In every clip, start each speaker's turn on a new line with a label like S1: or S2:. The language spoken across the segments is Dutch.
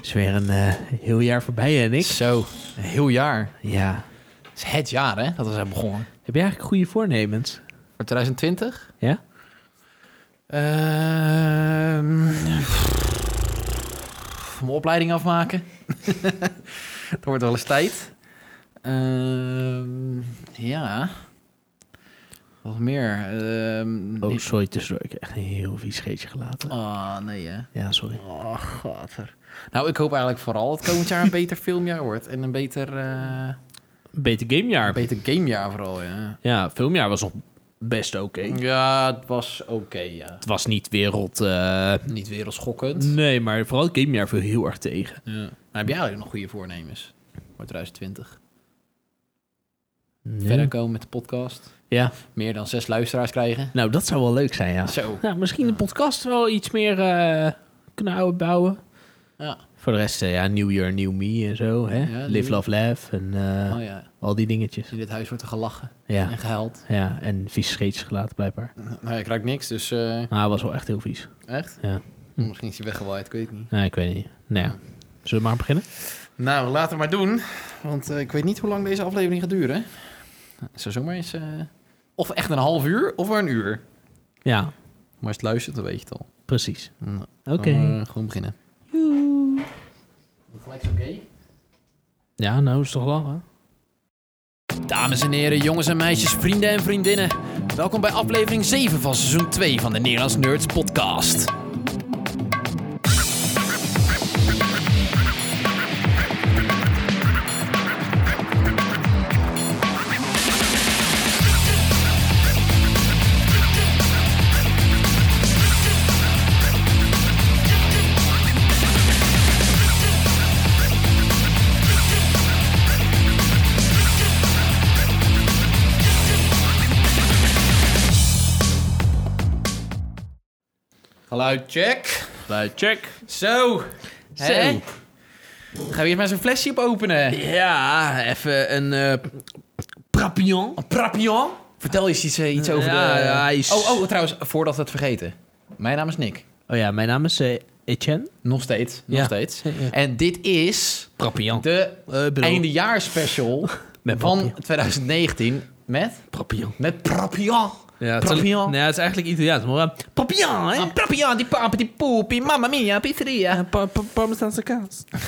S1: is weer een eh, heel jaar voorbij, en ik.
S2: Zo, een heel jaar.
S1: Ja.
S2: Het is het jaar, hè, dat we zijn begonnen.
S1: Heb je eigenlijk goede voornemens?
S2: Voor 2020?
S1: Ja?
S2: Ehm, pff, mijn opleiding afmaken. dat wordt wel eens tijd. Ehm, ja. Wat meer? Ehm,
S1: Oh,
S2: ik-
S1: sorry, tussendoor. Ik heb echt een heel vies geetje gelaten.
S2: Ah, nee, hè.
S1: Ja, sorry.
S2: Oh, gater. Nou, ik hoop eigenlijk vooral dat komend jaar een beter filmjaar wordt. En een beter, eh
S1: Beter gamejaar.
S2: beter gamejaar vooral, ja.
S1: ja, filmjaar was nog best oké.
S2: Ja, het was oké, ja.
S1: Het was niet wereld... eh,
S2: Niet wereldschokkend.
S1: nee, maar vooral het gamejaar viel heel erg tegen.
S2: Ja. Maar heb jij eigenlijk nog goede voornemens voor 2020? Verder
S1: Nee.
S2: komen met de podcast.
S1: Ja.
S2: Meer dan zes luisteraars krijgen.
S1: Nou, dat zou wel leuk zijn, ja.
S2: Zo.
S1: Nou, misschien de podcast wel iets meer eh, kunnen uitbouwen.
S2: Ja.
S1: Voor de rest, eh, ja, New Year, New Me en zo. Hè?
S2: Ja,
S1: Live,
S2: nieuw-
S1: Love, Laugh en eh,
S2: Oh ja.
S1: al die dingetjes.
S2: In dit huis wordt er gelachen
S1: Ja,
S2: en gehuild.
S1: ja en vies scheetjes gelaten blijkbaar.
S2: Nou, ik ruik niks, dus eh,
S1: Maar hij was wel echt heel vies.
S2: echt?
S1: Ja.
S2: Misschien is hij weggewaaid, ik weet het niet.
S1: Nee, ik weet niet. Nou ja, zullen we maar beginnen?
S2: Nou, laten we maar doen. Want eh, ik weet niet hoe lang deze aflevering gaat duren. Het Zou zomaar eens... eh, of echt een half uur, of een uur.
S1: Ja,
S2: Maar als je het luistert, dan weet je het al.
S1: precies.
S2: Nou,
S1: Oké.
S2: gaan we gewoon beginnen. Gelijk oké.
S1: Ja, nou is toch lang, hè?
S2: Dames en heren, jongens en meisjes, vrienden en vriendinnen. Welkom bij aflevering 7 van seizoen 2 van de Nederlands Nerds podcast. Geluid check.
S1: check.
S2: Zo. Hè?
S1: Zo.
S2: Gaan we eerst maar zo'n flesje op openen.
S1: Ja, even een eh Prapillon.
S2: Een Papillon? Vertel eens iets, eh, iets over
S1: Ja,
S2: de...
S1: ja, hij is-
S2: oh, oh, trouwens, voordat we het vergeten. Mijn naam is Nick.
S1: Oh ja, mijn naam is eh, Etienne.
S2: Nog steeds. Nog
S1: Ja.
S2: steeds.
S1: Ja.
S2: En dit is
S1: Prapillon.
S2: de
S1: Eh, bedoel-
S2: eindejaarspecial
S1: Met
S2: van
S1: Papillon.
S2: 2019 met...
S1: Prapillon.
S2: Met Papillon.
S1: Ja,
S2: het is- Papillon.
S1: Nee, het is eigenlijk Italiaans, maar... Papillon, hè?
S2: Ah, Papillon, die pamp, die poepie, mamma mia, pizzeria,
S1: Parmezaanse kaas. Ah,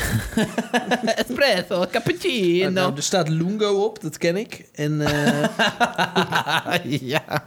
S2: espresso, cappuccino.
S1: nou, er staat Lungo op, dat ken ik. En eh,
S2: ja.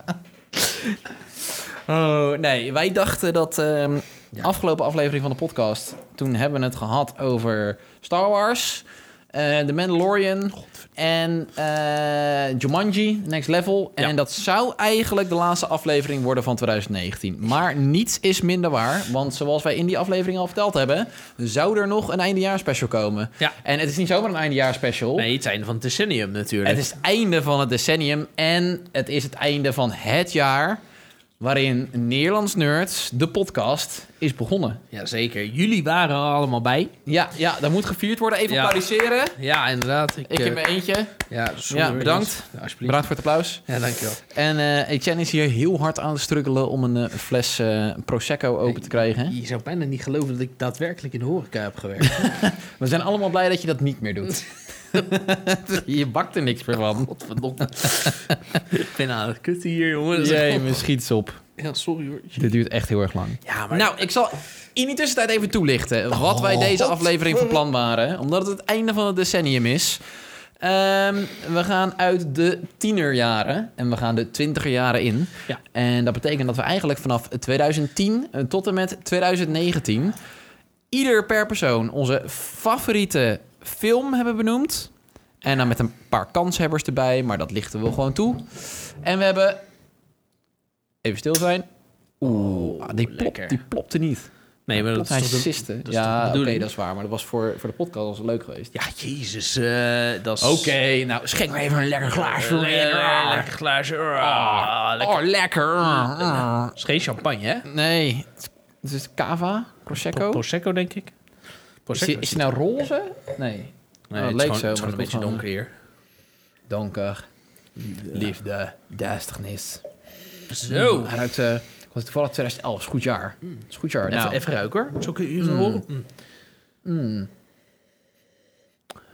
S2: Oh, nee, wij dachten dat ehm, afgelopen aflevering van de podcast... toen hebben we het gehad over Star Wars, eh The Mandalorian... en eh, Jumanji, Next Level.
S1: Ja.
S2: En dat zou eigenlijk de laatste aflevering worden van 2019. Maar niets is minder waar, want zoals wij in die aflevering al verteld hebben... zou er nog een eindejaarspecial komen.
S1: Ja.
S2: En het is niet zomaar een eindejaarspecial.
S1: Nee, het einde van het decennium natuurlijk.
S2: Het is het einde van het decennium en het is het einde van het jaar waarin Nederlands Nerds, de podcast, is begonnen.
S1: Jazeker, jullie waren er allemaal bij.
S2: Ja, ja dat moet gevierd worden. Even
S1: Ja.
S2: applaudisseren.
S1: Ja, inderdaad. eh,
S2: Ik in mijn eentje.
S1: ja,
S2: Ja, bedankt.
S1: Alsjeblieft.
S2: Bedankt voor het applaus.
S1: Ja, dankjewel.
S2: En eh Etienne is hier heel hard aan het struggelen om een eh, fles eh, Prosecco open te krijgen.
S1: Je zou bijna niet geloven dat ik daadwerkelijk in de horeca heb gewerkt.
S2: We zijn allemaal blij dat je dat niet meer doet. je bakt er niks meer van.
S1: Godverdomme. ik ben aan het kutten hier, jongen. Dat is
S2: Jee,
S1: echt-
S2: me schiet op.
S1: Ja, sorry hoor.
S2: Dit duurt echt heel erg lang.
S1: Ja, maar...
S2: Nou, ik zal in die tussentijd even toelichten wat wij deze
S1: Oh. God.
S2: aflevering van plan waren. Omdat het het einde van het decennium is. Ehm, we gaan uit de tienerjaren en we gaan de twintigerjaren in.
S1: Ja.
S2: En dat betekent dat we eigenlijk vanaf 2010 tot en met 2019... ieder per persoon onze favoriete film hebben benoemd. En dan met een paar kanshebbers erbij, maar dat lichten we gewoon toe. En we hebben... Even stil zijn. Oeh, die, plop-
S1: Oh, lekker.
S2: die plopte niet.
S1: nee, maar dat
S2: Hij
S1: is toch de- dat
S2: siste.
S1: is toch de
S2: Ja, oké,
S1: bedoeling?
S2: dat is waar. Maar dat was voor, voor de podcast was het leuk geweest.
S1: Ja, jezus. eh, dat is...
S2: nou, schenk maar even een lekker glaasje.
S1: Eh, Lekker glaasje. Ah, lekker.
S2: Oh, lekker.
S1: Het is geen champagne, hè?
S2: Nee. Het is cava,
S1: Pro-
S2: prosecco.
S1: Prosecco, denk ik.
S2: Is die-
S1: Prosecco.
S2: is het nou roze? Nee.
S1: Nee,
S2: Oh,
S1: het is
S2: leek
S1: gewoon-
S2: zo,
S1: het is gewoon een
S2: maar dat
S1: beetje
S2: komt
S1: donker hier.
S2: Donker. Liefde. Duisternis.
S1: Zo.
S2: Hij ruikt... eh, Hmm. was toevallig 2011. Is goed jaar. Is goed jaar.
S1: Even, Mm.
S2: Nou,
S1: even ruiken hoor. Zo kun je horen.
S2: Mm.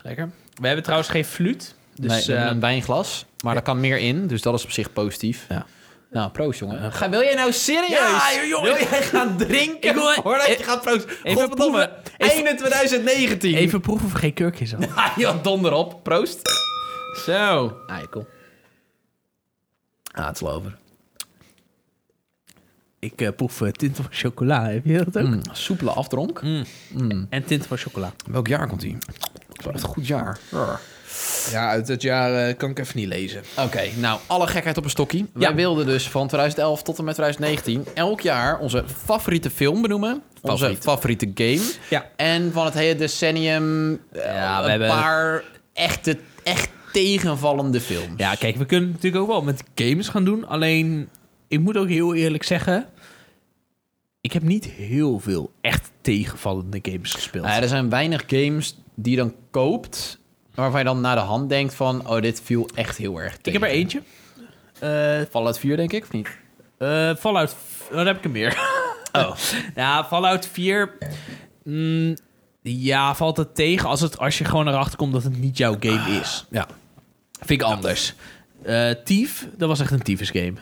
S1: Lekker. We hebben trouwens geen fluut. Dus
S2: Dus nee, we
S1: eh,
S2: hebben een wijnglas, maar daar kan meer in, dus dat is op zich positief.
S1: Ja.
S2: Nou, proost jongen. Ga, wil jij nou serieus?
S1: Ja, joh,
S2: wil jij gaan drinken?
S1: Ik wil-
S2: Hoor dat je
S1: eh,
S2: gaat proosten.
S1: even
S2: Godverdomme,
S1: proeven. Even-
S2: einde 2019.
S1: even proeven of er geen kurk in zat.
S2: Ah, joh, donder op. Proost.
S1: Zo.
S2: Eikel. Ah, het is wel over.
S1: Ik eh, proef eh, tint van chocola. Heb je dat ook?
S2: Mm, soepele afdronk.
S1: En tint van chocola.
S2: Welk jaar komt die? Het was echt een goed jaar. Ja.
S1: Ja, uit dat jaar eh, kan ik even niet lezen.
S2: Oké, nou, alle gekheid op een stokkie. Wij
S1: Ja.
S2: wilden dus van 2011 tot en met 2019 elk jaar onze favoriete film benoemen. Onze favoriete game.
S1: Ja.
S2: En van het hele decennium eh,
S1: Ja, we
S2: een
S1: hebben-
S2: paar echte, echt tegenvallende films.
S1: Ja, kijk, we kunnen natuurlijk ook wel met games gaan doen. Alleen, ik moet ook heel eerlijk zeggen... Ik heb niet heel veel echt tegenvallende games gespeeld.
S2: Nou ja, er zijn weinig games die je dan koopt, waarvan je dan naar de hand denkt van, oh, dit viel echt heel erg
S1: ik
S2: tegen.
S1: heb er eentje. Eh,
S2: Fallout 4, denk ik, of niet?
S1: eh, Fallout... Dan heb ik er meer.
S2: Oh.
S1: ja, Fallout 4... mm, ja, valt het tegen als, het, als je gewoon erachter komt dat het niet jouw
S2: Ah,
S1: game is.
S2: Ja.
S1: Vind ik anders. Eh Thief, dat was echt een tyfus game.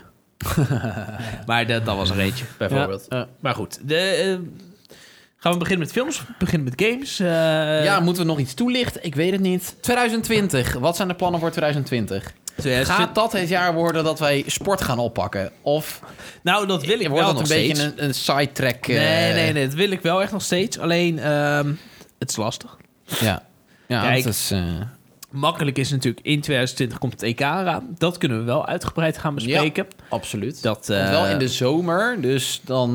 S1: maar dat, dat was er eentje, bijvoorbeeld.
S2: Ja, ja.
S1: Maar goed, de, eh, gaan we beginnen met films? Beginnen met games? Eh,
S2: ja, moeten we nog iets toelichten? Ik weet het niet. 2020, wat zijn de plannen voor 2020? Gaat dat het jaar worden dat wij sport gaan oppakken? Of
S1: nou, dat wil ik
S2: wordt
S1: wel nog
S2: dat een
S1: steeds.
S2: beetje een, een sidetrack? eh,
S1: Nee, nee, nee, dat wil ik wel echt nog steeds. Alleen, ehm, het is lastig.
S2: Ja. Ja,
S1: Kijk.
S2: dat is... eh,
S1: Makkelijk is natuurlijk, in 2020 komt het EK eraan. Dat kunnen we wel uitgebreid gaan bespreken.
S2: absoluut.
S1: Dat, eh,
S2: Want wel in de zomer, dus dan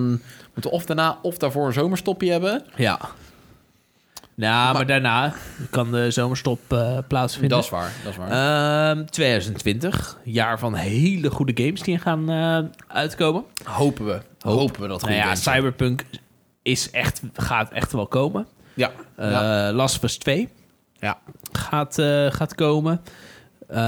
S2: moeten we of daarna of daarvoor een zomerstopje hebben.
S1: eh, Ja. Nou, maar, daarna kan de zomerstop eh, plaatsvinden.
S2: Dat is waar, dat is waar.
S1: Ehm, 2020, jaar van hele goede games die gaan eh, uitkomen.
S2: hopen we. Hopen we dat goed
S1: Nou ja,
S2: is.
S1: Cyberpunk is echt, gaat echt wel komen.
S2: Ja.
S1: Eh
S2: ja.
S1: Last of Us 2
S2: Ja.
S1: gaat, eh, gaat komen.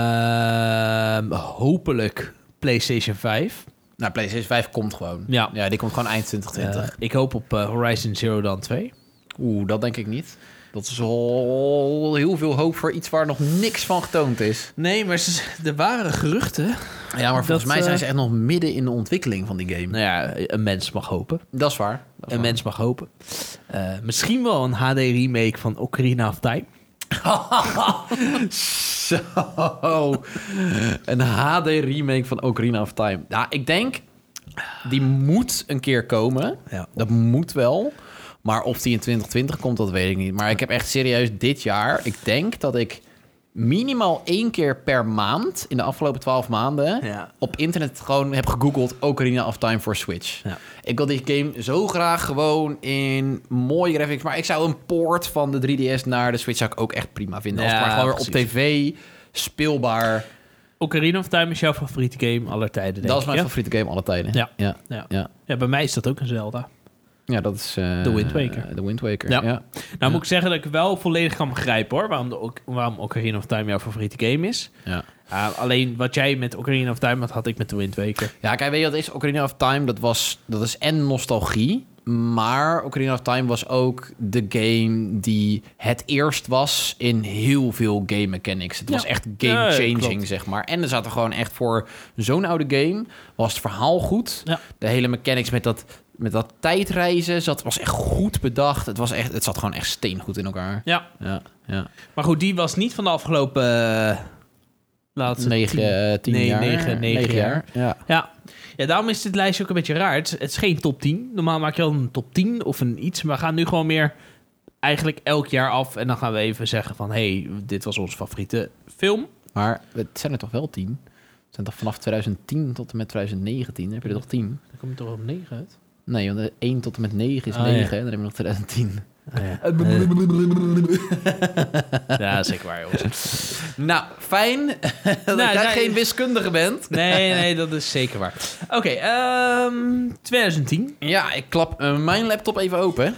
S1: Ehm, hopelijk PlayStation 5.
S2: Nou, PlayStation 5 komt gewoon.
S1: Ja.
S2: ja die komt gewoon eind 2020.
S1: Eh, ik hoop op eh, Horizon Zero Dawn 2.
S2: Oeh, dat denk ik niet. Dat is al heel veel hoop voor iets waar nog niks van getoond is.
S1: Nee, maar ze- er waren geruchten.
S2: Ja, maar
S1: Dat,
S2: volgens mij zijn
S1: eh,
S2: ze echt nog midden in de ontwikkeling van die game.
S1: Nou ja, een mens mag hopen.
S2: Dat is waar. Dat is
S1: Een
S2: waar.
S1: mens mag hopen. Eh, misschien wel een HD remake van Ocarina of Time.
S2: Zo. Oh. Een HD remake van Ocarina of Time. Ja, ik denk, die moet een keer komen.
S1: Ja.
S2: Dat moet wel. Maar of die in 2020 komt, dat weet ik niet. Maar ik heb echt serieus dit jaar... Ik denk dat ik minimaal één keer per maand... in de afgelopen twaalf maanden...
S1: Ja.
S2: op internet gewoon heb gegoogeld... Ocarina of Time voor Switch.
S1: Ja.
S2: Ik wil die game zo graag gewoon in mooie graphics... maar ik zou een port van de 3DS naar de Switch... zou ik ook echt prima vinden. Als het
S1: Ja,
S2: maar gewoon weer op
S1: precies.
S2: tv speelbaar...
S1: Ocarina of Time is jouw favoriete game aller tijden, denk
S2: dat is mijn
S1: ik, hè?
S2: favoriete game alle tijden.
S1: Ja.
S2: Ja.
S1: Ja.
S2: Ja.
S1: Ja, bij mij is dat ook een Zelda.
S2: Ja, dat is... eh,
S1: The Wind Waker.
S2: The Wind Waker,
S1: Ja.
S2: ja.
S1: Nou moet ik zeggen dat ik wel volledig kan begrijpen hoor, waarom, de, Oc- waarom Ocarina of Time jouw favoriete game is.
S2: ja.
S1: Ah, alleen wat jij met Ocarina of Time had, had ik met The Wind Waker.
S2: Ja, kijk, weet je wat het is? Ocarina of Time, dat, was, dat is en nostalgie. Maar Ocarina of Time was ook de game die het eerst was in heel veel game mechanics. Het
S1: Ja.
S2: was echt
S1: Ja, ja,
S2: game-changing,
S1: klopt.
S2: zeg maar. En er zaten gewoon echt voor zo'n oude game... was het verhaal goed.
S1: Ja.
S2: De hele mechanics met dat, met dat tijdreizen zat, was echt goed bedacht. Het, was echt, het zat gewoon echt steengoed in elkaar.
S1: Ja,
S2: Ja, ja.
S1: maar goed, die was niet van de afgelopen eh, laatste
S2: Negen,
S1: tien-
S2: eh, tien
S1: nee,
S2: jaar.
S1: negen, negen jaar.
S2: Ja.
S1: Ja. ja, daarom is dit lijstje ook een beetje raar. Het is, het is geen top 10. Normaal maak je wel een top 10 of een iets. Maar we gaan nu gewoon meer eigenlijk elk jaar af. En dan gaan we even zeggen van... hé, hey, dit was onze favoriete film.
S2: Maar het zijn er toch wel tien? Het zijn toch vanaf 2010 tot en met 2019? Heb je er toch tien?
S1: Dan kom je toch op 9 uit?
S2: Nee, want 1 tot en met 9 is
S1: Ah,
S2: 9. Dan hebben we nog 2010.
S1: ja.
S2: Eh.
S1: dat is zeker waar, jongens.
S2: Nou, fijn dat
S1: Nou,
S2: jij
S1: nou,
S2: geen wiskundige bent.
S1: Nee, nee, dat is zeker waar. Oké, ehm, 2010.
S2: Ja, ik klap eh, mijn laptop even open.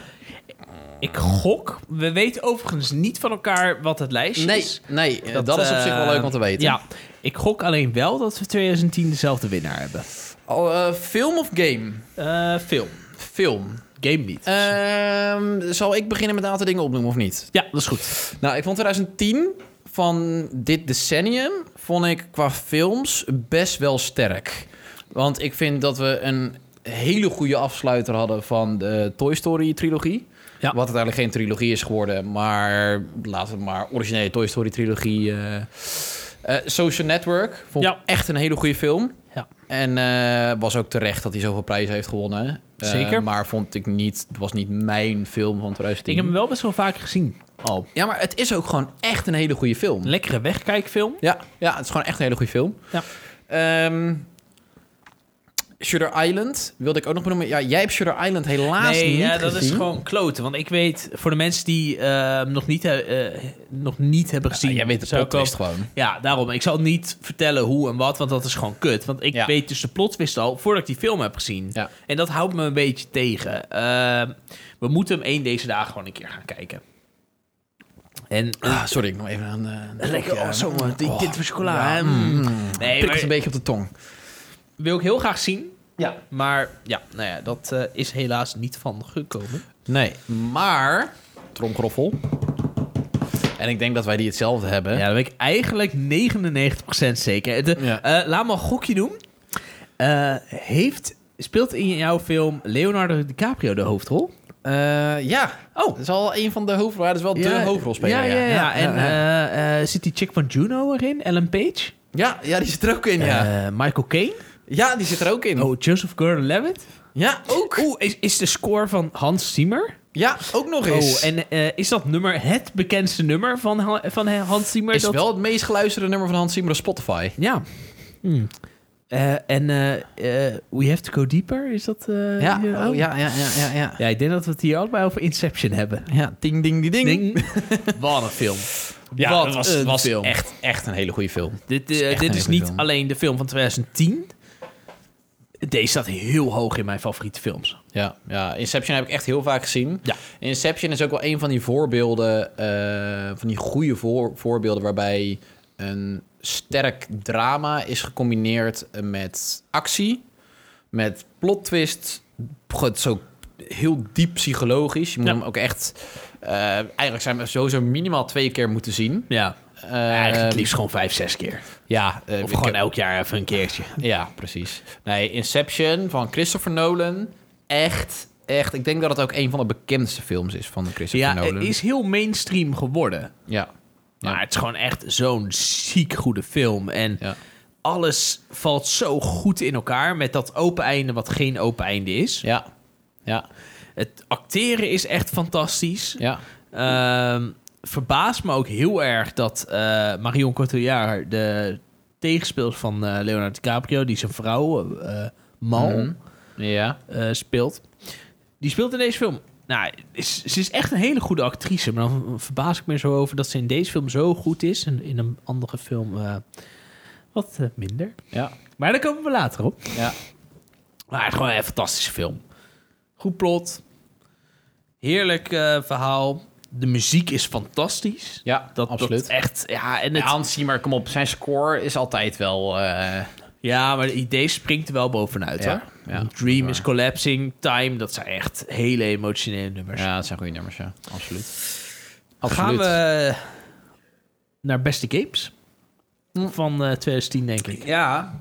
S1: Ik gok. We weten overigens niet van elkaar wat het lijstje
S2: Nee,
S1: is.
S2: nee eh, dat, is op zich wel
S1: eh,
S2: leuk om te weten.
S1: Ja, ik gok alleen wel dat we 2010 dezelfde winnaar hebben.
S2: Oh, eh, film of game?
S1: Eh, film. Eh.
S2: Film.
S1: game niet.
S2: Ehm, zal ik beginnen met een aantal dingen opnoemen of niet?
S1: ja, dat is goed.
S2: Nou, ik vond 2010 van dit decennium vond ik qua films best wel sterk. Want ik vind dat we een hele goede afsluiter hadden van de Toy Story trilogie.
S1: Ja.
S2: Wat uiteindelijk geen trilogie is geworden, maar laten we maar originele Toy Story trilogie. eh. Eh, Social Network vond ik
S1: Ja.
S2: echt een hele goede film.
S1: Ja.
S2: En eh, was ook terecht dat hij zoveel prijzen heeft gewonnen. Eh,
S1: Zeker.
S2: maar vond ik niet, het was niet mijn film van 2010.
S1: Ik heb hem wel best wel vaak gezien. Al.
S2: Ja, maar het is ook gewoon echt een hele goede film.
S1: Lekkere wegkijkfilm.
S2: Ja, ja het is gewoon echt een hele goede film.
S1: Ja.
S2: Ehm, Shutter Island wilde ik ook nog benoemen. Ja, jij hebt Shutter Island helaas
S1: nee,
S2: niet
S1: ja, dat
S2: gezien.
S1: is gewoon kloten. Want ik weet, voor de mensen die eh, nog, niet, eh, eh, nog niet hebben gezien...
S2: Ja, jij weet de
S1: zou ik
S2: plot is
S1: ook-
S2: gewoon.
S1: Ja, daarom. Ik zal niet vertellen hoe en wat, want dat is gewoon kut. Want ik
S2: Ja.
S1: weet dus de plotwist al voordat ik die film heb gezien.
S2: Ja.
S1: En dat houdt me een beetje tegen. Ehm, we moeten hem één deze dagen gewoon een keer gaan kijken. En... eh,
S2: Ah, sorry, ik nog even aan... eh,
S1: Lekker, oh, zo, man. Die
S2: oh,
S1: kind van chocola.
S2: ja,
S1: hè?
S2: mm.
S1: Nee,
S2: Prikt
S1: maar-
S2: een beetje op de tong.
S1: wil ik heel graag zien.
S2: Ja.
S1: Maar ja, nou ja, dat eh, is helaas niet van gekomen.
S2: Nee, maar... Tromgroffel. En ik denk dat wij die hetzelfde hebben.
S1: Ja, dan ben ik eigenlijk 99% zeker. De-
S2: Ja.
S1: eh, laat me een gokje doen. Eh, heeft, speelt in jouw film Leonardo DiCaprio de hoofdrol?
S2: Eh, ja.
S1: Oh.
S2: Dat is al een van de hoofdrollen. Dat is wel de hoofdrolspeler,
S1: Ja, ja, ja. En
S2: ja.
S1: eh, eh, zit die chick van Juno erin? Ellen Page?
S2: Ja, ja, die zit er ook in, ja.
S1: Eh, Michael Caine?
S2: ja, die zit er ook in.
S1: Oh, Joseph Gordon-Levitt?
S2: Ja, ook.
S1: Oeh, is, is de score van Hans Zimmer?
S2: Ja, ook nog eens.
S1: Oh, en eh, is dat nummer het bekendste nummer van, Ha- van Hans Zimmer?
S2: is
S1: dat...
S2: wel het meest geluisterde nummer van Hans Zimmer op Spotify.
S1: Ja. Eh, en eh, eh, We Have To Go Deeper, is dat... eh,
S2: Ja,
S1: hier ook?
S2: oh, ja, ja, ja, ja, ja.
S1: Ja, ik denk dat we het hier ook bij over Inception hebben.
S2: Ja, ding, ding, die, ding.
S1: Ding. Wat een film.
S2: Ja,
S1: Wat
S2: dat was,
S1: een
S2: was
S1: film.
S2: Echt, echt een hele goede film.
S1: Dit,
S2: is
S1: eh,
S2: echt een
S1: dit
S2: hele
S1: is
S2: goede
S1: niet
S2: film.
S1: alleen de film van 2010. Deze staat heel hoog in mijn favoriete films.
S2: Ja, ja, Inception heb ik echt heel vaak gezien.
S1: Ja.
S2: Inception is ook wel een van die voorbeelden, eh, van die goede voor, voorbeelden waarbij een sterk drama is gecombineerd met actie, met plot twist. Goh, Het is ook heel diep psychologisch. Je moet
S1: Ja.
S2: hem ook echt, eh, eigenlijk zijn we sowieso minimaal twee keer moeten zien.
S1: Ja.
S2: Eh,
S1: Eigenlijk het liefst gewoon vijf, zes keer.
S2: Ja, eh,
S1: Of
S2: ik
S1: gewoon
S2: heb-
S1: elk jaar even een keertje.
S2: ja, precies. Nee, Inception van Christopher Nolan. Echt, echt. Ik denk dat het ook een van de bekendste films is van Christopher
S1: Ja,
S2: Nolan.
S1: het is heel mainstream geworden.
S2: Ja. Ja.
S1: Maar het is gewoon echt zo'n ziek goede film. En
S2: Ja.
S1: alles valt zo goed in elkaar met dat open einde wat geen open einde is.
S2: Ja. Ja.
S1: Het acteren is echt fantastisch.
S2: Ja.
S1: Ehm, verbaast me ook heel erg dat eh, Marion Cotillard, de tegenspeler van eh Leonardo DiCaprio, die zijn vrouw eh eh, Mal
S2: Mhm. Ja.
S1: eh, speelt, die speelt in deze film. Nou, is, ze is echt een hele goede actrice, maar dan verbaas ik me zo over dat ze in deze film zo goed is en in een andere film eh, wat eh, minder.
S2: Ja.
S1: Maar daar komen we later op.
S2: Ja.
S1: Maar het is gewoon een fantastische film. Goed plot. Heerlijk eh, verhaal. De muziek is fantastisch.
S2: Ja,
S1: dat,
S2: absoluut.
S1: Dat echt, ja, en
S2: Ja,
S1: het, ja.
S2: Hans Zimmer, kom op. Zijn score is altijd wel... eh,
S1: maar de idee springt er wel bovenuit
S2: Ja,
S1: hoor.
S2: ja, dat is
S1: Dream
S2: waar.
S1: is Collapsing, Time, dat zijn echt hele emotionele nummers.
S2: ja, het zijn goede nummers, ja. Absoluut.
S1: Gaan
S2: Absoluut.
S1: we eh, naar beste games
S2: Mm.
S1: van eh, 2010 denk ik.
S2: Ja.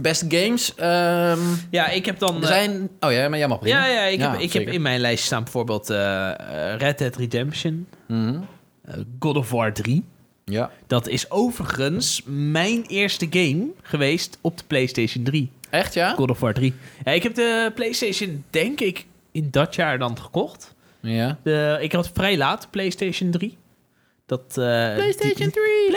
S2: Best games. ehm,
S1: Ja, ik heb dan...
S2: er
S1: eh,
S2: zijn... Oh ja, maar jij mag
S1: ja,
S2: beginnen.
S1: ja, ik, heb, ik heb
S2: zeker.
S1: in mijn lijst staan bijvoorbeeld eh, eh, Red Dead Redemption,
S2: Mhm.
S1: eh, God of War 3.
S2: Ja.
S1: Dat is overigens mijn eerste game geweest op de PlayStation 3.
S2: Echt, ja?
S1: God of War 3. Ja, ik heb de PlayStation, denk ik, in dat jaar dan gekocht.
S2: Ja.
S1: De, ik had vrij laat PlayStation 3. Dat, eh, die-
S2: 3!
S1: PlayStation 3!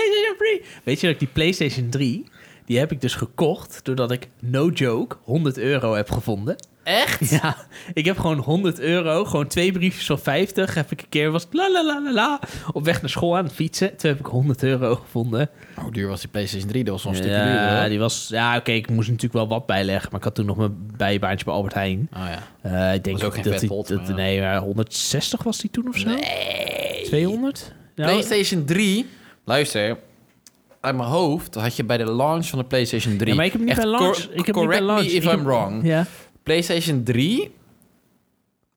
S1: Weet je dat ik die PlayStation 3, die heb ik dus gekocht doordat ik, no joke, 100 euro heb gevonden.
S2: Echt?
S1: Ja, ik heb gewoon 100 euro, gewoon twee briefjes van 50. Heb ik een keer, was het la la la la la, op weg naar school aan het fietsen. Toen heb ik 100 euro gevonden.
S2: Hoe duur was die PlayStation 3? Dat was wel een stukje duurder.
S1: Ja,
S2: hoor.
S1: die was, ja oké, ik moest natuurlijk wel wat bijleggen, maar ik had toen nog mijn bijbaantje bij Albert Heijn.
S2: Oh ja.
S1: Eh, ik denk
S2: ook geen
S1: dat
S2: vet
S1: die,
S2: pot,
S1: dat,
S2: maar ja.
S1: nee, maar 160 was die toen of zo?
S2: Nee.
S1: 200? Nou,
S2: PlayStation 3. Luister. Uit mijn hoofd had je bij de launch van de PlayStation 3.
S1: ja, maar ik heb hem niet
S2: Echt
S1: bij launch.
S2: cor-
S1: ik heb hem niet
S2: correct
S1: bij launch.
S2: me if
S1: Ik heb-
S2: I'm wrong.
S1: Ja.
S2: PlayStation 3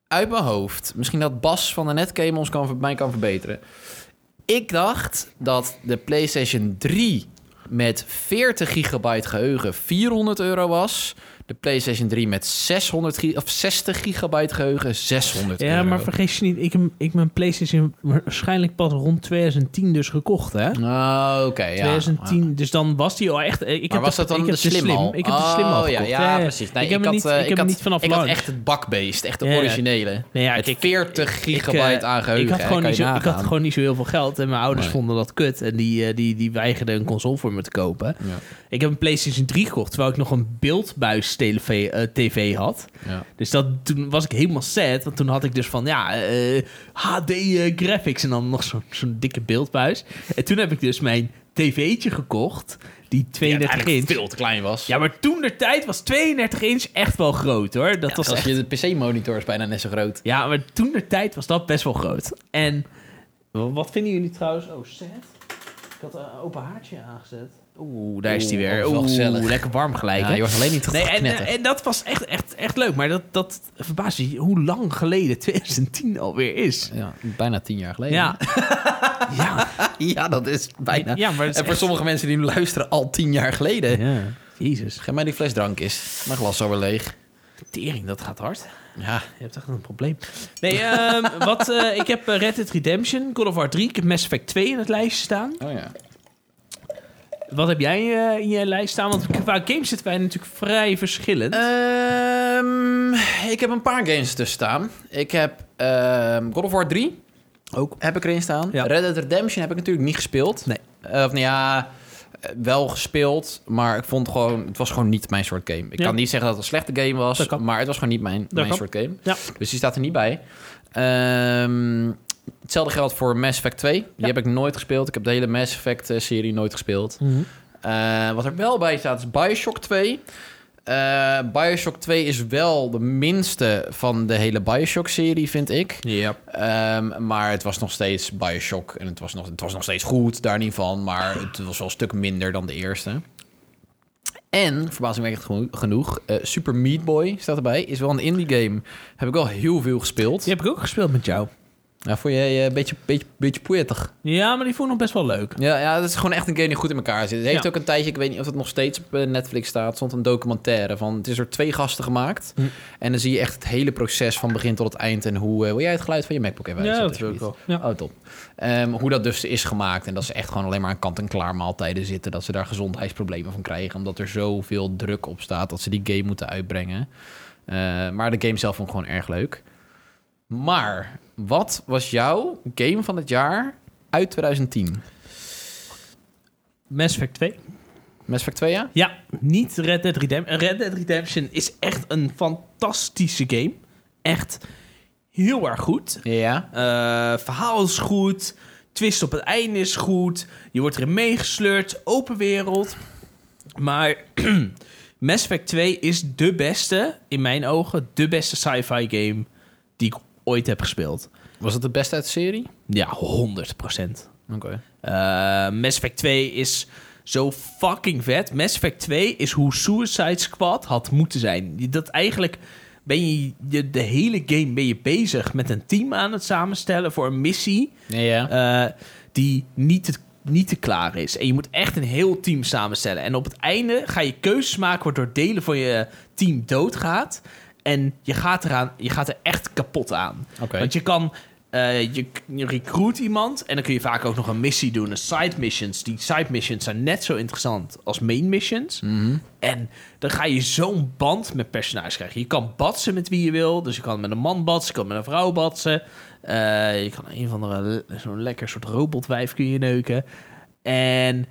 S2: uit mijn hoofd. Misschien dat Bas van de Netgame ons kan, ver- mij kan verbeteren. Ik dacht dat de PlayStation 3 met 40 gigabyte geheugen 400 euro was. De PlayStation 3 met 600 gi- of 60 gigabyte geheugen 600
S1: Ja,
S2: euro.
S1: maar vergis je niet, ik heb ik mijn PlayStation waarschijnlijk pas rond 2010 dus gekocht, hè?
S2: Ah, oké, ja.
S1: 2010, dus dan was die al echt... Ik
S2: Maar
S1: heb
S2: was dat dan
S1: ik
S2: de
S1: heb
S2: slim, al?
S1: Ik heb de slim al
S2: oh, ja,
S1: gekocht.
S2: ja, precies. Nee,
S1: ik heb hem
S2: had,
S1: niet,
S2: eh,
S1: ik heb hem
S2: had-
S1: niet vanaf
S2: Ik had
S1: launch.
S2: echt het bakbeest, echt de
S1: Ja, ja.
S2: originele.
S1: Nee, ja,
S2: Het
S1: kijk,
S2: 40
S1: ik, eh,
S2: gigabyte aan geheugen.
S1: Ik had,
S2: hè,
S1: gewoon
S2: kan
S1: niet
S2: je
S1: zo, ik had
S2: nagaan.
S1: gewoon niet zo heel veel geld. En mijn ouders
S2: Nee.
S1: vonden dat kut. En die, eh, die, die weigerden een console voor me te kopen.
S2: Ja,
S1: Ik heb een PlayStation 3 gekocht, terwijl ik nog een beeldbuis TV, TV had.
S2: ja.
S1: Dus dat, toen was ik helemaal sad. Want toen had ik dus van, ja, eh, HD eh, graphics en dan nog zo'n zo'n dikke beeldbuis. En toen heb ik dus mijn tv'tje gekocht, die
S2: Die
S1: 32
S2: uiteindelijk
S1: inch.
S2: veel te klein was.
S1: Ja, maar toen de tijd was 32 inch echt wel groot hoor. Dat
S2: Ja,
S1: was
S2: als
S1: echt...
S2: je de PC-monitor is bijna net zo groot.
S1: Ja, maar toen de tijd was dat best wel groot. En w- wat vinden jullie trouwens? Oh, sad. Ik had een open haartje aangezet. Oeh, daar is die
S2: Oeh,
S1: weer.
S2: dat is wel gezellig.
S1: Oeh, lekker warm gelijk.
S2: Ja,
S1: hè?
S2: je was alleen niet
S1: Nee, en, eh,
S2: geknetterd.
S1: en dat was echt, echt, echt leuk. Maar dat, dat verbaast je hoe lang geleden 2010 alweer is.
S2: Ja, bijna tien jaar geleden.
S1: Ja. ja.
S2: ja dat is bijna.
S1: Ja, maar dat is
S2: en voor
S1: echt-
S2: sommige mensen die nu luisteren, al tien jaar geleden.
S1: ja. Jezus.
S2: Geef mij die fles drank eens. Mijn glas is alweer leeg.
S1: Tering, dat gaat hard.
S2: Ja.
S1: Je hebt echt een probleem. Nee, ehm, wat, eh, ik heb eh, Red Dead Redemption, God of War 3, ik heb Mass Effect 2 in het lijstje staan.
S2: Oh ja.
S1: Wat heb jij eh, in je lijst staan? Want qua games zitten wij natuurlijk vrij verschillend.
S2: Eh, Ehm, ik heb een paar games tussen staan. Ik heb ehm, God of War 3. Ook. Heb ik erin staan.
S1: Ja.
S2: Red Dead Redemption heb ik natuurlijk niet gespeeld.
S1: Nee.
S2: Eh, of nou ja, eh, wel gespeeld. Maar ik vond gewoon, het was gewoon niet mijn soort game. Ik
S1: Ja.
S2: kan niet zeggen dat het een slechte game was.
S1: Dat kan.
S2: Maar het was gewoon niet mijn, mijn
S1: kan.
S2: soort game.
S1: Ja.
S2: Dus die staat er niet bij. Ehm, hetzelfde geldt voor Mass Effect 2. Die
S1: Ja.
S2: heb ik nooit gespeeld. Ik heb de hele Mass Effect eh, serie nooit gespeeld. Eh, wat er wel bij staat is Bioshock 2. Eh, Bioshock 2 is wel de minste van de hele Bioshock-serie, vind ik.
S1: Ja.
S2: Ehm, maar het was nog steeds Bioshock. En het was, nog, het was nog steeds goed, daar niet van. Maar het was wel een stuk minder dan de eerste. En, verbazingwekkend geno- genoeg, eh, Super Meat Boy staat erbij. Is wel een indie game. Heb ik wel heel veel gespeeld.
S1: Die heb ik ook gespeeld met jou.
S2: Ja, vond jij eh, een beetje, beetje, beetje poetig?
S1: Ja, maar die vond ik nog best wel leuk.
S2: Ja, ja, dat is gewoon echt een game die goed in elkaar zit. Het heeft
S1: Ja.
S2: ook een tijdje, ik weet niet of dat nog steeds op eh, Netflix staat, stond een documentaire van. Het is door twee gasten gemaakt.
S1: Hm.
S2: En dan zie je echt het hele proces van begin tot het eind. En hoe. eh, wil jij het geluid van je MacBook even
S1: Ja,
S2: uitzetten,
S1: dat wil ik wel.
S2: alsjeblieft?
S1: Ja.
S2: Oh, top. Ehm, hoe dat dus is gemaakt. En dat ze echt gewoon alleen maar aan kant-en-klaar maaltijden zitten. Dat ze daar gezondheidsproblemen van krijgen. Omdat er zoveel druk op staat dat ze die game moeten uitbrengen. Eh, maar de game zelf vond ik gewoon erg leuk. Maar wat was jouw game van het jaar uit 2010?
S1: Mass Effect 2.
S2: Mass Effect 2, ja?
S1: Ja, niet Red Dead Redemption. Eh, Red Dead Redemption is echt een fantastische game. Echt heel erg goed.
S2: Ja.
S1: Eh, verhaal is goed. Twist op het einde is goed. Je wordt erin meegesleurd. Open wereld. Maar Mass Effect 2 is de beste, in mijn ogen, de beste sci-fi game die ik ooit heb gespeeld.
S2: Was dat de beste uit de serie?
S1: Ja, 100%.
S2: Oké.
S1: Eh, Mass Effect 2 is zo fucking vet. Mass Effect 2 is hoe Suicide Squad had moeten zijn. Je- Dat eigenlijk ben je, je de hele game ben je bezig met een team aan het samenstellen voor een missie
S2: Ja.
S1: eh, die niet te, niet te klaar is. En je moet echt een heel team samenstellen. En op het einde ga je keuzes maken waardoor delen van je team doodgaat. En je gaat, eraan, je gaat er echt kapot aan.
S2: Oké.
S1: Want je kan. eh, je, je recruit iemand en dan kun je vaak ook nog een missie doen. Een side missions. Die side missions zijn net zo interessant als main missions. En dan ga je zo'n band met personages krijgen. Je kan batsen met wie je wil. Dus je kan met een man batsen, je kan met een vrouw batsen. Eh, je kan een of andere le- zo'n lekker soort robotwijf kun je neuken. En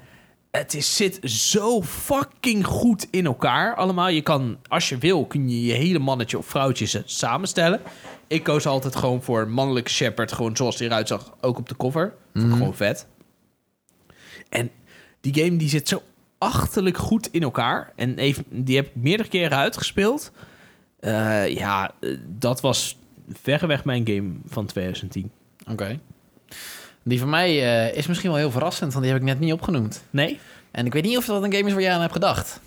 S1: het is, zit zo fucking goed in elkaar allemaal. Je kan, als je wil, kun je je hele mannetje of vrouwtje ze- samenstellen. Ik koos altijd gewoon voor een mannelijke shepherd. Gewoon zoals hij eruit zag, ook op de cover. Vond ik Gewoon vet. En die game die zit zo achterlijk goed in elkaar. En heeft, die heb ik meerdere keren uitgespeeld. Eh, ja, eh, dat was verreweg mijn game van 2010.
S2: Oké. Die van mij eh, is misschien wel heel verrassend, want die heb ik net niet opgenoemd.
S1: Nee?
S2: En ik weet niet of dat een game is waar jij aan hebt gedacht.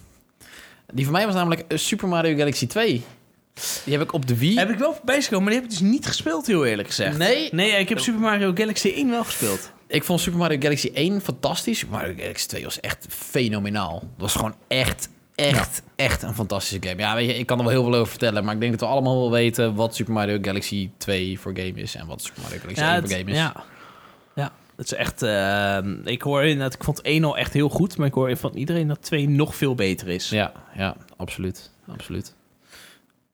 S2: Die van mij was namelijk eh, Super Mario Galaxy 2. Die heb ik op de Wii.
S1: Heb ik wel voorbij gekomen, maar die heb ik dus niet gespeeld, heel eerlijk gezegd.
S2: Nee.
S1: Nee, ik heb Super Mario Galaxy 1 wel gespeeld.
S2: Ik vond Super Mario Galaxy 1 fantastisch. Super Mario Galaxy 2 was echt fenomenaal. Dat was gewoon echt, echt, echt een fantastische game. Ja, weet je, ik kan er wel heel veel over vertellen. Maar ik denk dat we allemaal wel weten wat Super Mario Galaxy 2 voor game is. En wat Super Mario Galaxy 1 voor
S1: het-
S2: game is.
S1: ja. ja, het is echt... eh, ik hoor inderdaad, ik vond 1 al echt heel goed, maar ik hoor van iedereen dat 2 nog veel beter is.
S2: ja, ja, absoluut. Absoluut.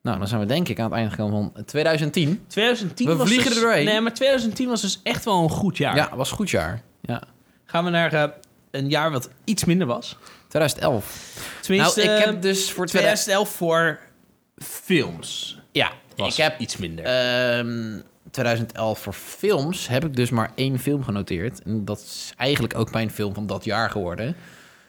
S2: Nou, dan zijn we denk ik aan het einde gekomen van 2010.
S1: 2010
S2: We
S1: was
S2: vliegen
S1: dus,
S2: er doorheen.
S1: Nee, maar 2010 was dus echt wel een goed jaar.
S2: Ja, was een goed jaar. Ja.
S1: Gaan we naar eh, een jaar wat iets minder was.
S2: 2011.
S1: Tenminste,
S2: nou, ik
S1: eh,
S2: heb dus voor 2000...
S1: 2011 voor films
S2: Ja,
S1: was
S2: ik heb
S1: iets minder.
S2: Ehm, 2011 voor films heb ik dus maar één film genoteerd. En dat is eigenlijk ook mijn film van dat jaar geworden.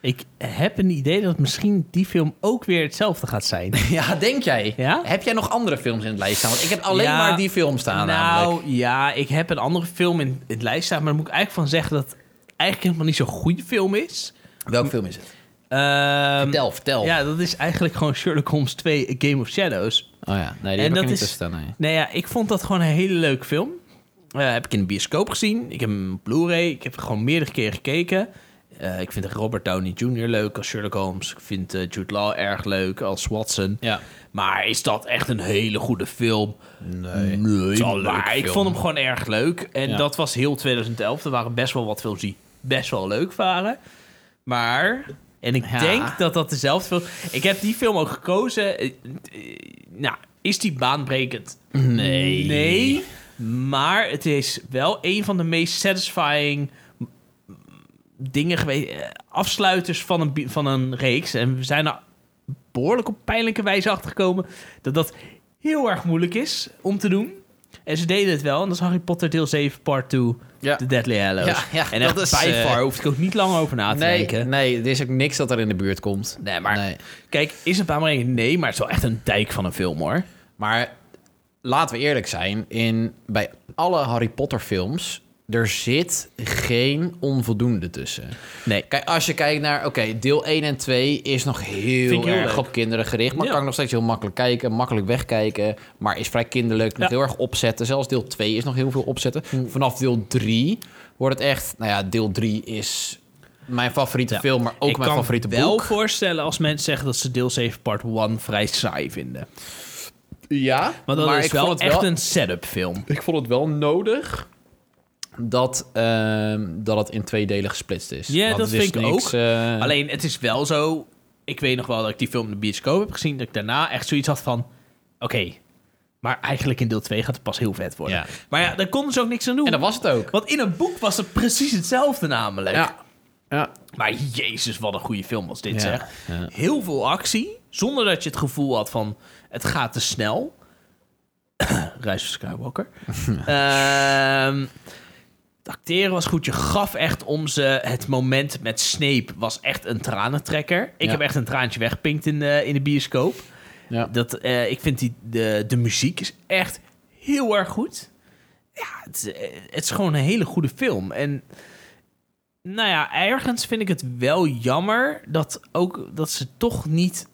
S1: ik heb een idee dat misschien die film ook weer hetzelfde gaat zijn.
S2: ja, denk jij?
S1: Ja?
S2: Heb jij nog andere films in het lijst staan? Want ik heb alleen
S1: Ja,
S2: maar die film staan namelijk.
S1: nou ja, ik heb een andere film in het lijst staan, maar daar moet ik eigenlijk van zeggen dat het eigenlijk helemaal niet zo'n goede film is.
S2: Welke film is het?
S1: Ehm,
S2: vertel, vertel.
S1: Ja, dat is eigenlijk gewoon Sherlock Holmes 2, A Game of Shadows.
S2: Oh ja, nee, die
S1: En
S2: heb ik
S1: dat
S2: er niet
S1: is-
S2: tussen staan. nee.
S1: Nou ja, ik vond dat gewoon een hele leuke film. Eh, heb ik in de bioscoop gezien. Ik heb hem op Blu-ray. Ik heb hem gewoon meerdere keren gekeken. Eh, ik vind Robert Downey Jr. leuk als Sherlock Holmes. Ik vind eh, Jude Law erg leuk als Watson.
S2: Ja.
S1: Maar is dat echt een hele goede film?
S2: Nee.
S1: Nee,
S2: is wel een leuke
S1: maar ik
S2: film.
S1: vond hem gewoon erg leuk. En
S2: Ja.
S1: dat was heel 2011. Er waren best wel wat films die best wel leuk waren. Maar, en ik
S2: Ja.
S1: denk dat dat dezelfde film... Ik heb die film ook gekozen. Eh, eh, Nou, is die baanbrekend?
S2: Nee.
S1: Nee. Maar het is wel een van de meest satisfying m- m- dingen geweest. eh, Afsluiters van een, bi- van een reeks. En we zijn er behoorlijk op pijnlijke wijze achtergekomen dat dat heel erg moeilijk is om te doen. En ze deden het wel. En dat is Harry Potter deel 7 part 2,
S2: Ja.
S1: The Deadly Hallows.
S2: Ja, ja,
S1: en
S2: dat
S1: echt
S2: is,
S1: by
S2: eh,
S1: far hoef ik ook niet lang over na te
S2: Nee,
S1: denken.
S2: nee, er is ook niks dat er in de buurt komt.
S1: Nee, maar
S2: Nee.
S1: kijk, is het Baanbrengen? Nee, maar het is wel echt een dijk van een film hoor.
S2: Maar laten we eerlijk zijn, in, bij alle Harry Potter films, er zit geen onvoldoende tussen.
S1: Nee.
S2: Kijk, als je kijkt naar, oké, deel 1 en 2 is nog heel,
S1: ik heel
S2: erg
S1: leuk.
S2: op kinderen gericht. Maar
S1: Ja.
S2: kan ik nog steeds heel makkelijk kijken, makkelijk wegkijken. Maar is vrij kinderlijk, nog
S1: Ja. Hm.
S2: heel erg opzetten. Zelfs deel 2 is nog heel veel opzetten. Vanaf deel 3 wordt het echt, nou ja, deel 3 is mijn favoriete
S1: Ja.
S2: film, maar ook
S1: ik
S2: mijn
S1: kan
S2: favoriete
S1: wel
S2: boek.
S1: voorstellen als mensen zeggen dat ze deel 7 part 1 vrij saai vinden.
S2: Ja,
S1: Want dat
S2: maar
S1: is
S2: ik
S1: wel
S2: vond het
S1: echt
S2: wel
S1: een setup film.
S2: Ik vond het wel nodig dat, ehm, dat het in twee delen gesplitst is.
S1: Ja,
S2: Want
S1: dat
S2: het is
S1: vind ik
S2: niks,
S1: ook.
S2: eh,
S1: Alleen het is wel zo. Ik weet nog wel dat ik die film in de bioscoop heb gezien. Dat ik daarna echt zoiets had van: oké, maar eigenlijk in deel 2 gaat het pas heel vet worden.
S2: Ja.
S1: Maar ja, daar konden ze ook niks aan doen.
S2: En dat was het ook.
S1: Want in een boek was het precies hetzelfde namelijk.
S2: Ja. ja.
S1: Maar jezus, wat een goede film was dit
S2: Ja,
S1: zeg.
S2: ja.
S1: Heel veel actie, zonder dat je het gevoel had van het gaat te snel. Reis van Skywalker. Ehm, het acteren was goed. Je gaf echt om ze. Het moment met Snape was echt een tranentrekker. Ik
S2: Ja.
S1: heb echt een traantje wegpinkt in de, in de bioscoop.
S2: ja.
S1: Dat, eh, ik vind die, de, de muziek is echt heel erg goed. Ja, het, is, eh, het is gewoon een hele goede film. En nou ja, ergens vind ik het wel jammer dat, ook, dat ze toch niet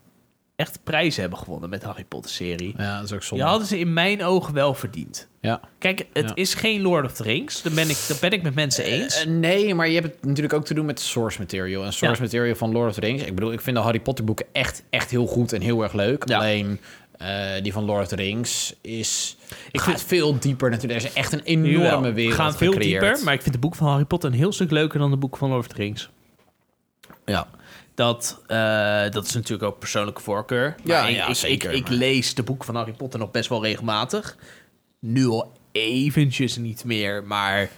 S1: echt prijzen hebben gewonnen met de Harry Potter-serie.
S2: Ja, dat is ook
S1: Die
S2: zonde.
S1: hadden ze in mijn ogen wel verdiend.
S2: Ja.
S1: Kijk, het
S2: Ja.
S1: is geen Lord of the Rings. Daar ben ik, daar ben ik met mensen eens.
S2: Eh, nee, maar je hebt het natuurlijk ook te doen met source material. En source
S1: Ja.
S2: material van Lord of the Rings. Ik bedoel, ik vind de Harry Potter boeken echt, echt heel goed en heel erg leuk.
S1: Ja.
S2: Alleen eh, die van Lord of the Rings is... Ik
S1: vind-
S2: vind veel dieper natuurlijk. Er is echt een
S1: Jawel,
S2: enorme
S1: we
S2: wereld
S1: gaan veel
S2: gecreëerd.
S1: dieper, maar ik vind de boek van Harry Potter een heel stuk leuker dan de boek van Lord of the Rings.
S2: Ja.
S1: Dat, eh, dat is natuurlijk ook persoonlijke voorkeur. Maar
S2: Ja,
S1: ik,
S2: ja,
S1: ik,
S2: zeker,
S1: Ik, ik
S2: maar-
S1: lees de boeken van Harry Potter nog best wel regelmatig. Nu al eventjes niet meer, maar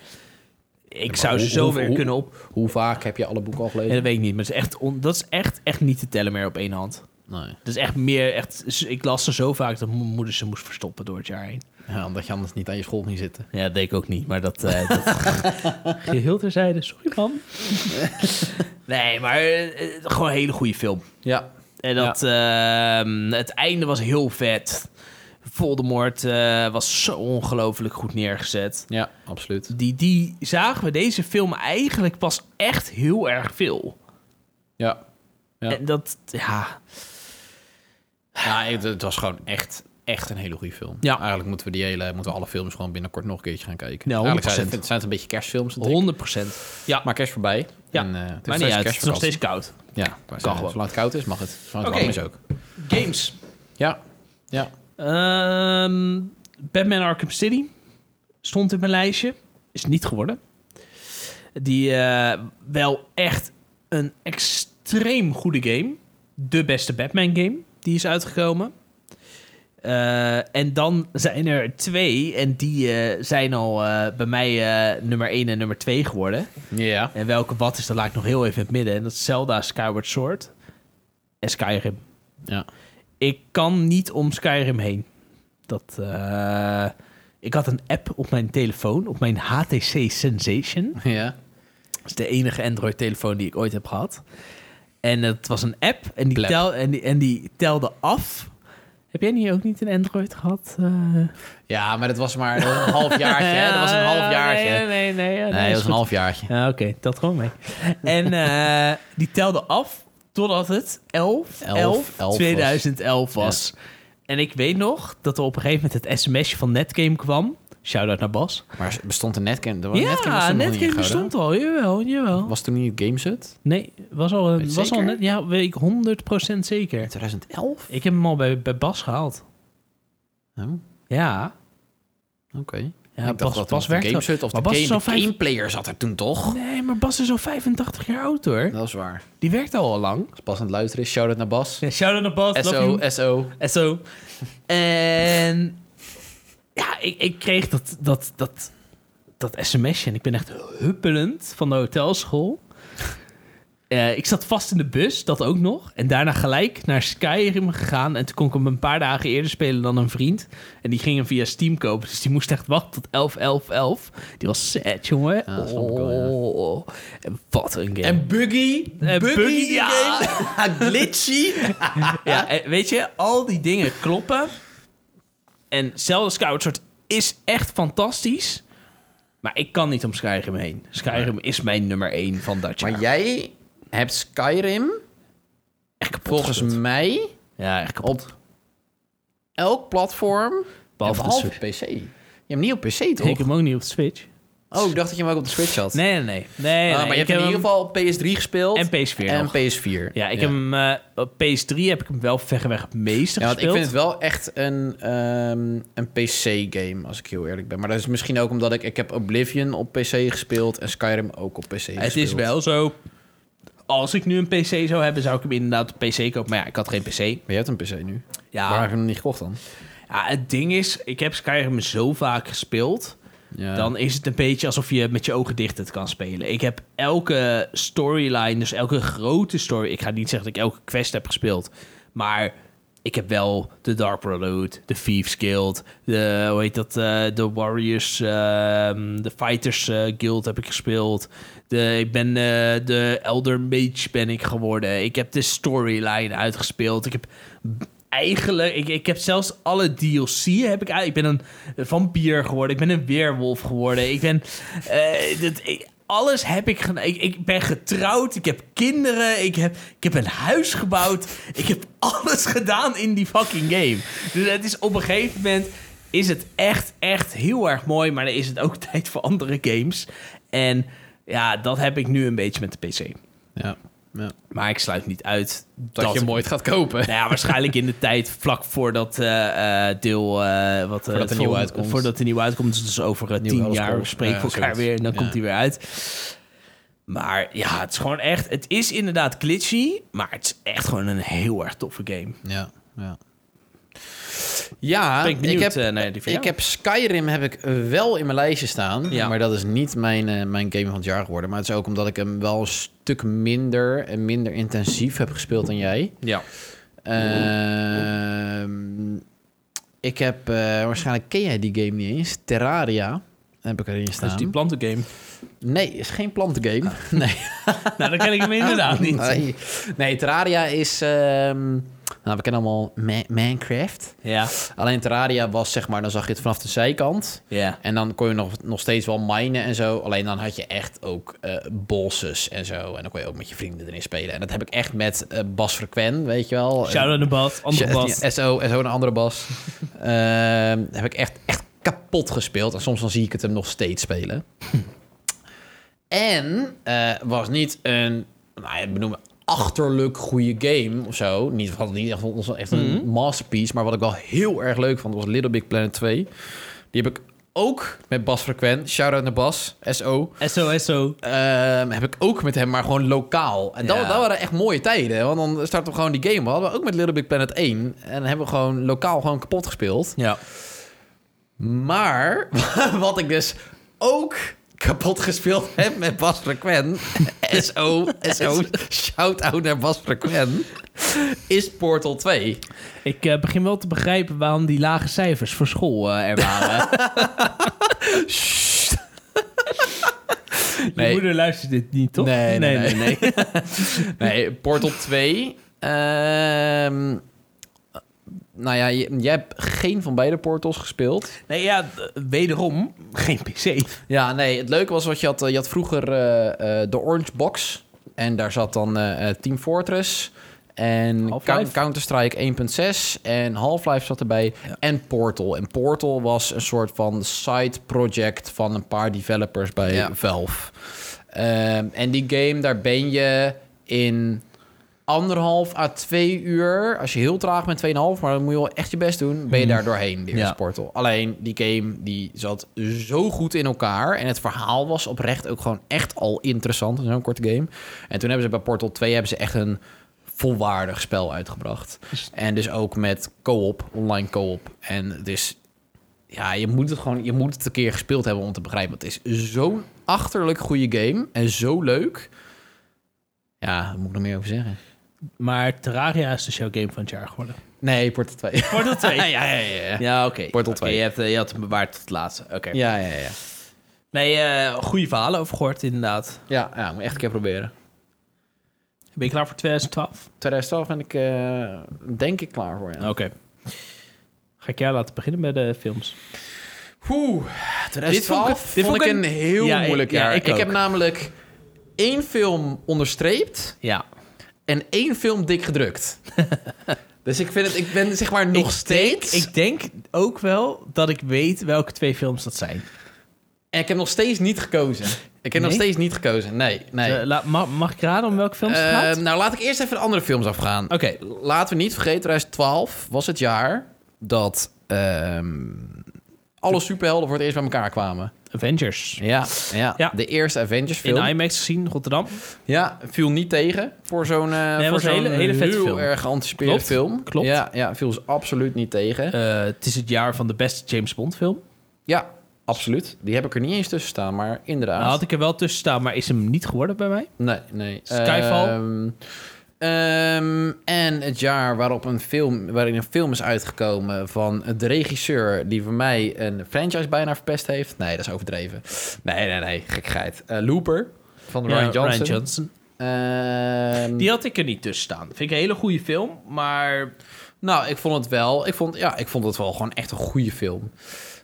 S1: ik zou
S2: hoe-
S1: ze zo
S2: hoe-
S1: weer
S2: hoe-
S1: kunnen op.
S2: Hoe vaak heb je alle boeken al
S1: Ja,
S2: gelezen?
S1: dat weet ik niet, maar het is echt on- dat is echt, echt niet te tellen meer op één hand.
S2: Nee.
S1: Dat is echt meer, echt, ik las ze zo vaak dat mijn moeder ze moest verstoppen door het jaar heen.
S2: Ja, omdat je anders niet aan je school ging zitten.
S1: Ja, dat deed ik ook niet, maar dat... eh dat... Geheel terzijde, sorry man. nee, maar eh, eh, gewoon een hele goede film.
S2: Ja.
S1: En dat, ehm, het einde was heel vet. Voldemort eh, was zo ongelooflijk goed neergezet.
S2: Ja, absoluut.
S1: Die, die zagen we deze film eigenlijk pas echt heel erg veel.
S2: Ja. Ja.
S1: En dat, ja,
S2: ja het, het was gewoon echt echt een hele goede film.
S1: Ja.
S2: Eigenlijk moeten we die hele, moeten we alle films gewoon binnenkort nog een keertje gaan kijken.
S1: Nou,
S2: Eigenlijk zijn
S1: 100%.
S2: het, zijn het een beetje kerstfilms. natuurlijk.
S1: 100 procent. Ja,
S2: Maar kerst voorbij.
S1: Ja.
S2: En, eh, het is
S1: maar niet
S2: steeds
S1: uit. Het is nog
S2: kerstvakantie.
S1: steeds koud.
S2: Ja, kan gewoon.
S1: gewoon.
S2: Zolang het koud is, mag het. Zolang het
S1: Oké.
S2: warm is ook.
S1: Games.
S2: Ja. Ja.
S1: Ehm, Batman Arkham City stond in mijn lijstje. Is niet geworden. Die eh, wel echt een extreem goede game. De beste Batman game die is uitgekomen. Eh, en dan zijn er twee. En die eh, zijn al eh, bij mij eh, nummer 1 en nummer 2 geworden.
S2: Ja.
S1: En welke wat is, dat laat ik nog heel even in het midden. En dat is Zelda Skyward Sword en Skyrim.
S2: Ja.
S1: Ik kan niet om Skyrim heen. Dat, eh, ik had een app op mijn telefoon, op mijn HTC Sensation.
S2: Ja.
S1: Dat is de enige Android-telefoon die ik ooit heb gehad. En het was een app en die,
S2: Plep.
S1: tel, en die, en die telde af. Heb jij niet ook niet een Android gehad? Eh,
S2: Ja, maar dat was maar een halfjaartje. hè? Dat was een
S1: ja,
S2: halfjaartje.
S1: Eh, Nee, nee, nee. ja,
S2: Nee,
S1: is
S2: dat was een
S1: goed.
S2: halfjaartje.
S1: Ja, oké, dat gewoon mee. En eh, die telde af totdat het 11,
S2: Elf,
S1: 11,
S2: elf was.
S1: 2011 was. En ik weet nog dat er op een gegeven moment het sms'je van Netgame kwam. Shout-out naar Bas.
S2: Maar bestond een netcam? Er Oh, was
S1: ja,
S2: netcam bestond nog niet
S1: Netgame
S2: in Gouda.
S1: bestond al. Jawel, jawel.
S2: Was toen niet Gameset?
S1: Nee, was al, een,
S2: Weet je
S1: was al
S2: zeker?
S1: net... Ja, weet ik 100% zeker.
S2: 2011?
S1: Ik heb hem al bij, bij Bas gehaald.
S2: Oh, oké.
S1: Ja, ja Bas,
S2: ik dacht dat
S1: Bas
S2: Bas
S1: werkt al-
S2: Gameset of de,
S1: maar Bas
S2: game,
S1: is al
S2: de
S1: vijf-
S2: gameplayer zat er toen toch?
S1: Nee, maar Bas is al 85 jaar oud hoor.
S2: Dat is waar.
S1: Die werkt al lang.
S2: Als Bas aan het luisteren is, shout-out naar Bas.
S1: Ja, shout-out naar Bas. love you.
S2: SO, SO.
S1: En zo. En ja, ik, ik kreeg dat, dat, dat, dat sms'je en ik ben echt huppelend van de hotelschool. Eh, ik zat vast in de bus, dat ook nog. En daarna gelijk naar Skyrim gegaan. En toen kon ik hem een paar dagen eerder spelen dan een vriend. En die ging hem via Steam kopen. Dus die moest echt wachten tot 11, 11, 11. Die was sad, jongen.
S2: Ja, dat snap ik wel, ja.
S1: oh, en wat een game.
S2: En Buggy.
S1: En
S2: Buggy,
S1: Buggy,
S2: die
S1: ja.
S2: game. Glitchy.
S1: Ja, en weet je, al die dingen kloppen. En Zelda Skyward Sword is echt fantastisch. Maar ik kan niet om Skyrim heen. Skyrim is mijn nummer 1 van dat jaar.
S2: Maar jij hebt Skyrim
S1: echt kapot
S2: volgens
S1: gespeeld.
S2: mij
S1: Ja, echt kapot.
S2: op elk platform
S1: Behalve
S2: Ja,
S1: de Switch.
S2: op PC. Je hebt hem niet op PC,
S1: Ik
S2: toch?
S1: heb hem ook niet op de Switch.
S2: Oh, ik dacht dat je hem ook op de Switch had.
S1: Nee, nee, nee. nee,
S2: Ah,
S1: nee.
S2: maar je
S1: Ik
S2: hebt hem in
S1: heb hem-
S2: ieder geval op PS3 gespeeld.
S1: En PS4
S2: En
S1: nog.
S2: PS4.
S1: Ja, ik heb hem... eh, op PS3 heb ik hem wel verreweg het meeste
S2: Ja, want ik
S1: gespeeld.
S2: vind het wel echt een, ehm, een PC-game, als ik heel eerlijk ben. Maar dat is misschien ook omdat ik... Ik heb Oblivion op PC gespeeld en Skyrim ook op PC gespeeld.
S1: Het is wel zo... Als ik nu een PC zou hebben, zou ik hem inderdaad op PC kopen. Maar ja, ik had geen PC.
S2: Maar je hebt een PC nu.
S1: Ja,
S2: Waar heb je hem niet gekocht dan?
S1: ja het ding is, ik heb Skyrim zo vaak gespeeld...
S2: Ja.
S1: dan is het een beetje alsof je met je ogen dicht het kan spelen. Ik heb elke storyline, dus elke grote story... Ik ga niet zeggen dat ik elke quest heb gespeeld. Maar ik heb wel de Dark Brotherhood, de Thieves Guild... de, hoe heet dat, eh, de Warriors, ehm, de Fighters eh, Guild heb ik gespeeld. De, ik ben eh, de Elder Mage ben ik geworden. Ik heb de storyline uitgespeeld. Ik heb eigenlijk... Ik, ik heb zelfs alle DLC heb ik uit. Ik ben een vampier geworden. Ik ben een weerwolf geworden. Ik ben... eh, dat, ik- alles heb ik, gedaan. ik... Ik ben getrouwd. Ik heb kinderen. Ik heb, ik heb een huis gebouwd. Ik heb alles gedaan in die fucking game. Dus het is op een gegeven moment... Is het echt, echt heel erg mooi. Maar dan is het ook tijd voor andere games. En ja, dat heb ik nu een beetje met de PC.
S2: ja. ja.
S1: Maar ik sluit niet uit
S2: Dat, je hem ooit gaat kopen.
S1: nou ja, waarschijnlijk in de tijd vlak voordat eh, eh, deel... eh, wat, eh,
S2: de
S1: het
S2: nieuwe
S1: volgende-
S2: uitkomt.
S1: Voordat de nieuwe uitkomt. Dus dat is over eh,
S2: Nieuwe
S1: tien
S2: alles
S1: jaar
S2: komt.
S1: spreken we
S2: Ja,
S1: elkaar
S2: zoiets.
S1: weer en dan
S2: Ja.
S1: komt hij weer uit. Maar ja, het is gewoon echt... Het is inderdaad glitchy, maar het is echt gewoon een heel erg toffe game.
S2: Ja, ja. Ja,
S1: Ben ik
S2: ik,
S1: benieuwd,
S2: heb,
S1: eh, naar die van
S2: ik
S1: jou.
S2: heb Skyrim heb ik eh, wel in mijn lijstje staan.
S1: Ja.
S2: Maar dat is niet mijn, eh, mijn game van het jaar geworden. Maar het is ook omdat ik hem wel een stuk minder en minder intensief heb gespeeld dan jij.
S1: Ja.
S2: Ehm, ik heb, eh, waarschijnlijk ken jij die game niet eens. Terraria heb ik erin
S1: Dat is
S2: staan.
S1: die plantengame.
S2: Nee, is geen plantengame. Nee.
S1: nou, dat ken ik hem inderdaad niet.
S2: Nee. nee, Terraria is ehm, Nou, we kennen allemaal Ma- Minecraft.
S1: Ja.
S2: Alleen Terraria was, zeg maar, dan zag je het vanaf de zijkant.
S1: Ja.
S2: En dan kon je nog, nog steeds wel minen en zo. Alleen dan had je echt ook eh bosses en zo. En dan kon je ook met je vrienden erin spelen. En dat heb ik echt met eh Bas Frequen, weet je wel.
S1: Shout out naar Bas. Andere
S2: Ja,
S1: Bas.
S2: ja, SO, SO een andere Bas. Ehm, heb ik echt, echt kapot gespeeld. En soms dan zie ik het hem nog steeds spelen. en eh, was niet een, nou ja, benoemen, achterlijk goede game of zo. Niet, van- niet echt, ons- echt een
S1: Mhm.
S2: masterpiece. Maar wat ik wel heel erg leuk vond, was Little Big Planet 2. Die heb ik ook met Bas Frequent. Shout-out naar Bas, SO.
S1: SOSO.
S2: Ehm, heb ik ook met hem, maar gewoon lokaal. En dat,
S1: Ja.
S2: dat waren echt mooie tijden. Want dan starten we gewoon die game. We hadden ook met Little Big Planet 1. En dan hebben we gewoon lokaal gewoon kapot gespeeld.
S1: Ja.
S2: Maar wat ik dus ook kapot gespeeld heb met Bas Frequen. SO, SO, shout-out naar Bas Frequen. Is Portal 2.
S1: Ik eh, begin wel te begrijpen waarom die lage cijfers voor school eh, er waren.
S2: Nee.
S1: Je moeder luistert dit niet, toch?
S2: Nee, nee, nee. Nee, Nee, Portal 2. ehm, nou ja, je- jij hebt geen van beide portals gespeeld.
S1: Nee, ja, d- wederom geen PC.
S2: Ja, nee, het leuke was wat je had. eh, Je had vroeger eh, eh, de Orange Box. En daar zat dan eh, eh, Team Fortress. En
S1: Half-Life.
S2: Coun- Counter-Strike 1.6. En Half-Life zat erbij. En Portal. En Portal was een soort van side project van een paar developers bij
S1: Ja.
S2: Valve. Ehm, en die game, daar ben je in anderhalf à twee uur. Als je heel traag bent, tweeënhalf, maar dan moet je wel echt je best doen. Ben je
S1: Mhm.
S2: daar doorheen, de eerste
S1: Ja.
S2: Portal. Alleen die game die zat zo goed in elkaar. En het verhaal was oprecht ook gewoon echt al interessant in zo'n korte game. En toen hebben ze bij Portal 2 hebben ze echt een volwaardig spel uitgebracht. En dus ook met co-op, online co-op. En het is... Ja, je moet het gewoon... Je moet het een keer gespeeld hebben om te begrijpen. Het is zo'n achterlijk goede game. En zo leuk. Ja, daar moet ik nog meer over zeggen.
S1: Maar Terraria is dus jouw game van het jaar geworden.
S2: Nee, Portal 2.
S1: Portal 2.
S2: ja, ja, ja. Ja,
S1: Ja, oké.
S2: Portal
S1: Oké,
S2: 2.
S1: je, hebt, eh, je had hem bewaard tot het laatste. Oké.
S2: ja, ja. ja.
S1: Nee, eh goede verhalen over gehoord, inderdaad.
S2: Ja, ja, moet echt een keer proberen.
S1: Ben je klaar voor 2012?
S2: 2012 ben ik eh, denk ik klaar voor, ja.
S1: Oké. Ga ik jou laten beginnen met de films.
S2: Oeh, 2012 dit vond ik,
S1: dit vond ik
S2: een
S1: een-
S2: heel
S1: Ja, ik-
S2: moeilijk
S1: ja,
S2: jaar.
S1: ik
S2: ik
S1: ook.
S2: heb namelijk één film onderstreept
S1: Ja.
S2: en één film dik gedrukt. dus ik, vind het, ik ben zeg maar nog steeds...
S1: Denk, ik denk ook wel dat ik weet welke twee films dat zijn.
S2: en ik heb nog steeds niet gekozen. Ik heb nog
S1: Nee?
S2: steeds niet gekozen, nee. nee.
S1: Eh, la- ma- mag ik raden om welke films het
S2: Eh,
S1: gaat?
S2: nou, laat ik eerst even de andere films afgaan.
S1: Oké.
S2: Laten we niet vergeten, 2012 was het jaar dat ehm, alle superhelden voor het eerst bij elkaar kwamen.
S1: Avengers.
S2: Ja, ja.
S1: Ja.
S2: de eerste Avengers
S1: In
S2: film.
S1: IMAX gezien, Rotterdam.
S2: Ja, viel niet tegen voor zo'n eh,
S1: het
S2: voor
S1: was een
S2: zo'n
S1: hele- hele vette
S2: heel
S1: film.
S2: erg geanticipeerde
S1: Klopt,
S2: film.
S1: klopt.
S2: Ja, ja, viel ze absoluut niet tegen.
S1: Eh, het is het jaar van de beste James Bond film.
S2: ja, absoluut. Die heb ik er niet eens tussen staan, maar inderdaad.
S1: Nou, had ik er wel tussen staan, maar is hem niet geworden bij mij.
S2: Nee, nee.
S1: Skyfall?
S2: Ehm, ehm, en het jaar waarop een film, waarin een film is uitgekomen van de regisseur die voor mij een franchise bijna verpest heeft. Nee, dat is overdreven. Nee, nee, nee, gekheid. Eh, Looper van
S1: Ja,
S2: Ryan Johnson.
S1: Ryan Johnson.
S2: Ehm,
S1: Die had ik er niet tussen staan. Vind ik een hele goede film, maar
S2: Nou, ik vond het wel. Ik vond, ja, ik vond het wel gewoon echt een goede film.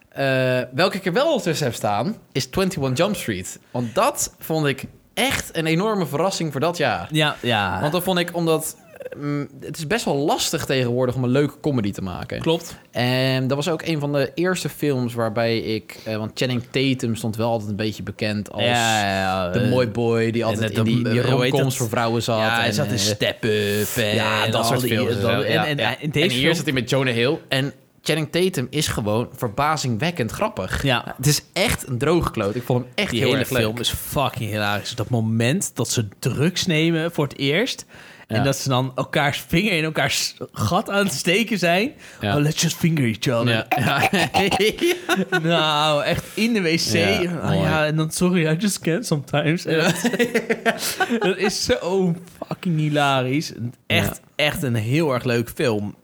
S2: Eh, welke ik er wel tussen heb staan, is 21 Jump Street. Want dat vond ik echt een enorme verrassing voor dat jaar.
S1: ja, ja.
S2: Want dan vond ik, omdat... mm, het is best wel lastig tegenwoordig om een leuke comedy te maken.
S1: klopt.
S2: En dat was ook een van de eerste films waarbij ik... eh, want Channing Tatum stond wel altijd een beetje bekend als... de
S1: eh,
S2: mooi boy die altijd
S1: net
S2: in die,
S1: een-
S2: in die
S1: eh, hoe heet
S2: romcoms
S1: dat?
S2: voor vrouwen zat.
S1: Ja, hij
S2: en,
S1: zat in
S2: eh,
S1: Step Up. En
S2: ja, dat
S1: al
S2: soort
S1: die-
S2: films. en
S1: dat-
S2: zo.
S1: en,
S2: Ja,
S1: en,
S2: ja.
S1: en deze
S2: En hier
S1: film-
S2: zit hij met Jonah Hill. En Channing Tatum is gewoon verbazingwekkend grappig.
S1: Ja.
S2: Het is echt een droogkloot. Ik vond hem echt
S1: Die
S2: heel
S1: hele
S2: erg leuk.
S1: film is fucking hilarisch. Dat moment dat ze drugs nemen voor het eerst.
S2: Ja.
S1: En dat ze dan elkaars vinger in elkaars gat aan het steken zijn.
S2: Ja.
S1: Oh, let's just finger each other.
S2: Ja. Ja.
S1: Nou, echt in de wc.
S2: Ja,
S1: Oh Ja,
S2: mooi.
S1: en dan sorry, I just can't sometimes. En Dat, dat is zo fucking hilarisch. En Echt, echt een heel erg leuk film.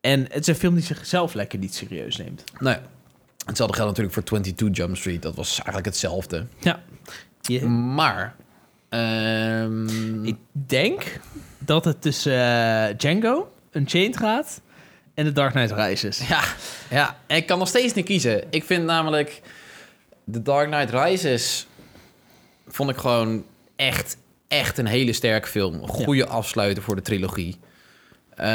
S1: En het is een film die zichzelf lekker niet serieus neemt.
S2: Nee. Hetzelfde geldt natuurlijk voor 22 Jump Street. Dat was eigenlijk hetzelfde.
S1: Ja. Je-
S2: Maar... ehm,
S1: Ik denk dat het tussen eh, Django Unchained gaat en The Dark Knight Rises.
S2: Ja, ja, en ik kan nog steeds niet kiezen. Ik vind namelijk The Dark Knight Rises vond ik gewoon echt, echt een hele sterke film. Een goede afsluiter voor de trilogie.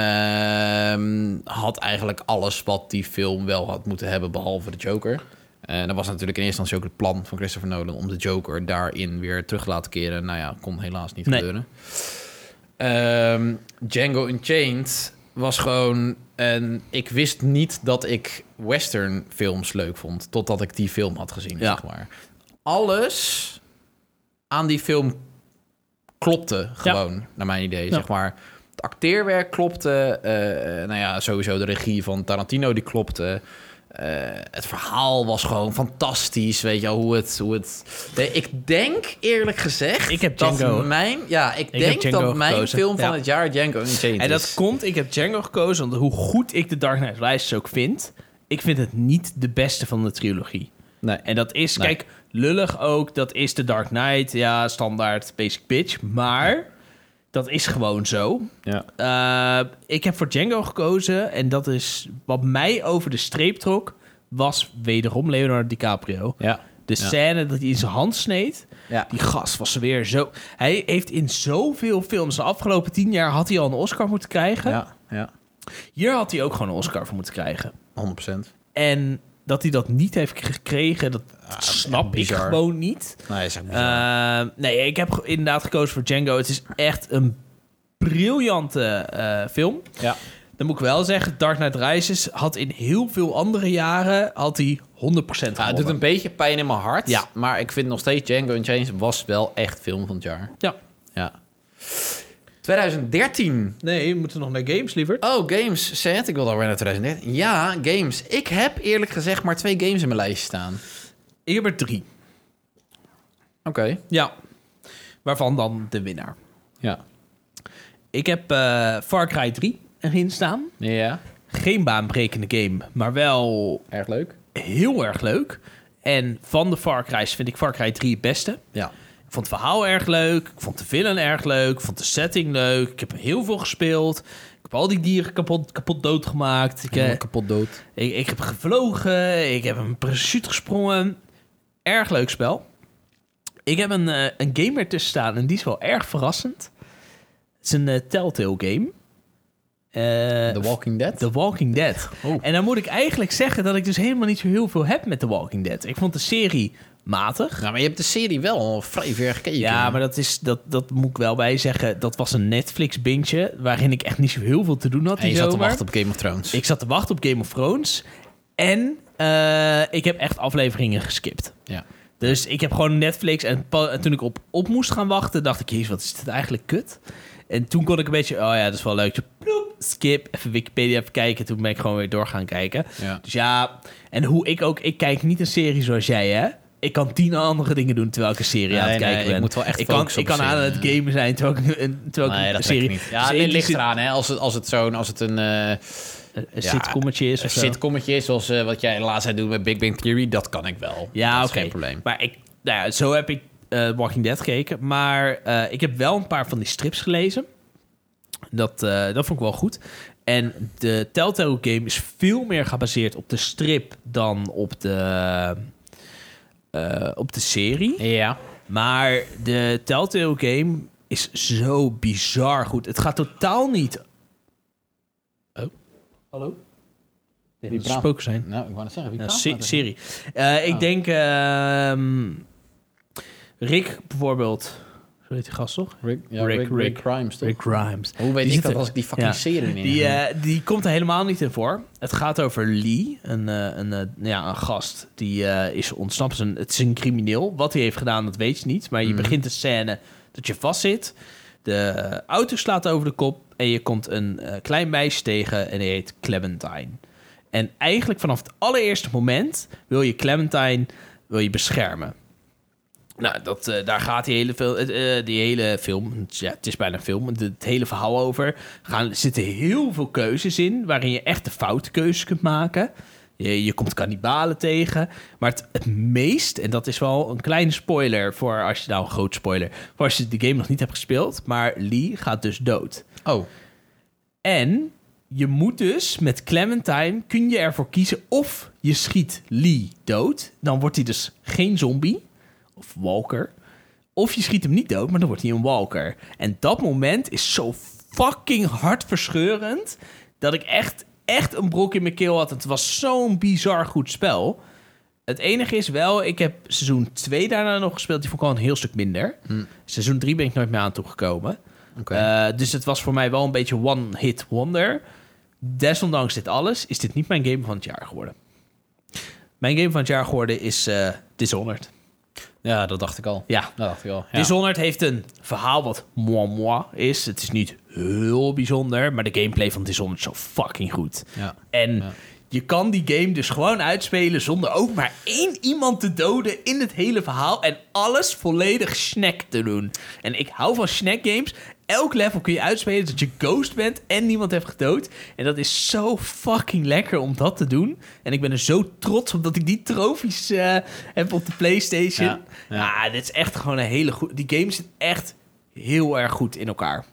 S2: Ehm, had eigenlijk alles wat die film wel had moeten hebben, behalve de Joker. En dat was natuurlijk in eerste instantie ook het plan van Christopher Nolan om de Joker daarin weer terug te laten keren. Nou ja, kon helaas niet
S1: Nee.
S2: gebeuren. Ehm, Django Unchained was gewoon een. Ik wist niet dat ik western films leuk vond totdat ik die film had gezien.
S1: Ja.
S2: Zeg maar. Alles aan die film klopte gewoon, naar mijn idee. Zeg maar. Het acteerwerk klopte. eh, nou ja, sowieso de regie van Tarantino die klopte. Eh, het verhaal was gewoon fantastisch, weet je wel, hoe het... Hoe het... Nee, ik denk eerlijk gezegd
S1: Ik heb Django.
S2: dat mijn... Ja, ik
S1: heb
S2: denk
S1: Django
S2: dat mijn
S1: gekozen,
S2: film van
S1: ja.
S2: het jaar Django Unchained
S1: En dat
S2: is.
S1: komt, ik heb Django gekozen, want hoe goed ik The Dark Knight Rises ook vind, ik vind het niet de beste van de trilogie.
S2: Nee.
S1: En dat is,
S2: Nee.
S1: kijk, lullig ook, dat is The Dark Knight, ja, standaard basic bitch, maar dat is gewoon zo.
S2: Ja.
S1: Eh, ik heb voor Django gekozen en dat is wat mij over de streep trok, was wederom Leonardo DiCaprio.
S2: Ja.
S1: De
S2: Ja.
S1: scène dat hij in zijn hand sneed,
S2: Ja.
S1: die gast was weer zo... Hij heeft in zoveel films de afgelopen tien jaar... had hij al een Oscar moeten krijgen.
S2: Ja. ja,
S1: Hier had hij ook gewoon een Oscar voor moeten krijgen.
S2: 100%.
S1: En dat hij dat niet heeft gekregen, dat snap ik
S2: bizar.
S1: gewoon niet.
S2: Nee, zeg maar.
S1: Eh, nee, ik heb ge- inderdaad gekozen voor Django. Het is echt een briljante eh, film.
S2: ja.
S1: Dan moet ik wel zeggen, Dark Knight Rises had in heel veel andere jaren... had hij 100% gewonnen.
S2: Ja, het doet een beetje pijn in mijn hart.
S1: Ja.
S2: Maar ik vind nog steeds Django Unchained was wel echt film van het jaar.
S1: Ja.
S2: Ja. 2013.
S1: Nee, we moeten nog naar games, lieverd.
S2: Oh, games. Zet, ik wil alweer naar 2013. Ja, games. Ik heb eerlijk gezegd maar twee games in mijn lijstje staan.
S1: Ik heb er drie.
S2: Oké.
S1: Ja. Waarvan dan de winnaar.
S2: Ja.
S1: Ik heb eh, Far Cry 3 erin staan.
S2: Ja.
S1: Geen baanbrekende game, maar wel
S2: Erg leuk.
S1: heel erg leuk. En van de Far Cry's vind ik Far Cry 3 het beste.
S2: Ja.
S1: Ik vond het verhaal erg leuk. Ik vond de villain erg leuk. Ik vond de setting leuk. Ik heb heel veel gespeeld. Ik heb al die dieren kapot, kapot doodgemaakt. Ik, eh,
S2: kapot dood.
S1: ik, ik heb gevlogen. Ik heb een parachute gesprongen. Erg leuk spel. Ik heb een, eh een game ertussen staan en die is wel erg verrassend. Het is een eh, Telltale game. Eh,
S2: The Walking Dead.
S1: The Walking Dead.
S2: Oh.
S1: En dan moet ik eigenlijk zeggen dat ik dus helemaal niet zo heel veel heb met The Walking Dead. Ik vond de serie matig.
S2: Nou, maar je hebt de serie wel vrij ver gekeken.
S1: Ja, maar dat, is, dat, dat moet ik wel bij zeggen. Dat was een Netflix-bintje waarin ik echt niet zo heel veel te doen had.
S2: En je
S1: die
S2: zat te
S1: zomer.
S2: wachten op Game of Thrones.
S1: Ik zat te wachten op Game of Thrones. En eh, ik heb echt afleveringen geskipt.
S2: Ja.
S1: Dus ik heb gewoon Netflix. En, pa- en toen ik op, op moest gaan wachten, dacht ik... Jezus, wat is dit eigenlijk kut? En toen kon ik een beetje... Oh ja, dat is wel leuk. Zo, ploep, skip, even Wikipedia even kijken. Toen ben ik gewoon weer door gaan kijken.
S2: Ja.
S1: Dus ja, en hoe ik ook... Ik kijk niet een serie zoals jij, hè? Ik kan tien andere dingen doen terwijl ik een serie
S2: Nee,
S1: aan het
S2: nee,
S1: kijken
S2: ik
S1: ben.
S2: moet wel echt
S1: ik kan,
S2: focussen
S1: ik
S2: op
S1: kan
S2: de
S1: aan
S2: serie,
S1: het gamen zijn terwijl ik, een- terwijl
S2: Nee,
S1: ik
S2: dat
S1: een
S2: trek ik
S1: serie...
S2: niet. Ja,
S1: dus
S2: dit
S1: in die
S2: ligt
S1: zin-
S2: eraan, hè. Als het, als het zo'n, als het een... eh,
S1: Een een
S2: Ja,
S1: sitcommetje is
S2: Een
S1: of zo.
S2: sitcommetje is, zoals eh, wat jij laatst zei doen met Big Bang Theory, dat kan ik wel.
S1: Ja,
S2: dat
S1: oké.
S2: is geen probleem.
S1: Maar ik, nou ja, zo heb ik eh, Walking Dead gekeken. Maar eh, ik heb wel een paar van die strips gelezen. Dat, eh, dat vond ik wel goed. En de Telltale game is veel meer gebaseerd op de strip dan op de, eh, op de serie.
S2: Ja.
S1: Maar de Telltale game is zo bizar goed. Het gaat totaal niet. Oh. Hallo? Die
S2: praat?
S1: spoken zijn.
S2: Nou, ik wou net zeggen, wie
S1: Ja,
S2: praat
S1: se-
S2: nou tegen-
S1: serie. Eh, Ik
S2: Oh.
S1: denk ehm, Rick bijvoorbeeld. Zo heet die gast toch?
S2: Rick, ja,
S1: Rick,
S2: Rick, Rick,
S1: Rick.
S2: Grimes, toch?
S1: Rick Grimes.
S2: Hoe weet
S1: Die
S2: ik
S1: zit
S2: dat
S1: er-
S2: als ik die fucking
S1: ja.
S2: serie neem?
S1: Die, eh, die komt er helemaal niet in voor. Het gaat over Lee, een, eh, een, eh, ja, een gast die eh, is ontsnapt. Het is een- Het is een crimineel. Wat hij heeft gedaan, dat weet je niet. Maar je
S2: Mhm.
S1: begint de scène dat je vastzit. De eh, auto slaat over de kop en je komt een eh, klein meisje tegen en die heet Clementine. En eigenlijk vanaf het allereerste moment wil je Clementine wil je beschermen. Nou, dat, eh, daar gaat die hele, fil- het, eh, die hele film, ja, het is bijna een film, het, het hele verhaal over. Gaan, er zitten heel veel keuzes in waarin je echt de foute keuzes kunt maken. Je, je komt kannibalen tegen. Maar het, het meest, en dat is wel een kleine spoiler voor als je nou een groot spoiler, eh, voor als je de game nog niet hebt gespeeld, maar Lee gaat dus dood.
S2: Oh,
S1: En je moet dus met Clementine kun je ervoor kiezen of je schiet Lee dood, dan wordt hij dus geen zombie of walker. Of je schiet hem niet dood, maar dan wordt hij een walker. En dat moment is zo fucking hartverscheurend dat ik echt, echt een brok in mijn keel had. Het was zo'n bizar goed spel. Het enige is wel, ik heb seizoen 2 daarna nog gespeeld. Die vond ik al een heel stuk minder. Seizoen 3 ben ik nooit meer aan toegekomen.
S2: Oké.
S1: Eh, dus het was voor mij wel een beetje one-hit wonder. Desondanks dit alles is dit niet mijn game van het jaar geworden. Mijn game van het jaar geworden is eh Dishonored.
S2: ja, dat dacht ik al.
S1: Ja.
S2: Dat dacht ik al. Ja.
S1: Dishonored heeft een verhaal wat moi moi is. Het is niet heel bijzonder, maar de gameplay van Dishonored is zo fucking goed.
S2: Ja.
S1: En
S2: Ja.
S1: je kan die game dus gewoon uitspelen zonder ook maar één iemand te doden in het hele verhaal. En alles volledig snack te doen. En ik hou van snack games. Elk level kun je uitspelen dat je ghost bent en niemand hebt gedood. En dat is zo fucking lekker om dat te doen. En ik ben er zo trots op dat ik die trofies eh, heb op de PlayStation.
S2: Ja,
S1: Ja, Ah,
S2: ja.
S1: dit is echt gewoon een hele goede. Die game zit echt heel erg goed in elkaar.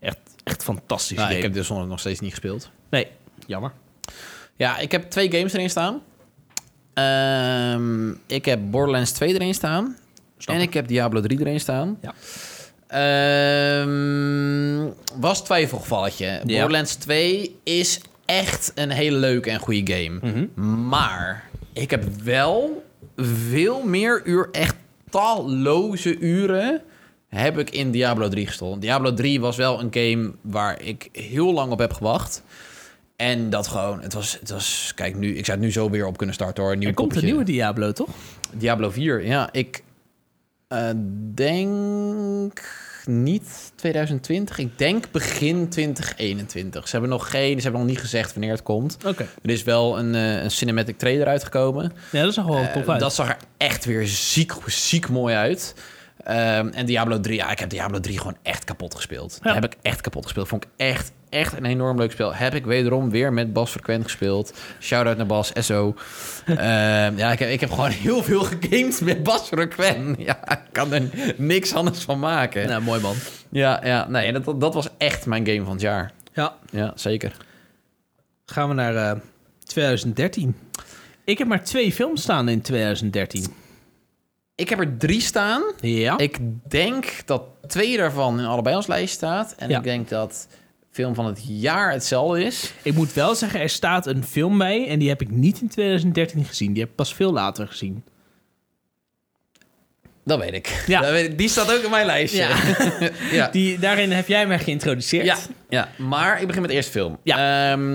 S1: Echt, echt fantastisch.
S2: Nou, ik
S1: game.
S2: heb Dishonored nog steeds niet gespeeld.
S1: Nee, jammer.
S2: Ja, ik heb twee games erin staan. Ehm, ik heb Borderlands 2 erin staan.
S1: Snap
S2: en
S1: ik.
S2: ik heb Diablo 3 erin staan.
S1: Ja.
S2: Ehm, was twijfelgevalletje. Borderlands 2 is echt een hele leuke en goede game.
S1: Mhm.
S2: Maar ik heb wel veel meer uur, echt talloze uren, heb ik in Diablo 3 gestolen. Diablo 3 was wel een game waar ik heel lang op heb gewacht. En dat gewoon, het was, het was kijk nu, ik zou het nu zo weer op kunnen starten hoor. Een nieuw
S1: Er komt een
S2: koppetje.
S1: nieuwe Diablo, toch?
S2: Diablo 4, ja, ik eh, denk niet 2020. Ik denk begin 2021. Ze hebben nog geen, ze hebben nog niet gezegd wanneer het komt.
S1: Oké.
S2: Er is wel een, eh, een cinematic trailer uitgekomen.
S1: Ja, dat is nog wel
S2: Eh,
S1: tof uit.
S2: Dat zag er echt weer ziek, ziek mooi uit. Ehm, en Diablo 3, ja, ik heb Diablo 3 gewoon echt kapot gespeeld.
S1: Ja.
S2: Heb ik echt kapot gespeeld. Vond ik echt, echt een enorm leuk spel. Heb ik wederom weer met Bas Frequent gespeeld. Shout-out naar Bas, SO. Ehm, ja, ik heb, ik heb gewoon heel veel gegamed met Bas Frequent. Ja, ik kan er niks anders van maken.
S1: Nou, mooi man.
S2: Ja, ja, nee, dat- dat, dat was echt mijn game van het jaar.
S1: Ja,
S2: Ja, zeker.
S1: gaan we naar eh, 2013. Ik heb maar twee films staan in 2013.
S2: Ik heb er drie staan.
S1: Ja.
S2: Ik denk dat twee daarvan in allebei ons lijst staat. En
S1: Ja.
S2: ik denk dat film van het jaar hetzelfde is.
S1: Ik moet wel zeggen, er staat een film bij en die heb ik niet in 2013 gezien. Die heb ik pas veel later gezien.
S2: Dat weet ik.
S1: Ja.
S2: Dat weet ik. Die staat ook in mijn lijstje.
S1: Ja.
S2: ja.
S1: Die, daarin heb jij mij geïntroduceerd.
S2: ja. ja. Maar ik begin met de eerste film.
S1: Ja.
S2: Ehm,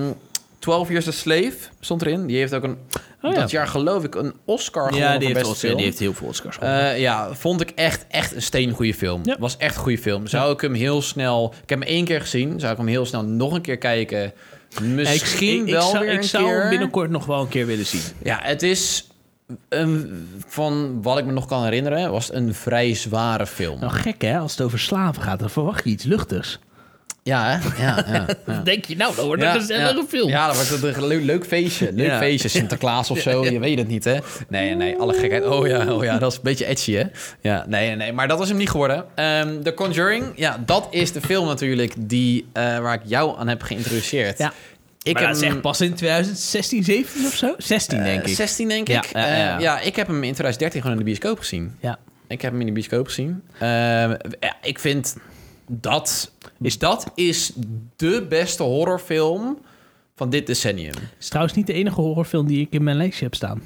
S2: 12 Years a Slave stond erin. Die heeft ook een,
S1: Oh, ja.
S2: dat jaar geloof ik een Oscar gewonnen
S1: ja
S2: voor
S1: die, heeft
S2: beste
S1: Oscar-
S2: film.
S1: die heeft heel veel Oscars gewonnen.
S2: Eh, ja, vond ik echt, echt een steengoede film.
S1: Ja.
S2: Was echt een goede film. Zou ik hem heel snel... Ik heb hem één keer gezien. Zou ik hem heel snel nog een keer kijken? Dus Misschien
S1: ik, ik,
S2: wel
S1: ik zou,
S2: weer
S1: ik
S2: een
S1: zou
S2: keer.
S1: hem binnenkort nog wel een keer willen zien.
S2: Ja, het is een, van wat ik me nog kan herinneren, was het een vrij zware film.
S1: Nou, gek hè, als het over slaven gaat, dan verwacht je iets luchtigs.
S2: Ja, hè? Ja, ja.
S1: Dan denk je, nou, dat wordt
S2: Ja,
S1: een gezellige
S2: ja.
S1: film.
S2: Ja, dat wordt het een leuk, leuk feestje. Leuk
S1: Ja.
S2: feestje, Sinterklaas of zo. Je weet het niet, hè? Nee, nee, alle gekheid. Oh ja, oh ja, dat is een beetje edgy, hè? Ja, nee, nee, maar dat was hem niet geworden. Ehm The Conjuring, ja, dat is de film natuurlijk die, eh, waar ik jou aan heb geïntroduceerd.
S1: Ja.
S2: Ik
S1: maar
S2: heb
S1: dat is
S2: hem-
S1: echt pas in 2016, 17 of zo? 16 denk
S2: Eh,
S1: ik.
S2: 16 denk
S1: Ja,
S2: ik.
S1: ja, ja, ja.
S2: Eh, ja, ik heb hem in 2013 gewoon in de bioscoop gezien.
S1: Ja.
S2: Ik heb hem in de bioscoop gezien. Ehm, ja, ik vind dat is, dat is de beste horrorfilm van dit decennium.
S1: is trouwens niet de enige horrorfilm die ik in mijn lijstje heb staan.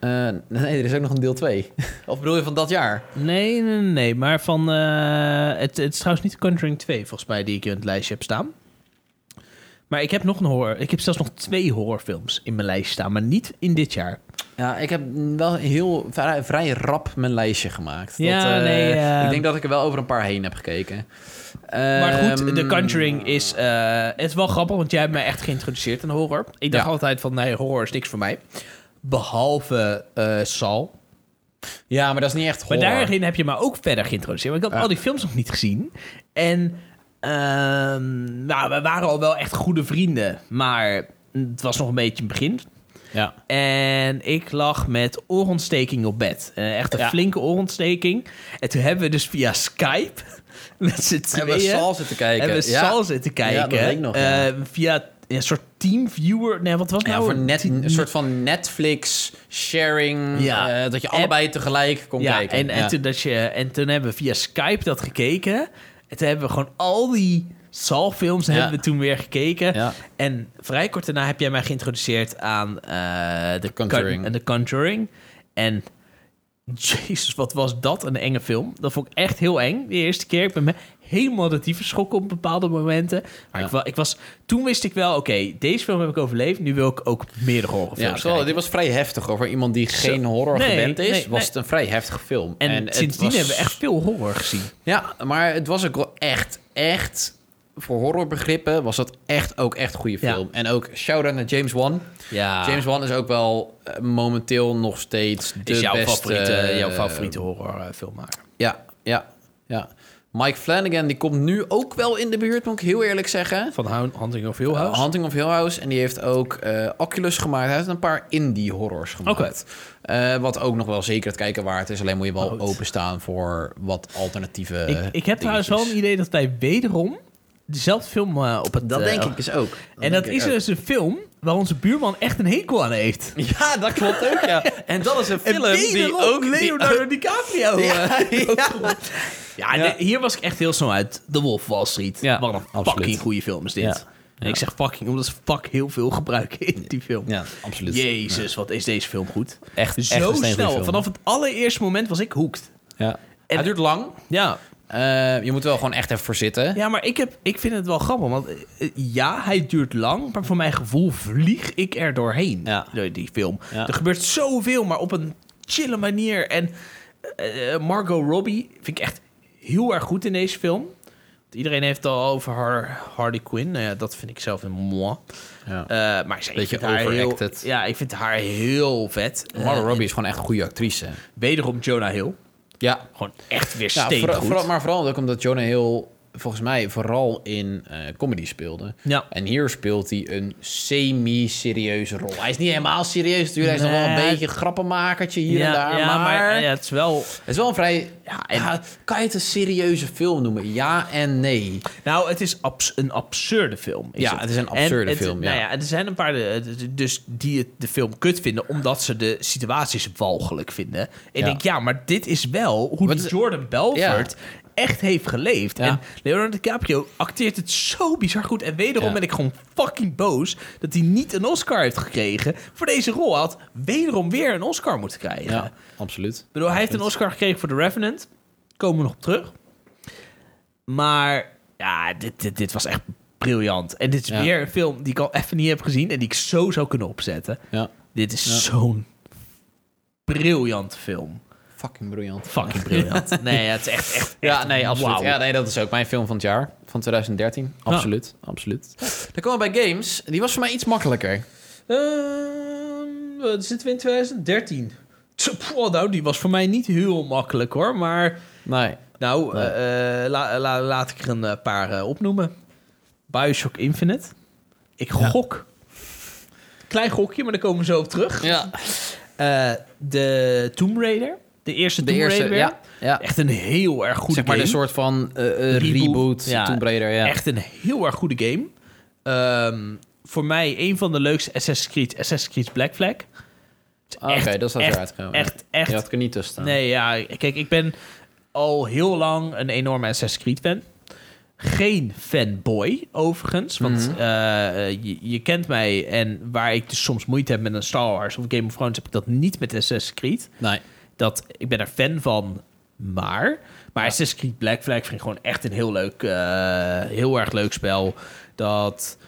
S2: Eh, nee, er is ook nog een deel 2. of bedoel je van dat jaar?
S1: Nee, nee, nee, nee. Maar van... eh, het, het is trouwens niet The Conjuring 2, volgens mij, die ik in het lijstje heb staan. Maar ik heb nog een horror... Ik heb zelfs nog twee horrorfilms in mijn lijstje staan. Maar niet in dit jaar.
S2: Ja, ik heb wel heel vrij, vrij rap mijn lijstje gemaakt.
S1: Ja,
S2: eh,
S1: nee, eh,
S2: Ik denk dat ik er wel over een paar heen heb gekeken.
S1: Maar
S2: Ehm,
S1: goed, The Conjuring is... eh, het is wel grappig, want jij hebt mij echt geïntroduceerd aan horror. Ik dacht
S2: Ja.
S1: altijd van, nee, horror is niks voor mij. Behalve eh Sal.
S2: Ja, maar dat is niet echt
S1: Maar
S2: horror.
S1: daarin heb je me ook verder geïntroduceerd. Want ik had
S2: Ja.
S1: al die films nog niet gezien. En ehm, nou, we waren al wel echt goede vrienden. Maar het was nog een beetje een begin.
S2: Ja.
S1: En ik lag met oorontsteking op bed. Eh, echt een
S2: Ja.
S1: flinke oorontsteking. En toen hebben we dus via Skype met z'n tweeën...
S2: Hebben we Sal zitten kijken.
S1: hebben we
S2: ja.
S1: Sal zitten kijken.
S2: Ja, dat weet ik nog, ja.
S1: Eh, via een soort teamviewer. Nee, wat was
S2: Ja,
S1: nou?
S2: voor net,
S1: team-
S2: een soort van Netflix sharing.
S1: Ja.
S2: eh, dat je
S1: En-
S2: allebei tegelijk kon
S1: ja,
S2: kijken.
S1: En, en, Toen dat je, en toen hebben we via Skype dat gekeken. En toen hebben we gewoon al die Sal-films
S2: Ja.
S1: hebben we toen weer gekeken.
S2: Ja.
S1: En vrij kort daarna heb jij mij geïntroduceerd aan eh, The,
S2: Conjuring.
S1: Con- en The Conjuring. En jezus, wat was dat een enge film. Dat vond ik echt heel eng. De eerste keer. Ik ben me helemaal de dieven geschrokken op bepaalde momenten. Maar
S2: Ja.
S1: ik, wa- ik was, toen wist ik wel, oké, deze film heb ik overleefd. Nu wil ik ook meerdere
S2: Ja,
S1: horrorfilms
S2: zo,
S1: kijken.
S2: dit was vrij heftig hoor. Voor iemand die geen horror
S1: Nee,
S2: gewend is,
S1: nee,
S2: was
S1: nee.
S2: het een vrij heftige film.
S1: En,
S2: het
S1: sindsdien
S2: was-
S1: hebben we echt veel horror gezien.
S2: Ja, maar het was ook wel echt, echt... Voor horrorbegrippen was dat echt ook echt goede
S1: Ja.
S2: film. En ook shout-out naar James Wan.
S1: Ja.
S2: James Wan is ook wel eh, momenteel nog steeds de
S1: is jouw
S2: beste...
S1: favoriete, jouw
S2: eh,
S1: favoriete horrorfilmmaker.
S2: Ja, ja, ja. Mike Flanagan, die komt nu ook wel in de buurt, moet ik heel eerlijk zeggen.
S1: Van Hun- Hunting of Hill House?
S2: Uh, Hunting of Hill House. En die heeft ook eh, Oculus gemaakt. Hij heeft een paar indie horrors gemaakt.
S1: Oké.
S2: Eh, wat ook nog wel zeker het kijken waard is. Alleen moet je wel
S1: Goed.
S2: openstaan voor wat alternatieve
S1: ik, ik heb trouwens wel een idee dat wij wederom dezelfde film eh, op het...
S2: Dat
S1: eh,
S2: denk ik dus ook.
S1: En dat is dus een film waar onze buurman echt een hekel aan heeft.
S2: Ja, dat klopt ook, ja. En dat is een film
S1: en
S2: die
S1: wederom
S2: ook...
S1: Leonardo DiCaprio.
S2: die-
S1: Ja,
S2: ja, ja.
S1: ja,
S2: Ja.
S1: de- hier was ik echt heel snel uit. The Wolf of Wall Street.
S2: Ja,
S1: Wat een
S2: absoluut.
S1: fucking goede film is dit.
S2: Ja.
S1: En ik zeg fucking omdat ze fuck heel veel gebruiken in die film.
S2: Ja, absoluut.
S1: Jezus, wat is deze film goed.
S2: Echt, echt een
S1: Zo
S2: steengoede
S1: snel.
S2: film.
S1: Vanaf het allereerste moment was ik hoekt.
S2: Ja.
S1: En-
S2: Hij duurt lang.
S1: Ja,
S2: Eh, je moet wel gewoon echt even voor zitten.
S1: Ja, maar ik, heb, ik vind het wel grappig. Want eh, eh, ja, hij duurt lang. Maar voor mijn gevoel vlieg ik er doorheen.
S2: Ja.
S1: door Die film.
S2: Ja.
S1: Er gebeurt zoveel, maar op een chille manier. En eh, eh, Margot Robbie vind ik echt heel erg goed in deze film. Want Iedereen heeft het al over haar Harley Quinn. Nou ja, dat vind ik zelf een moi.
S2: Ja.
S1: Eh, maar zij, ik
S2: Beetje
S1: vind haar heel-
S2: overacted.
S1: ja, ik vind haar heel vet. Eh,
S2: Margot Robbie is gewoon echt een goede actrice.
S1: wederom Jonah Hill.
S2: Ja,
S1: Gewoon echt weer
S2: Ja,
S1: steengoed.
S2: Nou, vooral- vooral- maar vooral ook omdat Jonah Hill volgens mij vooral in eh, comedy speelde.
S1: Ja.
S2: En hier speelt hij een semi-serieuze rol. Hij is niet helemaal serieus natuurlijk. Hij is nog wel
S1: Nee.
S2: een beetje een grappenmakertje hier en
S1: ja,
S2: daar.
S1: ja, maar, eh,
S2: maar
S1: ja, het is wel...
S2: het is wel een vrij...
S1: Ja, en-
S2: Ja, kan je het een serieuze film noemen? Ja en nee.
S1: Nou, het is abs- een absurde film. Is
S2: Ja, het is een absurde
S1: En het-
S2: film, ja.
S1: Nou ja, er zijn een paar eh, d- d- dus die het, de film kut vinden... omdat ze de situaties walgelijk vinden. En ik
S2: Ja.
S1: denk, ja, maar dit is wel hoe
S2: Wat
S1: die
S2: is-
S1: Jordan Belfort... echt heeft geleefd.
S2: Ja.
S1: En Leonardo DiCaprio acteert het zo bizar goed. En wederom
S2: Ja.
S1: ben ik gewoon fucking boos... dat hij niet een Oscar heeft gekregen voor deze rol. Hij had wederom weer een Oscar moeten krijgen.
S2: Ja, absoluut.
S1: Ik bedoel, hij heeft een Oscar gekregen voor The Revenant. Komen we nog op terug. Maar ja, dit, dit, dit was echt briljant. En dit is
S2: Ja.
S1: weer een film die ik al even niet heb gezien en die ik zo zou kunnen opzetten.
S2: Ja.
S1: Dit is
S2: Ja.
S1: zo'n briljante film.
S2: Fucking briljant.
S1: Fucking briljant. Nee, het is echt, echt,
S2: Ja,
S1: echt
S2: nee, absoluut.
S1: wauw.
S2: Ja, nee, dat is ook mijn film van het jaar. Van 2013. Absoluut, absoluut. Dan komen we bij games. Die was voor mij iets makkelijker.
S1: Eh? Ehm, wat zitten we in 2013? Tso, poeh, nou, die was voor mij niet heel makkelijk hoor. Maar
S2: Nee.
S1: nou,
S2: Nee.
S1: eh, eh, la- la- laat ik er een eh, paar eh, opnoemen. Bioshock Infinite. Ik
S2: Ja.
S1: gok. Klein gokje, maar daar komen we zo op terug.
S2: Ja.
S1: Eh, de Tomb Raider. De eerste
S2: De
S1: Tomb
S2: eerste,
S1: Raider.
S2: ja. ja.
S1: Echt een heel erg goede
S2: zeg maar
S1: game.
S2: een soort van eh, eh,
S1: Reboot.
S2: reboot,
S1: Ja,
S2: Tomb Raider. Ja.
S1: Echt een heel erg goede game. Ehm, voor mij een van de leukste Assassin's Creed. Assassin's Creed Black Flag.
S2: Ah, Oké,
S1: echt,
S2: dat is
S1: echt,
S2: eruit gekomen.
S1: Echt, echt.
S2: Je had ik er niet tussen staan.
S1: nee, ja. Kijk, ik ben al heel lang een enorme Assassin's Creed fan. Geen fanboy, overigens. Want
S2: Mhm.
S1: eh, eh, je, je kent mij en waar ik dus soms moeite heb met een Star Wars of Game of Thrones... heb ik dat niet met Assassin's Creed
S2: Nee.
S1: dat ik ben er fan van, maar. Maar Assassin's Creed Black Flag vind ik gewoon echt een heel leuk, eh, heel erg leuk spel. Dat.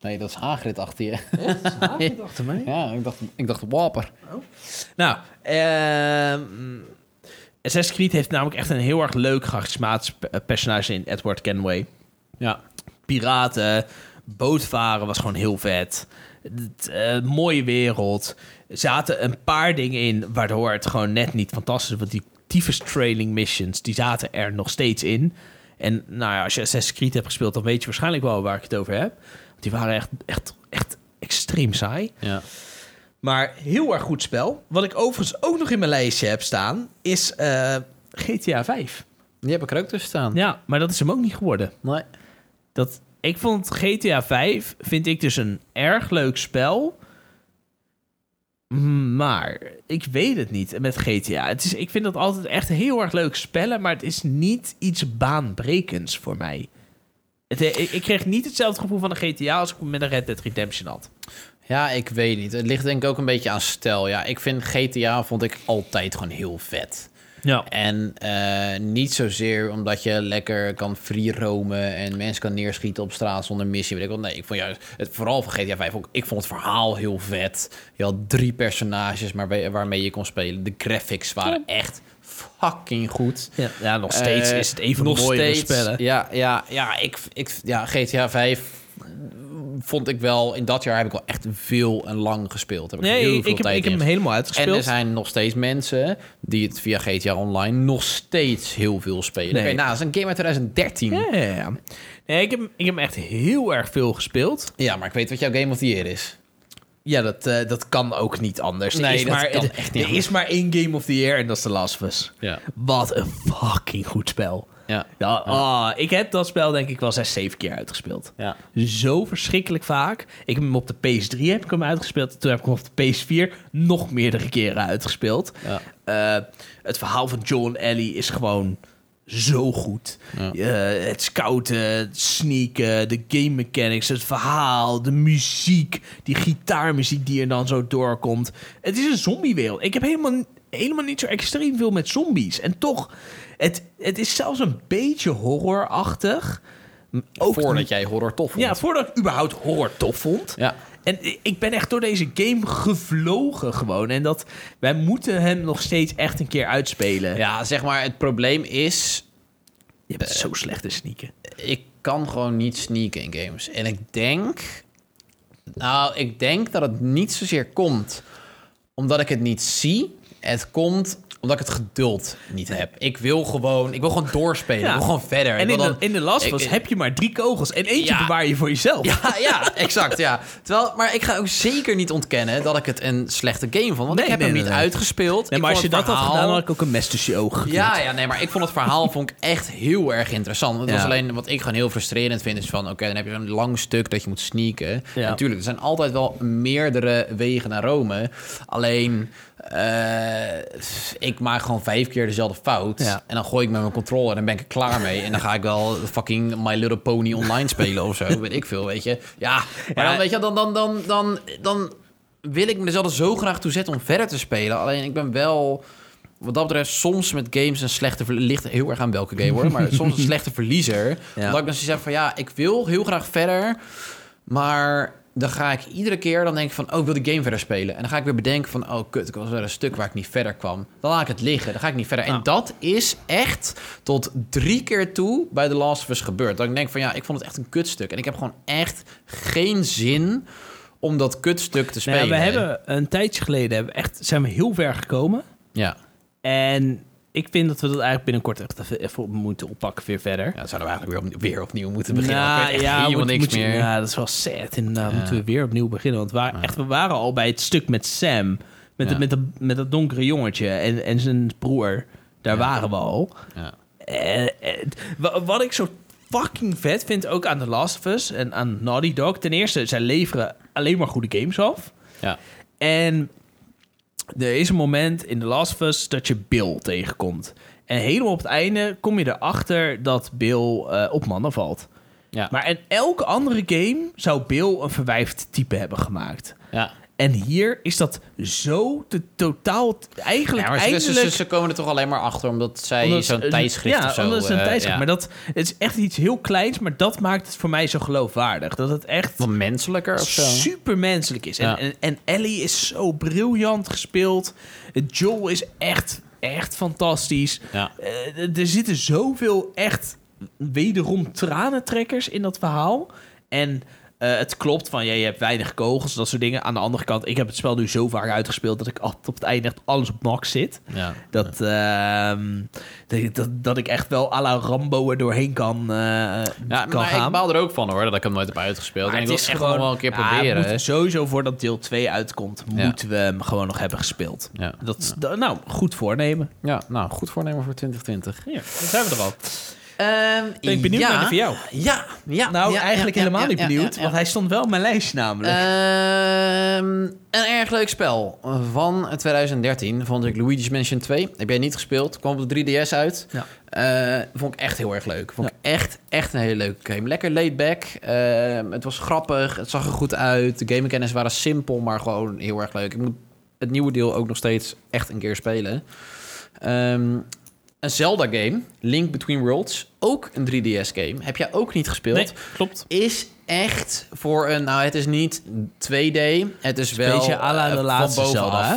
S2: nee, dat is Hagrid achter je.
S1: achter mij.
S2: ja, ik dacht, ik dacht Waper.
S1: Nou, ehm, Assassin's Creed heeft namelijk echt een heel erg leuk charismatisch pe- eh, personage in Edward Kenway.
S2: Ja.
S1: Piraten, bootvaren was gewoon heel vet. Het, eh, mooie wereld. Er zaten een paar dingen in waardoor het gewoon net niet fantastisch is. Want die tyfus trailing missions, die zaten er nog steeds in. En nou ja, als je Assassin's Creed hebt gespeeld, dan weet je waarschijnlijk wel waar ik het over heb. Want die waren echt, echt, echt
S3: extreem saai.
S2: Ja.
S3: Maar heel erg goed spel. Wat ik overigens ook nog in mijn lijstje heb staan, is eh, GTA 5.
S2: Die heb ik er ook tussen staan.
S1: Ja, maar dat is hem ook niet geworden.
S2: Nee.
S1: Dat, ik vond GTA 5 vind ik dus een erg leuk spel. Maar ik weet het niet met GTA. Het is, ik vind dat altijd echt heel erg leuk spellen, maar het is niet iets baanbrekends voor mij. Het, eh, ik, ik kreeg niet hetzelfde gevoel van een GTA als ik met een Red Dead Redemption had.
S2: Ja, ik weet niet. Het ligt denk ik ook een beetje aan stijl. Ja, ik vind GTA vond ik altijd gewoon heel vet.
S1: Ja.
S2: En eh, niet zozeer omdat je lekker kan free roamen en mensen kan neerschieten op straat zonder missie. Weet ik wel. Nee, ik vond juist, het, vooral van GTA 5, ook, ik vond het verhaal heel vet. Je had drie personages maar we- waarmee je kon spelen. De graphics waren echt fucking goed.
S1: Ja, ja, nog steeds
S2: Eh,
S1: is het een van
S2: nog
S1: de mooiere
S2: steeds,
S1: spellen.
S2: Ja, ja, ja, ik, ik, ja, GTA 5 vond ik wel... In dat jaar heb ik wel echt veel en lang gespeeld. Heb ik
S1: Nee,
S2: heel
S1: ik
S2: veel
S1: heb,
S2: tijd
S1: ik heb
S2: in
S1: hem helemaal
S2: en
S3: dus
S1: uitgespeeld.
S2: er zijn nog steeds mensen die het via GTA Online nog steeds heel veel spelen.
S1: Nee.
S2: Oké, nou, dat is een game uit 2013.
S1: Ja, ja, ja. Nee, ik heb, ik heb hem echt heel erg veel gespeeld.
S2: Ja, maar ik weet wat jouw Game of the Year is.
S3: Ja, dat, eh, dat kan ook niet anders. Er
S2: Nee,
S3: is
S2: dat
S3: maar,
S2: kan
S3: er-
S2: echt
S3: Er
S2: niet
S3: is
S2: anders.
S3: maar één Game of the Year en dat is The Last of Us.
S2: Ja.
S3: Wat een fucking goed spel.
S2: Ja.
S3: Ja, ah, ik heb dat spel denk ik wel zes, zeven keer uitgespeeld.
S2: Ja.
S3: Zo verschrikkelijk vaak. Ik heb hem op de PS3 heb ik hem uitgespeeld. Toen heb ik hem op de PS4 nog meerdere keren uitgespeeld.
S2: Ja.
S3: Eh, het verhaal van John Ellie is gewoon zo goed.
S2: Ja.
S3: Eh, het scouten, het sneaken, de game mechanics, het verhaal, de muziek, die gitaarmuziek die er dan zo doorkomt. Het is een zombiewereld. Ik heb helemaal, helemaal niet zo extreem veel met zombies. En toch, het, het is zelfs een beetje horrorachtig. Ook-
S2: Voordat jij horror tof vond.
S3: Ja, voordat ik überhaupt horror tof vond.
S2: Ja.
S3: En ik ben echt door deze game gevlogen gewoon. En dat, wij moeten hem nog steeds echt een keer uitspelen.
S2: Ja, zeg maar, het probleem is...
S3: Je bent zo slecht in sneaken.
S2: ik kan gewoon niet sneaken in games. En ik denk. Nou, ik denk dat het niet zozeer komt omdat ik het niet zie. Het komt omdat ik het geduld niet heb. Ik wil gewoon, ik wil gewoon doorspelen.
S3: Ja.
S2: Ik wil gewoon verder. Ik
S3: En
S2: wil
S3: in de,
S2: dan-
S3: in de Last
S2: ik-
S3: was
S2: ik-
S3: heb je maar drie kogels. En eentje
S2: Ja.
S3: bewaar je voor jezelf.
S2: Ja, ja, exact, ja. Terwijl, maar ik ga ook zeker niet ontkennen dat ik het een slechte game vond. Want
S3: Nee,
S2: ik heb
S3: nee,
S2: hem
S3: nee,
S2: niet
S3: nee. Nee,
S2: uitgespeeld. Ik
S3: maar als je
S2: vond
S3: dat
S2: het
S3: had
S2: verhaal-
S3: gedaan, had ik ook een mes tussen je ogen
S2: Ja, ja, nee, maar ik vond het verhaal vond ik echt heel erg interessant. Het was
S3: Ja.
S2: alleen wat ik gewoon heel frustrerend vind is van, oké, dan heb je zo'n lang stuk dat je moet sneaken.
S3: Ja.
S2: Natuurlijk, er zijn altijd wel meerdere wegen naar Rome. Alleen, eh, ik maak gewoon vijf keer dezelfde fout
S3: Ja.
S2: en dan gooi ik met mijn controller en dan ben ik er klaar mee en dan ga ik wel fucking My Little Pony online spelen of zo, weet ik veel, weet je. Ja, maar
S3: Ja.
S2: dan weet je, dan dan dan dan dan wil ik mezelf er zo graag toe zetten om verder te spelen. Alleen ik ben wel wat dat betreft soms met games een slechte... ver- ligt heel erg aan welke game hoor, maar soms een slechte verliezer.
S3: Ja.
S2: Omdat ik dan zoiets heb van, ja, ik wil heel graag verder, maar dan ga ik iedere keer, dan denk ik van, oh, ik wil de game verder spelen. En dan ga ik weer bedenken van, oh, kut, ik was weer een stuk waar ik niet verder kwam. Dan laat ik het liggen, dan ga ik niet verder.
S1: Ja.
S2: En dat is echt tot drie keer toe bij The Last of Us gebeurd. Dat ik denk van, ja, ik vond het echt een kutstuk. En ik heb gewoon echt geen zin om dat kutstuk te
S1: Nou
S2: spelen.
S1: ja, we hebben een tijdje geleden hebben we echt, zijn we heel ver gekomen.
S2: Ja,
S1: En ik vind dat we dat eigenlijk binnenkort echt even, even moeten oppakken weer verder.
S2: ja dan zouden we eigenlijk weer, opnieuw- weer opnieuw moeten beginnen.
S1: Nou,
S2: ik weet echt helemaal
S1: moet-
S2: niks
S1: moet je-
S2: meer.
S1: Ja, dat is wel sad. Inderdaad,
S2: Ja.
S1: moeten we weer opnieuw beginnen. Want we waren, echt, we waren al bij het stuk met Sam. Met,
S2: Ja.
S1: de, met, de, met dat donkere jongetje en, en zijn broer. Daar waren we al.
S2: Ja.
S1: Eh, eh, wa- wat ik zo fucking vet vind ook aan The Last of Us en aan Naughty Dog. Ten eerste, zij leveren alleen maar goede games af.
S2: Ja.
S1: En er is een moment in The Last of Us dat je Bill tegenkomt. En helemaal op het einde kom je erachter dat Bill eh, op mannen valt.
S2: Ja.
S1: Maar in elke andere game zou Bill een verwijfd type hebben gemaakt.
S2: ja.
S1: En hier is dat zo te, totaal... Eigenlijk
S2: Ja, maar ze- ze,
S1: eindelijk...
S2: ze, ze komen er toch alleen maar achter omdat zij
S1: Omdat-
S2: zo'n tijdschrift
S1: ja,
S2: of zo...
S1: omdat het een
S2: eh,
S1: tijdschrift.
S2: ja.
S1: Maar dat het is echt iets heel kleins, maar dat maakt het voor mij zo geloofwaardig. Dat het echt
S2: Wat menselijker of zo.
S1: supermenselijk is. En,
S2: Ja.
S1: en, en Ellie is zo briljant gespeeld. Joel is echt, echt fantastisch.
S2: Ja.
S1: Eh, er zitten zoveel echt wederom tranentrekkers in dat verhaal. En
S3: Eh, het klopt van, ja, je hebt weinig kogels, dat soort dingen. Aan de andere kant, ik heb het spel nu zo vaak uitgespeeld... dat ik altijd op het einde echt alles op max zit.
S2: Ja.
S3: Dat, ehm, dat, dat, dat ik echt wel à la Rambo er doorheen kan, eh,
S2: Ja,
S3: kan
S2: maar
S3: gaan.
S2: ik baal er ook van hoor, dat ik hem nooit heb uitgespeeld.
S3: Maar
S2: en ik
S3: het
S2: wil
S3: is
S2: het echt
S3: gewoon-
S2: nog wel een keer
S3: Ja, we
S2: proberen.
S3: moeten sowieso voordat deel 2 uitkomt,
S2: Ja.
S3: moeten we hem gewoon nog hebben gespeeld.
S2: Ja.
S3: Dat, is- da- nou, goed voornemen.
S2: ja, nou, goed voornemen voor 2020.
S1: Ja, dan zijn we er al.
S2: ben
S1: ik benieuwd
S2: Ehm, ja,
S1: naar die van jou.
S2: Ja, ja.
S3: Nou,
S2: ja,
S3: eigenlijk
S2: ja,
S3: helemaal
S2: ja,
S3: niet
S2: ja,
S3: benieuwd,
S2: ja, Eh, ja.
S3: want hij stond wel op mijn lijst namelijk.
S2: Ehm, een erg leuk spel van 2013 vond ik Luigi's Mansion 2. Heb jij niet gespeeld? Kwam op de 3DS uit.
S3: Ja.
S2: Eh, vond ik echt heel erg leuk. Vond ik echt, echt een hele leuke game. Lekker laid back. Ehm, het was grappig. Het zag er goed uit. De gamekennis waren simpel, maar gewoon heel erg leuk. Ik moet het nieuwe deel ook nog steeds echt een keer spelen. Ehm, een Zelda-game, Link Between Worlds, ook een 3DS-game. Heb jij ook niet gespeeld?
S1: Nee, klopt.
S2: is echt voor een... Nou, het is niet 2D. Het is wel...
S3: beetje à la de
S2: eh, van
S3: laatste
S2: bovenaf.
S3: Zelda,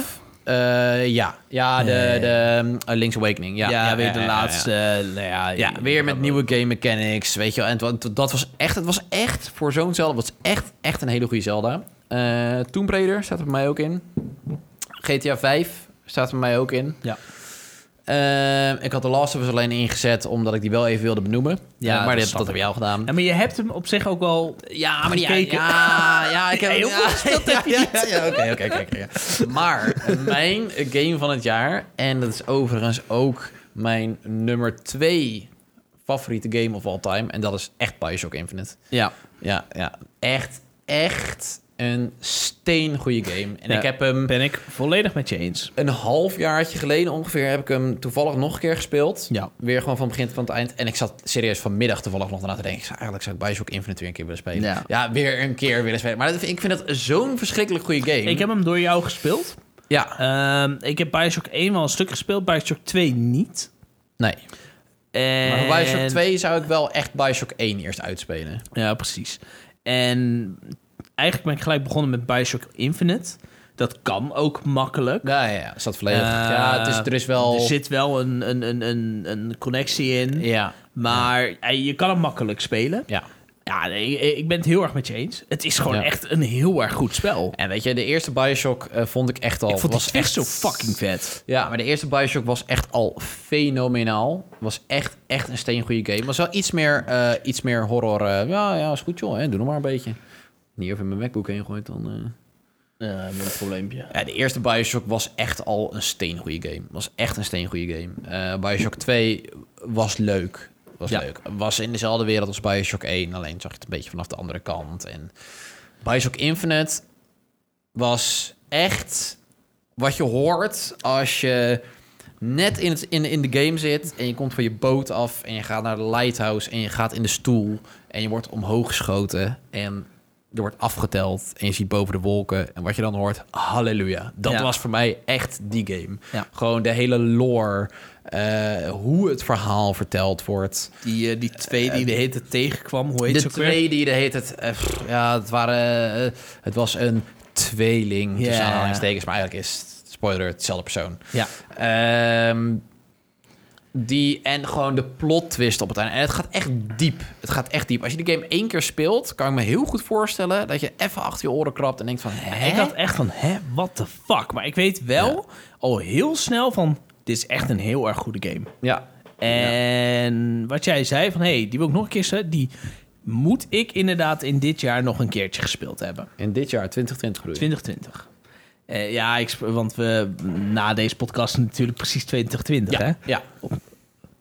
S3: hè?
S2: Eh, ja. Ja, de,
S3: Ja, ja, ja.
S2: de eh, Link's Awakening. Ja,
S3: ja, weer
S2: ja,
S3: de
S2: ja, ja.
S3: laatste. nou ja,
S2: eh, Ja, weer met nieuwe game mechanics, weet je wel. En het wa- dat was echt, het was echt voor zo'n Zelda, was echt, echt een hele goede Zelda. Eh Tomb Raider staat er bij mij ook in. GTA 5 staat er bij mij ook in.
S3: Ja.
S2: Eh, ik had The Last of Us alleen ingezet, omdat ik die wel even wilde benoemen.
S3: Ja,
S2: Ja, maar
S3: dat
S2: dit,
S3: snap
S2: dat heb jij al gedaan.
S3: Ja, maar je hebt hem op zich ook wel...
S2: Ja, maar die
S3: Gekeken.
S2: Ja, ja, ik heb
S3: Heel
S2: ja,
S3: veel gespeeld heb je
S2: ja, ja, ja, Oké, oké, oké, oké. ja. Maar mijn game van het jaar en dat is overigens ook mijn nummer twee favoriete game of all time en dat is echt BioShock Infinite.
S3: Ja.
S2: Ja, ja, echt, echt een steengoede game. En
S3: Ja.
S2: ik heb hem
S3: Ben ik volledig met je eens.
S2: een half jaartje geleden ongeveer heb ik hem toevallig nog een keer gespeeld.
S3: Ja.
S2: Weer gewoon van begin tot aan het eind. En ik zat serieus vanmiddag toevallig nog na te denken. Ik zou, eigenlijk zou ik Bioshock Infinite weer een keer willen spelen.
S3: Ja.
S2: weer een keer willen spelen. Maar dat, ik vind dat zo'n verschrikkelijk goede game.
S1: Ik heb hem door jou gespeeld.
S2: Ja.
S1: Ehm, ik heb Bioshock 1 wel een stuk gespeeld, Bioshock 2 niet.
S2: Nee.
S1: En...
S2: Maar voor Bioshock 2 zou ik wel echt Bioshock 1 eerst uitspelen.
S1: Ja, precies. En eigenlijk ben ik gelijk begonnen met Bioshock Infinite. Dat kan ook makkelijk.
S2: Ja, ja, ja. Is dat volledig?
S1: Eh,
S2: ja, het is, er is wel...
S1: Er zit wel een, een, een, een, een connectie in.
S2: Ja.
S1: Maar eh, je kan hem makkelijk spelen.
S2: Ja.
S1: Ja, nee, ik, ik ben het heel erg met je eens. Het is gewoon
S2: Ja.
S1: echt een heel erg goed spel.
S2: En weet je, de eerste Bioshock eh, vond ik echt al...
S1: ik vond
S2: was
S1: het echt
S2: echt
S1: zo fucking vet.
S2: Ja, maar de eerste Bioshock was echt al fenomenaal. Was echt, echt een steengoede game. Was wel iets meer, eh, iets meer horror. eh, ja, ja, is goed joh. Hè, doe nog maar een beetje. Niet even mijn MacBook heen gooit dan... eh.
S1: Ja, met een probleempje.
S2: Ja, de eerste Bioshock was echt al een steengoede game. Was echt een steengoede game. Eh, Bioshock 2 was leuk. Was
S1: Ja.
S2: leuk. Was in dezelfde wereld als Bioshock 1. Alleen zag je het een beetje vanaf de andere kant. En Bioshock Infinite was echt wat je hoort als je net in, het, in, in de game zit en je komt van je boot af en je gaat naar de lighthouse en je gaat in de stoel en je wordt omhoog geschoten en er wordt afgeteld en je ziet boven de wolken en wat je dan hoort, halleluja. Dat
S1: Ja.
S2: was voor mij echt die game.
S1: Ja.
S2: Gewoon de hele lore, eh, hoe het verhaal verteld wordt.
S3: Die, eh, die twee die de hele tijd tegenkwam, hoe heet
S2: De
S3: ze ook weer?
S2: twee die de heet het. eh, pff, ja, het waren. eh, het was een tweeling.
S3: Ja.
S2: Tussen aanhalingstekens, maar eigenlijk is het, spoiler hetzelfde persoon.
S3: Ja.
S2: Ehm, die en gewoon de plot twist op het einde. En het gaat echt diep. Het gaat echt diep. Als je de game één keer speelt, kan ik me heel goed voorstellen dat je even achter je oren krabt en denkt van. Hè?
S1: Ik had echt van, hè, what the fuck? Maar ik weet wel al heel snel van, dit is echt een heel erg goede game.
S2: Ja.
S1: En wat jij zei van, hé, hey, die wil ik nog een keer spelen, Die moet ik inderdaad in dit jaar nog een keertje gespeeld hebben.
S2: En dit jaar, 2020 bedoel je?
S1: 2020. Eh, ja, ik, sp- want we na deze podcast natuurlijk precies 2020, hè?
S2: Ja. ja.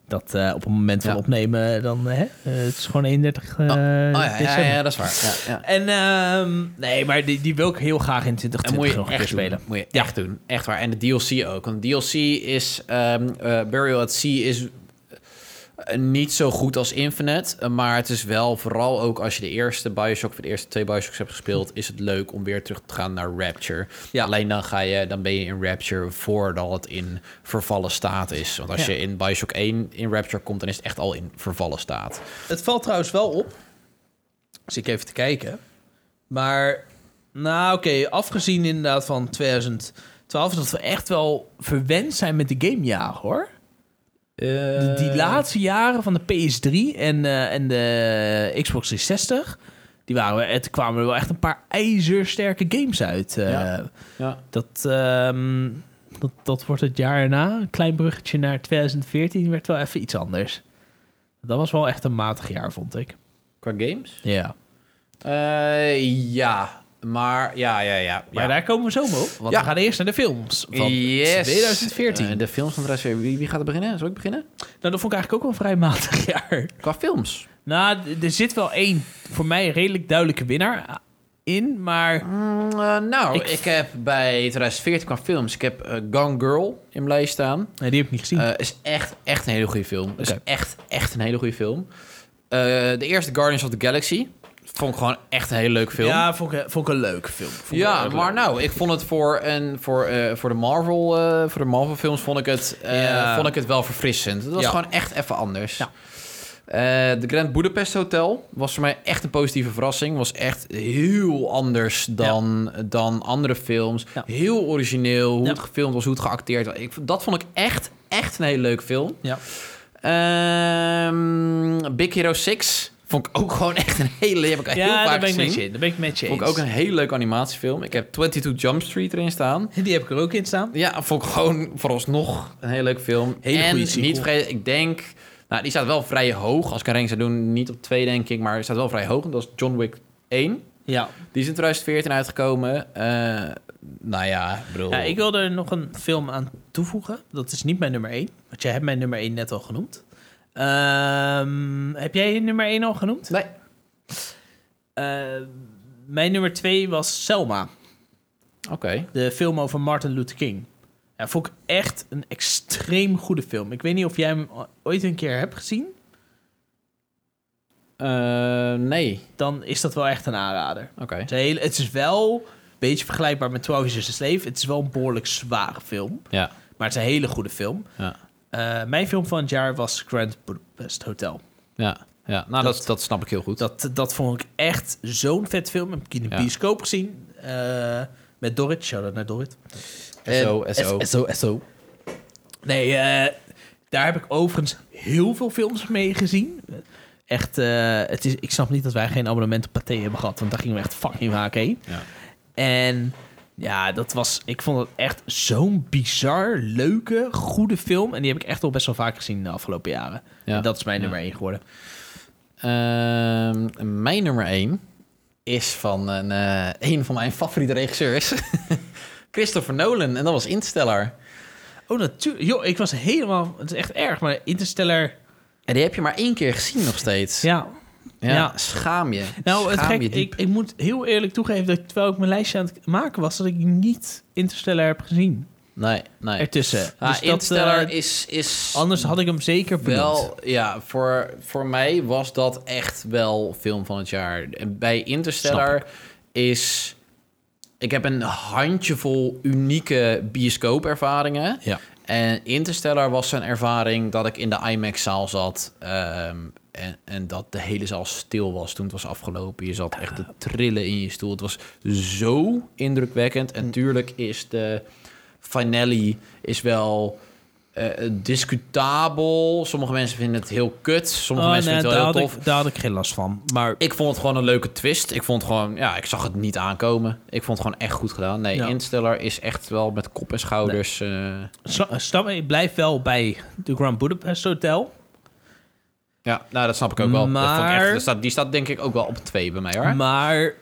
S1: Dat eh, op het moment van
S2: Ja.
S1: opnemen, dan, eh, hè? eh, het is gewoon 31 eh,
S2: Oh ja, ja,
S1: december.
S2: ja, dat is waar. Ja, ja.
S1: En ehm, nee, maar die, die wil ik heel graag in
S2: En moet
S1: 2020
S2: je
S1: nog een keer
S2: echt
S1: spelen.
S2: spelen. Moet je echt doen. Echt waar. En de DLC ook. Want de DLC is... ehm, eh, Burial at Sea is eh, niet zo goed als Infinite. eh, Maar het is wel vooral ook als je de eerste Bioshock... of de eerste twee Bioshocks hebt gespeeld... is het leuk om weer terug te gaan naar Rapture.
S3: Ja.
S2: Alleen dan, ga je, dan ben je in Rapture voordat het in vervallen staat is. Want als
S1: Ja.
S2: je in Bioshock 1 in Rapture komt... dan is het echt al in vervallen staat.
S3: Het valt trouwens wel op. Dus ik even te kijken. Maar, nou oké, afgezien inderdaad van 2012... dat we echt wel verwend zijn met de gamejaar, hoor. De-
S2: Eh.
S1: eh,
S3: die laatste jaren van de PS3 en, eh, en de Xbox 360... die
S1: Die waren, het kwamen er wel echt een paar ijzersterke games uit. eh.
S2: Ja. Ja.
S1: Dat, ehm, dat, dat wordt het jaar erna. Een klein bruggetje naar 2014 werd wel even iets anders. Dat was wel echt een matig jaar, vond ik.
S2: Qua games?
S1: Ja.
S2: Eh, ja, maar ja, ja, ja.
S1: Maar
S2: ja.
S1: daar komen we zo mee op. Want
S2: Ja.
S1: we gaan eerst naar de films van
S2: Yes.
S1: 2014.
S2: Eh, de films van de rest, wie, wie gaat er beginnen? Zal ik beginnen?
S1: nou, dat vond ik eigenlijk ook wel een vrij matig jaar.
S2: Qua films.
S1: Nou, d- er zit wel één voor mij redelijk duidelijke winnaar in. Maar
S2: Mm, eh, nou, ik...
S1: Ik-
S2: heb bij 2014 qua films, ik heb eh, Gone Girl in mijn lijst staan.
S1: nee, die heb ik niet gezien.
S2: Eh, is echt, echt een hele goede film. Is
S1: Oké.
S2: echt, echt een hele goede film. Eh, de eerste Guardians of the Galaxy. Vond ik gewoon echt een hele leuke film.
S1: Ja, vond ik, vond ik een leuke film. Vond ik
S2: Ja,
S1: wel erg
S2: maar
S1: leuk.
S2: nou, ik vond het voor, een, voor, eh, voor de Marvel, eh, voor de Marvel films vond ik het, eh,
S1: Ja.
S2: vond ik het wel verfrissend. Het was
S1: Ja.
S2: gewoon echt even anders.
S1: Ja.
S2: Eh, de Grand Budapest Hotel was voor mij echt een positieve verrassing. Was echt heel anders dan, dan andere films.
S1: Ja.
S2: Heel origineel, hoe
S1: Ja.
S2: het gefilmd was, hoe het geacteerd was. Ik, vond- dat vond ik echt, echt een hele leuke film.
S1: Ja.
S2: Ehm, Big Hero 6 vond ik ook gewoon echt een hele... Die heb ik heel
S1: Ja,
S2: vaak
S1: daar ben ik
S2: gezien.
S1: met je, in. daar ben ik met je
S2: Vond ik
S1: eens.
S2: ook een hele leuke animatiefilm. Ik heb 22 Jump Street erin staan.
S1: Die heb ik er ook in staan.
S2: Ja, vond ik gewoon vooralsnog een hele leuke film.
S1: Hele
S2: en
S1: goede sequel.
S2: niet vergeten, ik denk... Nou, die staat wel vrij hoog. Als ik een ranking zou doen, niet op 2 denk ik, maar die staat wel vrij hoog. En dat is John Wick 1.
S1: Ja.
S2: Die is in 2014 uitgekomen. Eh, nou ja, ik bedoel...
S1: Ja, ik wil er nog een film aan toevoegen. Dat is niet mijn nummer 1. Want jij hebt mijn nummer 1 net al genoemd. Ehm, heb jij je nummer 1 al genoemd?
S2: Nee.
S1: Ehm, mijn nummer 2 was Selma.
S2: Oké.
S1: De film over Martin Luther King. Ja, vond ik echt een extreem goede film. Ik weet niet of jij hem ooit een keer hebt gezien.
S2: Eh, nee.
S1: Dan is dat wel echt een aanrader.
S2: Oké.
S1: Het is, een hele- het is wel een beetje vergelijkbaar met 12 Years a Slave. Het is wel een behoorlijk zware film.
S2: Ja.
S1: Maar het is een hele goede film.
S2: Ja.
S1: Eh, mijn film van het jaar was Grand Budapest Hotel.
S2: Ja. ja. Nou, dat,
S1: Dat-
S2: dat, snap ik heel goed.
S1: Dat, dat vond ik echt zo'n vet film. Heb ik in de
S2: Ja.
S1: bioscoop gezien. eh, met Dorrit. Shout-out naar Dorrit.
S2: SO,
S1: En-
S2: SO.
S1: SO, SO. Nee, eh, daar heb ik overigens heel veel films mee gezien. Echt, eh, het is, ik snap niet dat wij geen abonnement op Pathé hebben gehad. Want daar gingen we echt fucking vaak heen.
S2: Ja.
S1: En ja, dat was, ik vond het echt zo'n bizar, leuke, goede film. En die heb ik echt al best wel vaak gezien de afgelopen jaren.
S2: Ja.
S1: En dat is mijn
S2: Ja.
S1: nummer 1 geworden.
S2: Ehm, mijn nummer 1 is van een, eh, een van mijn favoriete regisseurs. Christopher Nolan. En dat was Interstellar.
S1: Oh, natuurlijk. Joh, ik was helemaal... Het is echt erg, maar Interstellar...
S2: En die heb je maar één keer gezien nog steeds.
S1: Ja. ja.
S2: Schaam je.
S1: Nou, het
S2: Schaam
S1: gek,
S2: je diep.
S1: ik, ik moet heel eerlijk toegeven... dat ik, terwijl ik mijn lijstje aan het maken was... dat ik niet Interstellar heb gezien
S2: Nee, nee.
S1: ertussen.
S2: Ah,
S1: dus
S2: Interstellar
S1: dat, eh,
S2: is, is
S1: anders had ik hem zeker benoemd.
S2: wel... Ja, voor, voor mij was dat echt wel film van het jaar. En Bij Interstellar is... Ik heb een handjevol unieke bioscoopervaringen.
S1: Ja.
S2: En Interstellar was een ervaring dat ik in de IMAX-zaal zat. ehm, en, en dat de hele zaal stil was toen het was afgelopen. Je zat echt te trillen in je stoel. Het was zo indrukwekkend. En tuurlijk is de finale is wel eh, discutabel. Sommige mensen vinden het heel kut. Sommige
S1: Oh,
S2: mensen
S1: nee,
S2: vinden
S1: daar,
S2: het
S1: had
S2: wel heel tof.
S1: ik, daar had ik geen last van. Maar
S2: Ik vond het gewoon een leuke twist. Ik vond gewoon, ja, ik zag het niet aankomen. Ik vond het gewoon echt goed gedaan. Nee,
S1: Ja.
S2: Interstellar is echt wel met kop en schouders. eh,
S1: sla- stap, ik blijf wel bij The Grand Budapest Hotel.
S2: Ja, nou, dat snap ik ook wel. Dat vond ik echt,
S1: Maar-
S2: dat staat, die staat denk ik ook wel op twee bij mij, hoor.
S1: Maar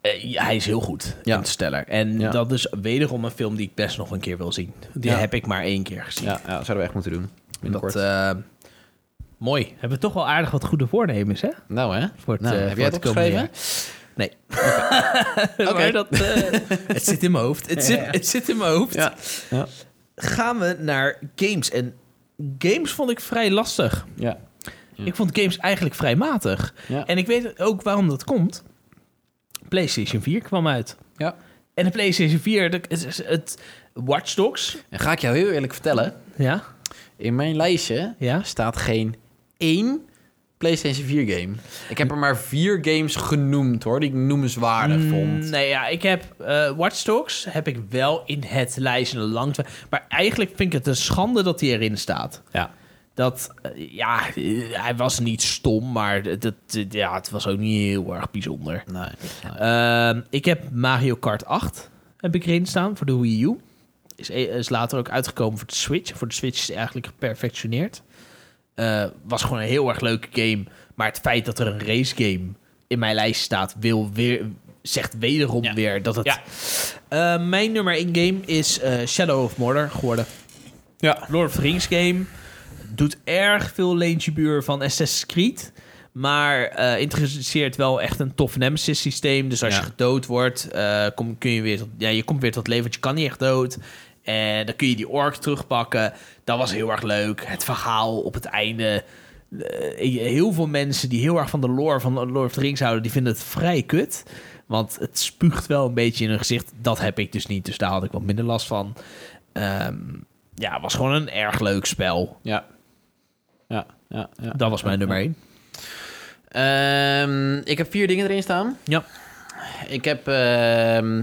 S1: eh, ja, hij is heel goed,
S2: Ja.
S1: Interstellar. En
S2: Ja.
S1: dat is wederom een film die ik best nog een keer wil zien. Die
S2: Ja.
S1: heb ik maar één keer gezien.
S2: ja, ja, dat zouden we echt moeten doen. Binnenkort.
S1: dat, eh, mooi. Hebben we toch wel aardig wat goede voornemens, hè?
S2: nou, hè?
S1: Voor het,
S2: nou,
S1: eh,
S2: heb
S1: voor
S2: jij
S1: het
S2: het
S1: komende
S2: opgeschreven?
S1: Nee.
S2: Oké.
S1: Maar dat, eh, het zit in mijn hoofd. Het, zit, het zit in mijn hoofd.
S2: Ja. Ja.
S1: Gaan we naar games. En games vond ik vrij lastig.
S2: ja. Ja.
S1: Ik vond games eigenlijk vrij matig.
S2: Ja.
S1: En ik weet ook waarom dat komt. PlayStation 4 kwam uit.
S2: Ja.
S1: En de PlayStation 4, dat- het, het, het Watch Dogs.
S2: En ga ik jou heel eerlijk vertellen.
S1: Ja,
S2: In mijn lijstje
S1: ja.
S2: staat geen één PlayStation 4 game. Ik heb er maar vier games genoemd, hoor. Die ik noemenswaardig vond.
S1: Mm, Nee, ja, ik heb eh Watch Dogs heb ik wel in het lijstje al lang. twa- Maar eigenlijk vind ik het een schande dat die erin staat.
S2: Ja.
S1: Dat, eh, ja, eh, hij was niet stom, maar dat, dat- ja, het was ook niet heel erg bijzonder.
S2: Nee.
S1: Ehm, ik heb Mario Kart 8 heb ik erin staan voor de Wii U. Is, e- is later ook uitgekomen voor de Switch. Voor de Switch is het eigenlijk geperfectioneerd. Eh, was gewoon een heel erg leuke game. Maar het feit dat er een race game in mijn lijst staat, wil weer, zegt wederom
S4: Ja.
S1: weer dat het.
S4: Ja.
S1: Eh, mijn nummer 1 game is eh, Shadow of Mordor geworden.
S2: Ja.
S1: Lord of the Rings game. Doet erg veel leentjebuur van Assassin's Creed. Maar eh, introduceert wel echt een tof nemesis systeem. Dus als
S2: Ja.
S1: je gedood wordt, eh, kom, kun je, weer tot, ja, je komt weer tot leven. Want je kan niet echt dood. En dan kun je die ork terugpakken. Dat was heel erg leuk. Het verhaal op het einde. Eh, heel veel mensen die heel erg van de lore van Lord of the Rings houden... die vinden het vrij kut. Want het spuugt wel een beetje in hun gezicht. Dat heb ik dus niet. Dus daar had ik wat minder last van. Ehm, ja, het was gewoon een erg leuk spel.
S2: Ja. Ja. ja, ja.
S1: Dat was mijn nummer 1.
S2: Ehm, ik heb vier dingen erin staan.
S1: Ja.
S2: Ik heb... ehm,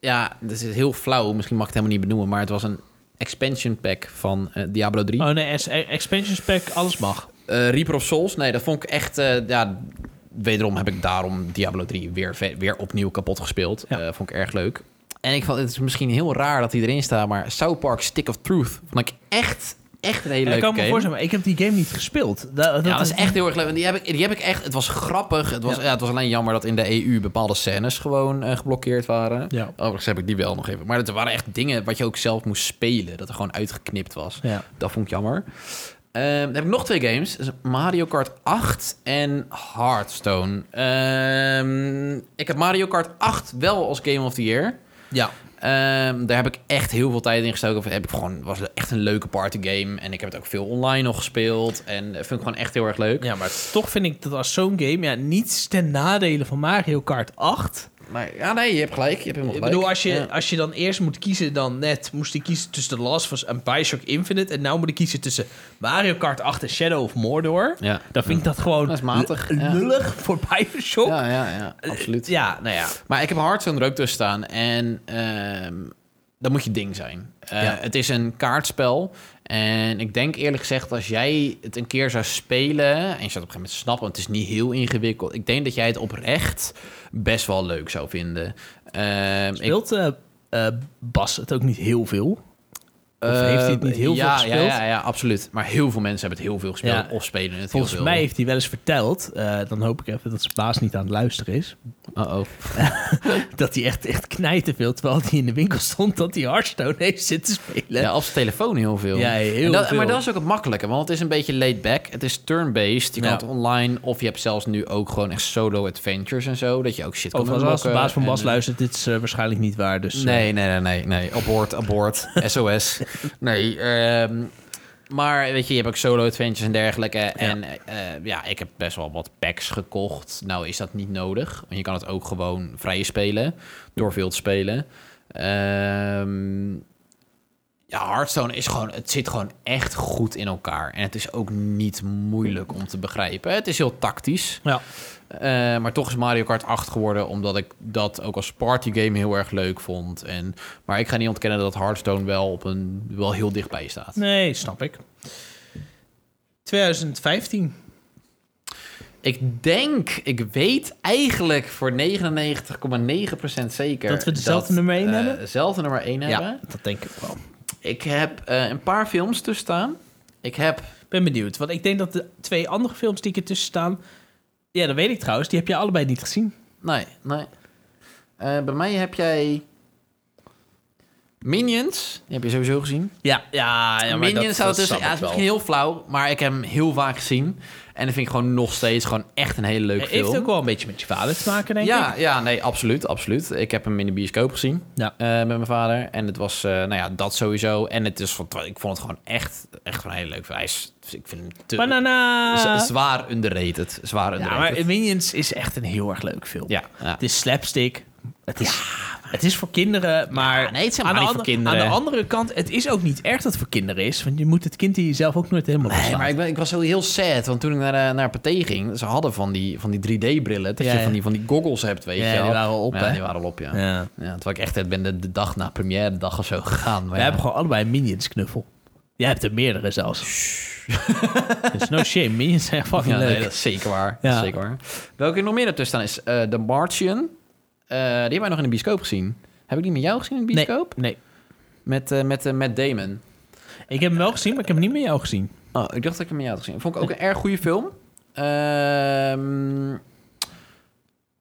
S2: ja, dit is heel flauw. Misschien mag ik het helemaal niet benoemen. Maar het was een expansion pack van eh, Diablo 3.
S1: Oh nee, S- expansion pack, alles mag.
S2: Eh, Reaper of Souls, nee, dat vond ik echt... eh, ja, wederom heb ik daarom Diablo 3 weer, ve- weer opnieuw kapot gespeeld.
S1: Ja.
S2: Eh, vond ik erg leuk. En ik vond het is misschien heel raar dat hij erin staat... maar South Park Stick of Truth vond ik echt, echt een hele
S1: ik
S2: leuke
S1: kan
S2: game.
S1: me voorstellen, maar ik heb die game niet gespeeld. Da-
S2: ja, dat is echt heel erg leuk. Want Die heb ik, die heb ik echt... Het was grappig. Het was, ja. het was alleen jammer dat in de EU bepaalde scènes gewoon eh, geblokkeerd waren.
S1: Ja.
S2: Overigens heb ik die wel nog even. Maar het waren echt dingen wat je ook zelf moest spelen. Dat er gewoon uitgeknipt was.
S1: Ja.
S2: Dat vond ik jammer. Ehm, dan heb ik nog twee games. Dus Mario Kart 8 en Hearthstone. Ehm, ik heb Mario Kart 8 wel als Game of the Year.
S1: Ja.
S2: Ehm, daar heb ik echt heel veel tijd in gestoken. Of Heb ik gewoon, was het echt een leuke party game. En ik heb het ook veel online nog gespeeld. En eh, vind ik gewoon echt heel erg leuk.
S1: ja, maar toch vind ik dat als zo'n game, ja, niets ten nadele van Mario Kart 8.
S2: Maar ja, nee, je hebt gelijk. Je hebt helemaal
S1: Ik
S2: gelijk.
S1: bedoel, als je,
S2: Ja.
S1: als je dan eerst moet kiezen, dan net moest ik kiezen tussen The Last of Us en Bioshock Infinite. En nou moet ik kiezen tussen Mario Kart 8 en Shadow of Mordor.
S2: Ja.
S1: Dan vind ik dat gewoon
S2: Dat is matig,
S1: l-
S2: ja.
S1: lullig voor Bioshock.
S2: Ja, ja, ja, absoluut.
S1: ja, nou ja.
S2: Maar ik heb Hearthstone er ook tussen staan. En ehm dat moet je ding zijn. Eh,
S1: Ja.
S2: Het is een kaartspel. En ik denk eerlijk gezegd, als jij het een keer zou spelen... en je zou het op een gegeven moment snappen, want het is niet heel ingewikkeld... ik denk dat jij het oprecht best wel leuk zou vinden. Ehm, ik-
S1: Speelt eh, eh, Bas het ook niet heel veel? Of heeft hij het niet heel
S2: Eh,
S1: veel
S2: ja,
S1: gespeeld?
S2: Ja, ja, ja, absoluut. Maar heel veel mensen hebben het heel veel gespeeld
S1: Ja.
S2: of spelen het
S1: Volgens
S2: heel veel.
S1: mij heeft hij wel eens verteld, eh, dan hoop ik even dat zijn baas niet aan het luisteren is,
S2: Uh-oh.
S1: dat hij echt, echt knijten veel, terwijl hij in de winkel stond, dat hij Hearthstone heeft zitten spelen.
S2: Ja, op zijn telefoon heel veel.
S1: Ja, heel
S2: En dat-
S1: veel.
S2: Maar dat is ook het makkelijke, want het is een beetje laid back. Het is turn-based, je
S1: Ja.
S2: kan het online... of je hebt zelfs nu ook gewoon echt solo-adventures en zo... dat je ook shit kan
S1: Overigens, eh, als de
S2: unlocken
S1: baas van
S2: en-
S1: Bas luistert, dit is eh, waarschijnlijk niet waar, dus... eh,
S2: Nee, nee, nee, nee, nee. Abort, abort, SOS. Nee, ehm, maar weet je, je hebt ook solo-adventures en dergelijke. En eh, eh, ja, ik heb best wel wat packs gekocht. Nou is dat niet nodig, want je kan het ook gewoon vrij spelen. Door veel te spelen. Ehm, ja, Hearthstone is gewoon, het zit gewoon echt goed in elkaar. En het is ook niet moeilijk om te begrijpen. Het is heel tactisch.
S1: Ja.
S2: Eh, maar toch is Mario Kart 8 geworden, omdat ik dat ook als partygame heel erg leuk vond. En, maar ik ga niet ontkennen dat Hearthstone wel, op een, wel heel dichtbij staat.
S1: Nee, snap ik. 2015.
S2: Ik denk, ik weet eigenlijk voor 99,9% zeker...
S1: Dat we dezelfde nummer één
S2: eh,
S1: hebben?
S2: Dezelfde nummer 1 hebben.
S1: dat denk ik wel.
S2: Ik heb eh, een paar films tussen staan. Ik heb...
S1: Ik ben benieuwd, want ik denk dat de twee andere films die er tussen staan... Ja, dat weet ik trouwens, die heb je allebei niet gezien.
S2: Nee, nee. Eh, bij mij heb jij... Minions. Die heb je sowieso gezien.
S1: Ja, ja, ja maar
S2: Minions
S1: dat,
S2: zou
S1: dat
S2: tussen.
S1: snap ik
S2: Ja, het is
S1: wel.
S2: misschien heel flauw, maar ik heb hem heel vaak gezien. En dat vind ik gewoon nog steeds gewoon echt een hele leuke
S1: Het heeft
S2: film.
S1: ook wel een beetje met je vader te maken, denk ik.
S2: ja, ja, nee, absoluut, absoluut. Ik heb hem in de bioscoop gezien
S1: Ja.
S2: eh, met mijn vader. En het was, eh, nou ja, dat sowieso. En het is, van- ik vond het gewoon echt, echt een hele leuke film. Hij is, ik vind hem te,
S1: Banana!
S2: z- zwaar underrated. Zwaar
S1: Ja,
S2: underrated.
S1: maar Minions is echt een heel erg leuk film.
S2: ja, ja.
S1: Het is slapstick. Het is, het is voor kinderen, maar...
S2: Ja, nee, het is helemaal
S1: aan de
S2: niet voor
S1: andere-
S2: kinderen.
S1: Aan de andere kant, het is ook niet erg dat het voor kinderen is. Want je moet het kind in jezelf ook nooit helemaal
S2: Nee,
S1: loslaten.
S2: maar ik, ben, ik was heel, heel sad, want toen ik naar, eh, naar Pathé ging... ze hadden van die, van die 3D-brillen, dat
S1: Ja,
S2: je
S1: ja.
S2: van die, van die goggles hebt, weet
S1: Ja,
S2: je
S1: die
S2: wel.
S1: waren al op,
S2: Ja,
S1: hè?
S2: die waren al op, ja.
S1: Ja.
S2: Ja, terwijl ik echt het ben de, de dag na première dag of zo gegaan. Maar
S1: Wij
S2: ja.
S1: hebben gewoon allebei een Minions knuffel. Jij hebt er meerdere zelfs.
S5: There's no shame. Minions zijn fucking
S2: ja, nee,
S5: leuk.
S2: dat is zeker waar.
S5: Ja.
S2: Dat is zeker waar. Welke er nog meer ertussen staan is eh The Martian. Eh, die hebben wij nog in de bioscoop gezien. Heb ik die met jou gezien in de
S5: Nee,
S2: bioscoop?
S5: nee.
S2: Met, eh met, eh, Matt Damon.
S5: Ik heb hem wel gezien, maar ik heb hem niet met jou gezien.
S2: Oh, ik dacht dat ik hem met jou had gezien. Vond ik ook een erg goede film. Ehm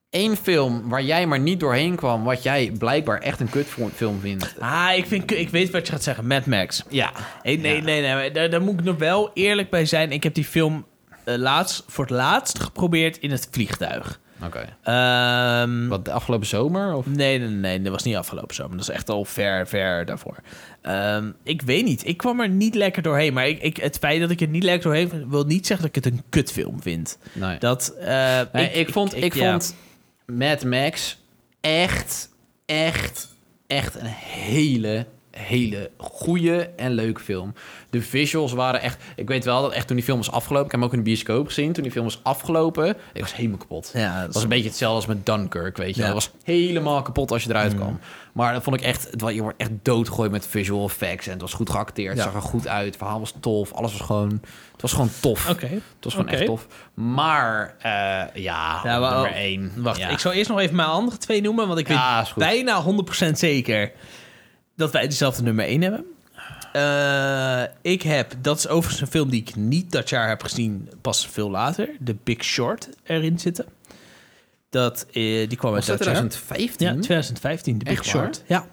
S2: Eén film waar jij maar niet doorheen kwam, wat jij blijkbaar echt een kutfilm vindt.
S1: Ah, ik, vind, ik weet wat je gaat zeggen. Mad Max.
S2: Ja.
S1: Hey, nee, nee, nee, maar Daar, daar moet ik nog wel eerlijk bij zijn. Ik heb die film eh, laatst, voor het laatst geprobeerd in het vliegtuig.
S2: Oké.
S1: Ehm,
S2: Wat, de afgelopen zomer? Of?
S1: Nee, nee, nee, dat was niet afgelopen zomer. Dat is echt al ver, ver daarvoor. Ehm, ik weet niet. Ik kwam er niet lekker doorheen. Maar ik, ik, het feit dat ik er niet lekker doorheen vind, wil niet zeggen dat ik het een kutfilm vind.
S2: Nee.
S1: Dat, eh,
S2: Nee, ik, vond, ik,
S1: ja.
S2: vond Mad Max echt, echt, echt een hele, hele goede en leuke film. De visuals waren echt... Ik weet wel dat echt toen die film was afgelopen... Ik heb hem ook in de bioscoop gezien. Toen die film was afgelopen, ik was helemaal kapot.
S1: Ja, dat
S2: Het
S1: is-
S2: was een beetje hetzelfde als met Dunkirk, weet je wel.
S1: Ja.
S2: Het was helemaal kapot als je eruit kwam. Maar dat vond ik echt... het wa- Je wordt echt doodgegooid met visual effects. En het was goed geacteerd.
S1: Ja.
S2: Het zag er goed uit. Het verhaal was tof. Alles was gewoon... Het was gewoon tof.
S5: Oké.
S2: Het was gewoon
S5: Oké.
S2: echt tof. Maar, eh, ja,
S1: Ja,
S2: op
S1: maar-
S2: nummer 1.
S1: Wacht,
S2: ja.
S1: ik zal eerst nog even mijn andere twee noemen. Want ik weet
S2: Ja, is goed.
S1: bijna 100% zeker dat wij dezelfde nummer 1 hebben. Eh, ik heb, dat is overigens een film die ik niet dat jaar heb gezien, pas veel later. De Big Short erin zitten. Dat, eh, die kwam uit
S2: Was dat
S1: dat jaar.
S2: 2015?
S1: Ja, 2015, de Big
S2: Echt waar?
S1: Short. Ja.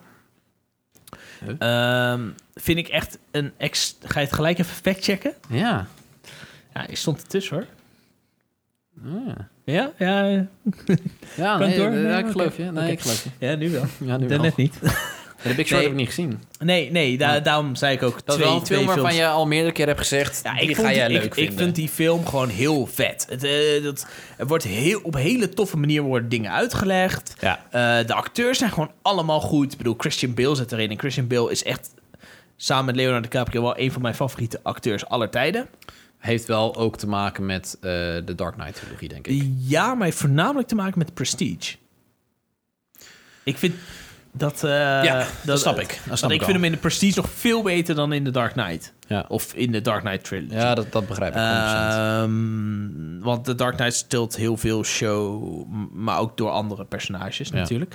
S1: Ehm, vind ik echt een... Ex Ga je het gelijk even factchecken?
S2: Ja.
S5: Ja, ik stond ertussen hoor.
S2: Ah, Ja,
S5: Ja, ja,
S2: ja
S5: Kan
S2: Ah, nee,
S5: het door?
S2: eh,
S5: Nee,
S2: ja, ik
S5: oké.
S2: geloof je. Nee,
S5: Oké.
S2: ik geloof je.
S5: ja, nu wel.
S2: Ja, nu wel.
S5: Daarnet niet.
S2: Ja, De Big Short
S1: Nee.
S2: heb ik niet gezien.
S1: Nee, nee, da-
S2: Ja.
S1: daarom zei ik ook
S2: Dat
S1: twee,
S2: is wel een
S1: twee
S2: film waarvan
S1: films.
S2: je al meerdere keer hebt gezegd...
S1: Ja,
S2: die
S1: ik,
S2: ga
S1: vond die,
S2: jij
S1: ik,
S2: leuk
S1: ik
S2: vinden.
S1: vind die film gewoon heel vet. Het, eh, dat, er wordt heel, op hele toffe manier worden dingen uitgelegd.
S2: Ja.
S1: Eh, de acteurs zijn gewoon allemaal goed. Ik bedoel, Christian Bale zit erin. En Christian Bale is echt, samen met Leonardo DiCaprio... wel een van mijn favoriete acteurs aller tijden.
S2: Heeft wel ook te maken met eh, de Dark Knight trilogie, denk ik.
S1: Ja, maar heeft voornamelijk te maken met prestige. Ik vind dat... eh,
S2: dat snap ik. Dat snap
S1: want
S2: ik
S1: ik
S2: wel.
S1: vind hem in de prestige nog veel beter dan in The Dark Knight.
S2: Ja,
S1: Of in de Dark Knight Trilogy.
S2: ja dat, dat begrijp ik 100%.
S1: Eh, Ehm, want The Dark Knight stilt heel veel show, m- maar ook door andere personages
S2: Ja.
S1: natuurlijk.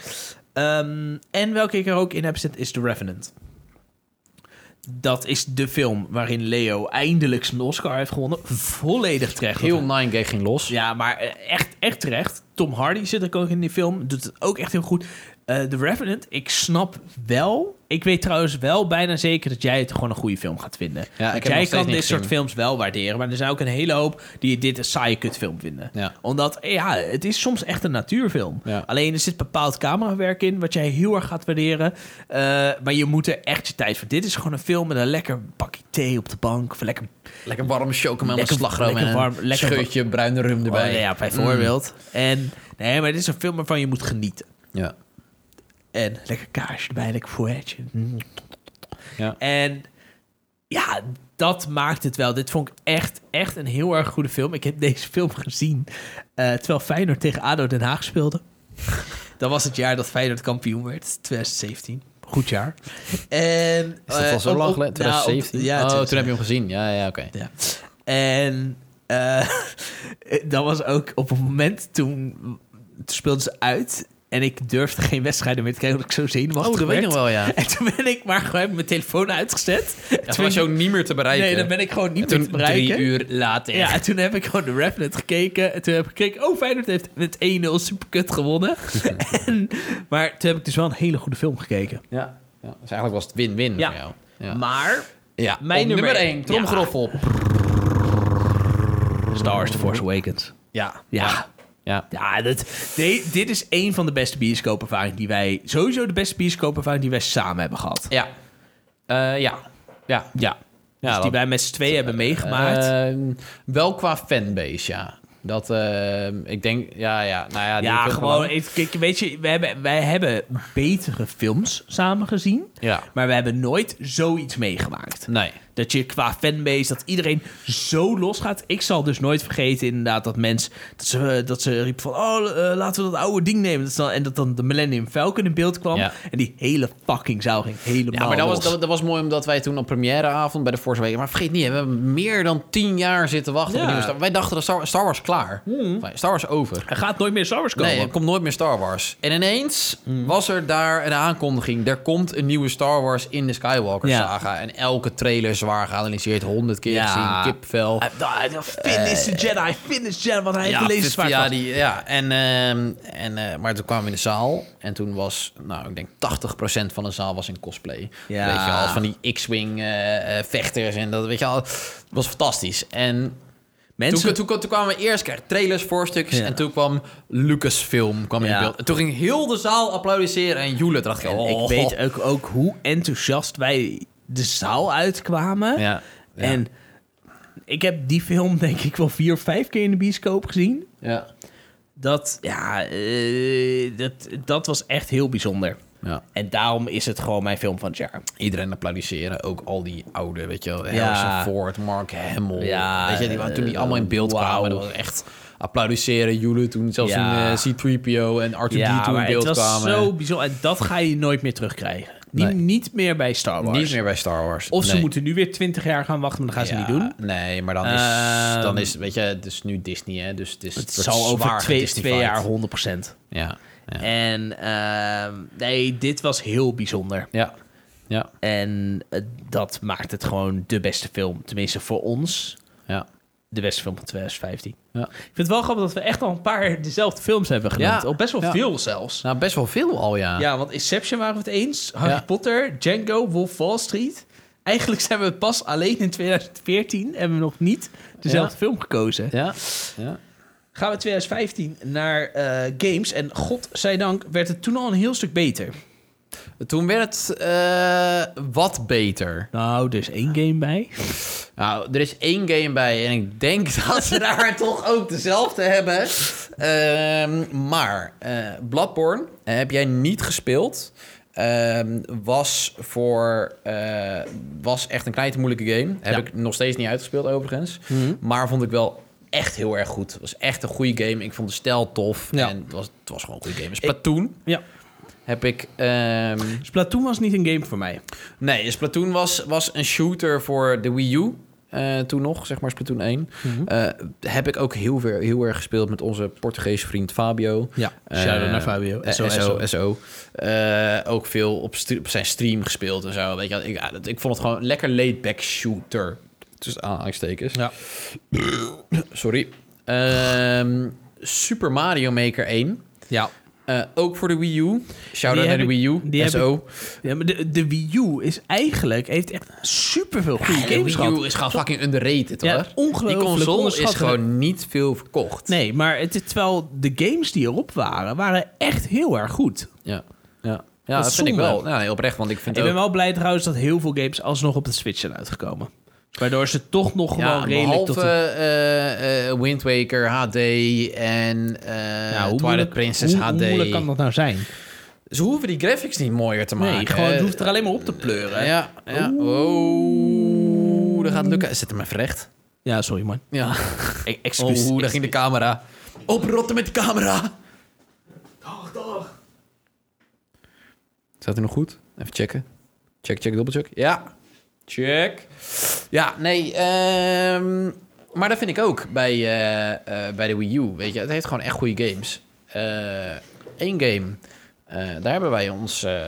S1: Ehm, en welke ik er ook in heb zitten is The Revenant. Dat is de film waarin Leo eindelijk zijn Oscar heeft gewonnen. Volledig terecht.
S2: Heel Nine Gag ging los.
S1: Ja, maar eh, echt, echt terecht. Tom Hardy zit er ook in die film. Doet het ook echt heel goed. Eh The Revenant, ik snap wel. Ik weet trouwens wel bijna zeker dat jij het gewoon een goede film gaat vinden.
S2: ik heb
S1: Want
S2: hem nog
S1: jij
S2: steeds
S1: kan
S2: niet
S1: dit soort
S2: gezien.
S1: films wel waarderen. Maar er zijn ook een hele hoop die dit een saaie kutfilm vinden.
S2: Ja.
S1: Omdat, eh, ja, het is soms echt een natuurfilm.
S2: Ja.
S1: Alleen er zit bepaald camerawerk in wat jij heel erg gaat waarderen. Eh, maar je moet er echt je tijd voor. Dit is gewoon een film met een lekker pakje thee op de bank. Of lekker
S2: Lekker warm chocomel met
S1: Lekker-
S2: slagroom
S1: lekker
S2: en een
S1: warm- lekker-
S2: scheutje bruine rum erbij. Mm.
S1: Oh, ja, bijvoorbeeld. En nee, maar dit is een film waarvan je moet genieten.
S2: Ja.
S1: En lekker kaasje erbij, lekker fouetje. Mm.
S2: Ja.
S1: En ja, dat maakt het wel. Dit vond ik echt, echt een heel erg goede film. Ik heb deze film gezien eh, terwijl Feyenoord tegen ADO Den Haag speelde. dat was het jaar dat Feyenoord kampioen werd, 2017. Goed jaar. En, eh,
S2: Is dat al zo lang geleden? 2017?
S1: ja,
S2: oh, toen heb je hem gezien. Ja, ja, oké.
S1: Ja. En eh, dat was ook op het moment toen, toen speelden ze uit. En ik durfde geen wedstrijden meer te kijken, omdat ik zo zenuwachtig
S2: Oh, dat weet
S1: werd.
S2: ik nog wel, ja.
S1: En toen ben ik maar gewoon mijn telefoon uitgezet.
S2: Ja,
S1: toen
S2: toen was je ook niet meer te bereiken.
S1: Nee, dan ben ik gewoon niet
S2: toen
S1: meer te bereiken.
S2: drie uur later.
S1: Ja, en toen heb ik gewoon de Rapnet gekeken. En toen heb ik gekeken, oh, Feyenoord heeft met 1-0 superkut gewonnen. en, maar toen heb ik dus wel een hele goede film gekeken.
S2: Ja. Ja, Dus eigenlijk was het win-win
S1: Ja.
S2: voor jou. Ja.
S1: Maar
S2: ja.
S1: mijn
S2: Op
S1: nummer
S2: nummer
S1: één.
S2: 1, tromgeroffel. Ja.
S1: Stars, The Force Awakens.
S2: Ja.
S1: Ja,
S2: ja.
S1: Ja, dat, de- dit is een van de beste bioscoopervaringen die wij... Sowieso de beste bioscoopervaring die wij samen hebben gehad.
S2: Ja. Eh, ja. Ja.
S1: Ja.
S2: Ja,
S1: dus
S2: Eh,
S1: die
S2: dat-
S1: wij met z'n tweeën hebben meegemaakt.
S2: Ehm, wel qua fanbase, ja. Dat, ehm, ik denk, ja, ja. Nou ja, die
S1: ja,
S2: film
S1: gewoon... even- Kijk, weet je, wij hebben, wij hebben betere films samen gezien.
S2: Ja.
S1: Maar we hebben nooit zoiets meegemaakt.
S2: Nee.
S1: Dat je qua fanbase, dat iedereen zo losgaat. Ik zal dus nooit vergeten inderdaad dat mensen... Dat ze, eh, dat ze riep van, oh, eh, laten we dat oude ding nemen. Dat is dan, en dat dan de Millennium Falcon in beeld kwam.
S2: Ja.
S1: En die hele fucking zaal ging helemaal
S2: Ja, maar dat
S1: los.
S2: was, dat, dat was mooi omdat wij toen op premièreavond bij de Force Awakens... Maar vergeet niet, we hebben meer dan tien jaar zitten wachten op
S1: Ja.
S2: een nieuwe Star Wij dachten dat Star, Star Wars klaar. Enfin, Star Wars over.
S1: Er gaat nooit meer Star Wars komen.
S2: Nee, er komt nooit meer Star Wars. En ineens
S1: Hmm.
S2: was er daar een aankondiging. Er komt een nieuwe Star Wars in de Skywalker
S1: Ja.
S2: saga. En elke trailer zwaar geanalyseerd. Honderd keer
S1: Ja.
S2: gezien, kipvel.
S1: Hij- hij- hij- Finish the Jedi, finish the Jedi, want hij heeft de
S2: dus
S1: laserswaard
S2: via
S1: vast.
S2: die, ja, en, ehm, en, eh, maar toen kwamen we in de zaal en toen was, nou, ik denk 80% van de zaal was in cosplay.
S1: Ja.
S2: Weet je al, van die X-Wing eh, eh, vechters en dat, weet je al. Het was fantastisch. En toen,
S1: Mensen,
S2: toen, toen, kwamen we eerst kreeg trailers, voorstukjes
S1: Ja.
S2: en toen kwam Lucasfilm kwam in
S1: Ja.
S2: beeld. En toen ging heel de zaal applaudisseren en joelen. Toen dacht ik,
S1: en
S2: oh.
S1: ik weet ook, ook hoe enthousiast wij de zaal uitkwamen.
S2: Ja, ja,
S1: En ik heb die film denk ik wel vier of vijf keer in de bioscoop gezien.
S2: ja,
S1: Dat, ja, eh, dat, dat was echt heel bijzonder.
S2: ja.
S1: En daarom is het gewoon mijn film van het jaar.
S2: Iedereen applaudisseren, ook al die oude, weet je wel,
S1: Ja.
S2: Harrison Ford, Mark Hamill.
S1: Ja,
S2: weet je, die, waren toen die
S1: eh,
S2: allemaal in beeld
S1: wauw.
S2: kwamen, dat was echt applaudisseren, joelen toen, zelfs toen
S1: Ja.
S2: eh, C-3PO en R2-D2 in
S1: maar het
S2: beeld
S1: was
S2: kwamen.
S1: zo bijzonder. En dat ga je nooit meer terugkrijgen. Die
S2: Nee.
S1: Niet meer bij Star Wars.
S2: Niet meer bij Star Wars.
S1: Of ze
S2: Nee.
S1: moeten nu weer twintig jaar gaan wachten, maar dat gaan ze
S2: Ja,
S1: niet doen.
S2: Nee, maar dan is,
S1: Ehm,
S2: dan is, weet je, het is nu Disney, hè, dus het is
S1: Het zal over twee, twee jaar 100
S2: Ja, ja,
S1: En ehm, nee, dit was heel bijzonder.
S2: ja, ja,
S1: En eh, dat maakt het gewoon de beste film. Tenminste voor ons,
S2: ja.
S1: de beste film van 2015.
S2: Ja.
S1: Ik vind het wel grappig dat we echt al een paar dezelfde films hebben genoemd.
S2: Ja,
S1: Al best wel
S2: ja.
S1: veel zelfs.
S2: Nou, best wel veel al, ja.
S1: Ja, want Inception waren we het eens. Harry
S2: Ja.
S1: Potter, Django, Wolf of Wall Street. Eigenlijk zijn we pas alleen in 2014 en we nog niet dezelfde
S2: Ja.
S1: film gekozen.
S2: ja. ja.
S1: Gaan we 2015 naar eh, games. En godzijdank werd het toen al een heel stuk beter.
S2: Toen werd het eh, wat beter.
S1: Nou, dus één game bij.
S2: Nou, er is één game bij en ik denk dat ze daar toch ook dezelfde hebben. Ehm, maar eh, Bloodborne eh, heb jij niet gespeeld. Ehm, was, voor, eh, was echt een knijte moeilijke game. Heb
S1: Ja.
S2: ik nog steeds niet uitgespeeld overigens. Maar vond ik wel echt heel erg goed. Het was echt een goede game. Ik vond de stijl tof.
S1: Ja.
S2: En het was, het was gewoon een goede game. Splatoon
S1: Ja.
S2: heb ik... ehm,
S1: Splatoon was niet een game voor mij.
S2: Nee, Splatoon was, was een shooter voor de Wii U. eh, toen nog, zeg maar Splatoon 1.
S1: Mhm.
S2: Eh, heb ik ook heel, veel, heel erg gespeeld met onze Portugese vriend Fabio.
S6: Ja,
S2: Eh,
S6: shout-out naar Fabio.
S2: eh,
S6: SO.
S2: SO. SO. Eh, ook veel op, stre- op zijn stream gespeeld en zo. Weet je, wel. ik, ja, dat- ik vond het gewoon een lekker laid-back shooter. Tussen aanhalingstekens.
S6: Ja.
S2: Sorry. Ehm, Super Mario Maker 1.
S6: Ja.
S2: Eh, ook voor de Wii U. Shout-out
S1: Die
S2: naar
S1: heb
S2: de
S1: ik-
S2: Wii U.
S1: die heb
S2: SO.
S1: Ja, maar de, de Wii U is eigenlijk... heeft echt superveel goede
S2: Ja, de
S1: games
S2: Wii
S1: gehad.
S2: U is gewoon fucking underrated,
S1: Ja,
S2: hoor. Die
S1: ongelooflijk
S2: console is
S1: onderschatten.
S2: gewoon niet veel verkocht.
S1: Nee, maar het is terwijl de games die erop waren, waren echt heel erg goed.
S2: Ja, ja. ja dat,
S1: is
S2: vind ik
S1: zonde.
S2: wel. Ja, nee, oprecht, want ik vind
S1: Ik
S2: ook...
S1: ben wel blij trouwens dat heel veel games alsnog op de Switch zijn uitgekomen. Waardoor ze toch nog
S2: ja,
S1: wel redelijk
S2: behalve
S1: tot... de-
S2: eh, eh, Wind Waker HD en eh
S1: Ja,
S2: Twilight
S1: moeilijk-
S2: Princess
S1: hoe-
S2: HD.
S1: Hoe moeilijk kan dat nou zijn?
S2: Ze hoeven die graphics niet mooier te maken.
S1: Nee, gewoon,
S2: Eh,
S1: je hoeft er alleen maar op te pleuren. Ja,
S2: Ja, ja. Oh, dat gaat lukken. Zet hem even recht.
S1: sorry man.
S2: Ja.
S1: E- Excuus.
S2: Oh, daar ging de camera. Oprotten met de camera. Dag, dag. Staat hij nog goed? Even checken. Check, check, dubbelcheck. Ja. Check. Ja, nee. ehm, maar dat vind ik ook bij, eh, eh, bij de Wii U. Weet je, het heeft gewoon echt goede games. Eén game. eh, daar hebben wij ons eh,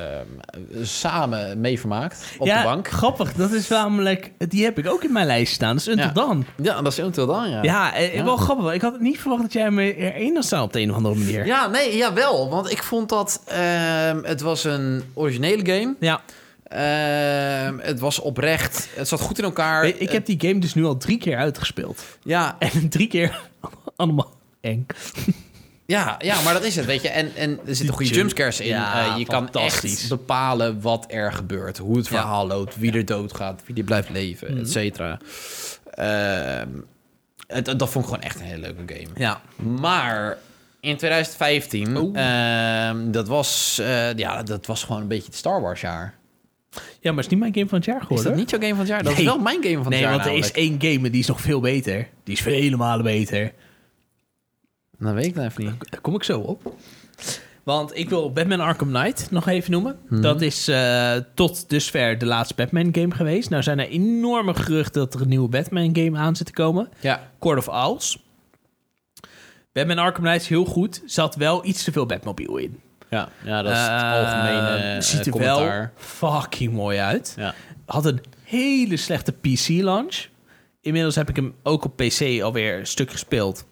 S2: samen mee vermaakt. Op
S1: ja,
S2: de bank.
S1: grappig. Dat is namelijk... Die heb ik ook in mijn lijst staan. Dus Until
S2: Ja.
S1: Dan.
S2: Ja, dat is heel dan,
S1: Ja, eh,
S2: Ja.
S1: wel grappig. Ik had niet verwacht dat jij me er één zou staan op de een of andere manier. Ja.
S2: Ja, nee, jawel. Want ik vond dat... ehm, het was een originele game. Ehm, het was oprecht. Het zat goed in elkaar. Eh,
S1: Ik, ik heb die game dus nu al drie keer uitgespeeld.
S2: ja,
S1: En drie keer allemaal eng.
S2: ja, ja, maar dat is het, weet je. En, en er zitten goede
S1: jump-
S2: jumpscares in.
S1: Ja,
S2: Eh, je kan echt
S1: fantastisch.
S2: bepalen wat er gebeurt. Hoe het verhaal loopt. Wie er doodgaat. Wie er blijft leven.
S1: Mhm.
S2: Et cetera. Ehm, het- dat vond ik gewoon echt een hele leuke game.
S1: Ja.
S2: Maar in
S1: Oh.
S2: 2015, ehm, dat, was, eh, ja, dat was gewoon een beetje het Star Wars jaar.
S1: Ja, maar het is niet mijn game van het jaar
S2: Is
S1: geworden.
S2: dat niet jouw game van het jaar? Dat
S3: Nee.
S2: is wel mijn game van het
S3: nee,
S2: jaar
S3: want er is
S2: namelijk.
S3: één game en die is nog veel beter. Die is vele malen beter.
S2: Dat weet ik nou even niet.
S1: Daar kom ik zo op. Want ik wil Batman Arkham Knight nog even noemen.
S2: Mhm.
S1: Dat is eh, tot dusver de laatste Batman game geweest. Nou zijn er enorme geruchten dat er een nieuwe Batman game aan zit te komen.
S2: Ja,
S1: Court of Owls. Batman Arkham Knight is heel goed. Zat wel iets te veel Batmobile in.
S2: ja, ja dat is het
S1: Eh,
S2: algemene eh,
S1: Ziet er
S2: commentaar.
S1: wel fucking mooi uit.
S2: Ja.
S1: Had een hele slechte PC-launch. Inmiddels heb ik hem ook op PC alweer een stuk gespeeld.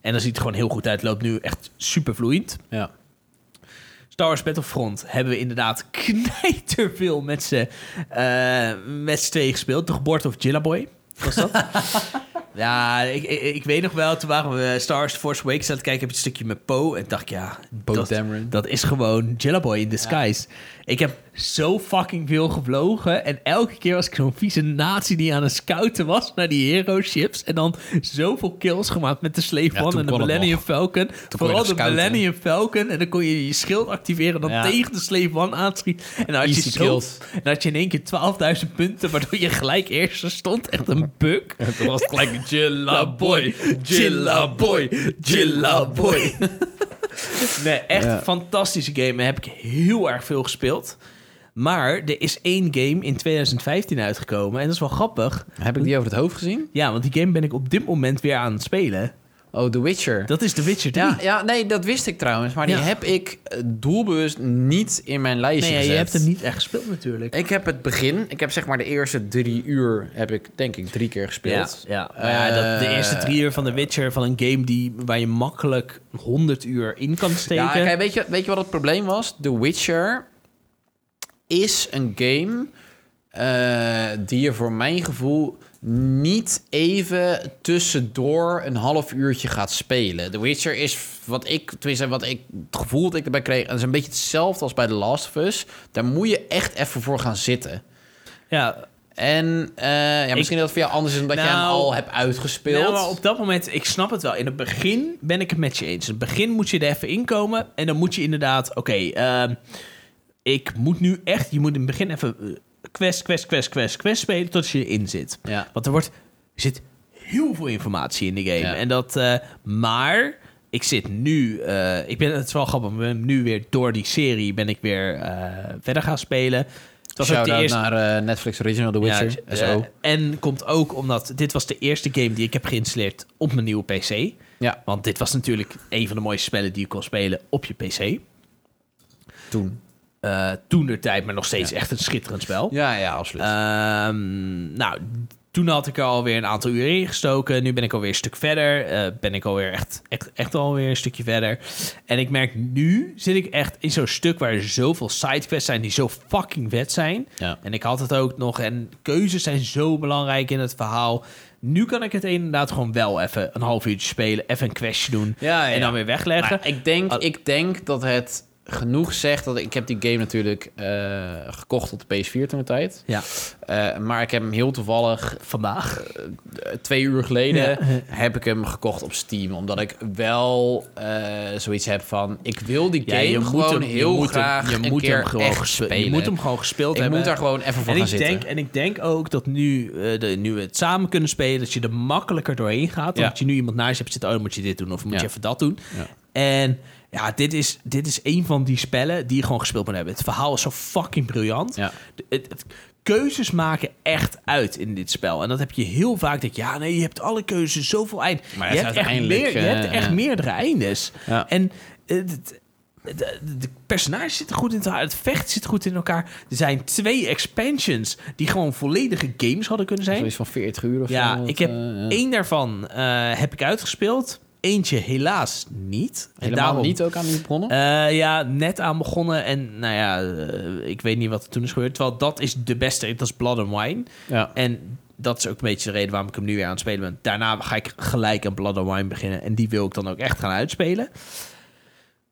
S1: En dan ziet het gewoon heel goed uit. Loopt nu echt super vloeiend.
S2: Ja.
S1: Star Wars Battlefront hebben we inderdaad knijterveel met z'n eh, met z'n tweeën gespeeld. De geboorte of Jillaboy was dat. ja, ik, ik, ik weet nog wel, toen waren we Star Wars The Force Awakens aan het kijken, heb ik een stukje met Poe. En dacht ik, ja,
S2: Bo
S1: dat,
S2: Dameron.
S1: dat is gewoon Jillaboy in disguise. Ik heb zo fucking veel gevlogen. En elke keer was ik zo'n vieze nazi die aan het scouten was naar die hero ships. En dan zoveel kills gemaakt met de Slave
S2: Ja,
S1: One
S2: toen
S1: en de
S2: kon het
S1: Millennium
S2: nog.
S1: Falcon.
S2: nog
S1: Vooral de
S2: scouten.
S1: Millennium je Falcon en dan kon je je schild activeren en dan
S2: Ja.
S1: tegen de Slave One aanschieten. En dan had, je
S2: Easy
S1: zo,
S2: kills.
S1: en dan had je in één keer 12.000 punten, waardoor je gelijk eerste stond. Echt een buk.
S2: Dat was gelijk Jilla
S1: boy, Jilla boy, Jilla boy. nee, echt
S2: Ja.
S1: een fantastische game. En heb ik heel erg veel gespeeld. Maar er is één game in 2015 uitgekomen. En dat is wel grappig.
S2: Heb ik die over het hoofd gezien?
S1: Ja, want die game ben ik op dit moment weer aan het spelen.
S2: Oh, The Witcher.
S1: Dat is The Witcher 3.
S2: Ja, ja, nee, dat wist ik trouwens. Maar
S1: Ja.
S2: die heb ik eh, doelbewust niet in mijn lijstje
S1: nee, ja, je
S2: gezet.
S1: hebt hem niet echt gespeeld natuurlijk.
S2: Ik heb het begin. Ik heb zeg maar de eerste drie uur, heb ik denk ik drie keer gespeeld.
S1: Ja, ja. Maar ja, dat, de
S2: Eh,
S1: eerste drie uur van The Witcher, van een game die, waar je makkelijk 100 uur in kan steken.
S2: Ja, kijk, weet je, weet je wat het probleem was? The Witcher is een game eh, die je voor mijn gevoel niet even tussendoor een half uurtje gaat spelen. The Witcher is wat ik, tenminste wat ik het gevoel dat ik erbij kreeg, dat is een beetje hetzelfde als bij The Last of Us. Daar moet je echt even voor gaan zitten.
S1: ja,
S2: En eh, ja, misschien dat het voor jou anders is omdat je hem
S1: Nou,
S2: al hebt uitgespeeld.
S1: Nou, maar op dat moment, ik snap het wel. In het begin ben ik het met je eens. In het begin moet je er even inkomen. En dan moet je inderdaad, oké, ehm, ik moet nu echt, je moet in het begin even eh, quest, quest, quest, quest, quest spelen tot je erin zit.
S2: Ja.
S1: Want er wordt, er zit heel veel informatie in de game.
S2: Ja.
S1: En dat, eh, maar ik zit nu, eh, ik ben, het is wel grappig, ik ben nu weer door die serie ben ik weer eh, verder gaan spelen. Het was ook de
S2: Shout-out
S1: eerste-
S2: naar eh, Netflix Original The Witcher.
S1: ja,
S2: SO.
S1: eh, en komt ook omdat dit was de eerste game die ik heb geïnstalleerd op mijn nieuwe PC.
S2: ja,
S1: Want dit was natuurlijk een van de mooiste spellen die je kon spelen op je PC.
S2: toen.
S1: toen de tijd, maar nog steeds echt een schitterend spel.
S2: Ja, ja, absoluut.
S1: Ehm, nou, toen had ik er alweer een aantal uren in gestoken. Nu ben ik alweer een stuk verder. Eh, ben ik alweer echt, echt, echt alweer een stukje verder. En ik merk nu zit ik echt in zo'n stuk waar er zoveel sidequests zijn die zo fucking vet zijn.
S2: Ja.
S1: En ik had het ook nog. En keuzes zijn zo belangrijk in het verhaal. Nu kan ik het inderdaad gewoon wel even een half uurtje spelen. Even een questje doen.
S2: Ja, ja.
S1: En dan weer wegleggen.
S2: Maar ik, denk,
S1: Al-
S2: ik denk dat het genoeg zegt. Dat, ik heb die game natuurlijk eh, gekocht op de PS4 toen de tijd.
S1: ja,
S2: Eh, maar ik heb hem heel toevallig,
S1: vandaag.
S2: eh, twee uur geleden, heb ik hem gekocht op Steam. Omdat ik wel eh, zoiets heb van, ik wil die game gewoon
S1: je
S2: heel
S1: moet hem-
S2: graag
S1: je
S2: een
S1: moet
S2: keer
S1: hem gewoon
S2: echt
S1: gespe-
S2: spelen.
S1: Je moet hem gewoon gespeeld
S2: ik
S1: hebben.
S2: moet daar gewoon even voor
S1: en
S2: gaan
S1: ik,
S2: zitten.
S1: denk, en ik denk ook dat nu, eh, de, nu we het samen kunnen spelen, dat je er makkelijker doorheen gaat.
S2: Ja.
S1: Omdat je nu iemand naast je hebt zitten, oh, dan moet je dit doen of moet
S2: Ja.
S1: je even dat doen.
S2: Ja.
S1: En ja, dit is, dit is een van die spellen die je gewoon gespeeld moet hebben. Het verhaal is zo fucking briljant.
S2: Ja.
S1: De- het- het- keuzes maken echt uit in dit spel. En dat heb je heel vaak dat je, ja, nee, je hebt alle keuzes, zoveel eind.
S2: Maar
S1: je
S2: het
S1: hebt
S2: is
S1: echt,
S2: uiteindelijk,
S1: meer, je
S2: eh,
S1: hebt echt
S2: ja.
S1: meerdere eindes.
S2: Ja.
S1: En eh, het- het- de, de personages zitten goed in elkaar, het vecht zit goed in elkaar. Er zijn twee expansions die gewoon volledige games hadden kunnen zijn.
S2: Zoiets van 40 uur of
S1: Ja,
S2: zo. dat,
S1: ik heb
S2: eh, ja.
S1: één daarvan eh, heb ik uitgespeeld. Eentje helaas niet. En
S2: Helemaal
S1: daarom-
S2: niet ook aan die bronnen?
S1: eh, ja, net aan begonnen. En nou ja, eh, ik weet niet wat er toen is gebeurd. Terwijl dat is de beste. Dat is Blood and Wine.
S2: ja.
S1: En dat is ook een beetje de reden waarom ik hem nu weer aan het spelen ben. Daarna ga ik gelijk aan Blood and Wine beginnen. En die wil ik dan ook echt gaan uitspelen.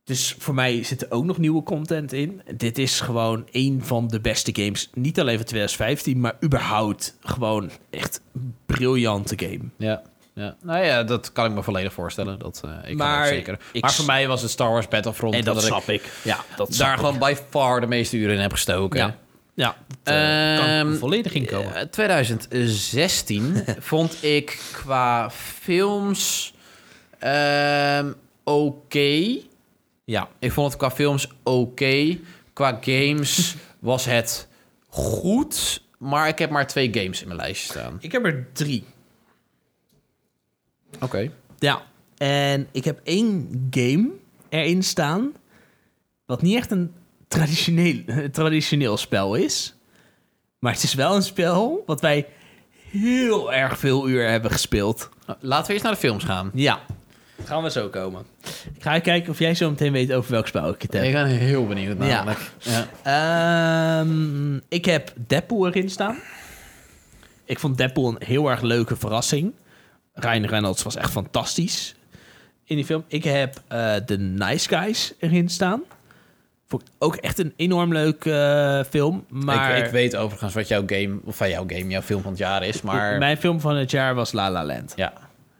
S1: Dus voor mij zit er ook nog nieuwe content in. Dit is gewoon een van de beste games. Niet alleen van 2015, maar überhaupt gewoon echt een briljante game.
S2: Ja. Ja. Nou ja, dat kan ik me volledig voorstellen. Dat, eh, ik maar,
S1: Maar
S2: zeker.
S1: ik
S2: maar
S1: s-
S2: voor mij was het Star Wars Battlefront...
S1: En dat
S2: omdat
S1: snap ik. Ja, dat
S2: daar gewoon by far de meeste uren in heb gestoken.
S1: Ja.
S7: Ja, dat eh,
S2: Ehm,
S7: kan volledig inkomen.
S2: Eh, 2016 vond ik qua films ehm, oké.
S7: ja.
S2: Ik vond het qua films oké. Qua games was het goed. Maar ik heb maar twee games in mijn lijstje staan.
S7: Ik heb er drie.
S2: Oké.
S7: Ja.
S1: En ik heb één game erin staan. Wat niet echt een traditioneel, traditioneel spel is. Maar het is wel een spel wat wij heel erg veel uur hebben gespeeld.
S2: Nou, Laten we eerst naar de films gaan.
S1: Ja.
S7: Gaan we zo komen.
S1: Ik ga kijken of jij zo meteen weet over welk spel ik het heb.
S2: Ik ben heel benieuwd
S1: Ja.
S2: namelijk. Ja.
S1: Ehm, ik heb Deadpool erin staan. Ik vond Deadpool een heel erg leuke verrassing. Ryan Reynolds was echt fantastisch in die film. Ik heb eh The Nice Guys erin staan. Vond ik ook echt een enorm leuke eh, film. Maar
S2: Ik, ik weet overigens wat jouw game, of van jouw game, jouw film van het jaar is. Maar
S1: mijn film van het jaar was La La Land.
S2: ja.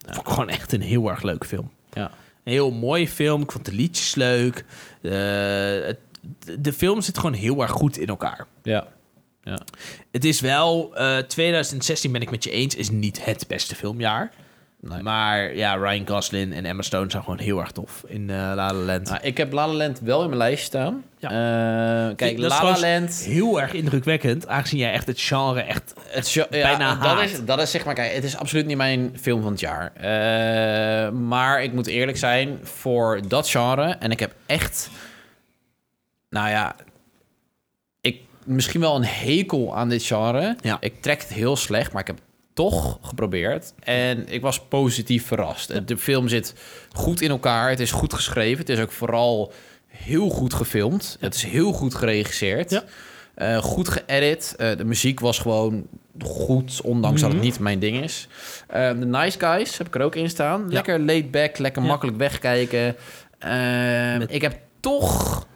S1: Vond ik gewoon echt een heel erg leuke film.
S2: ja.
S1: Een heel mooie film. Ik vond de liedjes leuk. Eh, het- de- de film zit gewoon heel erg goed in elkaar.
S2: Ja.
S1: Het is wel, eh, 2016 ben ik met je eens, is niet het beste filmjaar.
S2: Nee.
S1: Maar ja, Ryan Gosling en Emma Stone zijn gewoon heel erg tof in eh La La Land.
S2: Nou, ik heb La La Land wel in mijn lijstje staan. Eh, kijk,
S1: Dat is
S2: La La
S1: trouwens
S2: Land...
S1: Heel erg indrukwekkend, aangezien jij echt het genre echt...
S2: Het is, ja,
S1: bijna
S2: dat
S1: haat.
S2: is, dat is zeg maar, kijk, het is absoluut niet mijn film van het jaar. Eh, maar ik moet eerlijk zijn, voor dat genre, en ik heb echt, nou ja, ik misschien wel een hekel aan dit genre.
S1: Ja.
S2: Ik trek het heel slecht, maar ik heb het toch geprobeerd. En ik was positief verrast. De film zit goed in elkaar, het is goed geschreven, het is ook vooral heel goed gefilmd. Het is heel goed geregisseerd.
S7: Ja.
S2: Eh, goed geëdit. Eh, de muziek was gewoon goed, ondanks
S1: Mhm.
S2: dat het niet mijn ding is. Eh, de Nice Guys heb ik er ook in staan. Lekker laid back, lekker
S7: Ja.
S2: makkelijk wegkijken. Ehm, Ik heb toch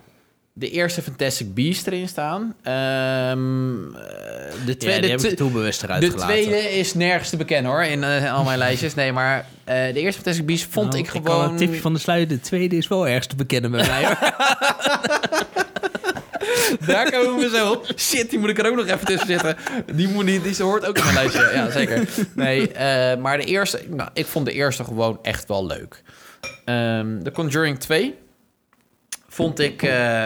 S2: de eerste Fantastic Beast erin staan. Ehm, eh, de
S1: Ja,
S2: tweede,
S1: die heb ik
S2: twe-
S1: er toen bewust eruit
S2: de
S1: gelaten.
S2: tweede is nergens te bekennen hoor, in eh, al mijn lijstjes. Nee, maar eh, de eerste Fantastic Beast vond
S1: Nou,
S2: ik
S1: Ik kan wel
S2: gewoon...
S1: een tipje van de sluier, de tweede is wel ergens te bekennen bij mij. hoor.
S2: Daar komen we zo op. Shit, die moet ik er ook nog even tussen zitten. Die, moet, die, die hoort ook in mijn lijstje. Ja, zeker. Nee, eh, maar de eerste... Nou, ik vond de eerste gewoon echt wel leuk. Ehm The Conjuring 2 vond ik, eh,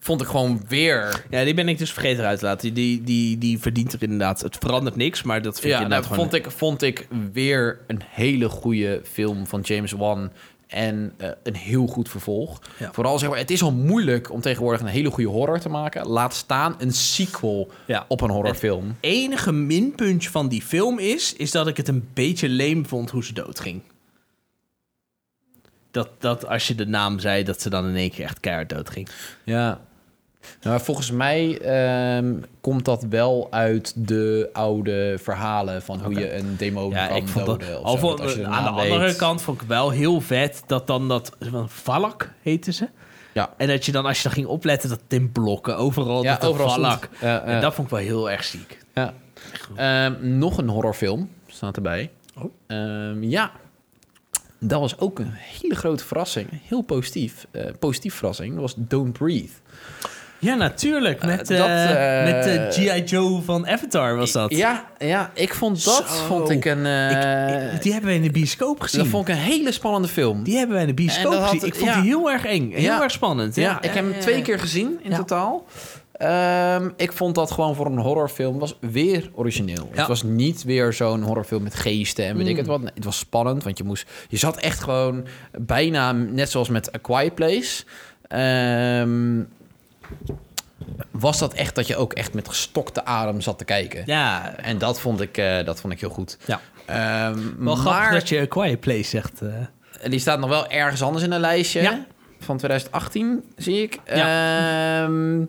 S2: vond ik gewoon weer...
S1: ja, die ben ik dus vergeten eruit te laten. Die, die, die verdient er inderdaad, het verandert niks, maar dat vind
S2: Ja,
S1: ik
S2: nou,
S1: inderdaad gewoon...
S2: vond, ik, vond ik weer een hele goede film van James Wan. En eh, een heel goed vervolg.
S1: Ja.
S2: Vooral zeg maar, het is al moeilijk om tegenwoordig een hele goede horror te maken. Laat staan een sequel
S1: Ja.
S2: op een horrorfilm.
S1: enige minpuntje van die film is, is dat ik het een beetje leem vond hoe ze doodging. Dat, dat als je de naam zei, dat ze dan in één keer echt keihard doodging.
S2: Ja. Nou, maar volgens mij ehm, komt dat wel uit de oude verhalen van hoe
S1: Oké.
S2: je een demon
S1: Ja,
S2: kan
S1: ik vond dat,
S2: doden. of
S1: al
S2: zo.
S1: vond-
S2: Dat als je
S1: aan de
S2: naam weet.
S1: andere kant vond ik wel heel vet dat dan dat... want Valak heette ze.
S2: Ja.
S1: En dat je dan, als je dan ging opletten, dat in blokken overal...
S2: Ja,
S1: dat er
S2: overal
S1: Valak.
S2: stond. Ja, ja.
S1: En dat vond ik wel heel erg ziek.
S2: Ja. Ehm, nog een horrorfilm staat erbij.
S7: Oh.
S2: Ehm, ja. Dat was ook een hele grote verrassing. Heel positief. Eh, positief verrassing. Dat was Don't Breathe.
S1: Ja, natuurlijk. Met,
S2: Eh, dat,
S1: eh,
S2: eh,
S1: met de G.I. Joe van Avatar was dat.
S2: Ja, ja ik vond dat
S1: Zo.
S2: vond ik een... eh,
S1: Ik- ik- die hebben we in de bioscoop gezien.
S2: dat vond ik een hele spannende film.
S1: Die hebben wij in de
S2: En
S1: bioscoop
S2: dat had-
S1: gezien. Ik vond
S2: ja.
S1: die heel erg eng. Heel
S2: Ja.
S1: erg spannend. Ja,
S2: Ja, ik heb hem twee keer gezien in
S1: Ja.
S2: totaal. Ehm, ik vond dat gewoon voor een horrorfilm was weer origineel.
S1: Ja. Mm.
S2: Het was niet weer zo'n horrorfilm met geesten en weet ik het wat. Nee, het was spannend, want je moest, je zat echt gewoon bijna net zoals met A Quiet Place. Ehm, was dat echt dat je ook echt met gestokte adem zat te kijken?
S1: Ja,
S2: En dat vond ik, eh, dat vond ik heel goed.
S1: Ja.
S2: Ehm,
S1: wel grappig
S2: maar
S1: dat je A Quiet Place zegt. eh.
S2: die staat nog wel ergens anders in een lijstje.
S1: Ja.
S2: Van 2018, zie ik. Ehm,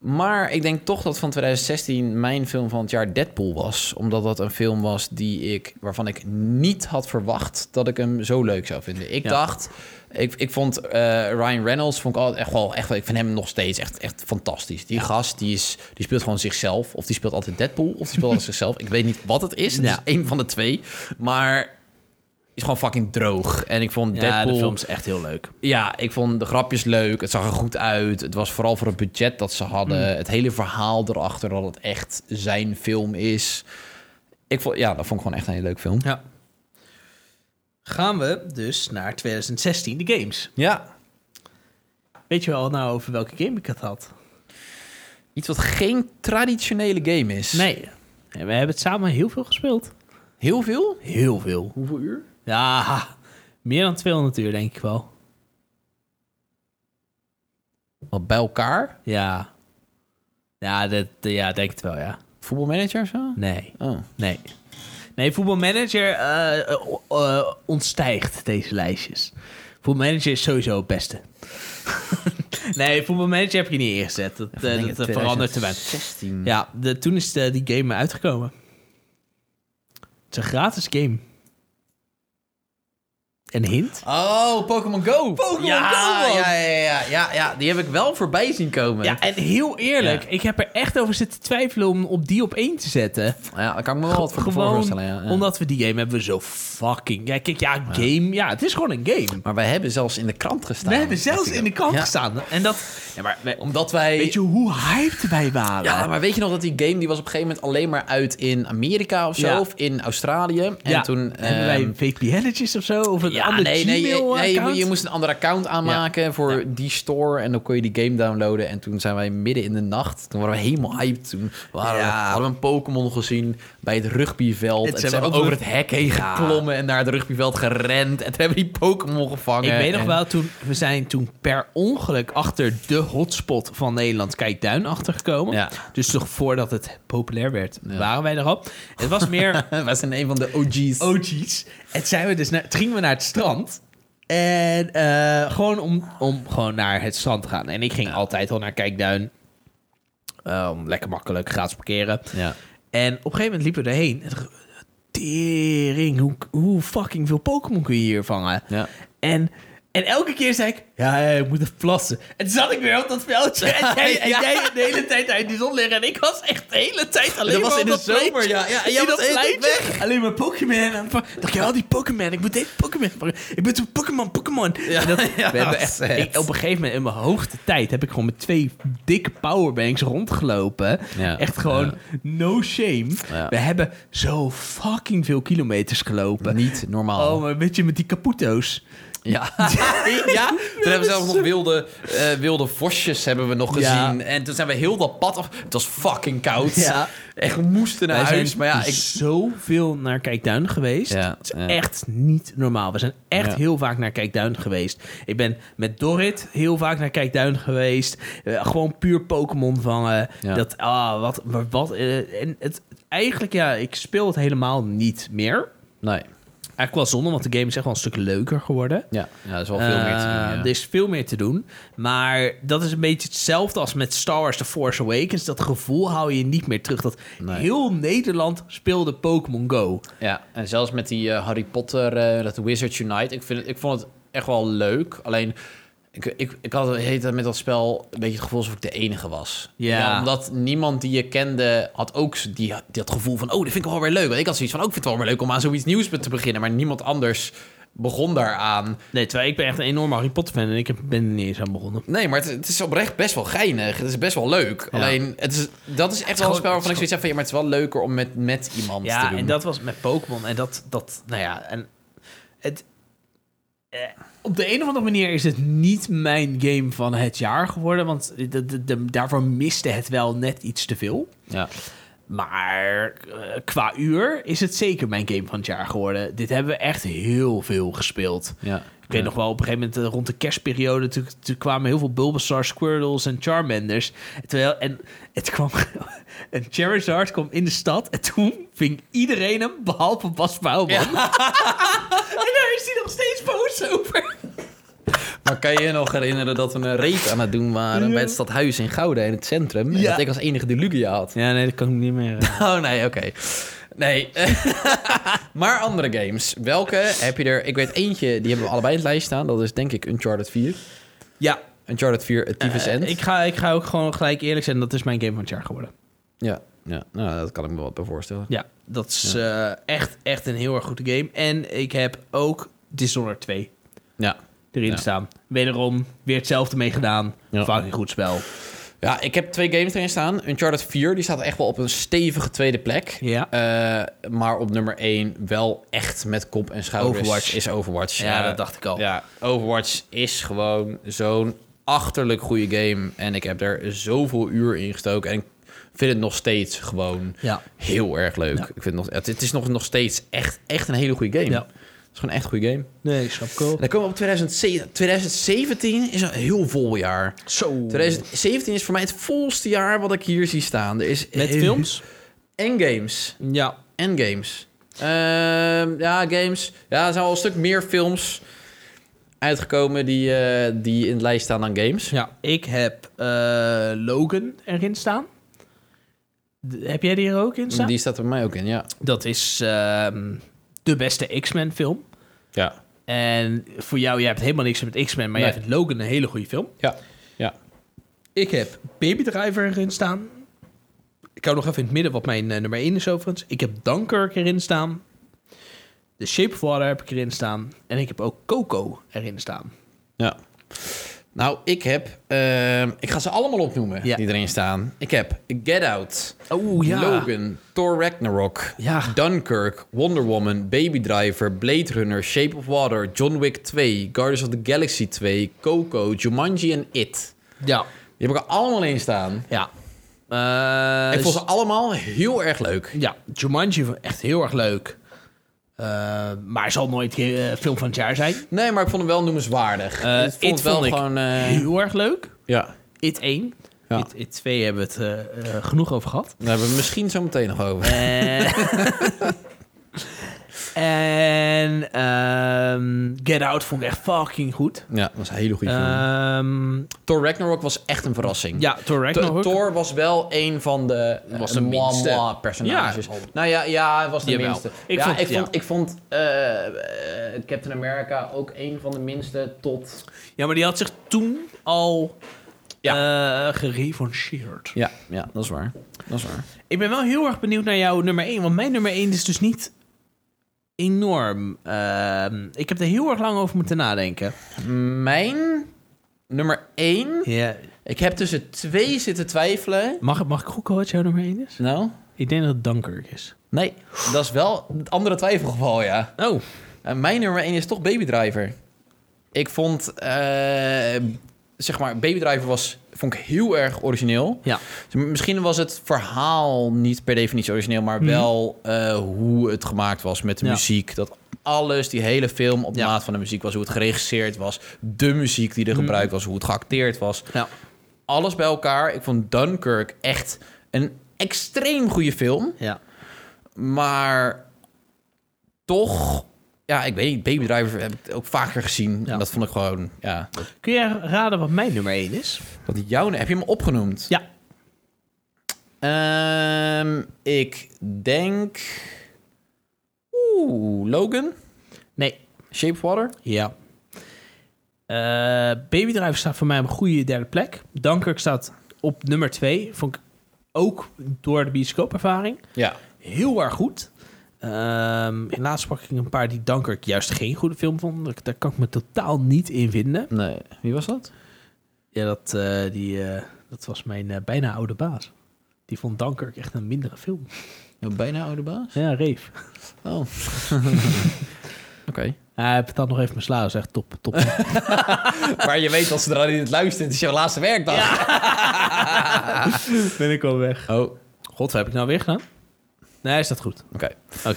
S2: maar ik denk toch dat van 2016 mijn film van het jaar Deadpool was. Omdat dat een film was die ik, waarvan ik niet had verwacht dat ik hem zo leuk zou vinden. Ik
S1: Ja.
S2: dacht, ik, ik vond eh, Ryan Reynolds, vond ik altijd echt wel, echt, wel- ik vind hem nog steeds echt, echt fantastisch. Die gast, die, is, die speelt gewoon zichzelf. Of die speelt altijd Deadpool, of die speelt altijd zichzelf. Ik weet niet wat het is. Het
S1: Ja.
S2: is één van de twee. Maar is gewoon fucking droog. En ik vond
S1: Ja, de
S2: Deadpool...
S1: film is echt heel leuk.
S2: Ja, ik vond de grapjes leuk. Het zag er goed uit. Het was vooral voor het budget dat ze
S1: Hmm.
S2: hadden. Het hele verhaal erachter dat het echt zijn film is. Ik vond, ja, dat vond ik gewoon echt een hele leuke film.
S1: Ja.
S3: Gaan we dus naar 2016, de games.
S2: Ja.
S3: Weet je wel nou over welke game ik het had?
S2: Iets wat geen traditionele game is.
S1: Nee. We hebben het samen heel veel gespeeld.
S2: Heel veel?
S1: Heel veel.
S2: Hoeveel uur?
S1: Ja, meer dan 200 uur denk ik wel.
S2: Wat bij elkaar?
S1: Ja. Ja, dat, ja, denk het wel, ja.
S2: Voetbalmanager of zo?
S1: Nee,
S2: Oh.
S1: nee. Nee, voetbalmanager eh, eh, eh, ontstijgt deze lijstjes. Voetbalmanager is sowieso het beste. nee, voetbalmanager heb je niet ingezet. Dat, eh, dat eh, verandert te weinig.
S2: 16. Ja.
S1: Ja, de, toen is de, die game uitgekomen. Het is een gratis game. Een hint?
S2: Oh, Pokémon Go. Pokémon
S1: Go, man.
S2: Ja, ja, ja, ja, ja, die heb ik wel voorbij zien komen.
S1: Ja, en heel eerlijk,
S2: Ja.
S1: ik heb er echt over zitten twijfelen om op die op één te zetten.
S2: ja daar kan ik me wel wat voor
S1: Gewoon
S2: voorstellen. Ja, ja.
S1: Omdat we die game hebben zo fucking... Ja, kijk, ja, game... Ja, het is gewoon een game.
S2: Maar wij hebben zelfs in de krant gestaan.
S1: We hebben zelfs in de krant
S2: Ja.
S1: gestaan. En dat... Ja, maar, we-
S2: Omdat wij...
S1: weet je hoe hyped wij waren?
S2: Ja, maar weet je nog dat die game die was op een gegeven moment alleen maar uit in Amerika of zo,
S1: Ja.
S2: of in Australië. En
S1: Ja,
S2: toen
S1: hebben wij
S2: ehm,
S1: VPN'tjes of zo? Of een
S2: ja,
S1: ander
S2: nee, nee, je,
S1: Gmail-account?
S2: nee, je mo- je moest een ander account aanmaken voor die store en dan kon je die game downloaden. En toen zijn wij midden in de nacht, toen waren we helemaal hyped. Toen waren we,
S1: Ja.
S2: hadden we een Pokémon gezien bij het rugbyveld.
S1: Het
S2: en
S1: zijn
S2: zijn we
S1: we ook
S2: over
S1: nog-
S2: het hek heen
S1: Ja.
S2: geklommen en naar het rugbyveld gerend. En toen hebben we die Pokémon gevangen.
S1: Ik weet nog
S2: En-
S1: wel, toen, we zijn toen per ongeluk achter de hotspot van Nederland, Kijkduin, achtergekomen.
S2: Ja.
S1: Dus nog voordat het populair werd,
S2: Ja.
S1: waren wij erop. Het was meer
S2: wij zijn een van de OG's.
S1: Oh. OG's. En zijn we dus naar, toen gingen we naar het strand. En eh, gewoon om, om gewoon naar het strand te gaan. En ik ging altijd al naar Kijkduin. Ehm, lekker makkelijk, gratis parkeren.
S2: Ja.
S1: En op een gegeven moment liepen we erheen. En dacht ik, Tering, hoe, hoe fucking veel Pokémon kun je hier vangen?
S2: Ja.
S1: En, en elke keer zei ik, ja, ja, ik moet even plassen. En toen zat ik weer op dat veldje. En jij, en
S2: Ja.
S1: jij de hele tijd uit die zon liggen. En ik was echt de hele tijd alleen
S2: Dat
S1: maar
S2: was
S1: op
S2: in de
S1: dat
S2: zomer,
S1: pleintje.
S2: ja. Ja, en jij
S1: In dat
S2: was de hele tijd
S1: pleintje. Alleen maar Pokémon. En ik dacht, ja, die Pokémon. Ik moet deze Pokémon pakken. Ik ben zo'n Pokémon, Pokémon. En dat-
S2: ja,
S1: we hebben
S2: dat
S1: echt,
S2: is het.
S1: ik- op een gegeven moment in mijn hoogtetijd heb ik gewoon met twee dikke powerbanks rondgelopen.
S2: Ja.
S1: Echt gewoon
S2: Ja.
S1: no shame.
S2: Ja.
S1: We hebben zo fucking veel kilometers gelopen.
S2: Niet normaal.
S1: Oh, maar weet je, met die caputo's.
S2: Ja, ja. toen hebben we zelfs nog wilde, eh, wilde vosjes hebben we nog
S1: Ja.
S2: gezien. En toen zijn we heel dat pad af. Het was fucking koud.
S1: Ja.
S2: Echt, we moesten naar
S1: Wij zijn
S2: huis. Maar ja, ik...
S1: zoveel naar Kijkduin geweest.
S2: Ja,
S1: het is
S2: ja.
S1: echt niet normaal. We zijn echt
S2: Ja.
S1: heel vaak naar Kijkduin geweest. Ik ben met Dorrit heel vaak naar Kijkduin geweest. Eh, gewoon puur Pokémon vangen.
S2: Ja.
S1: Dat, ah, wat, maar wat. eh, en het, eigenlijk, ja, ik speel het helemaal niet meer.
S2: Nee.
S1: Eigenlijk wel zonde, want de game is echt wel een stuk leuker geworden.
S2: Ja. ja, dat is wel veel meer te doen.
S1: Eh,
S2: ja.
S1: Er is veel meer te doen. Maar dat is een beetje hetzelfde als met Star Wars The Force Awakens. Dat gevoel hou je niet meer terug. Dat
S2: Nee.
S1: heel Nederland speelde Pokémon Go.
S2: Ja, en zelfs met die eh, Harry Potter, eh, dat Wizards Unite. Ik, vind het, ik vond het echt wel leuk. Alleen, ik, ik, ik had heet met dat spel een beetje het gevoel alsof ik de enige was.
S1: Ja.
S2: omdat niemand die je kende had ook z- die, dat gevoel van... oh, dat vind ik wel weer leuk. Want ik had zoiets van, ook vind het wel weer leuk om aan zoiets nieuws te beginnen. Maar niemand anders begon daaraan.
S1: Nee, terwijl ik ben echt een enorme Harry Potter fan en ik heb- ben er niet eens aan begonnen.
S2: Nee, maar het, het is oprecht best wel geinig. Het is best wel leuk.
S1: Ja.
S2: Alleen, het is, dat is echt wel
S1: gewoon-
S2: een spel
S1: het
S2: waarvan
S1: is
S2: ik zoiets heb van... ja, maar het is wel leuker om met, met iemand te
S1: Ja,
S2: doen.
S1: en dat was met Pokémon. En dat, dat, nou ja, en het... eh, op de een of andere manier is het niet mijn game van het jaar geworden. Want de- de- de- daarvoor miste het wel net iets te veel.
S2: Ja.
S1: Maar eh, qua uur is het zeker mijn game van het jaar geworden. Dit hebben we echt heel veel gespeeld.
S2: Ja.
S1: Ik weet nog wel, op een gegeven moment eh, rond de kerstperiode... Toen, toen kwamen heel veel Bulbasaur, Squirtles en Charmanders. Terwijl, en het kwam... een Charizard kwam in de stad en toen ving iedereen hem, behalve Bas Bouwman. en daar is hij nog steeds boos over.
S2: Maar kan je je nog herinneren dat we een reet aan het doen waren bij het stadhuis in Gouda in het centrum? En
S1: Ja.
S2: dat ik als enige de Lugia had.
S1: Ja, nee, dat kan ik niet meer. eh.
S2: Oh nee, oké. Nee. maar andere games. Welke heb je er? Ik weet eentje, die hebben we allebei in het lijst staan. Dat is denk ik Uncharted 4.
S1: ja, Eh,
S2: Uncharted 4, het Tiefes End.
S1: ik, ga, ik ga ook gewoon gelijk eerlijk zijn. Dat is mijn game van het jaar geworden.
S2: Ja. Ja, nou, dat kan ik me wat bij voorstellen.
S8: Ja.
S1: Dat is eh, echt, echt een heel erg goede game. En ik heb ook Dishonored 2
S2: Ja.
S8: erin
S2: Ja.
S8: staan. Wederom weer hetzelfde mee gedaan.
S2: Ja.
S8: Fucking goed spel.
S2: ja, ik heb twee games erin staan. Uncharted 4, die staat echt wel op een stevige tweede plek.
S8: Ja.
S2: Eh, maar op nummer 1 wel echt met kop en schouders
S1: Overwatch.
S2: is Overwatch.
S1: Ja, dat dacht ik al.
S2: Ja, Overwatch is gewoon zo'n achterlijk goede game. En ik heb er zoveel uur in gestoken. En ik vind het nog steeds gewoon
S8: Ja.
S2: heel erg leuk.
S8: Ja.
S2: Ik vind het, nog, het, het is nog, nog steeds echt, echt een hele goede game.
S8: Ja.
S2: Het is gewoon echt een goede game.
S8: Nee, ik snap cool.
S2: En dan komen we op 2017. 2017 is een heel vol jaar.
S1: Zo.
S2: 2017 is voor mij het volste jaar wat ik hier zie staan. Er is
S8: Met films?
S2: En games.
S8: Ja.
S2: En games. Ehm, ja, games. Ja, er zijn al een stuk meer films uitgekomen die, eh, die in de lijst staan dan games.
S8: Ja.
S1: Ik heb eh, Logan erin staan. D- heb jij die er ook in staan?
S2: Die staat er bij mij ook in, ja.
S1: Dat is ehm, de beste X-Men film.
S2: Ja.
S1: En voor jou, jij hebt helemaal niks met X-Men, maar jij
S2: Nee.
S1: vindt Logan een hele goede film.
S2: Ja. Ja.
S1: Ik heb Baby Driver erin staan. Ik hou nog even in het midden wat mijn eh, nummer 1 is overigens. Ik heb Dunkirk erin staan. The Shape of Water heb ik erin staan. En ik heb ook Coco erin staan.
S2: Ja. Nou, ik heb... ehm, ik ga ze allemaal opnoemen
S1: Ja.
S2: die erin staan. Ik heb Get Out,
S1: Oh
S2: Logan, Thor Ragnarok,
S1: Ja.
S2: Dunkirk, Wonder Woman, Baby Driver, Blade Runner, Shape of Water, John Wick 2, Guardians of the Galaxy 2, Coco, Jumanji en It.
S1: Ja.
S2: Die heb ik er allemaal in staan.
S1: Ja. Eh, dus-
S2: ik vond ze allemaal heel erg leuk.
S1: Ja, Jumanji vond ik echt heel erg leuk. Eh, maar zal nooit eh, film van het jaar zijn.
S2: Nee, maar ik vond hem wel noemenswaardig.
S1: Eh,
S2: ik vond
S1: It
S2: het wel
S1: vond ik
S2: gewoon... eh,
S1: Heel erg leuk.
S2: ja,
S1: It 1.
S2: Ja.
S1: It, It 2 hebben we het eh, eh, genoeg over gehad.
S2: daar hebben we misschien zo meteen nog over.
S1: Eh. En ehm, Get Out vond ik echt fucking goed.
S2: Ja, dat was een hele
S1: Hm.
S2: goede film.
S1: Ehm,
S2: Thor Ragnarok was echt een verrassing.
S1: Eh, ja, Thor
S2: Th-
S1: Ragnarok.
S2: Thor was wel een van de, eh,
S8: Was de
S2: moi-
S8: minste.
S2: moi personages.
S8: Ja.
S2: Nou ja, ja, het was de
S8: Jawel.
S2: minste.
S8: Ik
S2: ja,
S8: vond-
S2: ik
S8: ja.
S2: vond, ik vond eh, eh, Captain America ook een van de minste tot...
S1: Ja, maar die had zich toen al eh gerevancheerd.
S2: Ja, ja, dat is waar. Dat is waar.
S1: Ik ben wel heel erg benieuwd naar jouw nummer 1. Want mijn nummer 1 is dus niet enorm. Ehm, ik heb er heel erg lang over moeten nadenken.
S2: Mijn nummer 1.
S1: Ja.
S2: Ik heb tussen twee zitten twijfelen.
S1: Mag, mag ik gokken wat jouw nummer 1 is?
S2: Nou?
S1: Ik denk dat het Dunkirk is.
S2: Nee, dat is wel het andere twijfelgeval, ja.
S1: Oh.
S2: En Eh, mijn nummer 1 is toch Baby Driver. Ik vond, eh, zeg maar, Baby Driver was, vond ik heel erg origineel.
S1: Ja.
S2: Dus Misschien was het verhaal niet per definitie origineel, maar wel eh, hoe het gemaakt was met de
S1: Mhm. Ja.
S2: muziek. Dat alles, die hele film op
S1: Ja. Mhm.
S2: maat van de muziek was, hoe het geregisseerd was, de muziek die er gebruikt was, hoe het geacteerd was.
S1: Ja.
S2: Alles bij elkaar. Ik vond Dunkirk echt een extreem goede film.
S1: Ja.
S2: Maar toch, ja, ik weet niet, Baby Driver heb ik ook vaker gezien.
S1: Ja.
S2: En dat vond ik gewoon, ja.
S1: Kun jij raden wat mijn nummer 1 is?
S2: Dat jouw, heb je hem opgenoemd?
S1: Ja.
S2: Ehm, ik denk, oeh, Logan,
S1: Nee.
S2: Shape of Water.
S1: Ja. Eh Baby Driver staat voor mij op een goede derde plek. Dunkirk staat op nummer 2. Vond ik ook door de bioscoopervaring
S2: Ja.
S1: heel erg goed. Ehm helaas pak ik een paar die Dunkirk juist geen goede film vond. Daar- Daar kan ik me totaal niet in vinden.
S2: Nee, wie was dat?
S1: Ja, dat, eh, die, eh, dat was mijn eh, bijna oude baas. Die vond Dunkirk echt een mindere film.
S2: Jouw bijna oude baas?
S1: Ja, Reef.
S2: Oh. Oké.
S1: Hij heeft dat nog even mijn slaap. is echt top, top.
S2: Maar je weet als ze er aan het luisteren, het is jouw laatste werkdag.
S1: ben ik al weg.
S2: Oh, oké.
S1: God, wat heb ik nou weer gedaan? Nee, is dat goed? Oké,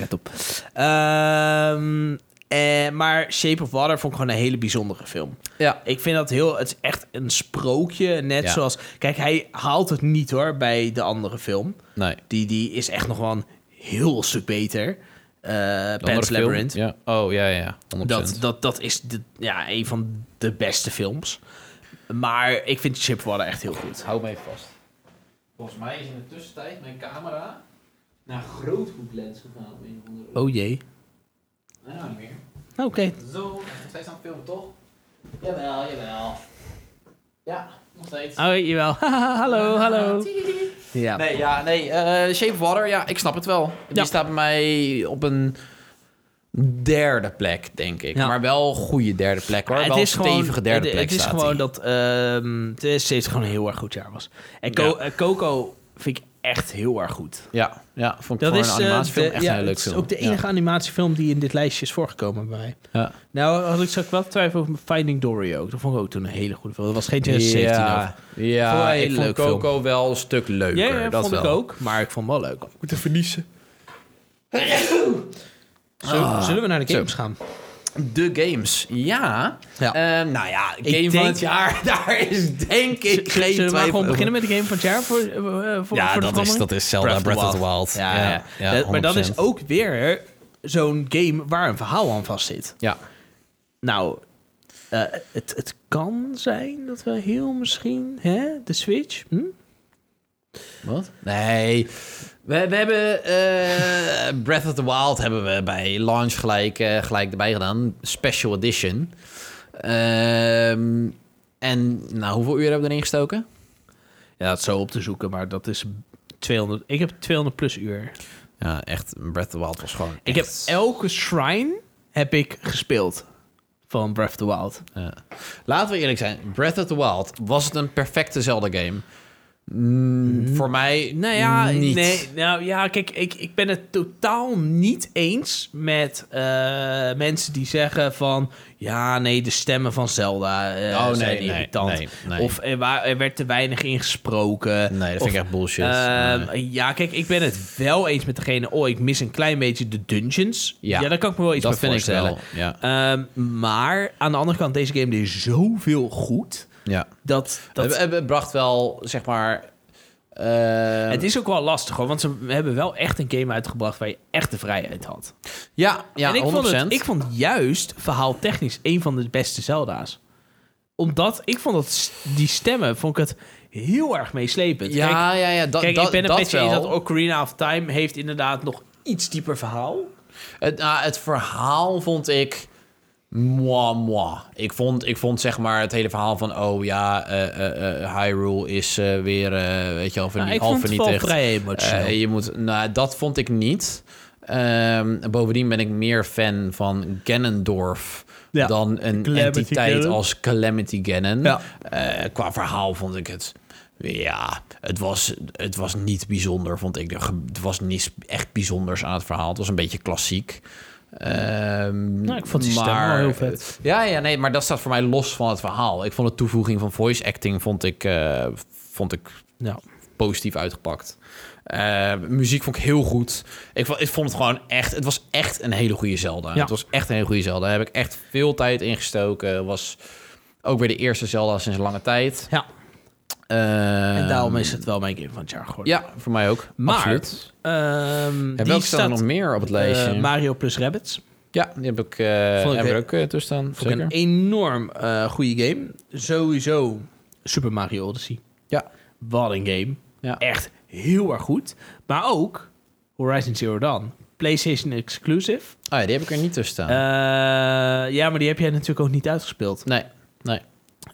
S1: top. Ehm, eh, maar Shape of Water vond ik gewoon een hele bijzondere film.
S2: Ja.
S1: Ik vind dat heel... Het is echt een sprookje. Net
S2: Ja.
S1: zoals... Kijk, hij haalt het niet hoor bij de andere film.
S2: Nee.
S1: Die, die is echt nog wel een heel stuk beter. Eh
S2: De andere
S1: Pan's
S2: film?
S1: Labyrinth.
S2: Ja. Oh, ja, ja, ja. 100%.
S1: Dat, dat, dat is de, ja, een van de beste films. Maar ik vind Shape of Water echt heel goed.
S2: Hou me even vast. Volgens mij is in de tussentijd mijn camera naar groothoeklens gegaan. Op een of andere...
S1: Oh jee.
S2: Nee, nou niet meer.
S1: Oké.
S2: Zo, nog steeds aan het filmen, toch? Jawel, jawel. Ja, nog steeds.
S1: Oh, jawel. Haha, hallo, hallo.
S2: Tiri.
S3: Ja.
S2: Nee, ja, nee. eh, Shape of Water, ja, ik snap het wel. Die
S1: Ja.
S2: staat bij mij op een derde plek, denk ik.
S1: Ja.
S2: Maar wel een goede derde plek, hoor.
S1: Maar
S2: wel een stevige derde
S1: het,
S2: plek
S1: het is
S2: staat
S1: gewoon
S2: hij.
S1: dat ehm 2070 gewoon een heel erg goed jaar was. En Co- eh, Coco vind ik echt heel erg goed.
S2: Ja, ja, vond ik
S1: Dat
S2: voor
S1: is
S2: een
S1: eh,
S2: animatiefilm
S1: de-
S2: echt
S1: ja,
S2: een heel leuk
S1: het is
S2: film.
S1: ook de enige animatiefilm die in dit lijstje is voorgekomen bij mij.
S2: Ja.
S1: Nou, had ik zat ik wel te twijfelen over Finding Dory ook. Dat vond ik ook toen een hele goede film. Dat was geen
S2: Ja,
S1: 2017 ook.
S2: ja,
S1: Vond ik een
S2: ik
S1: hele
S2: vond
S1: leuke film.
S2: Coco wel een stuk leuker.
S1: Ja, ja,
S2: dat
S1: vond
S2: wel.
S1: ik ook. Maar ik vond hem wel leuk.
S2: Moeten verliezen.
S1: Zullen, zullen we naar de
S2: Ah. zo.
S1: games gaan?
S2: De games, ja.
S1: Ja.
S2: Ehm, nou ja, game
S1: denk-
S2: van het jaar, daar is denk
S1: Z-
S2: ik geen
S1: Zullen we maar
S2: twijfel
S1: gewoon
S2: over.
S1: beginnen met de game van het jaar voor, eh, eh, voor, voor de verandering?
S2: is
S1: Breath of the
S2: Wild.
S1: Ja, ja. Dat- maar dat is ook weer zo'n game waar een verhaal aan vast zit.
S2: Ja,
S1: Nou, eh, het, het kan zijn dat we heel misschien... Hè, de Switch? Hm?
S2: wat? Nee. We, we hebben eh, Breath of the Wild hebben we bij launch gelijk, eh, gelijk erbij gedaan. Special edition. Ehm, en nou, hoeveel uur hebben we erin gestoken?
S1: Ja, dat is zo op te zoeken, maar dat is 200... Ik heb 200 plus uur.
S2: Ja, echt. Breath of the Wild was gewoon
S1: Ik heb
S2: echt-
S1: elke shrine heb ik gespeeld van Breath of the Wild.
S2: Ja. Laten we eerlijk zijn. Breath of the Wild, was het een perfecte Zelda-game? Mm, Voor mij
S1: Nou ja,
S2: niet.
S1: Nee, nou ja, kijk, ik, ik ben het totaal niet eens met eh, mensen die zeggen van... Ja, nee, de stemmen van Zelda eh,
S2: Oh, nee,
S1: zijn
S2: nee,
S1: irritant.
S2: nee, nee.
S1: Of er, wa- er werd te weinig ingesproken.
S2: Nee, dat vind
S1: Of,
S2: ik echt bullshit.
S1: Ehm,
S2: Nee.
S1: Ja, kijk, ik ben het wel eens met degene... Oh, ik mis een klein beetje de dungeons.
S2: Ja,
S1: Ja, daar kan ik me wel iets
S2: dat
S1: bij
S2: vind ik
S1: voorstellen.
S2: wel. Ja.
S1: Ehm, maar aan de andere kant, deze game deed zoveel goed...
S2: ja.
S1: Dat, dat,
S2: Het, het bracht wel, zeg maar... eh,
S1: het is ook wel lastig hoor, want ze hebben wel echt een game uitgebracht waar je echt de vrijheid had.
S2: ja, ja,
S1: en ik
S2: 100%.
S1: vond, het, ik vond juist verhaaltechnisch een van de beste Zelda's. Omdat ik vond dat s- die stemmen vond ik het heel erg meeslepend.
S2: ja,
S1: kijk,
S2: ja, ja, dat,
S1: kijk
S2: dat,
S1: ik ben een
S2: dat
S1: beetje
S2: wel.
S1: eens dat Ocarina of Time heeft inderdaad nog iets dieper verhaal.
S2: Het, nou, het verhaal vond ik. Moi, moi. Ik vond, ik vond zeg maar het hele verhaal van. Oh ja, eh, eh, eh, Hyrule is eh, weer. eh, weet je wel, vernie-
S1: Nou, ik
S2: half
S1: vond het wel
S2: vernietigd.
S1: vrij emotioneel.
S2: Eh, je moet, nou, dat vond ik niet. Ehm, bovendien ben ik meer fan van Ganondorf.
S1: Ja,
S2: dan een
S1: Calamity
S2: entiteit
S1: Ganon.
S2: als Calamity Ganon.
S1: Ja.
S2: Eh, qua verhaal vond ik het. Ja, het was, het was niet bijzonder, vond ik. Er ge- Het was niets echt bijzonders aan het verhaal. Het was een beetje klassiek. Ehm,
S1: Nou, ik vond die stem wel heel vet.
S2: Ja, ja, nee, maar dat staat voor mij los van het verhaal. Ik vond de toevoeging van voice acting vond ik, eh, vond ik
S1: Ja.
S2: positief uitgepakt. Eh, muziek vond ik heel goed. Ik vond, ik vond het gewoon echt... Het was echt een hele goede Zelda.
S1: Ja.
S2: Het was echt een hele goede Zelda. Daar heb ik echt veel tijd in gestoken. Was ook weer de eerste Zelda sinds lange tijd.
S1: ja, Ehm,
S2: Eh,
S1: en daarom is het wel mijn game van het jaar geworden.
S2: Ja, voor mij ook.
S1: Maar,
S2: Absoluut.
S1: Ehm,
S2: En
S1: die
S2: welke staat er
S1: staat
S2: nog meer op het lijstje?
S1: eh, Mario plus Rabbits.
S2: ja, die heb ik, eh
S1: Vond ik
S2: heb ik
S1: he-
S2: er ook eh, tussen staan.
S1: Vond ik
S2: Zeker.
S1: een enorm eh, goede game. Sowieso Super Mario Odyssey.
S2: Ja.
S1: Wat een game.
S2: Ja.
S1: Echt heel erg goed. Maar ook Horizon Zero Dawn. PlayStation exclusive.
S2: Ah ja, die heb ik er niet tussen staan.
S1: Eh, ja, maar die heb jij natuurlijk ook niet uitgespeeld.
S2: nee, nee.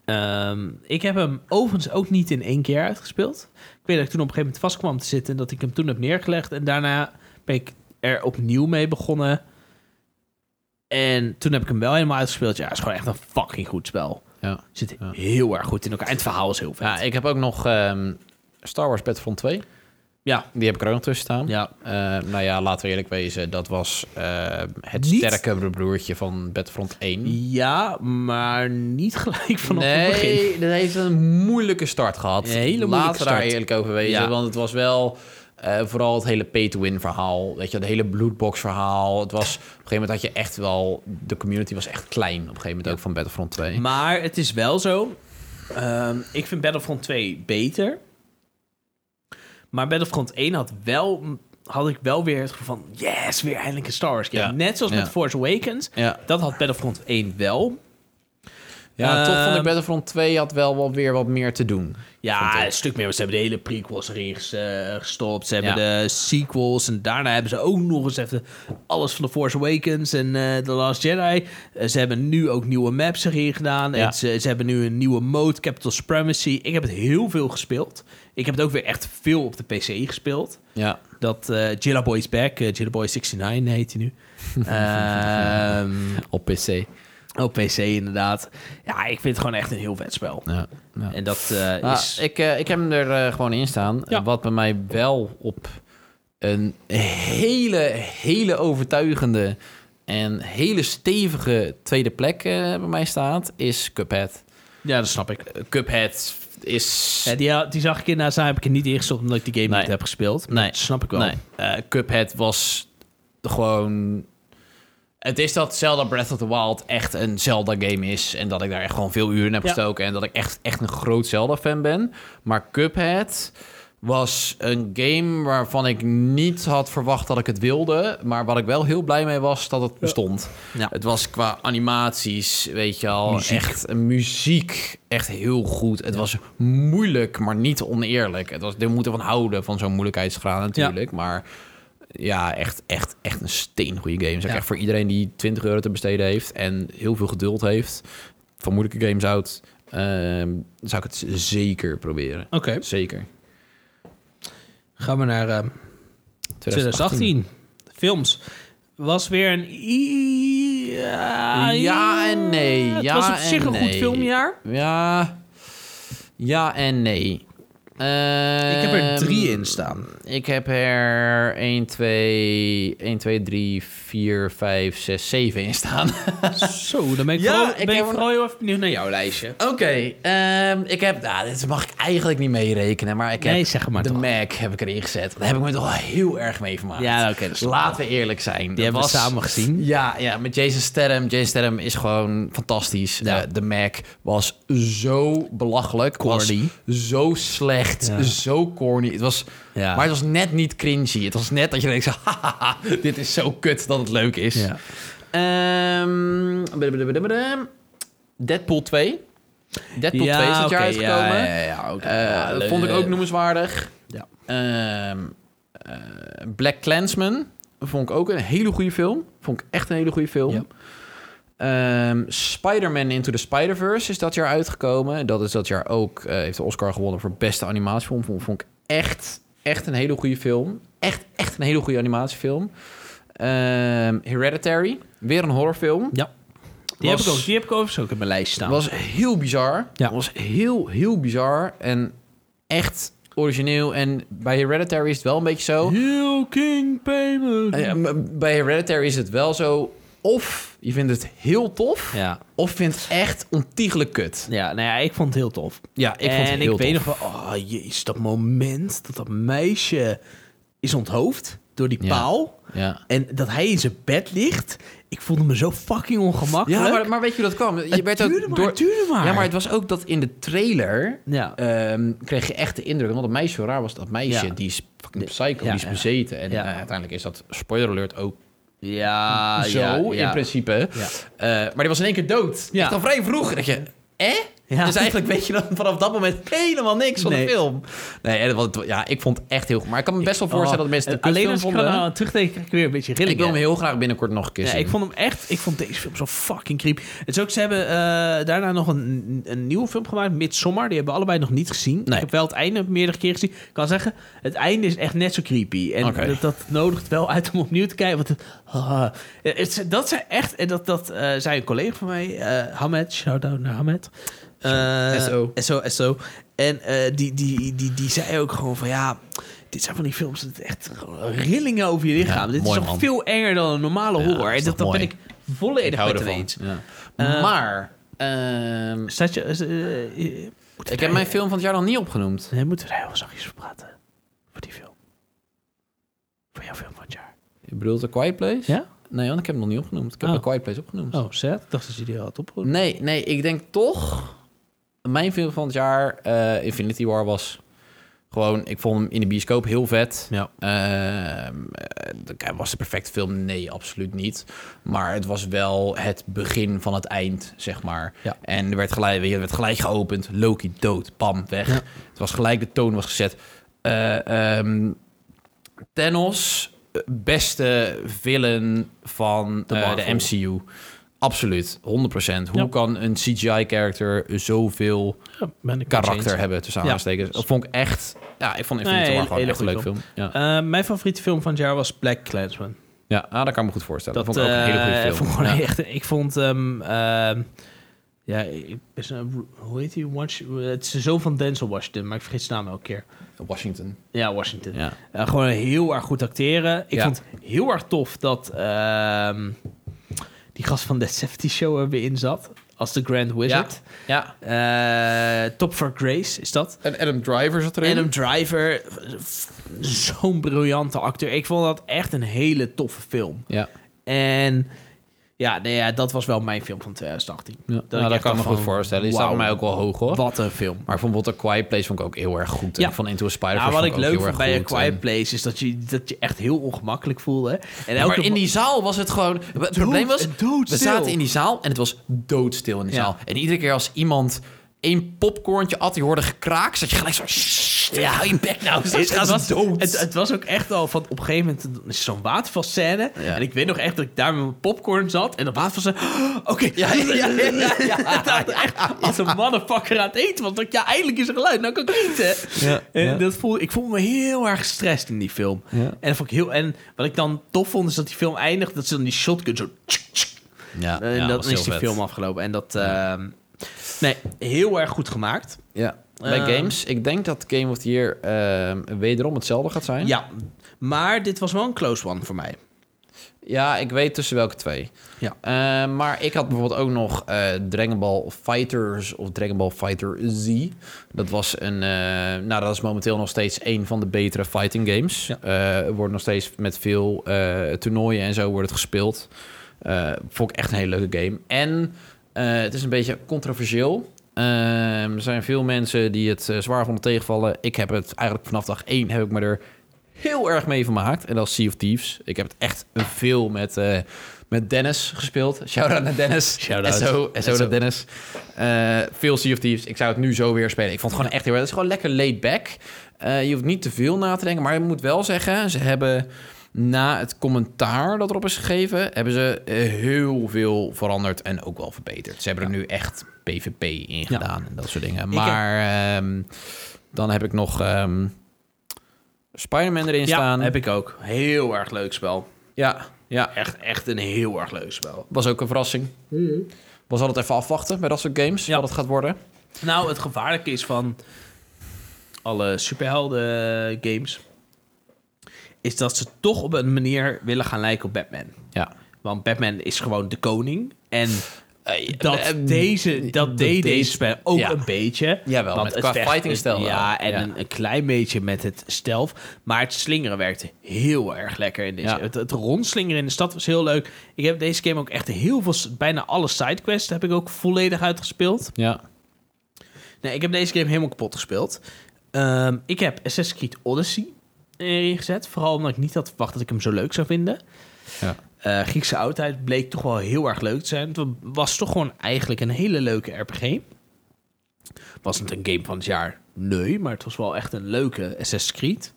S1: Ehm, ik heb hem overigens ook niet in één keer uitgespeeld. Ik weet dat ik toen op een gegeven moment vast kwam te zitten... en dat ik hem toen heb neergelegd. En daarna ben ik er opnieuw mee begonnen. En toen heb ik hem wel helemaal uitgespeeld. Ja, het is gewoon echt een fucking goed spel.
S2: Ja.
S1: Zit
S2: Ja.
S1: heel erg goed in elkaar. En het verhaal is heel vet.
S2: ja, ik heb ook nog ehm, Star Wars Battlefront 2.
S1: Ja.
S2: Die heb ik er ook nog tussen staan.
S1: ja.
S2: Eh, nou ja, laten we eerlijk wezen. Dat was eh, het
S1: Niet-
S2: sterke broertje van Battlefront 1.
S1: Ja, maar niet gelijk vanaf het begin.
S2: Nee, dat heeft een moeilijke start gehad.
S1: Een hele moeilijke
S2: laten we daar
S1: start.
S2: eerlijk over wezen.
S1: Ja.
S2: Want het was wel eh, vooral het hele pay-to-win verhaal. Weet je, het hele bloedbox verhaal. Het was, op een gegeven moment had je echt wel... De community was echt klein op een gegeven moment ook van Battlefront 2.
S1: Maar het is wel zo. ehm, ik vind Battlefront 2 beter. Maar Battlefront 1 had wel had ik wel weer het gevoel van yes, weer eindelijk een Star Wars game.
S2: Ja.
S1: Net zoals
S2: Ja.
S1: met Force Awakens.
S2: Ja.
S1: Dat had Battlefront 1 wel.
S2: Ja, toch vond ik
S1: Ehm,
S2: Battlefront 2 had wel, wel weer wat meer te doen.
S1: Ja,
S2: ik.
S1: een stuk meer. want Ze hebben de hele prequels erin ges- eh, gestopt. Ze hebben
S2: Ja.
S1: de sequels. En daarna hebben ze ook nog eens even alles van The Force Awakens en eh The Last Jedi. Eh, ze hebben nu ook nieuwe maps erin gedaan.
S2: Ja.
S1: En ze, ze hebben nu een nieuwe mode, Capital Supremacy. Ik heb het heel veel gespeeld. Ik heb het ook weer echt veel op de PC gespeeld.
S2: Ja.
S1: Dat eh Jilla Boy is back. eh, Jilla Boy 69 heet hij nu. Ehm,
S2: Op PC.
S1: op PC inderdaad. Ja, ik vind het gewoon echt een heel vet spel.
S2: Ja. ja.
S1: En dat eh,
S2: Ah,
S1: is...
S2: ik, eh, ik heb hem er eh, gewoon in staan.
S1: Ja.
S2: Wat bij mij wel op een hele, hele overtuigende en hele stevige tweede plek eh, bij mij staat, is Cuphead.
S1: Ja, dat snap ik.
S2: Eh, Cuphead is...
S1: Ja, die, die zag ik inderdaad, daar heb ik er niet ingestopt omdat ik die game
S2: Nee.
S1: niet heb gespeeld. Maar
S2: Nee.
S1: Dat snap ik wel.
S2: Nee, eh, Cuphead was gewoon... Het is dat Zelda Breath of the Wild echt een Zelda-game is. En dat ik daar echt gewoon veel uren in heb
S1: Ja.
S2: gestoken. En dat ik echt, echt een groot Zelda-fan ben. Maar Cuphead was een game waarvan ik niet had verwacht dat ik het wilde. Maar wat ik wel heel blij mee was, dat het bestond.
S1: Ja.
S2: Het was qua animaties, weet je al,
S1: Muziek.
S2: echt een muziek echt heel goed. Het was moeilijk, maar niet oneerlijk. Het was, we moeten van houden van zo'n moeilijkheidsgraad natuurlijk, maar ja, echt, echt, echt een steengoede game. Zeg
S1: Ja.
S2: echt voor iedereen die 20 euro te besteden heeft en heel veel geduld heeft van moeilijke games houdt, ehm, zou ik het zeker proberen.
S1: Oké,
S2: Zeker.
S1: gaan we naar eh, 2018. Films. Was weer een... i- Ja,
S2: Ja en nee,
S1: Het
S2: ja
S1: was op
S2: en
S1: zich een goed
S2: nee.
S1: filmjaar.
S2: Ja, ja en nee.
S1: ik heb er drie
S2: Ehm,
S1: in staan.
S2: Ik heb er 1, 2, 1, 2, 3, 4, 5, 6, 7 in staan.
S1: Zo, dan ben ik
S2: Ja,
S1: vooral,
S2: ik
S1: ben ik
S2: heb-
S1: vooral heel even benieuwd naar jouw lijstje.
S2: Oké, ehm, ik heb... Nou, dit mag ik eigenlijk niet meerekenen, maar ik heb...
S1: Nee, zeg maar
S2: de
S1: toch.
S2: Mac heb ik erin gezet. Daar heb ik me toch wel heel erg mee vermaakt.
S1: Ja, oké, dat snap ik.
S2: Laten we eerlijk zijn.
S1: Die hebben we samen gezien.
S2: Ja, ja, met Jason Statham. Jason Statham is gewoon fantastisch.
S1: Ja.
S2: Eh, de Mac was zo belachelijk.
S1: Corny.
S2: Was zo slecht.
S1: Ja.
S2: Zo corny. Het was...
S1: Ja.
S2: Maar het was net niet cringy. Het was net dat je denkt, zo, hahaha, dit is zo kut dat het leuk is.
S1: Ja.
S2: Ehm, blablabla. Deadpool 2. Deadpool 2 is dit jaar
S1: oké,
S2: uitgekomen.
S1: Ja, ja, ja, ja, oké.
S2: Eh,
S1: Ja, leuk.
S2: vond ik ook noemenswaardig.
S1: Ja.
S2: Ehm, eh, Black Clansman vond ik ook een hele goede film. Vond ik echt een hele goede film.
S1: Ja.
S2: Ehm, Spider-Man Into the Spider-Verse is dat jaar uitgekomen. Dat is dat jaar ook, eh, heeft de Oscar gewonnen voor beste animatiefilm. Vond, vond ik echt, echt een hele goede film. Echt, echt een hele goede animatiefilm. Ehm, Hereditary, weer een horrorfilm.
S1: die, heb
S2: was-
S1: ik ook, die heb ik overigens ook in mijn lijst staan.
S2: Was heel bizar.
S1: Nou. Ja.
S2: Was heel, heel bizar. En echt origineel. En bij Hereditary is het wel een beetje zo.
S1: Heel King Payment.
S2: Eh, m- Bij Hereditary is het wel zo. Of je vindt het heel tof.
S1: Ja.
S2: Of je vindt het echt ontiegelijk kut.
S1: Ja, nou ja, ik vond het heel tof.
S2: Ja, ik vond het
S1: en
S2: heel
S1: ik weet
S2: tof.
S1: nog wel, oh jezus, dat moment dat dat meisje is onthoofd door die
S2: Ja.
S1: paal.
S2: Ja.
S1: En dat hij in zijn bed ligt. Ik voelde me zo fucking ongemakkelijk.
S2: Ja, maar, maar weet je hoe dat kwam? Je
S1: het
S2: werd
S1: duurde
S2: ook
S1: maar,
S2: door...
S1: het duurde maar.
S2: Ja, maar het was ook dat in de trailer
S1: Ja.
S2: ehm, kreeg je echt de indruk. Want dat meisje, zo raar was dat meisje,
S1: Ja.
S2: die is fucking psycho,
S1: Ja,
S2: die is
S1: ja.
S2: bezeten. En
S1: Ja.
S2: eh, uiteindelijk is dat, spoiler alert, ook
S1: ja,
S2: zo
S1: Ah, ja, ja.
S2: in principe.
S1: Ja.
S2: Eh, maar die was in één keer dood.
S1: Ja.
S2: Echt al vrij vroeg. Dat je, eh?
S1: Ja.
S2: Dus eigenlijk weet je dan vanaf dat moment helemaal niks van
S1: Nee.
S2: de film. Nee, en dat was- ja, ik vond het echt heel goed. Maar ik kan me best wel voorstellen
S1: Oh,
S2: dat mensen
S1: en
S2: het een
S1: Alleen
S2: kutfilm
S1: als ik
S2: vonden.
S1: er aan terugdenk, krijg ik weer een beetje
S2: Ik
S1: rillingen.
S2: wil hem heel graag binnenkort nog een keer
S1: Ja,
S2: zien.
S1: ik vond hem echt. Ik vond deze film zo fucking creepy. Het is ook, ze hebben eh, daarna nog een, een nieuwe film gemaakt, Midsommar. Die hebben we allebei nog niet gezien.
S2: Nee.
S1: Ik heb wel het einde meerdere keren gezien. Ik kan zeggen, het einde is echt net zo creepy. En
S2: Oké.
S1: dat, dat nodigt wel uit om opnieuw te kijken. Want het, ah. Het is- dat zijn echt. En dat, dat eh, zei een collega van mij, eh Hamed. Shout-out naar Hamed. Eh,
S2: SO.
S1: SO, SO. En eh, die, die, die, die zei ook gewoon van ja. Dit zijn van die films dat echt gewoon rillingen over je lichaam. Dit is
S2: mooi
S1: nog
S2: man.
S1: veel enger dan een normale
S2: Ja,
S1: horror.
S2: is
S1: En
S2: dat
S1: dat, dat ben
S2: mooi.
S1: ik volledig met hem eens.
S2: Ja.
S1: Eh,
S2: maar, ehm,
S1: Staat je... eh, eh, moeten
S2: ik heb
S1: wij-
S2: mijn film van het jaar nog niet opgenoemd.
S1: Nee, moeten we daar heel zachtjes voor praten. Voor die film. Voor jouw film van het jaar.
S2: Je bedoelt The Quiet Place?
S1: Ja?
S2: Nee, want ik heb hem nog niet opgenoemd. Ik heb
S1: Oh.
S2: The Quiet Place opgenoemd.
S1: Oh, zet. Ik dacht dat je die al had opgeroepen.
S2: Nee, nee, ik denk toch... Mijn film van het jaar, eh, Infinity War was... Gewoon, ik vond hem in de bioscoop heel vet.
S1: Ja.
S2: Ehm, eh, was de perfecte film? Nee, absoluut niet. Maar het was wel het begin van het eind, zeg maar.
S1: Ja.
S2: En er werd gelijk, weet je, er werd gelijk geopend. Loki dood, bam, weg. Het was gelijk, de toon was gezet. Eh, ehm, Thanos, eh, beste villain van
S1: De
S2: eh, de,
S1: Marvel.
S2: MCU. Absoluut, 100%. Hoe
S1: Ja.
S2: kan een CGI-character zoveel
S1: Ja, ben ik
S2: karakter hebben tussen
S1: Ja.
S2: aanstekens? Dat vond ik echt... Ja, ik vond Infinity
S1: Nee,
S2: War
S1: hele-
S2: gewoon
S1: hele
S2: echt een leuk
S1: goede
S2: film. Ja.
S1: Eh, mijn favoriete film van het jaar was Black Clansman.
S2: Ja, ah, dat kan ik me goed voorstellen.
S1: Dat,
S2: Dat, vond ik ook een
S1: eh,
S2: hele goede
S1: vond ik
S2: film.
S1: gewoon
S2: Ja.
S1: echt, ik vond hem... ehm, ja, ik- is een- hoe heet hij? Wash- Het is de zoon van Denzel Washington, maar ik vergeet zijn naam elke keer.
S2: Washington.
S1: Ja, Washington.
S2: Ja.
S1: Eh, gewoon heel erg goed acteren. Ik
S2: Ja.
S1: vond het heel erg tof dat ehm, die gast van de Safety Show er weer in zat. Als de Grand Wizard.
S2: ja.
S1: Eh, Top for Grace is dat.
S2: En Adam Driver zat erin.
S1: Adam Driver, f- zo'n briljante acteur. Ik vond dat echt een hele toffe film.
S2: Ja,
S1: En ja, nee, ja dat was wel mijn film van 2018.
S2: ja. Nou,
S1: ik
S2: dat,
S1: echt
S2: kan ik me
S1: dacht
S2: goed
S1: van,
S2: voorstellen. Die staat
S1: wauw,
S2: bij mij ook wel hoog, hoor.
S1: Wat een film.
S2: Maar ik vond bijvoorbeeld The Quiet Place vond ik ook heel erg goed. En
S1: Ja.
S2: ik vond Into the Spider
S1: Ja,
S2: vond
S1: wat
S2: ik
S1: ik
S2: ook
S1: leuk
S2: heel
S1: vond
S2: erg
S1: bij A
S2: goed.
S1: Quiet
S2: En-
S1: Place is dat je, dat je echt heel ongemakkelijk voelde. En
S2: Ja,
S1: elke
S2: maar in die zaal was het gewoon... Het probleem was, we zaten in die zaal en het was doodstil in de
S1: Ja.
S2: zaal. En iedere keer als iemand één popcornje at, die hoorde gekraak, zat je gelijk zo... "Sst,
S1: Ja.
S2: hou je bek nou, ze
S1: Het,
S2: gaan
S1: het was,
S2: ze dood.
S1: het, het was ook echt al van op een gegeven moment dan is zo'n watervalscène.
S2: Ja.
S1: En ik weet nog echt dat ik daar met mijn popcorn zat. En op watervalscène. Oké.
S2: Ja, ja, ja, ja,
S1: Dat ik echt als een mannenpakker aan het eten was. Dat ik, ja, eindelijk is er geluid. Nou kan ik eten.
S2: Ja,
S1: En
S2: ja.
S1: Dat voelde, ik voelde me heel erg gestrest in die film.
S2: Ja.
S1: En, dat vond ik heel, en wat ik dan tof vond is dat die film eindigt. Dat ze dan die shotgun zo... tsk, tsk,
S2: Ja,
S1: en
S2: ja, was
S1: dat
S2: heel
S1: is die
S2: vet.
S1: film afgelopen. En dat... ehm, nee, heel erg goed gemaakt.
S2: Ja. Bij
S1: Ehm,
S2: games, ik denk dat Game of the Year ehm, wederom hetzelfde gaat zijn.
S1: Ja, maar dit was wel een close one voor mij.
S2: Ja, ik weet tussen welke twee.
S1: Ja.
S2: Eh, maar ik had bijvoorbeeld ook nog eh Dragon Ball Fighters of Dragon Ball Fighter Z. Dat was een. eh, nou, dat is momenteel nog steeds een van de betere fighting games.
S1: Ja.
S2: Eh, er wordt nog steeds met veel eh, toernooien en zo wordt het gespeeld. Eh, vond ik echt een hele leuke game. En eh, het is een beetje controversieel. Eh, er zijn veel mensen die het eh, zwaar vonden tegenvallen. Ik heb het eigenlijk vanaf dag één heb ik me er heel erg mee vermaakt. En dat is Sea of Thieves. Ik heb het echt veel met, eh, met Dennis gespeeld. Shout-out naar Dennis.
S1: Shout-out.
S2: En zo, en zo
S1: SO.
S2: naar Dennis. Eh, veel Sea of Thieves. Ik zou het nu zo weer spelen. Ik vond het gewoon echt heel erg... Het is gewoon lekker laid back. Eh, je hoeft niet te veel na te denken. Maar ik moet wel zeggen, ze hebben... Na het commentaar dat erop is gegeven, hebben ze eh, heel veel veranderd en ook wel verbeterd. Ze hebben er nu echt PvP in gedaan en dat soort dingen.
S1: Ik-
S2: Maar ehm, dan heb ik nog ehm Spider-Man erin staan.
S1: Ja, heb ik ook. Heel erg leuk spel.
S2: Ja, ja.
S1: Echt, echt een heel erg leuk spel.
S2: Was ook een verrassing. Was altijd even afwachten bij dat soort games,
S1: Ja.
S2: wat het gaat worden.
S1: Nou, het gevaarlijke is van alle superhelden games... is dat ze toch op een manier willen gaan lijken op Batman.
S2: Ja.
S1: Want Batman is gewoon de koning. En dat,
S2: eh,
S1: deze, dat,
S2: dat
S1: deed
S2: deed-
S1: deze spel ook
S2: ja.
S1: een beetje.
S2: Jawel,
S1: Want
S2: met-
S1: het
S2: qua
S1: vechten-
S2: fightingstijl wel.
S1: Ja, en
S2: Ja.
S1: Een, een klein beetje met het stealth. Maar het slingeren werkte heel erg lekker in deze.
S2: Ja.
S1: Het, het rondslingeren in de stad was heel leuk. Ik heb deze game ook echt heel veel... Bijna alle sidequests heb ik ook volledig uitgespeeld.
S2: Ja.
S1: Nee, ik heb deze game helemaal kapot gespeeld. Ehm, ik heb Assassin's Creed Odyssey erin gezet. Vooral omdat ik niet had verwacht dat ik hem zo leuk zou vinden.
S2: Ja.
S1: Eh, Griekse oudheid bleek toch wel heel erg leuk te zijn. Het was toch gewoon eigenlijk een hele leuke RPG. Was het een game van het jaar? Nee, maar het was wel echt een leuke Assassin's Creed.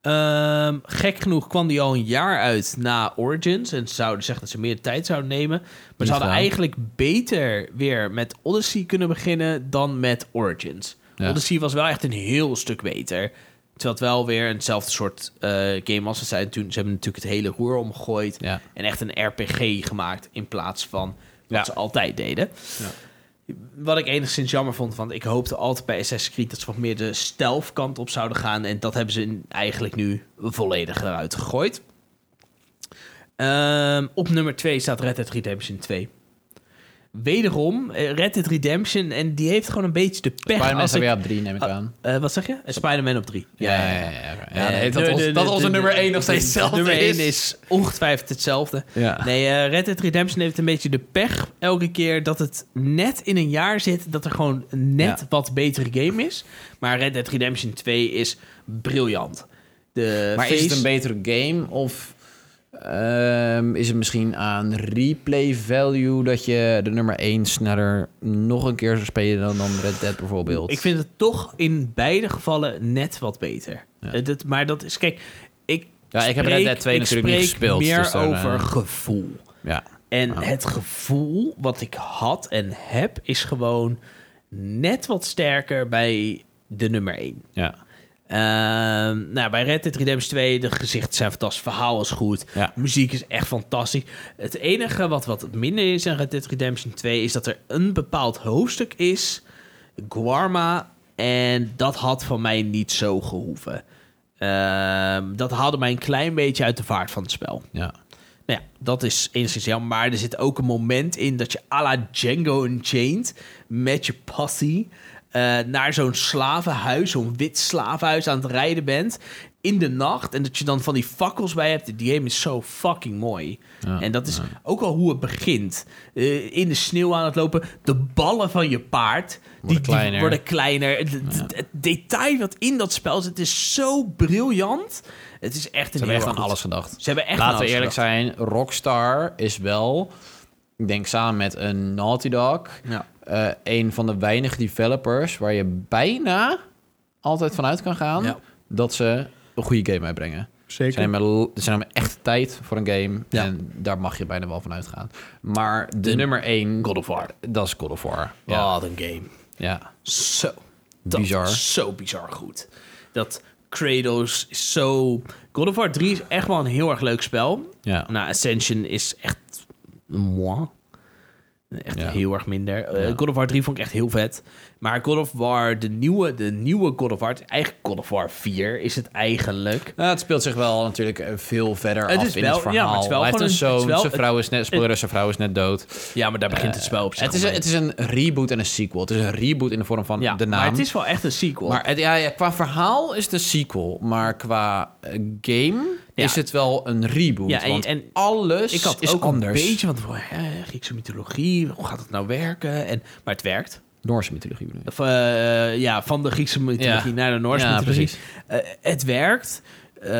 S1: Ehm, gek genoeg kwam die al een jaar uit na Origins. En ze zouden zeggen dat ze meer tijd zouden nemen. Maar
S2: Niet
S1: ze hadden
S2: gedaan.
S1: eigenlijk beter weer met Odyssey kunnen beginnen dan met Origins.
S2: Ja.
S1: Odyssey was wel echt een heel stuk beter. Terwijl het wel weer eenzelfde soort eh, game was. Ze, zeiden toen, ze hebben natuurlijk het hele roer omgegooid.
S2: Ja.
S1: En echt een RPG gemaakt in plaats van wat
S2: Ja.
S1: ze altijd deden. Wat ik enigszins jammer vond, want ik hoopte altijd bij Assassin's Creed... dat ze wat meer de stealth kant op zouden gaan. En dat hebben ze in- eigenlijk nu volledig eruit gegooid. Ehm, op nummer 2 staat Red Dead Redemption 2. wederom eh, Red Dead Redemption. En die heeft gewoon een beetje de pech.
S2: Spider-Man
S1: als
S2: staat
S1: ik-
S2: weer op drie, neem ik aan.
S1: Eh, wat zeg je? Eh, Spider-man op drie.
S2: Ah, Ja, ja, ja. ja, oké. ja,
S1: Eh,
S2: nee, dat
S1: de-
S2: ons-
S1: de-
S2: dat
S1: de-
S2: onze
S1: de-
S2: nummer één nog
S1: de-
S2: steeds
S1: de-
S2: hetzelfde
S1: Nummer
S2: is.
S1: één is ongetwijfeld hetzelfde.
S2: Ja.
S1: Nee, eh, Red Dead Redemption heeft een beetje de pech elke keer dat het net in een jaar zit dat er gewoon net
S2: Ja.
S1: wat betere game is. Maar Red Dead Redemption 2 is briljant. De
S2: Maar is
S1: face-
S2: het een betere game of ehm, is het misschien aan replay value dat je de nummer 1 sneller nog een keer zou spelen dan, dan Red Dead bijvoorbeeld?
S1: Ik vind het toch in beide gevallen net wat beter.
S2: Ja.
S1: Eh, dat, maar dat is, kijk, ik,
S2: Ja, ik heb
S1: spreek-
S2: Red Dead 2
S1: ik
S2: natuurlijk niet
S1: spreek
S2: gespeeld,
S1: meer
S2: dus dan, eh,
S1: over gevoel.
S2: ja.
S1: En
S2: Ah.
S1: het gevoel wat ik had en heb is gewoon net wat sterker bij de nummer 1.
S2: Ja.
S1: Ehm, nou, bij Red Dead Redemption 2, de gezichten zijn fantastisch, verhaal is goed,
S2: Ja.
S1: muziek is echt fantastisch. Het enige wat wat minder is aan Red Dead Redemption 2 is dat er een bepaald hoofdstuk is, Guarma, en dat had van mij niet zo gehoeven. Ehm, dat haalde mij een klein beetje uit de vaart van het spel.
S2: Ja.
S1: Nou ja, dat is enigszins jammer. Maar er zit ook een moment in dat je à la Django Unchained met je passie eh, naar zo'n slavenhuis, zo'n wit slavenhuis aan het rijden bent in de nacht. En dat je dan van die fakkels bij hebt. Die game is zo fucking mooi.
S2: Ja,
S1: en dat is ook al hoe het begint. Eh, in de sneeuw aan het lopen. De ballen van je paard. die, die
S2: kleiner.
S1: worden kleiner. Het, het- het detail wat in dat spel zit is zo briljant. Het is echt een
S2: Ze
S1: heel
S2: hebben echt
S1: erg
S2: aan
S1: goed-
S2: alles gedacht.
S1: Ze hebben echt nou, aan
S2: Laten we
S1: alles
S2: eerlijk
S1: gedacht.
S2: zijn, Rockstar is wel, ik denk samen met een Naughty Dog,
S1: Ja.
S2: eh, een van de weinige developers waar je bijna altijd vanuit kan gaan
S1: Ja.
S2: dat ze een goede game uitbrengen. Ze
S3: Zeker.
S2: nemen, l- ze nemen echt tijd voor een game
S1: Ja.
S2: en daar mag je bijna wel van uitgaan. Maar de, nummer één... God of War. Dat is God of War. Ja,
S1: Oh, Wat een game.
S2: ja.
S1: Zo. Dat
S2: Bizar.
S1: is zo bizar goed. Dat Kratos is zo... God of War 3 is echt wel een heel erg leuk spel.
S2: ja.
S1: Nou, Ascension is echt... Moi. Echt
S2: Ja.
S1: heel erg minder. Eh,
S2: Ja.
S1: God of War 3 vond ik echt heel vet. Maar God of War, de nieuwe, de nieuwe God of War... Eigenlijk God of War 4 is het eigenlijk.
S2: Nou, het speelt zich wel natuurlijk eh, veel verder
S1: Het
S2: af
S1: is
S2: in
S1: wel-
S2: het
S1: ja, maar
S2: verhaal.
S1: het is wel
S2: Hij
S1: gewoon
S2: heeft een
S1: een- het is
S2: zoon,
S1: wel-
S2: zijn vrouw is net... Spoiler, zijn vrouw is net dood. Eh,
S1: Ja, maar daar begint het spel op zich
S2: Het is, een,
S1: gewoon
S2: het is een reboot en een sequel. Het is een reboot in de vorm van
S1: mee. ja,
S2: de naam.
S1: maar het is wel echt een sequel.
S2: Maar het- ja, ja, qua verhaal is het een sequel. Maar qua eh, game
S1: Ja.
S2: is het wel een reboot.
S1: Ja, en-
S2: want
S1: en
S2: alles
S1: ik had
S2: is
S1: ook
S2: anders.
S1: een beetje van... Hè, Griekse mythologie, hoe gaat het nou werken? En, maar het werkt.
S2: Noorse mythologie bedoel je?
S1: Of, eh, ja, van de Griekse mythologie
S2: Ja.
S1: naar de Noorse
S2: Ja,
S1: mythologie.
S2: precies.
S1: Eh, het werkt. Eh,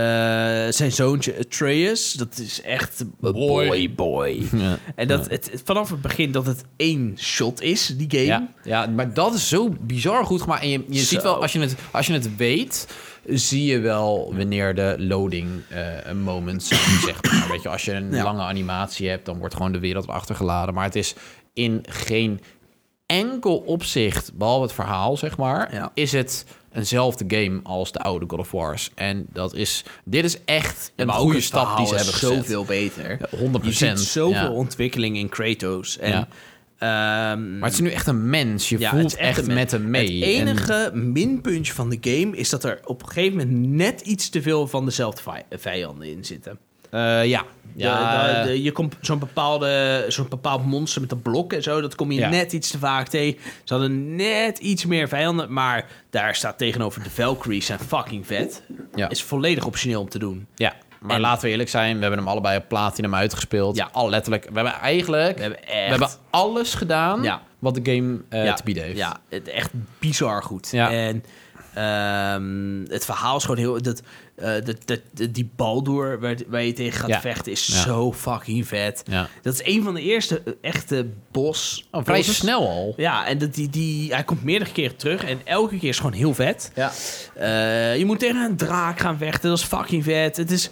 S1: zijn zoontje Atreus, dat is echt boy, boy.
S2: Boy. Ja.
S1: En dat het, het- vanaf het begin dat het één shot is, die game.
S2: Ja, ja, maar dat is zo bizar goed gemaakt. En je, je
S1: Zo.
S2: ziet wel, als je, het, als je het weet, zie je wel wanneer de loading eh, moments zijn, zeg maar. Weet je, als je een
S1: Ja.
S2: lange animatie hebt, dan wordt gewoon de wereld achtergeladen. Maar het is in geen enkel opzicht, behalve het verhaal, zeg maar,
S1: Ja.
S2: is het eenzelfde game als de oude God of Wars. En dat is, dit is echt een
S1: maar ook
S2: goede
S1: het
S2: stap
S1: verhaal
S2: die ze
S1: is
S2: hebben gezet.
S1: zoveel beter.
S2: Ja, 100%.
S1: Je ziet zoveel
S2: ja.
S1: ontwikkeling in Kratos. En,
S2: Ja.
S1: ehm,
S2: Maar het is nu echt een mens. Je
S1: Ja, het
S2: voelt
S1: is
S2: echt,
S1: echt een
S2: met hem mee.
S1: Het
S2: En-
S1: enige minpuntje van de game is dat er op een gegeven moment net iets te veel van dezelfde vi- vijanden in zitten.
S2: Eh, ja.
S1: De-
S2: ja eh.
S1: de- de- je komt zo'n, bepaalde, zo'n bepaald monster met een blok en zo. Dat kom je
S2: Ja.
S1: net iets te vaak tegen. Ze hadden net iets meer vijanden. Maar daar staat tegenover de Valkyries zijn fucking vet.
S2: Ja.
S1: Is volledig optioneel om te doen.
S2: ja. Maar
S1: en-
S2: laten we eerlijk zijn, we hebben hem allebei op platinum uitgespeeld.
S1: Ja.
S2: al letterlijk. We hebben eigenlijk
S1: We
S2: we hebben
S1: hebben echt...
S2: alles gedaan
S1: Ja.
S2: wat de game eh, te bieden heeft.
S1: Ja, het echt bizar goed.
S2: Ja.
S1: En ehm, het verhaal is gewoon heel... Dat, eh, dat, dat, dat- die Baldur waar, waar je tegen gaat
S2: Ja.
S1: vechten is
S2: Ja.
S1: zo fucking vet.
S2: Ja.
S1: Dat is een van de eerste eh, echte bos...
S2: Oh, vrij
S1: bosses.
S2: snel al.
S1: Ja, en dat die, die, hij komt meerdere keren terug en elke keer is gewoon heel vet.
S2: Ja.
S1: Eh, je moet tegen een draak gaan vechten, dat is fucking vet. Het is,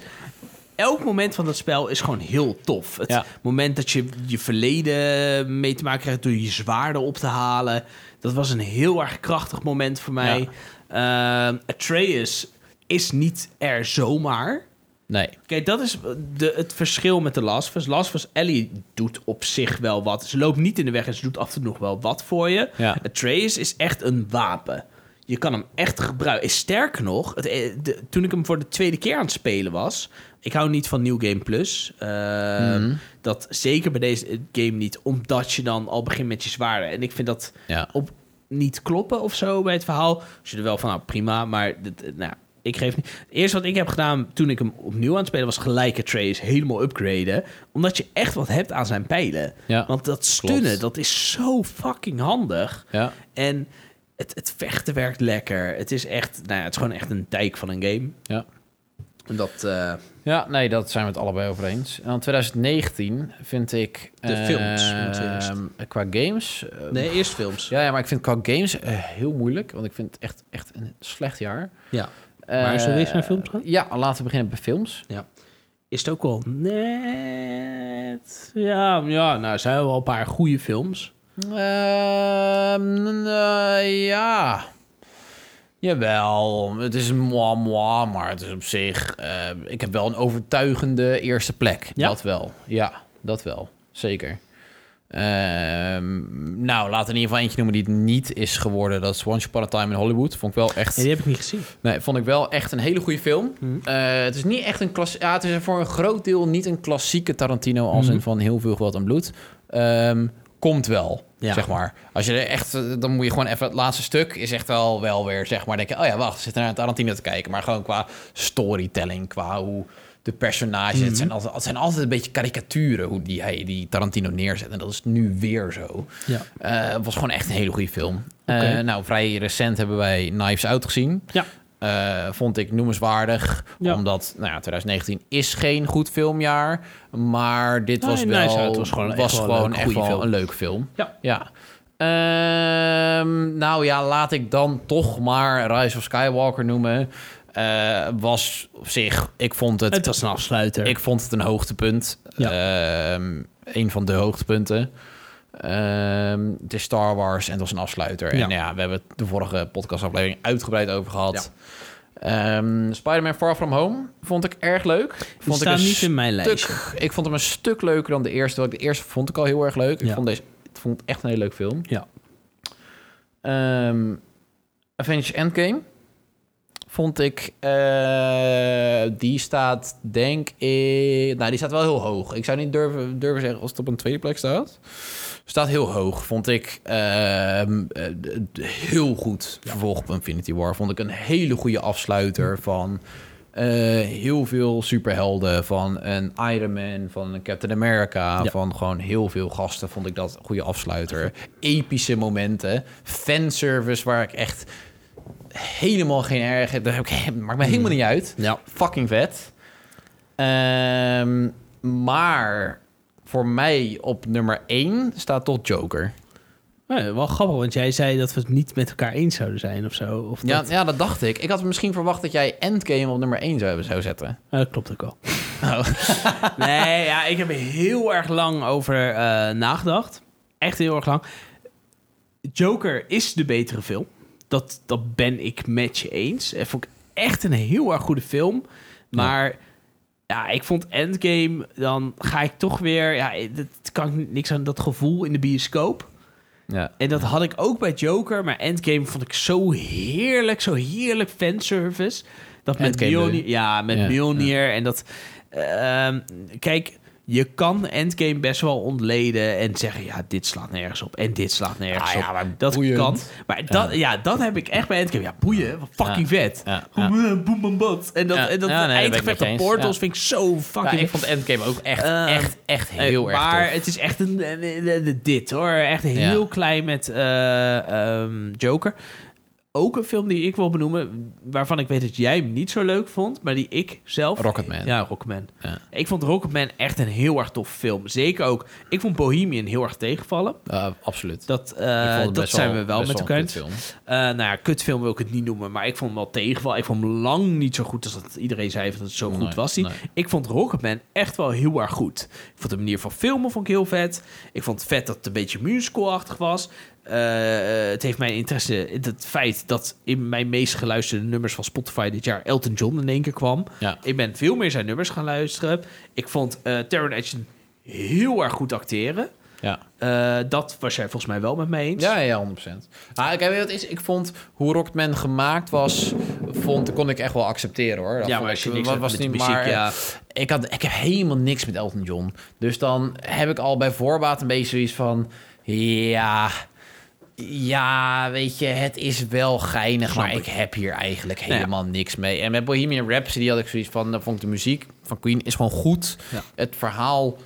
S1: elk moment van dat spel is gewoon heel tof. Het
S2: Ja.
S1: moment dat je je verleden mee te maken krijgt door je zwaarden op te halen. Dat was een heel erg krachtig moment voor mij. Ehm, Atreus is niet er zomaar.
S2: Nee.
S1: Kijk, dat is de, het verschil met de Last of Us. Last of Us, Ellie doet op zich wel wat. Ze loopt niet in de weg en ze doet af en toe nog wel wat voor je.
S2: Ja.
S1: Atreus is echt een wapen. je kan hem echt gebruiken. Eh, Sterker nog, het, eh, de- toen ik hem voor de tweede keer aan het spelen was... Ik hou niet van New Game Plus. Eh,
S2: Mhm.
S1: Dat zeker bij deze game niet. Omdat je dan al begint met je zwaarden. En ik vind dat
S2: Ja.
S1: op niet kloppen of zo bij het verhaal. Dus je er wel van, nou prima, maar dit, eh, nou, ik geef niet. Het eerste wat ik heb gedaan toen ik hem opnieuw aan het spelen was, gelijke trace helemaal upgraden. Omdat je echt wat hebt aan zijn pijlen.
S2: Ja,
S1: Want dat stunnen, dat is zo fucking handig.
S2: Ja.
S1: En het, het vechten werkt lekker. Het is echt, nou ja, het is gewoon echt een dijk van een game.
S2: Ja.
S1: En dat, eh,
S2: Ja, nee, dat zijn we het allebei over eens. En dan 2019 vind ik...
S1: De
S2: eh,
S1: films moeten eerst.
S2: eh, Qua games... eh,
S1: nee, eerst films.
S2: Ja, ja, maar ik vind qua games eh, heel moeilijk. Want ik vind het echt, echt een slecht jaar.
S1: Ja.
S2: Eh,
S1: Maar zullen we eerst naar films gaan?
S2: Ja, laten we beginnen bij films.
S1: Is het ook wel net... Ja, ja, nou, er zijn wel een paar goede films.
S2: Ehm, eh, ja. Jawel, het is moi moi, maar het is op zich... eh, ik heb wel een overtuigende eerste plek.
S1: Ja?
S2: Dat wel. Ja, dat wel. Zeker. Ehm, nou, laten we in ieder geval eentje noemen die het niet is geworden. Dat is Once Upon a Time in Hollywood. Vond ik wel echt...
S1: Ja, die heb ik niet gezien.
S2: Nee, vond ik wel echt een hele goede film.
S1: Mhm.
S2: Eh, het is niet echt een klassiek. Ja, het is voor een groot deel niet een klassieke Tarantino als
S1: Mhm.
S2: in van heel veel geweld en bloed. Ehm, komt wel,
S1: Ja.
S2: zeg maar. Als je er echt, eh, dan moet je gewoon even het laatste stuk is echt wel, wel weer, zeg maar, denken. Oh ja, wacht, we zitten naar Tarantino te kijken, maar gewoon qua storytelling, qua hoe de personages,
S1: Mhm.
S2: het, zijn altijd, het zijn altijd een beetje karikaturen hoe die hij die Tarantino neerzet en dat is nu weer zo.
S1: Ja.
S2: Eh, het was gewoon echt een hele goede film. Eh,
S1: Oké.
S2: nou, vrij recent hebben wij Knives Out gezien.
S1: Ja.
S2: Eh, vond ik noemenswaardig.
S1: Ja.
S2: Omdat nou ja, 2019 is geen goed filmjaar. Maar dit
S1: Nee,
S2: was wel,
S1: Knives Out was gewoon echt wel een
S2: gewoon
S1: leuke,
S2: echt
S1: goede
S2: wel
S1: film.
S2: een leuk film.
S1: Ja.
S2: ja. Ehm, nou ja, laat ik dan toch maar Rise of Skywalker noemen. Eh, was op zich, ik vond het
S1: Het was een afsluiter.
S2: ik vond het een hoogtepunt. Ehm, een van de hoogtepunten. Ehm, het is Star Wars en het was een afsluiter.
S1: Ja.
S2: En ja, we hebben het de vorige podcastaflevering uitgebreid over gehad. Ehm, Spider-Man Far From Home vond ik erg leuk.
S1: Die
S2: Vond ik
S1: staat
S2: een
S1: niet in mijn lijstje.
S2: stuk, ik vond hem een stuk leuker dan de eerste. terwijl ik de eerste vond ik al heel erg leuk. Ik
S1: Ja.
S2: vond deze ik vond het echt een hele leuke film.
S1: Ja.
S2: Ehm, Avengers Endgame vond ik... eh, die staat denk ik... Nou, die staat wel heel hoog. Ik zou niet durven, durven zeggen als het op een tweede plek staat. Staat heel hoog. Vond ik ehm, eh, d- d- heel goed vervolg op Infinity War. Vond ik een hele goede afsluiter van... eh, heel veel superhelden van een Iron Man, van een Captain America,
S1: Ja.
S2: van gewoon heel veel gasten vond ik dat een goede afsluiter. Epische momenten, fanservice waar ik echt helemaal geen erg. Daar heb ik, maakt me helemaal niet uit.
S1: Ja.
S2: Fucking vet. Ehm, maar voor mij op nummer 1 staat toch Joker.
S1: Ja, wel grappig, want jij zei dat we het niet met elkaar eens zouden zijn of zo. Of
S2: Ja,
S1: dat...
S2: ja, dat dacht ik. Ik had misschien verwacht dat jij Endgame op nummer 1 zou, zou zetten.
S1: Ja, dat klopt ook al. Oh. nee, ja, ik heb er heel erg lang over eh, nagedacht. Echt heel erg lang. Joker is de betere film. Dat, dat ben ik met je eens. En vond ik echt een heel erg goede film. Maar ja. ik vond Endgame, dan ga ik toch weer... Ja, dat kan ik niks aan dat gevoel in de bioscoop.
S2: Ja.
S1: En dat had ik ook bij Joker, maar Endgame vond ik zo heerlijk, zo heerlijk fanservice. Dat met
S2: Endgame bedoel
S1: Mjolnir, ja, met
S2: Ja,
S1: Mjolnir en dat... ehm, kijk, je kan Endgame best wel ontleden en zeggen, ja, dit slaat nergens op en dit slaat nergens
S2: Ah ja,
S1: op.
S2: maar
S1: dat
S2: boeiend.
S1: kan. Maar dat, ja, dat heb ik echt bij Endgame. Ja, boeien, wat fucking vet.
S2: Ja, ja.
S1: Gewoon, eh, Boem, bam, bad. En dat,
S2: Ja,
S1: en dat
S2: ja, nee, dat ben ik
S1: eindgevecht
S2: met
S1: op
S2: je eens.
S1: portals
S2: Ja.
S1: vind ik zo
S2: Ja,
S1: fucking...
S2: ik vond Endgame ook echt,
S1: Eh,
S2: echt, echt heel
S1: Eh,
S2: erg
S1: maar
S2: tof.
S1: het is echt een, een- een- een- dit hoor. Echt heel
S2: Ja.
S1: klein met eh, ehm, Joker. Ook een film die ik wil benoemen, waarvan ik weet dat jij hem niet zo leuk vond, maar die ik zelf...
S2: Rocketman.
S1: Ja, Rocketman.
S2: Ja.
S1: Ik vond Rocketman echt een heel erg tof film. Zeker ook, ik vond Bohemian heel erg tegenvallen.
S2: Eh, absoluut.
S1: Dat, eh,
S2: Ik vond het
S1: dat
S2: best
S1: zijn we wel
S2: best
S1: met
S2: een
S1: elkaar eens.
S2: kutfilm.
S1: Eh, nou ja, kutfilm wil ik het niet noemen, maar ik vond hem wel tegenval. Ik vond hem lang niet zo goed als dat iedereen zei dat het zo
S2: Nee,
S1: goed was. die.
S2: nee.
S1: Ik vond Rocketman echt wel heel erg goed. Ik vond de manier van filmen vond ik heel vet. Ik vond het vet dat het een beetje musicalachtig was. Eh, het heeft mijn interesse, het feit dat in mijn meest geluisterde nummers van Spotify dit jaar Elton John in één keer kwam.
S2: Ja.
S1: Ik ben veel meer zijn nummers gaan luisteren. Ik vond eh Taron Egerton heel erg goed acteren.
S2: Ja.
S3: Eh, dat was jij volgens mij wel met mij eens.
S2: Ja, ja, 100%. Ah, ik, weet je wat het is, ik vond hoe Rocketman gemaakt was, vond, kon ik echt wel accepteren hoor. Dat
S3: Ja,
S2: vond
S3: maar
S2: ik-
S3: als je niks
S2: wa-
S3: hebt met de muziek, ja.
S2: ik, had, ik heb helemaal niks met Elton John. Dus dan heb ik al bij voorbaat een beetje zoiets van, ja, ja, weet je, het is wel geinig, maar ik heb hier eigenlijk helemaal niks mee. En met Bohemian Rhapsody had ik zoiets van, dan vond ik de muziek van Queen is gewoon goed.
S3: Ja.
S2: Het verhaal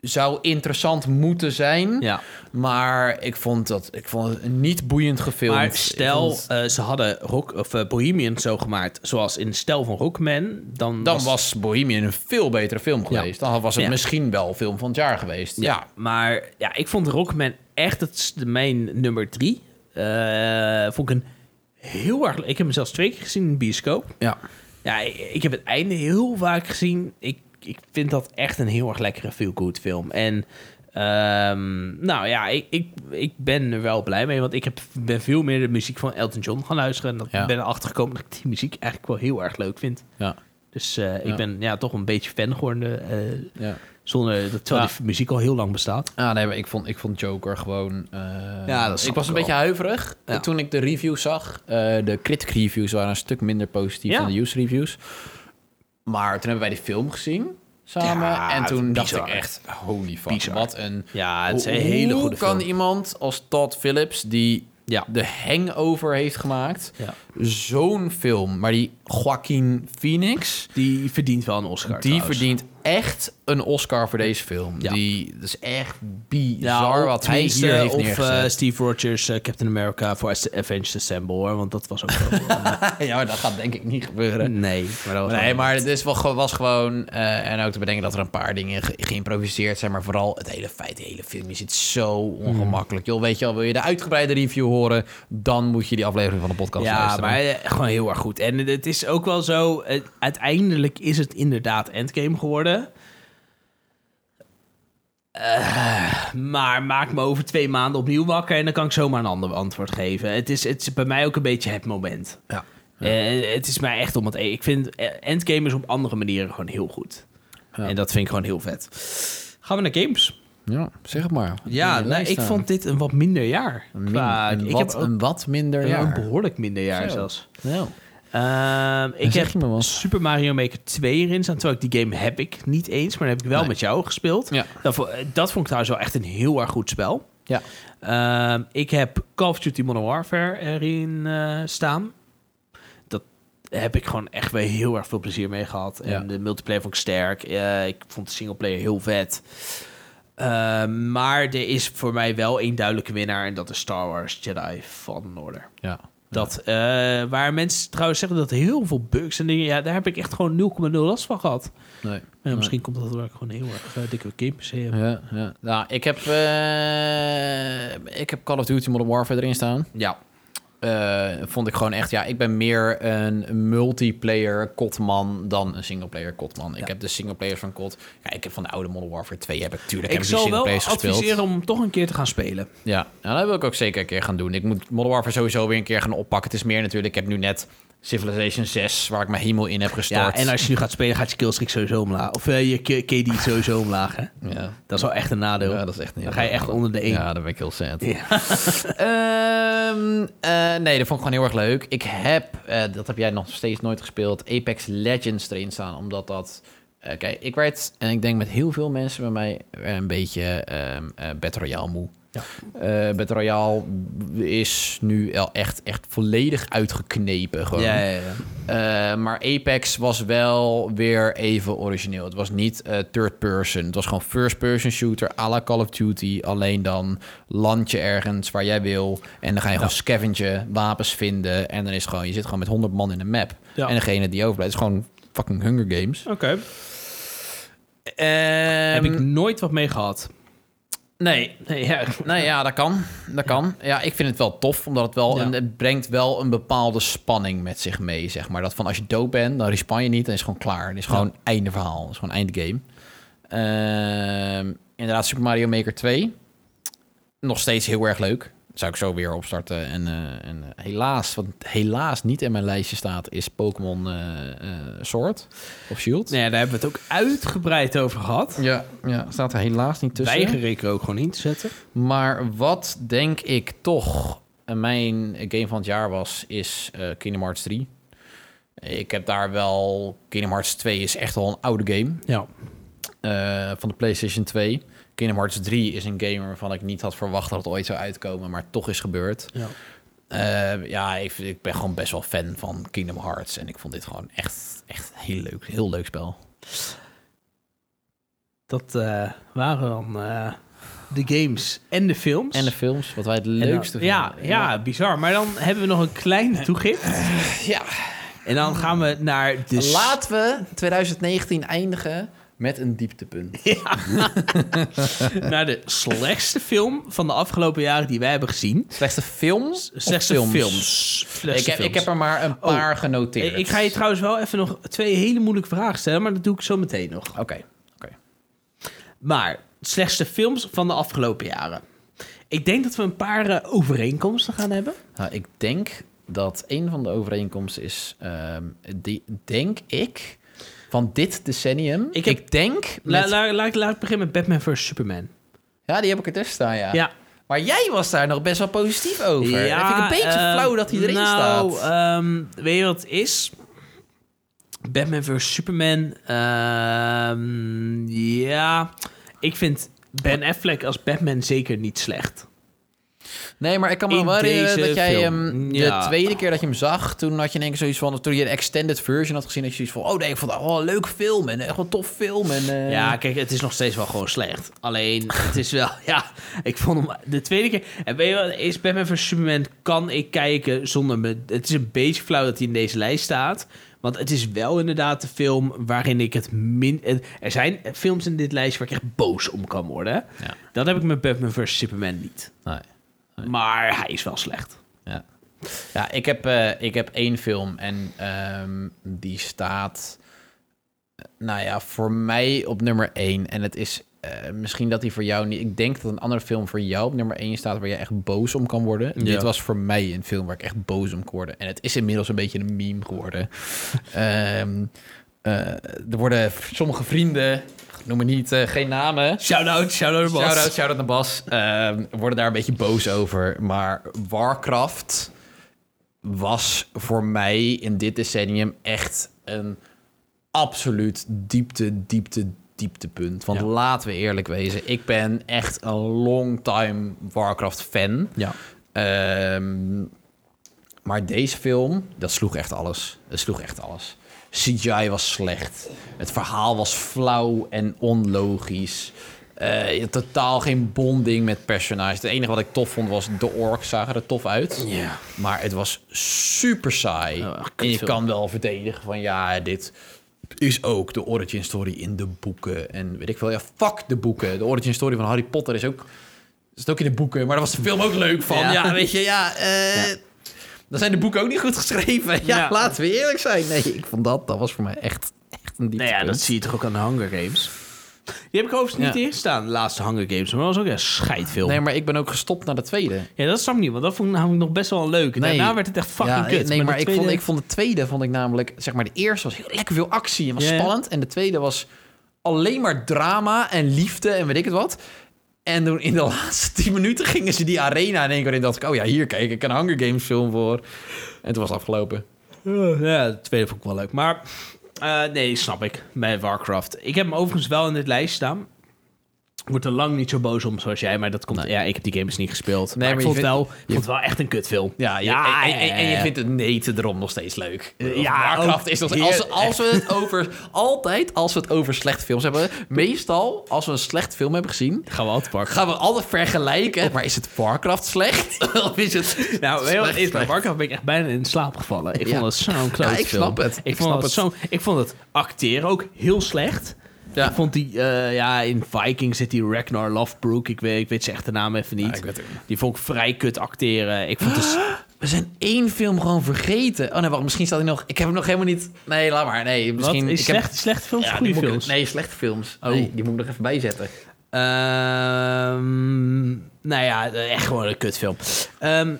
S2: zou interessant moeten zijn.
S3: Ja.
S2: Maar ik vond dat ik vond het niet boeiend gefilmd.
S1: Maar
S2: Ik
S1: stel,
S2: vond-
S1: eh, ze hadden rock, of, eh, Bohemian zo gemaakt, zoals in stijl van Rockman, dan,
S2: dan was... Bohemian een veel betere film geweest. Dan was het
S1: Ja.
S2: misschien wel film van het jaar geweest. Ja.
S1: Ja, maar ja, ik vond Rockman echt het, s- mijn nummer drie. Eh, vond ik een heel erg... Ik heb hem zelfs twee keer gezien in de bioscoop.
S2: Ja.
S1: Ja, ik, ik heb het einde heel vaak gezien. Ik, ik vind dat echt een heel erg lekkere feel-good film. En ehm, nou ja, ik, ik, ik ben er wel blij mee. Want ik heb, ben veel meer de muziek van Elton John gaan luisteren. En dat
S2: Ja.
S1: ben erachter gekomen dat ik die muziek eigenlijk wel heel erg leuk vind.
S2: Ja.
S1: Dus eh, ik
S2: Ja.
S1: ben ja, toch een beetje fan geworden. eh,
S2: ja.
S1: zonder, dat- terwijl
S2: Ja.
S1: die muziek al heel lang bestaat.
S2: Ah, nee, maar ik vond, ik vond Joker gewoon... eh,
S1: Ja, dat snap
S2: ik was
S1: ik wel.
S2: een beetje huiverig
S1: Ja.
S2: toen ik de reviews zag. Eh, de critic reviews waren een stuk minder positief
S1: Ja.
S2: dan de user reviews. Maar toen hebben wij die film gezien samen.
S1: Ja,
S2: en toen dacht
S1: bizar.
S2: ik echt, holy fuck,
S1: Bizar.
S2: wat een...
S1: Ja, het is een
S2: Hoe-
S1: hele
S2: hoe
S1: goede
S2: kan
S1: film.
S2: iemand als Todd Phillips, die
S1: Ja.
S2: de Hangover heeft gemaakt,
S1: Ja.
S2: zo'n film, maar die Joaquin Phoenix,
S1: Die verdient wel een Oscar.
S2: die
S1: trouwens.
S2: verdient echt een Oscar voor deze film.
S1: Ja.
S2: Die dat is echt
S1: Ja,
S2: bizar wat hij
S1: tenminste,
S2: hier heeft
S1: Of eh,
S2: neergezet.
S1: Steve Rogers, eh, Captain America voor As- Avenged Assemble, hoor. Want dat was ook wel...
S2: ja, maar dat gaat denk ik niet gebeuren.
S1: nee, maar dat was
S2: Nee,
S1: wel-
S2: maar het is wel, ge- was gewoon... eh, en ook te bedenken dat er een paar dingen ge- geïmproviseerd zijn... maar vooral het hele feit, de hele film is het zo ongemakkelijk. Joh, weet je al, wil je de uitgebreide review horen... dan moet je die aflevering van de podcast
S1: Ja,
S2: luisteren.
S1: maar eh, gewoon heel erg goed. En het is ook wel zo... eh, uiteindelijk is het inderdaad Endgame geworden. Eh, maar maak me over twee maanden opnieuw wakker... en dan kan ik zomaar een ander antwoord geven. Het is, het is bij mij ook een beetje het moment.
S2: Ja.
S1: Eh, het is mij echt om het... e- Ik vind eh, Endgame is op andere manieren gewoon heel goed. En dat vind ik gewoon heel vet. Gaan we naar games?
S2: Ja, zeg het maar.
S1: Ja, nou, ik vond dit een wat minder jaar.
S2: Min-
S1: Qua-
S2: een,
S1: ik
S2: wat,
S1: heb ook
S2: eh, een wat minder
S1: een
S2: jaar.
S1: behoorlijk minder jaar
S2: Zo.
S1: zelfs.
S2: Nou,
S1: Ehm, ik
S2: zeg
S1: heb
S2: je me wat.
S1: Super Mario Maker 2 erin staan. Terwijl ik die game heb ik niet eens, maar dat heb ik wel
S2: Nee.
S1: met jou gespeeld.
S2: Ja.
S1: Dat, vo- eh, dat vond ik trouwens wel echt een heel erg goed spel.
S2: Ja.
S1: Ehm, ik heb Call of Duty Modern Warfare erin eh, staan. Dat heb ik gewoon echt weer heel erg veel plezier mee gehad. En
S2: Ja.
S1: de multiplayer vond ik sterk. Eh, ik vond de singleplayer heel vet. Ehm, maar er is voor mij wel één duidelijke winnaar. En dat is Star Wars Jedi Fallen Order.
S2: ja.
S1: Dat, eh, waar mensen trouwens zeggen dat heel veel bugs en dingen... Ja, daar heb ik echt gewoon 0,0 last van gehad.
S2: Nee.
S1: En
S2: Nee.
S1: misschien komt dat omdat ik gewoon heel erg eh, dikke games heb.
S2: Ja, ja. Nou, ik heb, eh, ik heb Call of Duty Modern Warfare erin staan.
S1: Ja.
S2: Eh, vond ik gewoon echt, ja, ik ben meer een multiplayer kotman dan een singleplayer kotman. Ik heb de singleplayers van kot. Ja, ik heb van de oude Modern Warfare 2 heb ik
S1: Ik
S2: tuurlijk heb ik dus die
S1: zal wel
S2: singleplayers
S1: adviseren
S2: gespeeld.
S1: om hem toch een keer te gaan spelen.
S2: Ja, nou, dat wil ik ook zeker een keer gaan doen. Ik moet Modern Warfare sowieso weer een keer gaan oppakken. Het is meer natuurlijk, ik heb nu net Civilization 6, waar ik mijn hemel in heb
S1: Ja,
S2: gestort.
S1: en als je nu gaat spelen, gaat je killstreak sowieso omlaag. Of eh, je K- KD sowieso omlaag, hè?
S2: ja.
S1: Dat is wel echt een nadeel.
S2: Ja, dat is echt niet.
S1: Dan ga je echt onder de 1.
S2: Ja, dat ben ik heel sad. Ehm, eh, nee, dat vond ik gewoon heel erg leuk. Ik heb, eh, dat heb jij nog steeds nooit gespeeld, Apex Legends erin staan. Omdat dat. eh, kijk, ik werd, en ik denk met heel veel mensen bij mij, eh, een beetje ehm eh, Battle Royale moe.
S1: Ja.
S2: Eh, Battle Royale is nu wel echt, echt volledig uitgeknepen. Gewoon.
S1: Ja, ja, ja.
S2: Eh, maar Apex was wel weer even origineel. Het was niet eh, third person. Het was gewoon first person shooter à la Call of Duty. Alleen dan land je ergens waar jij wil. En dan ga je gewoon scavengen, wapens vinden. En dan is het gewoon, je zit gewoon met 100 man in een map.
S1: Ja.
S2: En degene die overblijft is gewoon fucking Hunger Games.
S1: Oké. Ehm, Heb ik nooit wat mee gehad.
S2: Nee,
S1: Nee, ja.
S2: Nee, ja, dat kan. Dat kan. Ja, ik vind het wel tof, omdat het wel...
S1: Ja.
S2: een- het brengt wel een bepaalde spanning met zich mee, zeg maar. Dat van als je dood bent, dan respawn je niet. Dan is het gewoon klaar. Dan is het gewoon einde verhaal. Dan is gewoon einde game. Ehm, inderdaad, Super Mario Maker 2. Nog steeds heel erg leuk. zou ik zo weer opstarten. En, eh, en eh, helaas, wat helaas niet in mijn lijstje staat, is Pokémon soort Sword of Shield.
S1: Nee, daar hebben we het ook uitgebreid over gehad.
S2: Ja, ja, staat er helaas niet tussen.
S1: Weiger ik er ook gewoon in te zetten.
S2: Maar wat denk ik toch eh, mijn game van het jaar was, is eh Kingdom Hearts 3. Ik heb daar wel... Kingdom Hearts 2 is echt al een oude game
S1: Ja.
S2: eh, van de PlayStation 2. Kingdom Hearts 3 is een game waarvan ik niet had verwacht dat het ooit zou uitkomen, maar toch is gebeurd.
S1: ja.
S2: Eh, ja, ik, ik ben gewoon best wel fan van Kingdom Hearts. En ik vond dit gewoon echt, echt heel leuk. Heel leuk spel.
S1: Dat eh, waren dan eh, de games en de films.
S2: En de films, wat wij het
S1: En dan-
S2: leukste
S1: ja,
S2: vinden.
S1: ja, bizar. Maar dan hebben we nog een kleine toegift.
S2: ja.
S1: En dan gaan we naar de... s-
S2: Laten we 2019 eindigen met een dieptepunt.
S1: naar de slechtste film van de afgelopen jaren die wij hebben gezien.
S2: Slechtste films? of
S1: Slechtste films. Slechtste
S2: Ik, heb,
S1: films. Oh,
S2: ik heb er maar een paar genoteerd.
S1: Ik ga je trouwens wel even nog twee hele moeilijke vragen stellen, maar dat doe ik zo meteen nog.
S2: Oké. oké.
S1: Maar slechtste films van de afgelopen jaren. Ik denk dat we een paar eh, overeenkomsten gaan hebben.
S2: Nou, ik denk dat een van de overeenkomsten is... ehm, die, denk ik... Van dit decennium.
S1: Ik heb-
S2: denk...
S1: La-
S2: met-
S1: la- laat, laat ik beginnen met Batman vs. Superman.
S2: Ja, die heb ik er tussen staan, ja.
S1: Ja.
S2: Maar jij was daar nog best wel positief over. Ja, vind ik een beetje
S1: ehm,
S2: flauw dat hij erin
S1: nou,
S2: staat.
S1: ehm, weet je wat het is? Batman vs. Superman. ehm, ja, ik vind Ben Affleck als Batman zeker niet slecht.
S2: nee, maar ik kan me
S1: in
S2: wel herinneren
S1: deze
S2: dat jij
S1: film,
S2: hem...
S1: ja.
S2: De tweede keer dat je hem zag, toen had je in één keer zoiets van... Toen je de extended version had gezien, dat je zoiets van... Oh nee, ik vond dat wel een leuk film en echt wel een tof film. En, eh,
S1: Ja, kijk, het is nog steeds wel gewoon slecht. Alleen, het is wel, ja, ik vond hem de tweede keer. En weet je wat, is Batman vs Superman kan ik kijken zonder me. Het is een beetje flauw dat hij in deze lijst staat. Want het is wel inderdaad de film waarin ik het min. het- Er zijn films in dit lijstje waar ik echt boos om kan worden.
S2: Ja.
S1: Dat heb ik met Batman vs Superman niet.
S2: Nee.
S1: Maar hij is wel slecht.
S2: Ja, ja ik, heb, eh, ik heb één film en ehm, die staat, eh, nou ja, voor mij op nummer één. En het is eh, misschien dat die voor jou niet... Ik denk dat een andere film voor jou op nummer één staat waar je echt boos om kan worden.
S1: Ja.
S2: Dit was voor mij een film waar ik echt boos om kon worden. En het is inmiddels een beetje een meme geworden. Ehm, eh, er worden sommige vrienden, noem maar niet, eh, geen namen...
S1: Shout out, shout out, Bas.
S2: Shout-out, shout-out naar Bas. Ehm, we worden daar een beetje boos over. Maar Warcraft was voor mij in dit decennium echt een absoluut diepte, diepte, dieptepunt. Want
S1: Ja.
S2: laten we eerlijk wezen, ik ben echt een long-time Warcraft-fan.
S1: Ja.
S2: Ehm, maar deze film, dat sloeg echt alles. Het sloeg echt alles. CGI was slecht. Het verhaal was flauw en onlogisch. Eh, je had totaal geen bonding met personages. Het enige wat ik tof vond was de orks zagen er tof uit.
S1: Ja.
S2: Maar het was super saai.
S1: Oh, echt
S2: en je
S1: kutfilm.
S2: kan wel verdedigen van ja, dit is ook de origin story in de boeken. En weet ik veel, ja, fuck de boeken. De origin story van Harry Potter is ook, is ook in de boeken. Maar daar was de film ook leuk van. Ja,
S1: Ja.
S2: weet je, ja, eh, Dan zijn de boeken ook niet goed geschreven. Ja,
S1: Ja.
S2: laten we eerlijk zijn. Nee, ik vond dat, dat was voor mij echt, echt een dieptepunt.
S1: Nou ja, dat zie je toch ook aan de Hunger Games. Die heb ik overigens niet
S2: Ja.
S1: in staan, de laatste Hunger Games. Maar dat was ook een scheidfilm.
S2: Nee, maar ik ben ook gestopt naar de tweede.
S1: Ja, dat snap ik niet, want dat vond ik namelijk nog best wel een leuke.
S2: Nee.
S1: Daarna werd het echt fucking
S2: ja,
S1: kut.
S2: Nee, maar,
S1: de
S2: ik, vond,
S1: tweede-
S2: ik vond de tweede vond ik namelijk, zeg maar, de eerste was heel lekker veel actie en was
S1: Ja.
S2: spannend. En de tweede was alleen maar drama en liefde en weet ik het wat. En toen in de laatste tien minuten gingen ze die arena in één keer in. dacht ik, oh ja, hier kijk ik een Hunger Games film voor. En toen was het afgelopen.
S1: Ja, de tweede vond ik wel leuk. Maar eh, nee, snap ik. Bij Warcraft. Ik heb hem overigens wel in dit lijst staan. Ik word er lang niet zo boos om zoals jij, maar dat komt... Ja, ik heb die games niet gespeeld. maar,
S2: maar
S1: ik
S2: je
S1: vond,
S2: vindt-
S1: wel, ik vond het wel echt een kutfilm.
S2: Ja, ja en, en- en je vindt het neten erom nog steeds leuk.
S1: Ja,
S2: Ja, Warcraft
S1: ook
S2: is nog
S1: hier-
S2: als, als we het over... Altijd als we het over slecht films hebben. Meestal, als we een slecht film hebben gezien...
S1: Gaan we altijd pakken.
S2: Gaan we altijd vergelijken. Maar is het Warcraft slecht? of is het...
S1: Nou, heel
S2: Slecht,
S1: eerst bij
S2: slecht.
S1: Warcraft ben ik echt bijna in slaap gevallen. Ik
S2: Ja.
S1: vond het zo'n klote
S2: Ja, ik
S1: film.
S2: snap het.
S1: Ik,
S2: Ik
S1: vond
S2: snap
S1: het.
S2: het.
S1: Zo, ik vond het acteren ook heel slecht.
S2: Ja.
S1: Ik vond die, eh, ja, in Viking zit die Ragnar Lovebrook. Ik weet, ik weet zijn echte naam even niet.
S2: Ja, ik weet het ook niet.
S1: die vond ik vrij kut acteren. Ik vond het...
S2: We zijn één film gewoon vergeten. Oh nee, wacht. Misschien staat hij nog... Ik heb hem nog helemaal niet... Nee, laat maar. Nee,
S1: Wat?
S2: misschien...
S1: Is
S2: ik
S1: slecht,
S2: Heb...
S1: slechte films
S2: Ja,
S1: of
S2: die
S1: goede
S2: moet ik-
S1: films?
S2: Nee, slechte films.
S1: Oh.
S2: Nee, die moet ik nog even bijzetten.
S1: Ehm, Nou ja, echt gewoon een kutfilm. Ehm,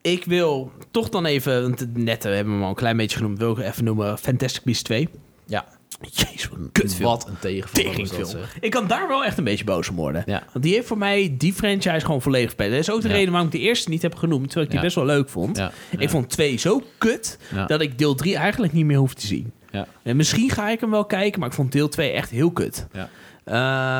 S1: ik wil toch dan even, want het- net eh, hebben we hem al een klein beetje genoemd, wil ik even noemen Fantastic Beasts 2.
S2: Ja.
S1: Jezus, wat een kutfilm.
S2: Wat een tegenvaller was dat,
S1: Teringfilm.
S2: zeg.
S1: Ik kan daar wel echt een beetje boos om worden.
S2: Ja.
S1: Want die heeft voor mij die franchise gewoon volledig verpest. Dat is ook de
S2: Ja.
S1: reden waarom ik de eerste niet heb genoemd, terwijl ik die
S2: Ja.
S1: best wel leuk vond.
S2: Ja.
S1: Ik vond twee zo kut
S2: Ja.
S1: dat ik deel 3 eigenlijk niet meer hoef te zien.
S2: Ja.
S1: En misschien ga ik hem wel kijken, maar ik vond deel 2 echt heel kut.
S2: Ja.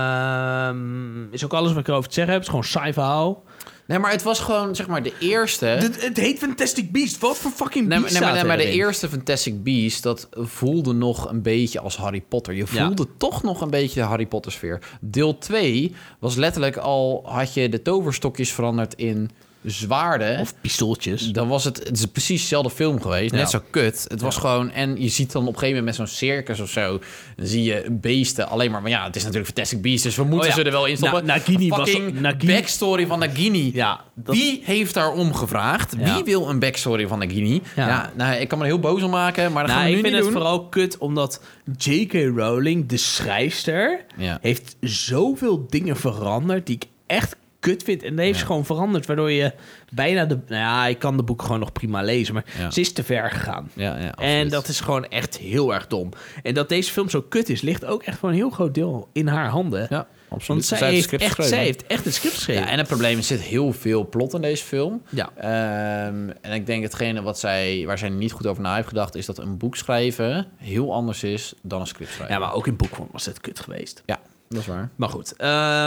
S1: Ehm, is ook alles wat ik erover te zeggen heb. Het is gewoon een saai verhaal.
S2: Nee, maar het was gewoon, zeg maar, de eerste...
S3: Het, het heet Fantastic Beast. Wat voor fucking
S2: Nee,
S3: beast
S2: maar, nee, maar, nee,
S3: staat
S2: maar de
S3: erin?
S2: eerste Fantastic Beasts, dat voelde nog een beetje als Harry Potter. Je
S1: Ja.
S2: voelde toch nog een beetje de Harry Potter sfeer. Deel 2 was letterlijk al, had je de toverstokjes veranderd in zwaarden.
S1: Of pistooltjes.
S2: dan was het, het is precies dezelfde film geweest.
S1: Ja.
S2: Net zo kut. Het was gewoon... En je ziet dan op een gegeven moment met zo'n circus of zo... dan zie je beesten alleen maar... Maar ja, het is natuurlijk Fantastic Beasts... dus we moeten
S1: Oh ja.
S2: ze er wel in stoppen.
S1: Na- Nagini was-
S2: Fucking
S1: Nagini-
S2: backstory van Nagini.
S1: Ja, dat-
S2: Wie heeft daarom gevraagd?
S1: Ja.
S2: Wie wil een backstory van Nagini?
S1: Ja.
S2: Ja. nou, ik kan me er heel boos om maken... maar dat gaan
S1: Nou,
S2: we
S1: ik
S2: nu
S1: vind
S2: niet
S1: het
S2: doen.
S1: vooral kut omdat J.K. Rowling, de schrijfster,
S2: Ja.
S1: heeft zoveel dingen veranderd die ik echt kut vind. En dat heeft ze gewoon veranderd, waardoor je bijna de... Nou ja, ik kan de boek gewoon nog prima lezen, maar
S2: Ja.
S1: ze is te ver gegaan.
S2: Ja, ja,
S1: En
S2: absoluut.
S1: dat is gewoon echt heel erg dom. En dat deze film zo kut is, ligt ook echt voor een heel groot deel in haar handen.
S2: Ja, absoluut.
S1: Want zij,
S2: het
S1: heeft
S2: script
S1: echt,
S2: geschreven.
S1: zij heeft echt een script geschreven.
S2: Ja, en het probleem is, er zit heel veel plot in deze film.
S1: Ja.
S2: Ehm, en ik denk hetgene wat zij, waar zij niet goed over na heeft gedacht... is dat een boek schrijven heel anders is dan een script schrijven.
S1: Ja, maar ook in boekvorm was het kut geweest.
S2: Ja, dat is waar.
S1: Maar goed,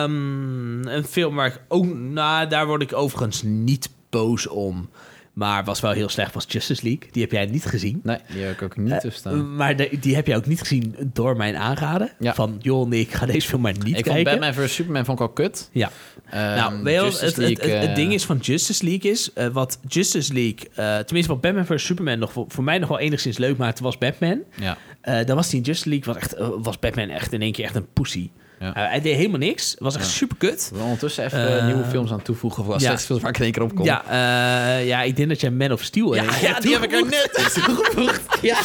S1: ehm, een film waar ik ook... Nou, daar word ik overigens niet boos om. Maar was wel heel slecht, was Justice League. Die heb jij niet gezien.
S2: Nee, die heb ik ook
S1: Eh,
S2: niet tussen staan.
S1: Maar de- die heb jij ook niet gezien door mijn aanraden.
S2: Ja.
S1: Van, joh, nee, ik ga deze film maar niet
S2: ik vond
S1: kijken.
S2: Batman vs. Superman vond ik al kut.
S1: Ja.
S2: Ehm,
S1: nou, wel, het,
S2: Justice
S1: het,
S2: League,
S1: het- het
S2: eh,
S1: ding is van Justice League is... eh, wat Justice League, eh, tenminste wat Batman vs. Superman... Nog, voor, voor mij nog wel enigszins leuk maakte, was Batman.
S2: Ja,
S1: Eh, dan was die in Justice League, was, echt, eh, was Batman echt in één keer echt een pussy.
S2: Ja.
S1: Eh, hij deed helemaal niks, was echt super kut.
S2: we zijn ondertussen even eh,
S1: Eh,
S2: nieuwe films aan toevoegen. Of
S1: ja.
S2: ja. films waar ik in één keer op kom. Oh,
S1: Ja, eh, ja, ik denk dat jij Man of Steel
S2: ja,
S1: hebt.
S2: ja, die heb ik er net toegevoegd. ja.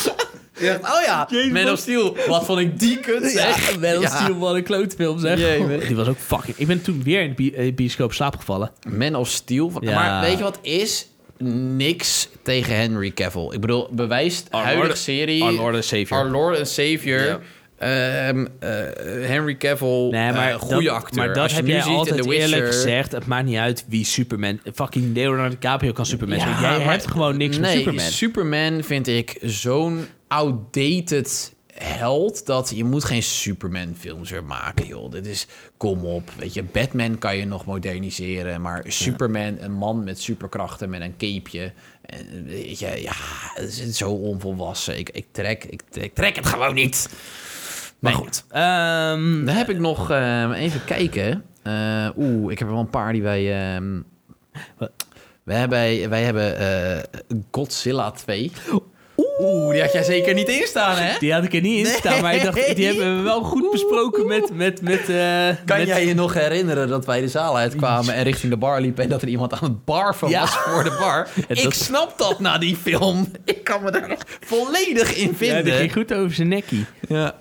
S2: Ja, Oh ja, Man of Steel. Wat vond ik die kut, zeg.
S1: Ja, Man of
S2: Ja.
S1: Steel, wat een klootfilm zeg.
S2: Jemig.
S1: Die was ook fucking... Ik ben toen weer in de bi- eh, bioscoop slaapgevallen.
S2: Man of Steel.
S1: Ja.
S2: Maar weet je wat is? Niks tegen Henry Cavill. Ik bedoel, bewijst
S1: Our
S2: huidige
S1: Lord-
S2: serie...
S1: Our Lord and Savior.
S2: Our Lord and Savior.
S1: Ja.
S2: Ehm, eh, Henry Cavill,
S1: Nee, maar
S2: eh, goede
S1: dat-
S2: acteur.
S1: Maar
S2: Als
S1: dat
S2: je
S1: heb
S2: nu
S1: jij
S2: ziet in
S1: altijd
S2: The
S1: eerlijk
S2: Witcher-
S1: gezegd. Het maakt niet uit wie Superman... Fucking Leonardo DiCaprio kan Superman zijn. Jij
S2: maar-
S1: hebt gewoon niks met
S2: nee,
S1: Superman.
S2: Superman vind ik zo'n outdated held dat je moet geen Superman films weer maken, joh. Dit is kom op, weet je, Batman kan je nog moderniseren, maar Superman, een man met superkrachten met een capeje, en, weet je, ja, het is zo onvolwassen. Ik, ik trek, ik, ik trek het gewoon niet.
S1: Maar
S2: Nee.
S1: goed. Ehm,
S2: Dan heb ik nog ehm, even kijken. Eh, Oeh, ik heb er wel een paar die wij. ehm,
S1: Wat?
S2: wij hebben, wij hebben eh, Godzilla 2. Oeh, die had jij zeker niet in staan, hè?
S1: Die had ik er niet in staan, maar ik dacht, die hebben we wel goed besproken met... met, met eh,
S2: Kan
S1: met-
S2: jij je nog herinneren dat wij de zaal uitkwamen en richting de bar liepen en dat er iemand aan het barven
S1: Ja.
S2: was voor de bar?
S1: dat-
S2: Ik snap dat na die film. Ik kan me daar nog volledig in
S1: Ja, die
S2: vinden.
S1: ging goed over zijn nekkie.
S2: Ja.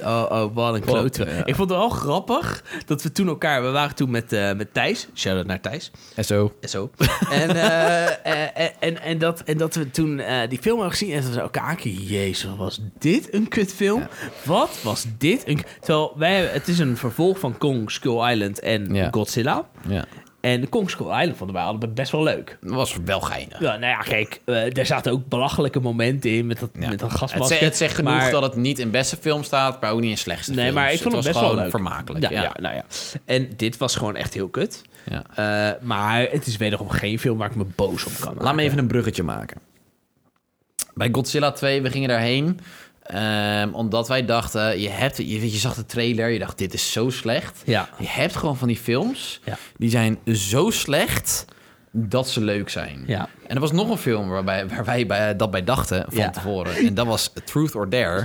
S1: Oh, oh, wat een klote.
S2: ja.
S1: Ik vond het wel grappig dat we toen elkaar... We waren toen met, eh, met Thijs. Shout-out naar Thijs.
S2: En zo.
S1: En Zo. en, eh, eh, eh, en, en, dat, en dat we toen eh, die film hebben gezien en toen zeiden we elkaar... aankijken, Jezus, wat was dit een kutfilm? Wat was dit een... Terwijl wij... hebben- Het is een vervolg van Kong, Skull Island en
S2: Ja.
S1: Godzilla.
S2: Ja.
S1: En Kong, Skull Island vonden wij allebei best wel leuk.
S2: Dat was wel geinig.
S1: Ja, nou ja, kijk, eh, daar zaten ook belachelijke momenten in met dat,
S2: Ja.
S1: met dat
S2: Het,
S1: gasmasker.
S2: zegt, het zegt genoeg
S1: maar-
S2: dat het niet in beste film staat, maar ook niet in slechtste
S1: Nee,
S2: films.
S1: maar ik vond het,
S2: was
S1: best wel
S2: gewoon
S1: leuk.
S2: vermakelijk.
S1: Ja, ja. nou ja. En dit was gewoon echt heel kut.
S2: Ja.
S1: Eh, maar het is wederom geen film waar ik me boos om kan maken.
S2: Laat me even een bruggetje maken. Bij Godzilla 2, we gingen daarheen. ehm, omdat wij dachten, je, hebt, je, weet, je zag de trailer, je dacht dit is zo slecht.
S1: Ja.
S2: Je hebt gewoon van die films,
S1: Ja.
S2: die zijn zo slecht dat ze leuk zijn.
S1: Ja.
S2: En er was nog een film waarbij, waar wij bij, dat bij dachten van
S1: Ja.
S2: tevoren. En dat was Truth or Dare.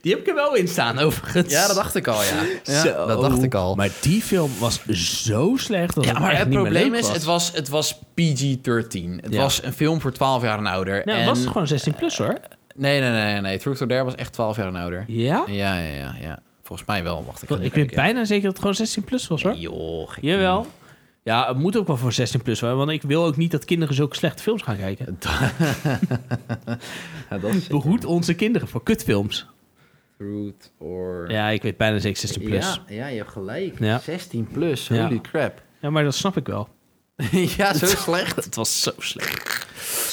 S1: Die heb ik er wel in staan, overigens.
S2: Ja, dat dacht ik al, ja. ja
S1: Zo.
S2: dat dacht ik al.
S1: Maar die film was zo slecht dat
S2: Ja,
S1: het
S2: maar
S1: echt
S2: het
S1: niet meer
S2: probleem
S1: leuk
S2: is,
S1: was.
S2: het was, het was PG-13. Het
S1: Ja.
S2: was een film voor 12 jaar en ouder.
S1: Nee,
S2: en...
S1: het was gewoon 16 plus, hoor.
S2: nee, nee, nee, nee. Truth or Dare was echt 12 jaar en ouder.
S1: Ja?
S2: Ja, ja, ja. ja. Volgens mij wel. Wacht, ik ga
S1: Want
S2: even
S1: Ik weet
S2: kijken.
S1: bijna zeker dat het gewoon 16 plus was, hoor.
S2: Joh, gek.
S1: Jawel. Ja, het moet ook wel voor 16 plus, want ik wil ook niet dat kinderen zulke slechte films gaan kijken.
S2: Ja, dat is
S1: Behoed onze kinderen voor kutfilms.
S2: Fruit or...
S1: Ja, ik weet bijna zeker 16 plus.
S2: Ja, ja, je hebt gelijk.
S1: Ja.
S2: 16 plus,
S1: Ja.
S2: holy crap.
S1: Ja, maar dat snap ik wel.
S2: ja, zo slecht.
S1: Het was zo slecht.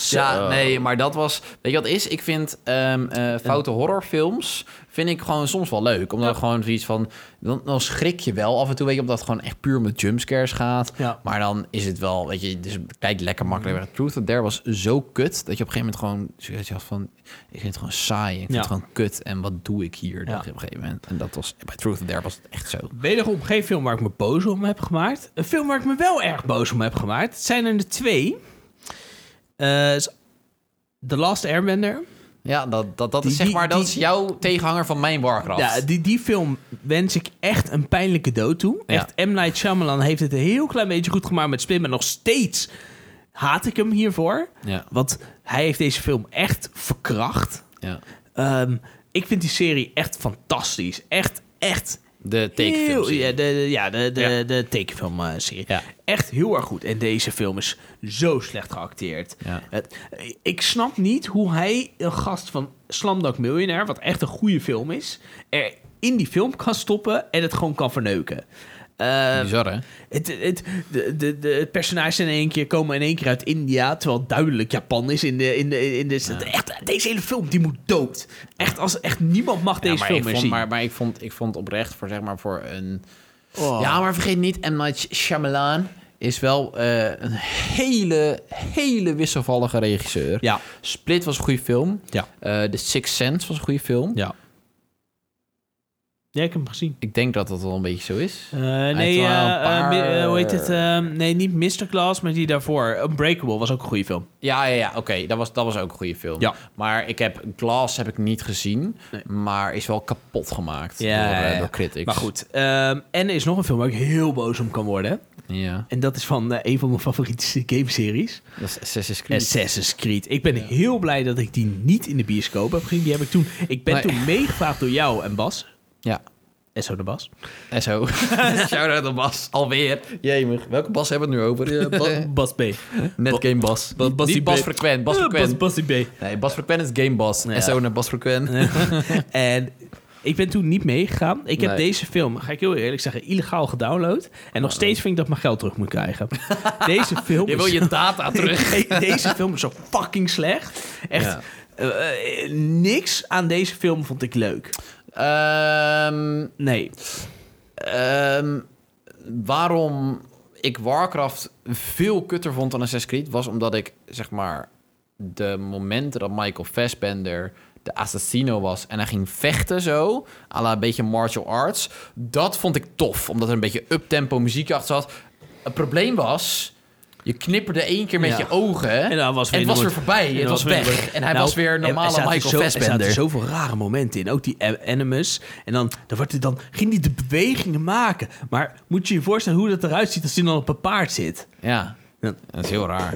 S2: Ja, nee, maar dat was... Weet je wat het is? Ik vind ehm, eh, foute horrorfilms vind ik gewoon soms wel leuk. Omdat gewoon zoiets van... Dan, dan schrik je wel af en toe, weet je, omdat het gewoon echt puur met jumpscares gaat.
S1: Ja.
S2: Maar dan is het wel, weet je, dus kijk lekker makkelijk weg. Truth or Dare was zo kut dat je op een gegeven moment gewoon zoiets had van... Ik vind het gewoon saai, ik vind
S1: Ja.
S2: het gewoon kut en wat doe ik hier?
S1: Ja.
S2: dacht je op een gegeven moment. En dat was... Bij Truth or Dare was het echt zo.
S1: Wederom geen film waar ik me boos om heb gemaakt. Een film waar ik me wel erg boos om heb gemaakt. Het zijn er de twee. Eh, is The Last Airbender.
S2: Ja, dat, dat, dat
S1: Die-
S2: is zeg
S1: die-
S2: maar, dat
S1: die-
S2: is jouw tegenhanger van mijn Warcraft.
S1: Ja, die, die film wens ik echt een pijnlijke dood toe.
S2: Ja.
S1: Echt, M. Night Shyamalan heeft het een heel klein beetje goed gemaakt met Split. Maar nog steeds haat ik hem hiervoor.
S2: ja,
S1: Want hij heeft deze film echt verkracht.
S2: ja.
S1: Ehm, ik vind die serie echt fantastisch. Echt, echt.
S2: De
S1: heel-
S2: tekenfilm.
S1: Ja, de, de- ja, de, de,
S2: Ja.
S1: de tekenfilmserie.
S2: Ja.
S1: Echt heel erg goed. En deze film is zo slecht geacteerd.
S2: Ja.
S1: Het- ik snap niet hoe hij een gast van Slamdak Millionaire, wat echt een goede film is, er in die film kan stoppen en het gewoon kan verneuken. Eh,
S2: Bizar, hè?
S1: het, het, de, de, de het personages in één keer komen in één keer uit India, terwijl duidelijk Japan is in de... In de, in de, echt, deze hele film, die moet dood. Echt, als, echt niemand mag deze
S2: ja, maar
S1: film
S2: ik
S1: meer
S2: vond,
S1: zien.
S2: Maar, maar ik vond, ik vond oprecht voor, zeg maar, voor een...
S1: Oh.
S2: Ja, maar vergeet niet, M. Night Shyamalan is wel eh, een hele, hele wisselvallige regisseur.
S1: Ja.
S2: Split was een goede film.
S1: Ja.
S2: Eh, The Sixth Sense was een goede film.
S1: Ja. Ja, ik heb hem gezien.
S2: Ik denk dat dat wel een beetje zo is.
S1: Eh,
S2: heeft
S1: nee,
S2: wel
S1: eh,
S2: een
S1: eh,
S2: paar-
S1: mi- eh, hoe heet het? eh, nee, niet Mr. Class, maar die daarvoor. Unbreakable was ook een goede film.
S2: Ja, ja, ja oké. Dat, was, dat was ook een goede film.
S1: Ja.
S2: Maar ik heb Glass heb ik niet gezien.
S1: Nee.
S2: Maar is wel kapot gemaakt
S1: Ja,
S2: door, eh,
S1: ja, ja.
S2: door critics.
S1: Maar goed. ehm, en er is nog een film waar ik heel boos om kan worden.
S2: Ja.
S1: En dat is van eh, een van mijn favoriete gameseries.
S2: Dat is Assassin's Creed.
S1: Assassin's Creed. Ik ben heel blij dat ik die niet in de bioscoop heb gezien. Die heb ik toen... Ik ben
S2: Nee.
S1: toen meegevraagd door jou en Bas.
S2: Ja.
S1: SO de Bas.
S2: En zo. Shout-out aan Bas. Alweer. Jemig. Welke Bas hebben we het nu over?
S1: Ba- Bas B.
S2: Net Game Bas. Bas, Bas,
S1: die
S2: Bas
S1: B.
S2: Frequent. Bas
S1: Eh,
S2: Frequent.
S1: Bas die B.
S2: Nee, Bas Frequent is Game Bas.
S1: Ja.
S2: En zo naar Bas Frequent.
S1: En ik ben toen niet meegegaan. Ik heb
S2: Nee.
S1: deze film, ga ik heel eerlijk zeggen, illegaal gedownload. En nog steeds vind ik dat ik mijn geld terug moet krijgen. Deze film
S2: Je
S1: is...
S2: wil je data terug.
S1: Deze film is zo fucking slecht. Echt,
S2: Ja.
S1: eh, eh, niks aan deze film vond ik leuk.
S2: Ehm,
S1: Nee.
S2: ehm, waarom ik Warcraft veel kutter vond dan Assassin's Creed... was omdat ik, zeg maar... de momenten dat Michael Fassbender de assassino was... en hij ging vechten zo, à la een beetje martial arts... dat vond ik tof, omdat er een beetje uptempo muziek achter zat. Het probleem was... Je knipperde één keer met
S1: Ja.
S2: je ogen.
S1: En dan was
S2: En het
S1: weer
S2: was weer
S1: nooit-
S2: voorbij.
S1: En
S2: Het
S1: dan
S2: was
S1: weer-
S2: weg. En hij
S1: Nou,
S2: was weer
S1: er-
S2: normale
S1: er zaten
S2: Michael
S1: zo- Er
S2: Fassbender.
S1: zaten zoveel rare momenten in. Ook die a- Animus. En dan, dan wordt hij dan, ging hij de bewegingen maken. Maar moet je je voorstellen hoe dat eruit ziet als hij dan op een paard zit?
S2: Ja.
S1: Ja.
S2: Dat is heel raar.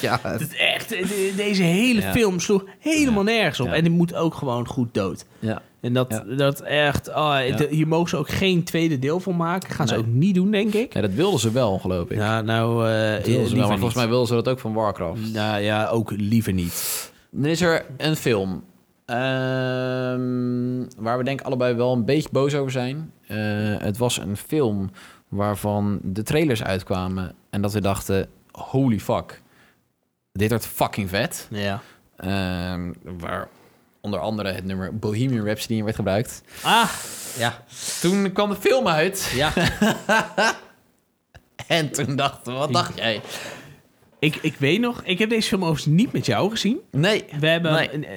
S2: ja.
S1: Het is echt, de- deze hele
S2: Ja.
S1: film sloeg helemaal nergens op.
S2: Ja.
S1: En die moet ook gewoon goed dood.
S2: ja.
S1: En dat,
S2: Ja.
S1: dat echt, oh, de- hier mogen ze ook geen tweede deel van maken. Gaan
S2: Nee.
S1: ze ook niet doen, denk ik.
S2: dat wilden ze wel, geloof ik.
S1: Ja, nou, eh
S2: Dat wilden ze wel,
S1: liever
S2: maar volgens mij
S1: niet.
S2: wilden ze dat ook van Warcraft.
S1: Nou ja, ook liever niet.
S2: Mm. Dan is er een film ehm, waar we denk ik allebei wel een beetje boos over zijn. Eh, het was een film waarvan de trailers uitkwamen en dat we dachten, holy fuck, dit wordt fucking vet.
S1: Ja.
S2: Ehm, waar onder andere het nummer Bohemian Rhapsody in werd gebruikt.
S1: Ah,
S2: Ja. Toen kwam de film uit
S1: ja.
S2: en toen dachten we, wat dacht jij?
S1: ik, ik weet nog, ik heb deze film overigens niet met jou gezien.
S2: Nee,
S1: We hebben,
S2: Nee.
S1: een- eh,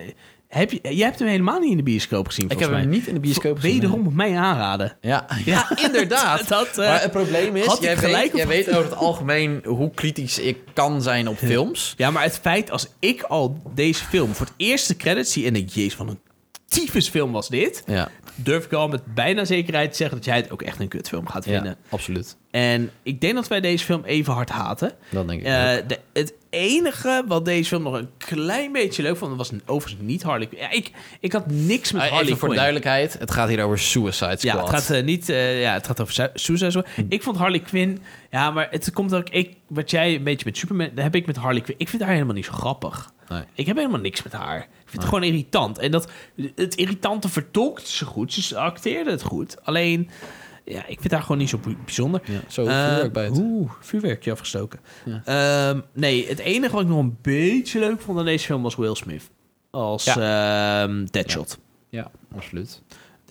S1: heb je, jij hebt hem helemaal niet in de bioscoop gezien,
S2: ik
S1: volgens
S2: heb
S1: mij.
S2: hem niet in de bioscoop gezien.
S1: Wederom op mij aanraden.
S2: Ja, ja inderdaad.
S1: Dat, eh,
S2: maar het probleem is,
S1: had ik
S2: jij,
S1: gelijk
S2: weet,
S1: of
S2: jij
S1: had
S2: weet over het algemeen hoe kritisch ik kan zijn op films.
S1: Ja, maar het feit als ik al deze film voor het eerste credit zie en denk, jezus, wat een tyfusfilm was dit.
S2: Ja,
S1: Durf ik al met bijna zekerheid te zeggen dat jij het ook echt een kutfilm gaat vinden.
S2: absoluut.
S1: En ik denk dat wij deze film even hard haten.
S2: Dat denk ik.
S1: Eh, de- het, enige wat deze film nog een klein beetje leuk vond, was overigens niet Harley Quinn. Ja, ik, ik had niks met
S2: Ah,
S1: Harley
S2: Even
S1: Quinn.
S2: voor duidelijkheid, het gaat hier over Suicide Squad. Hm.
S1: Ja, het gaat, eh, niet, eh, ja, het gaat over Su- Suicide Squad. Ik vond Harley Quinn... Ja, maar het komt ook... Ik, wat jij een beetje met Superman... Dat heb ik met Harley Quinn. Ik vind haar helemaal niet zo grappig.
S2: Nee.
S1: Ik heb helemaal niks met haar. Ik vind het gewoon irritant. En dat, het irritante vertolkt ze goed. Ze acteerde het goed. Alleen, ja, ik vind haar gewoon niet zo bu- bijzonder.
S2: Ja, zo
S1: Eh,
S2: vuurwerk bij het.
S1: Oeh, vuurwerkje afgestoken. Ehm, nee, het enige wat ik nog een beetje leuk vond aan deze film was Will Smith. Als ehm, Deadshot.
S2: Ja, absoluut.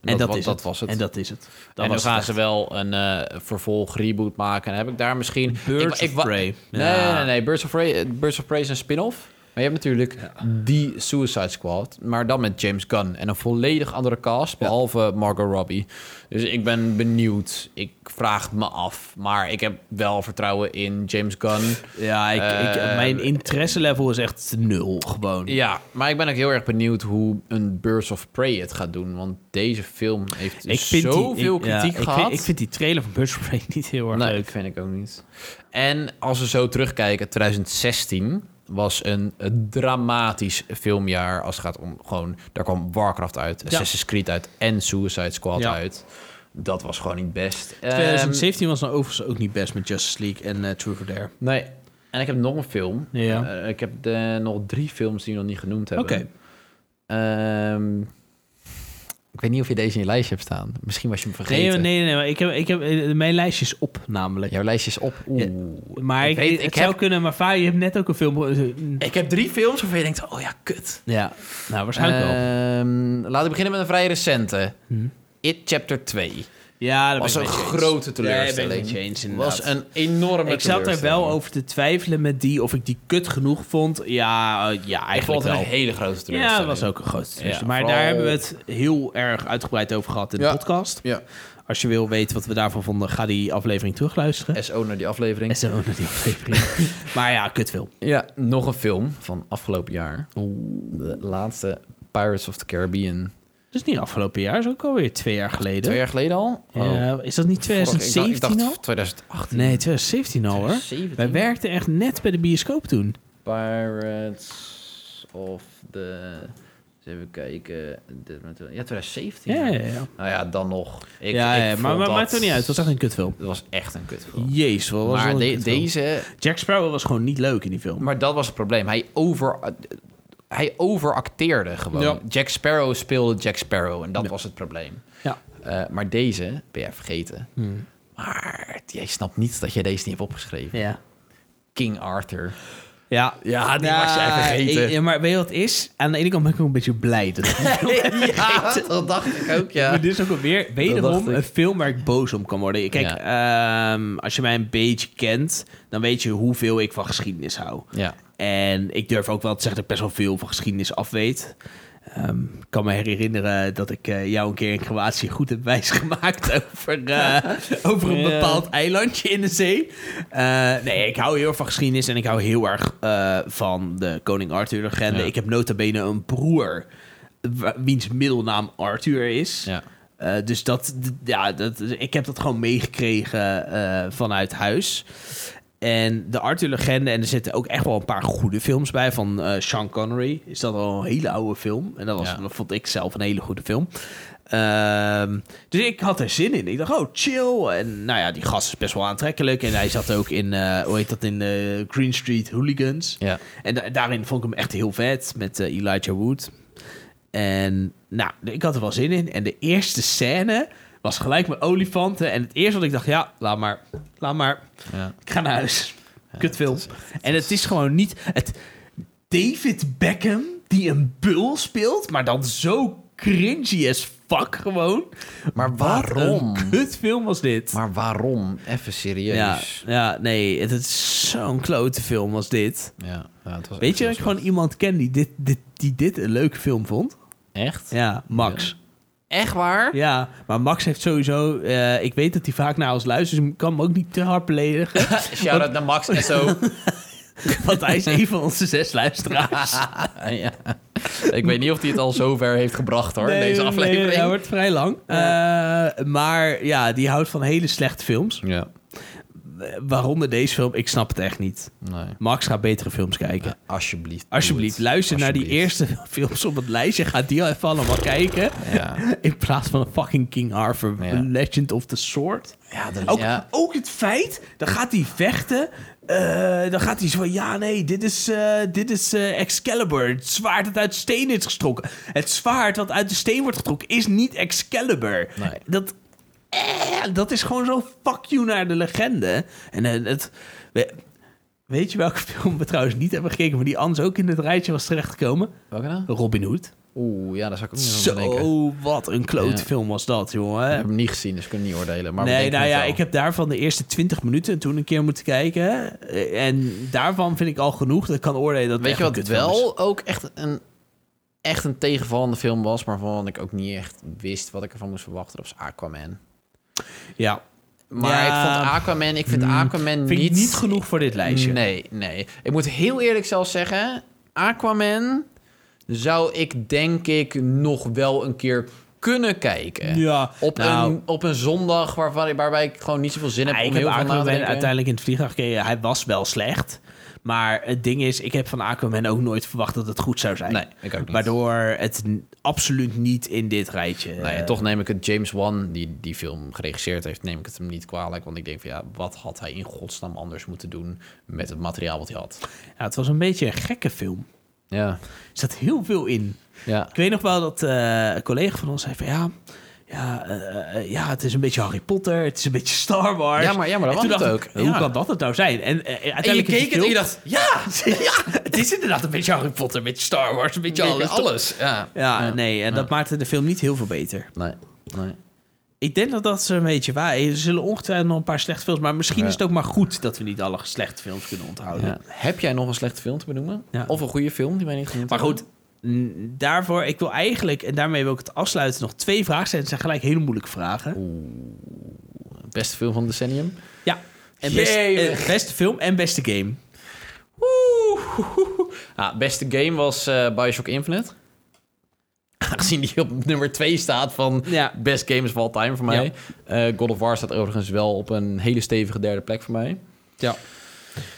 S1: En dat,
S2: wa-
S1: is
S2: dat
S1: het.
S2: was het.
S1: En dat is het. Dat
S2: en dan
S1: was het
S2: gaan ze wel een eh, vervolg reboot maken. En heb ik daar misschien...
S1: Birds
S2: ik,
S1: of
S2: wa-
S1: Prey.
S2: Nee,
S1: Ja.
S2: nee, nee, nee. Birds of Prey, eh, Birds of Prey is een spin-off. Maar je hebt natuurlijk die Suicide Squad. Maar dan met James Gunn. En een volledig andere cast. Behalve Margot Robbie. Dus ik ben benieuwd. Ik vraag het me af. Maar ik heb wel vertrouwen in James Gunn.
S1: Ja, ik, ik,
S2: Eh,
S1: mijn interesselevel is echt nul gewoon.
S2: Ja, maar ik ben ook heel erg benieuwd hoe een Birds of Prey het gaat doen. Want deze film heeft
S1: ik vind
S2: dus zoveel
S1: die, ik- ja,
S2: kritiek
S1: ik
S2: gehad.
S1: Vind, ik vind die trailer van Birds of Prey niet heel erg
S2: nee,
S1: leuk.
S2: vind ik ook niet. En als we zo terugkijken, 2016 was een dramatisch filmjaar als het gaat om gewoon... Daar kwam Warcraft uit, Assassin's Creed uit en Suicide Squad
S1: Ja.
S2: uit. Dat was gewoon niet best. Ehm,
S1: 2017 was nou overigens ook niet best met Justice League en eh, True for Dare.
S2: Ehm, nee, en ik heb nog een film.
S1: Ja.
S2: Eh, ik heb de, nog drie films die we nog niet genoemd hebben.
S1: Oké.
S2: Ehm, ik weet niet of je deze in je lijstje hebt staan. Misschien was je hem
S1: Nee,
S2: vergeten.
S1: nee, nee, nee, maar ik heb, ik heb, eh, mijn lijstje is op namelijk.
S2: Jouw lijstje is op. Oeh.
S1: Maar ik,
S2: Ik weet-
S1: het
S2: ik
S1: zou
S2: heb-
S1: kunnen, maar vaak, je hebt net ook een film... eh,
S2: Ik heb drie films waarvan je denkt, oh ja, Eh, kut.
S1: Ja, nou waarschijnlijk wel.
S2: Ehm, laten we beginnen met een vrij recente.
S1: Hm.
S2: It Chapter 2.
S1: Ja, dat
S2: was
S1: ben
S2: een
S1: ik met je eens.
S2: grote
S1: Ja, ben ik
S2: teleurstelling.
S1: met je eens, inderdaad.
S2: was een enorme
S1: ik zat er wel
S2: teleurstelling.
S1: over te twijfelen met die, of ik die kut genoeg vond. Ja, eh, ja
S2: Ik vond
S1: eigenlijk
S2: het
S1: wel.
S2: een hele grote
S1: Ja, dat
S2: teleurstelling.
S1: was ook een grote teleurstelling.
S2: Ja,
S1: maar daar
S2: vooral-
S1: hebben we het heel erg uitgebreid over gehad in
S2: Ja.
S1: de podcast.
S2: Ja.
S1: Als je wil weten wat we daarvan vonden, ga die aflevering terugluisteren.
S2: SO naar die aflevering.
S1: SO naar die aflevering. maar ja, kut veel.
S2: Ja, nog een film van afgelopen jaar. De laatste Pirates of the Caribbean.
S1: Dus niet afgelopen jaar, is ook alweer twee jaar geleden.
S2: Twee jaar geleden al? Oh.
S1: Ja, is dat niet
S2: Vorig-
S1: 2017
S2: ik dacht, ik
S1: al?
S2: dacht 2018.
S1: Nee, 2017 al hoor.
S2: 2017.
S1: Wij werkten echt net bij de bioscoop toen.
S2: Pirates of the... Eens even kijken. Dit moment- Ja, 2017.
S1: Ja, ja, ja.
S2: Nou ja, dan nog. Ik,
S1: ja,
S2: ik
S1: ja,
S2: vond
S1: maar maar
S2: dat...
S1: maakt het niet uit. Het was echt een kutfilm.
S2: Het was echt een kutfilm.
S1: Jezus, wat was
S2: Maar
S1: dat een
S2: de-
S1: kutfilm.
S2: deze...
S1: Jack Sparrow was gewoon niet leuk in die film.
S2: Maar dat was het probleem. Hij over... Hij overacteerde gewoon.
S1: Ja.
S2: Jack Sparrow speelde Jack Sparrow. En dat was het probleem.
S1: Ja. Hmm.
S2: Eh, maar deze ben jij vergeten. Maar jij snapt niet dat jij deze niet hebt opgeschreven.
S1: Ja.
S2: King Arthur.
S1: Ja,
S2: Ja, die was jij vergeten.
S1: ik- ja, maar weet je wat het is? Aan de ene kant ben ik ook een beetje blij. Dat
S2: ja, dat dacht ik ook, ja.
S1: Maar dit is ook alweer
S2: dacht
S1: wederom
S2: ik.
S1: een film waar ik boos om kan worden. Kijk, ehm, als je mij een beetje kent, dan weet je hoeveel ik van geschiedenis hou.
S2: Ja.
S1: En ik durf ook wel te zeggen dat ik best wel veel van geschiedenis af weet. Ehm, ik kan me herinneren dat ik eh, jou een keer in Kroatië goed heb wijsgemaakt over, eh, over een
S2: Ja.
S1: bepaald eilandje in de zee. Eh, nee, ik hou heel erg van geschiedenis en ik hou heel erg eh, van de Koning Arthur-legende.
S2: Ja.
S1: Ik heb nota bene een broer wa- wiens middelnaam Arthur is.
S2: ja.
S1: Eh, dus dat, d- ja, dat, ik heb dat gewoon meegekregen eh, vanuit huis. En de Arthur-legende, en er zitten ook echt wel een paar goede films bij. Van eh, Sean Connery is dat al een hele oude film. En dat, was,
S2: Ja.
S1: dat vond ik zelf een hele goede film. Ehm, dus ik had er zin in. Ik dacht, oh, chill. En nou ja, die gast is best wel aantrekkelijk. En hij zat ook in, eh, hoe heet dat, in eh, Green Street Hooligans.
S2: Ja.
S1: En da- daarin vond ik hem echt heel vet met eh, Elijah Wood. En nou, ik had er wel zin in. En de eerste scène was gelijk met olifanten. En het eerste wat ik dacht, ja, laat maar, laat maar.
S2: ja.
S1: Ik ga naar huis. Kutfilm. en het is gewoon niet... Het, David Beckham, die een bul speelt, maar dan zo cringy as fuck gewoon.
S2: Maar
S1: Waarom?
S2: waarom?
S1: Wat een kutfilm was dit.
S2: Maar waarom? Even serieus.
S1: Ja, ja, nee, het is zo'n klote film als dit.
S2: Ja. ja. het was
S1: Weet
S2: echt
S1: je dat ik
S2: heel
S1: gewoon iemand ken die dit, dit, die dit een leuke film vond?
S2: slecht. Echt?
S1: Ja, Max.
S2: Echt waar?
S1: Ja, maar Max heeft sowieso... eh, ik weet dat hij vaak naar ons luistert, dus ik kan hem ook niet te hard beledigen.
S2: Shout-out naar Max en zo.
S1: want hij is een van onze zes luisteraars.
S2: ja. Ik weet niet of hij het al zover heeft gebracht hoor, in
S1: Nee,
S2: deze
S1: nee, nou,
S2: aflevering.
S1: nee, dat wordt vrij lang. Eh, maar ja, die houdt van hele slechte films.
S2: ja.
S1: waaronder deze film, ik snap het echt niet.
S2: Nee.
S1: Max gaat betere films kijken.
S2: Alsjeblieft. doe
S1: Alsjeblieft,
S2: het.
S1: luister naar die
S2: Alsjeblieft.
S1: eerste films op het lijstje. Ga die even allemaal kijken.
S2: Ja.
S1: In plaats van een fucking King Arthur,
S2: Ja.
S1: Legend of the Sword.
S2: Ja, de-
S1: Ook,
S2: ja.
S1: ook het feit, dan gaat hij vechten. eh, dan gaat hij zo van, ja nee, dit is, eh, dit is eh, Excalibur. Het zwaard dat uit steen is getrokken. Het zwaard dat uit de steen wordt getrokken is niet Excalibur.
S2: Nee.
S1: Dat, eh, dat is gewoon zo fuck you naar de legende. En eh, het... we- weet je welke film we trouwens niet hebben gekeken... maar die anders ook in het rijtje was terechtgekomen?
S2: Welke dan?
S1: Robin Hood.
S2: Oeh, ja, daar zou ik ook niet aan denken. Ik
S1: Zo, wat een klote
S2: Ja.
S1: film was dat, jongen
S2: heb hem niet gezien, dus ik kan niet oordelen. Maar
S1: nee,
S2: bedenk
S1: nou
S2: het
S1: ja,
S2: wel.
S1: ik heb daarvan de eerste 20 minuten toen een keer moeten kijken. Eh, En daarvan vind ik al genoeg. Dat ik kan oordelen dat het
S2: Weet je
S1: echt
S2: wat
S1: een kutfilm is.
S2: wel ook echt een, echt een tegenvallende film was, maar waarvan ik ook niet echt wist wat ik ervan moest verwachten? Dat was Aquaman.
S1: Ja.
S2: Maar
S1: Ja. Hmm,
S2: ik vond Aquaman, ik vind Aquaman
S1: Vind
S2: niet...
S1: ik niet genoeg voor dit lijstje.
S2: Nee, nee. Ik moet heel eerlijk zelf zeggen, Aquaman zou ik denk ik nog wel een keer kunnen kijken.
S1: Ja.
S2: Op,
S1: nou,
S2: een, op een zondag waarvan, ik- waarbij ik gewoon niet zoveel zin heb
S1: ah, ik
S2: om
S1: heb
S2: heel veel na te
S1: Aquaman
S2: denken.
S1: uiteindelijk in het vliegtuig gekeken. Hij was wel slecht. Maar het ding is, ik heb van Aquaman ook nooit verwacht dat het goed zou zijn.
S2: Nee, ik ook niet.
S1: Waardoor het n- absoluut niet in dit rijtje...
S2: Nou ja,
S1: eh,
S2: toch neem ik het James Wan, die die film geregisseerd heeft, neem ik het hem niet kwalijk. Want ik denk van ja, wat had hij in godsnaam anders moeten doen met het materiaal wat hij had?
S1: ja, het was een beetje een gekke film.
S2: Ja,
S1: Er zat heel veel in.
S2: ja.
S1: Ik weet nog wel dat eh, een collega van ons zei van ja. Ja, eh, eh, ja, het is een beetje Harry Potter, het is een beetje Star Wars.
S2: Ja, maar- ja, maar
S1: En
S2: dat
S1: toen
S2: was het
S1: dacht ik,
S2: ook.
S1: Hoe
S2: Ja.
S1: kan dat het nou zijn? En, eh,
S2: En je
S1: uiteindelijk is
S2: keek het en
S1: film-
S2: je dacht, ja,
S1: ja, het is inderdaad een beetje Harry Potter, een beetje Star Wars, een beetje alles.
S2: alles. Ja,
S1: Ja, nee, en dat maakte de film niet heel veel beter.
S2: Nee, nee.
S1: Ik denk dat dat ze een beetje waar is. Er zullen ongetwijfeld nog een paar slechte films, maar misschien
S2: Ja.
S1: is het ook maar goed dat we niet alle slechte films kunnen onthouden.
S2: Ja. Heb jij nog een slechte film te benoemen?
S1: Ja.
S2: Of een goede film die wij niet genoemd
S1: Maar
S2: hebben?
S1: goed, n- daarvoor, ik wil eigenlijk, en daarmee wil ik het afsluiten, nog twee vragen stellen. Het zijn gelijk hele moeilijke vragen.
S2: Beste film van het decennium?
S1: Ja. En best,
S2: Jemig.
S1: eh, beste film en beste game.
S2: Oeh. Ah, beste game was eh, Bioshock Infinite. Aangezien die op nummer 2 staat van
S1: Ja.
S2: best games of all time voor mij. Eh, God of War staat overigens wel op een hele stevige derde plek voor mij.
S1: Ja.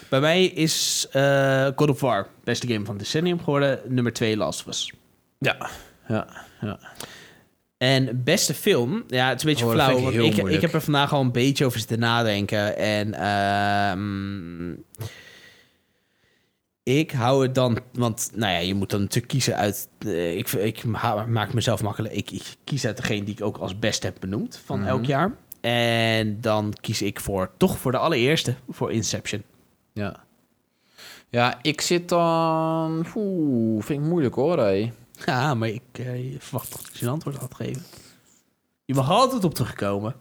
S1: Bij mij is eh, God of War beste game van het decennium geworden. Nummer 2 Last of Us.
S2: Ja. Ja, ja.
S1: En beste film, ja, het is een beetje
S2: Oh, dat
S1: flauw.
S2: vind ik
S1: Want
S2: heel
S1: ik, ik
S2: moeilijk.
S1: heb er vandaag al een beetje over zitten nadenken. En ehm, ik hou het dan, want nou ja, je moet dan natuurlijk kiezen uit. eh, ik, ik ma- maak mezelf makkelijk. Ik, ik kies uit degene die ik ook als best heb benoemd van
S2: Mhm.
S1: elk jaar. En dan kies ik voor, toch voor de allereerste, voor Inception.
S2: Ja, ja ik zit dan... Oeh, vind ik moeilijk hoor, hé.
S1: Ja, maar ik eh, verwacht toch dat je een antwoord had gegeven. Je mag er altijd op terugkomen.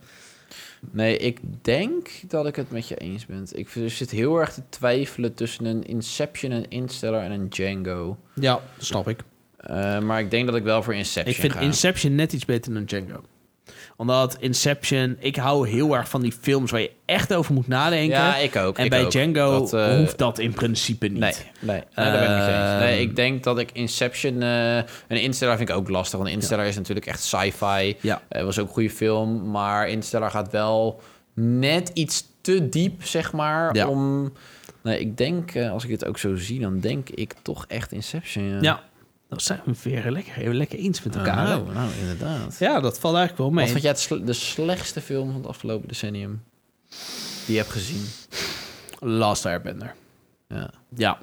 S2: Nee, ik denk dat ik het met je eens ben. Ik zit heel erg te twijfelen tussen een Inception, een Insteller en een Django.
S1: Ja, snap ik.
S2: Eh, maar ik denk dat ik wel voor Inception
S1: Ik vind
S2: ga.
S1: Inception net iets beter dan Django. Omdat Inception, ik hou heel erg van die films waar je echt over moet nadenken.
S2: Ja, ik ook.
S1: en
S2: ik
S1: bij
S2: ook.
S1: Django
S2: Dat, eh,
S1: hoeft dat in principe niet.
S2: Nee, nee, nee, daar ben ik niet eens. Mm. Nee,
S1: Ehm.
S2: ik denk dat ik Inception... eh een Insteller vind ik ook lastig, want Insteller is natuurlijk echt sci-fi.
S1: Ja.
S2: Eh, was ook een goede film, maar Insteller gaat wel net iets te diep, zeg maar,
S1: Ja.
S2: om... Nee, ik denk, eh, als ik het ook zo zie, dan denk ik toch echt Inception. eh, Ja,
S1: Ja, dat zijn we weer lekker, heel lekker eens met elkaar. hè?
S2: nou, nou, inderdaad.
S1: Ja, dat valt eigenlijk wel
S2: Wat
S1: mee.
S2: vond jij het sle- de slechtste film van het afgelopen decennium? Die je hebt gezien.
S1: Last Airbender.
S2: Ja.
S1: Ja,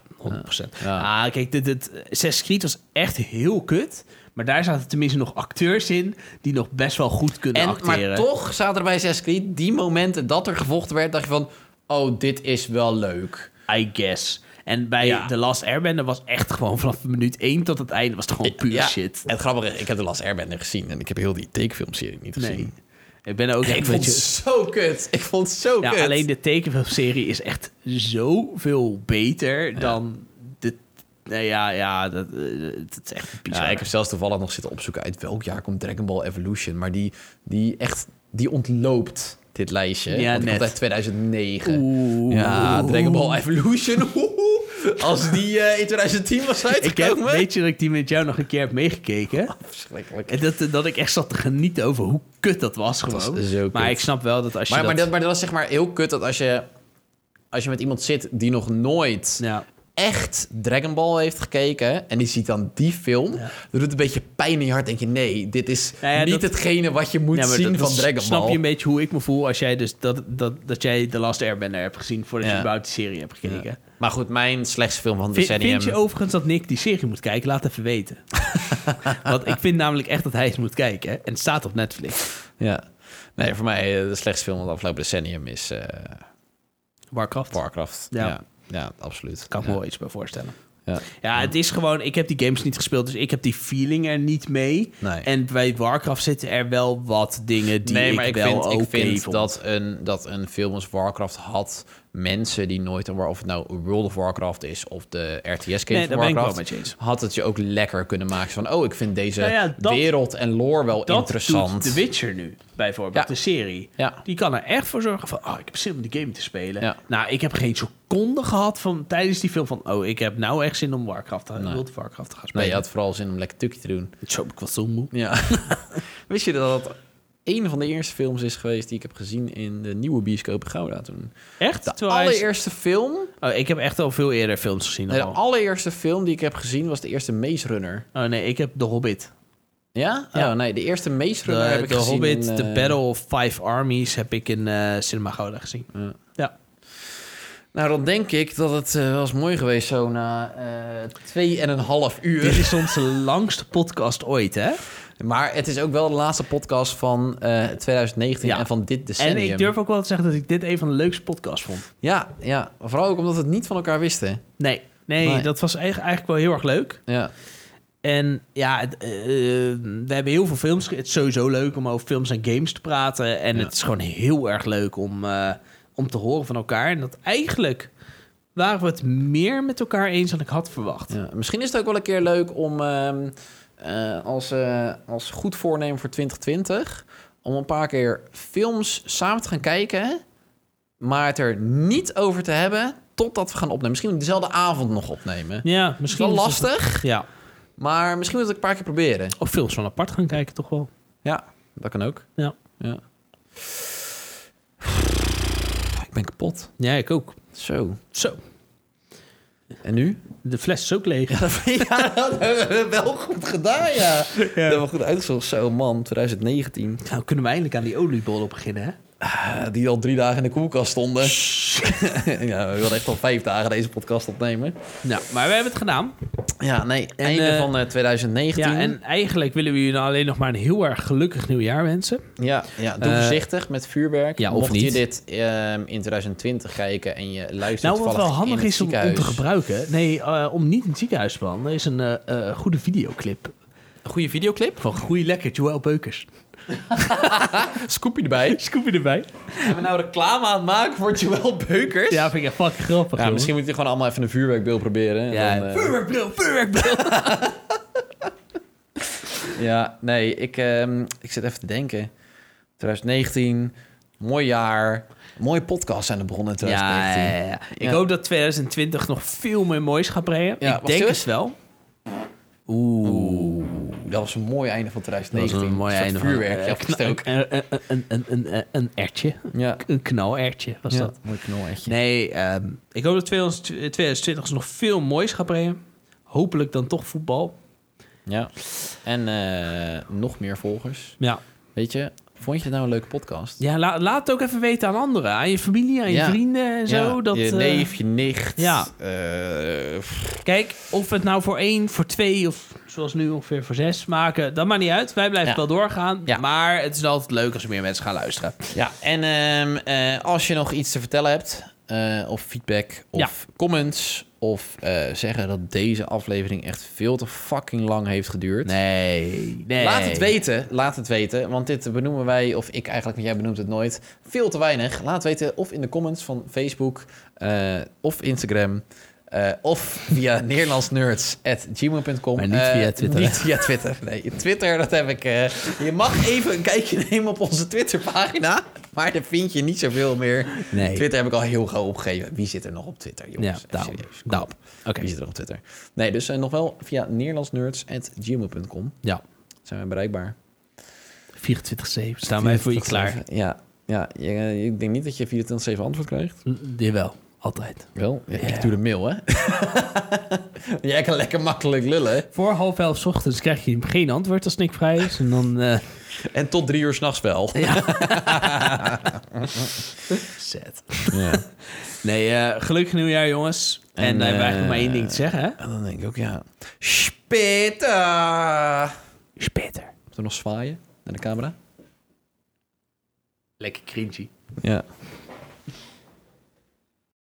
S1: 100%.
S2: Ja.
S1: Ah, kijk, dit, dit, Assassin's Creed was echt heel kut. Maar daar zaten tenminste nog acteurs in die nog best wel goed kunnen
S2: En,
S1: acteren.
S2: maar toch zaten er bij Assassin's Creed die momenten dat er gevochten werd, dacht je van, oh, dit is wel leuk.
S1: I guess. En bij
S2: Ja.
S1: The Last Airbender was echt gewoon vanaf minuut 1 tot het einde was het gewoon puur
S2: Ja.
S1: shit.
S2: En het grappige is, ik heb de Last Airbender gezien en ik heb heel die tekenfilmserie niet gezien.
S1: Nee. Ik ben er ook
S2: Ik
S1: echt een
S2: vond
S1: beetje-
S2: het zo kut. Ik vond het zo
S1: Ja,
S2: kut.
S1: alleen de tekenfilmserie is echt zoveel beter dan de... Nee, ja, ja, dat, eh, het is echt bizar.
S2: ja, ik heb zelfs toevallig nog zitten opzoeken uit welk jaar komt Dragon Ball Evolution. Maar die, die echt, die ontloopt dit lijstje.
S1: Ja,
S2: want die
S1: net.
S2: komt uit 2009.
S1: Oeh.
S2: Ja, Dragon Ball Evolution. oeh. Als die eh, in 2010 was
S1: Ik heb,
S2: uitgekomen.
S1: weet je dat ik die met jou nog een keer heb
S2: Oh,
S1: meegekeken?
S2: Verschrikkelijk.
S1: En dat, eh, dat ik echt zat te genieten over hoe kut dat was gewoon.
S2: was zo kut.
S1: Maar ik snap wel dat als je
S2: Maar,
S1: dat...
S2: maar, dat, maar dat was zeg maar heel kut dat als je als je met iemand zit die nog nooit
S1: Ja.
S2: echt Dragon Ball heeft gekeken en die ziet dan die film, dan doet het een beetje pijn in je hart. Denk je, nee, dit is
S1: Nou ja,
S2: niet
S1: dat-
S2: hetgene wat je moet
S1: Ja, maar
S2: zien
S1: dat- dat
S2: van Dragon
S1: Snap je
S2: Ball.
S1: een beetje hoe ik me voel als jij dus dat, dat, dat jij The Last Airbender hebt gezien voordat
S2: Ja.
S1: je überhaupt die serie hebt gekeken?
S2: Ja. Maar goed, mijn slechtste film van het
S1: Vind,
S2: decennium.
S1: vind je overigens dat Nick die serie moet kijken? Laat even weten. Want ik vind namelijk echt dat hij eens moet kijken. hè. En het staat op Netflix.
S2: Ja. Nee, voor mij eh, de slechtste film van het afgelopen decennium is eh,
S1: Warcraft.
S2: Warcraft. Ja.
S1: Ja.
S2: ja. absoluut.
S1: Kan ik me
S2: ja.
S1: wel iets bij voorstellen.
S2: Ja.
S1: Ja, het is gewoon... Ik heb die games niet gespeeld, dus ik heb die feeling er niet mee.
S2: Nee.
S1: En bij Warcraft zitten er wel wat dingen die
S2: nee, maar ik,
S1: wel
S2: vind,
S1: oké
S2: ik vind
S1: vond.
S2: dat, een, dat een film als Warcraft had mensen die nooit... Of het nou World of Warcraft is of de RTS-game
S1: Nee,
S2: van
S1: daar ben ik wel
S2: Warcraft...
S1: met je eens.
S2: had het je ook lekker kunnen maken van... oh, ik vind deze
S1: Nou ja, dat-
S2: wereld en lore wel
S1: Dat
S2: interessant.
S1: doet The Witcher nu, bijvoorbeeld,
S2: Ja.
S1: de serie.
S2: Ja.
S1: Die kan er echt voor zorgen van, oh, ik heb zin om die game te spelen.
S2: Ja.
S1: Nou, ik heb geen seconde gehad van tijdens die film van, oh, ik heb nou echt zin om Warcraft, te, World of Warcraft te gaan spelen.
S2: Nee, je had vooral zin om lekker tukje te doen.
S1: Zo, ik was zo moe.
S2: Ja. Wist je dat dat een van de eerste films is geweest... die ik heb gezien in de nieuwe bioscoop in Gouda toen?
S1: Echt?
S2: De
S1: Terwijl hij is-
S2: allereerste film...
S1: Oh, ik heb echt al veel eerder films gezien.
S2: Nee, de
S1: al.
S2: allereerste film die ik heb gezien was de eerste Maze Runner.
S1: Oh nee, ik heb The Hobbit.
S2: Ja?
S1: Ja.
S2: Oh, nee, de eerste Maze
S1: De,
S2: Runner heb ik
S1: The
S2: gezien.
S1: Hobbit,
S2: in,
S1: The
S2: eh,
S1: Battle of Five Armies heb ik in eh, Cinema Gouda gezien.
S2: Ja.
S1: Ja.
S2: Nou, dan denk ik dat het eh, wel eens mooi geweest zo na eh, tweeënhalf
S1: Dit
S2: uur.
S1: is onze langste podcast ooit, hè?
S2: Maar het is ook wel de laatste podcast van eh, 2019
S1: Ja.
S2: en van dit
S1: En
S2: decennium.
S1: ik durf ook wel te zeggen dat ik dit een van de leukste podcasts vond.
S2: Ja, ja, vooral ook omdat we het niet van elkaar wisten.
S1: Nee, nee,
S2: Nee.
S1: dat was eigenlijk, eigenlijk wel heel erg leuk.
S2: Ja,
S1: En ja, het, eh, eh, we hebben heel veel films. ge- Het is sowieso leuk om over films en games te praten. En
S2: Ja.
S1: het is gewoon heel erg leuk om, eh, om te horen van elkaar. En dat eigenlijk waren we het meer met elkaar eens dan ik had verwacht.
S2: ja. Misschien is het ook wel een keer leuk om ehm, eh, als, eh, als goed voornemen voor 2020... om een paar keer films samen te gaan kijken... maar het er niet over te hebben totdat we gaan opnemen. Misschien dezelfde avond nog opnemen.
S1: Ja,
S2: is
S1: misschien
S2: wel
S1: is het-
S2: lastig,
S1: Ja,
S2: maar misschien moet ik het een paar keer proberen.
S1: of films van apart gaan kijken toch wel.
S2: Ja, dat kan ook.
S1: Ja.
S2: ja. Ik ben kapot.
S1: Ja, ik ook.
S2: Zo.
S1: Zo,
S2: En nu?
S1: de fles is ook leeg.
S2: ja, dat hebben we wel goed gedaan, ja. Dat hebben we goed uitgezocht. Zo, man, 2019.
S1: Nou, kunnen we eindelijk aan die oliebollen beginnen, hè?
S2: Ah, Die al drie dagen in de koelkast stonden. ja, we wilden echt al vijf dagen deze podcast opnemen.
S1: Nou, maar we hebben het gedaan.
S2: Ja, nee,
S1: En,
S2: einde
S1: eh,
S2: van eh, 2019.
S1: Ja,
S2: Ja,
S1: en eigenlijk willen we jullie nou alleen nog maar een heel erg gelukkig nieuwjaar wensen.
S2: ja, doe
S1: Eh,
S2: voorzichtig met vuurwerk.
S1: ja, of
S2: Mocht je
S1: niet.
S2: dit ehm, in 2020 kijken en je luistert
S1: Nou, wat
S2: toevallig
S1: wel handig
S2: in het
S1: is om, om
S2: ziekenhuis.
S1: te gebruiken. Nee, eh, om niet in het ziekenhuis te behandelen. Is een eh, eh, goede videoclip.
S2: Een goede videoclip.
S1: Van Goeie Lekker, Joël Beukers.
S2: Scoopje erbij.
S1: Scoop je erbij?
S2: Zijn we nou reclame aan het maken voor Joël Beukers?
S1: Ja, vind ik echt fucking grappig.
S2: Ja,
S1: joh.
S2: misschien moet je gewoon allemaal even een vuurwerkbeeld proberen. en
S1: Ja,
S2: dan, eh,
S1: vuurwerkbril, vuurwerkbril.
S2: ja nee, ik, ehm, ik zit even te denken. 2019, mooi jaar. Mooie podcasts zijn er begonnen in
S1: Ja,
S2: 2019.
S1: ja, ja. ik
S2: Ja.
S1: hoop dat 2020 nog veel meer moois gaat brengen.
S2: Ja,
S1: ik
S2: wacht
S1: denk
S2: even.
S1: het wel.
S2: Oeh, dat was een mooi einde van 2019. soort vuurwerk,
S1: van,
S2: ja,
S1: eh, kna-
S2: gestoken.
S1: eh, eh, Een, een, een, een, een ertje.
S2: Ja,
S1: Een knalertje was
S2: ja.
S1: dat.
S2: mooi knoletje.
S1: Nee, ehm, ik hoop dat 2020 nog veel moois gaat brengen. Hopelijk dan toch voetbal.
S2: Ja. En eh, nog meer volgers.
S1: Ja,
S2: Weet je, vond je dit nou een leuke podcast?
S1: ja la- laat het ook even weten aan anderen. Aan je familie, aan je
S2: Ja.
S1: vrienden en zo.
S2: Ja,
S1: dat,
S2: je
S1: eh,
S2: neef, je nicht.
S1: ja.
S2: eh, pff,
S1: kijk, of we het nou voor één, voor twee of zoals nu ongeveer voor zes maken. Dat maakt niet uit. Wij blijven
S2: Ja.
S1: wel doorgaan.
S2: Ja.
S1: Maar het is altijd leuk als er meer mensen gaan luisteren.
S2: ja. En ehm, eh, als je nog iets te vertellen hebt, eh, of feedback, of
S1: Ja.
S2: comments, of eh, zeggen dat deze aflevering echt veel te fucking lang heeft geduurd.
S1: Nee, nee.
S2: Laat het weten, laat het weten, want dit benoemen wij, of ik eigenlijk, want jij benoemt het nooit, veel te weinig. Laat weten of in de comments van Facebook, eh, of Instagram, eh, of via neerlandsnerds.gmail.com.
S1: Maar niet
S2: Eh,
S1: via Twitter,
S2: Niet via Twitter, nee. Twitter, dat heb ik... eh, je mag even een kijkje nemen op onze Twitterpagina, maar daar vind je niet zoveel meer.
S1: Nee.
S2: Twitter heb ik al heel gauw opgegeven. Wie zit er nog op Twitter,
S1: Ja,
S2: jongens?
S1: daarom.
S2: Serieus, kom
S1: daarom.
S2: op.
S1: Oké.
S2: Wie zit er op Twitter? Nee, dus eh, nog wel via neerlandsnerds.gmail.com
S1: Ja,
S2: zijn wij bereikbaar.
S1: 24-7 staan wij voor je klaar.
S2: eh, Ja, ja je- ik denk niet dat je 24-7 antwoord krijgt.
S1: Jawel.
S9: Mm, Altijd.
S2: Wel, ja, ik doe de mail, hè? Jij kan lekker makkelijk lullen. hè?
S9: Voor half elf 's ochtends krijg je geen antwoord als Nick vrij is. En dan... eh,
S2: En tot drie uur s'nachts wel.
S9: Zet.
S2: Ja.
S9: Nee, eh, gelukkig nieuwjaar, jongens. En,
S2: En,
S9: dan hebben we
S2: eh,
S9: eigenlijk maar één ding te zeggen, hè?
S2: En dan denk ik ook, ja... Spitta!
S9: Speter.
S2: Moeten we nog zwaaien naar de camera?
S9: Lekker cringy.
S2: Ja.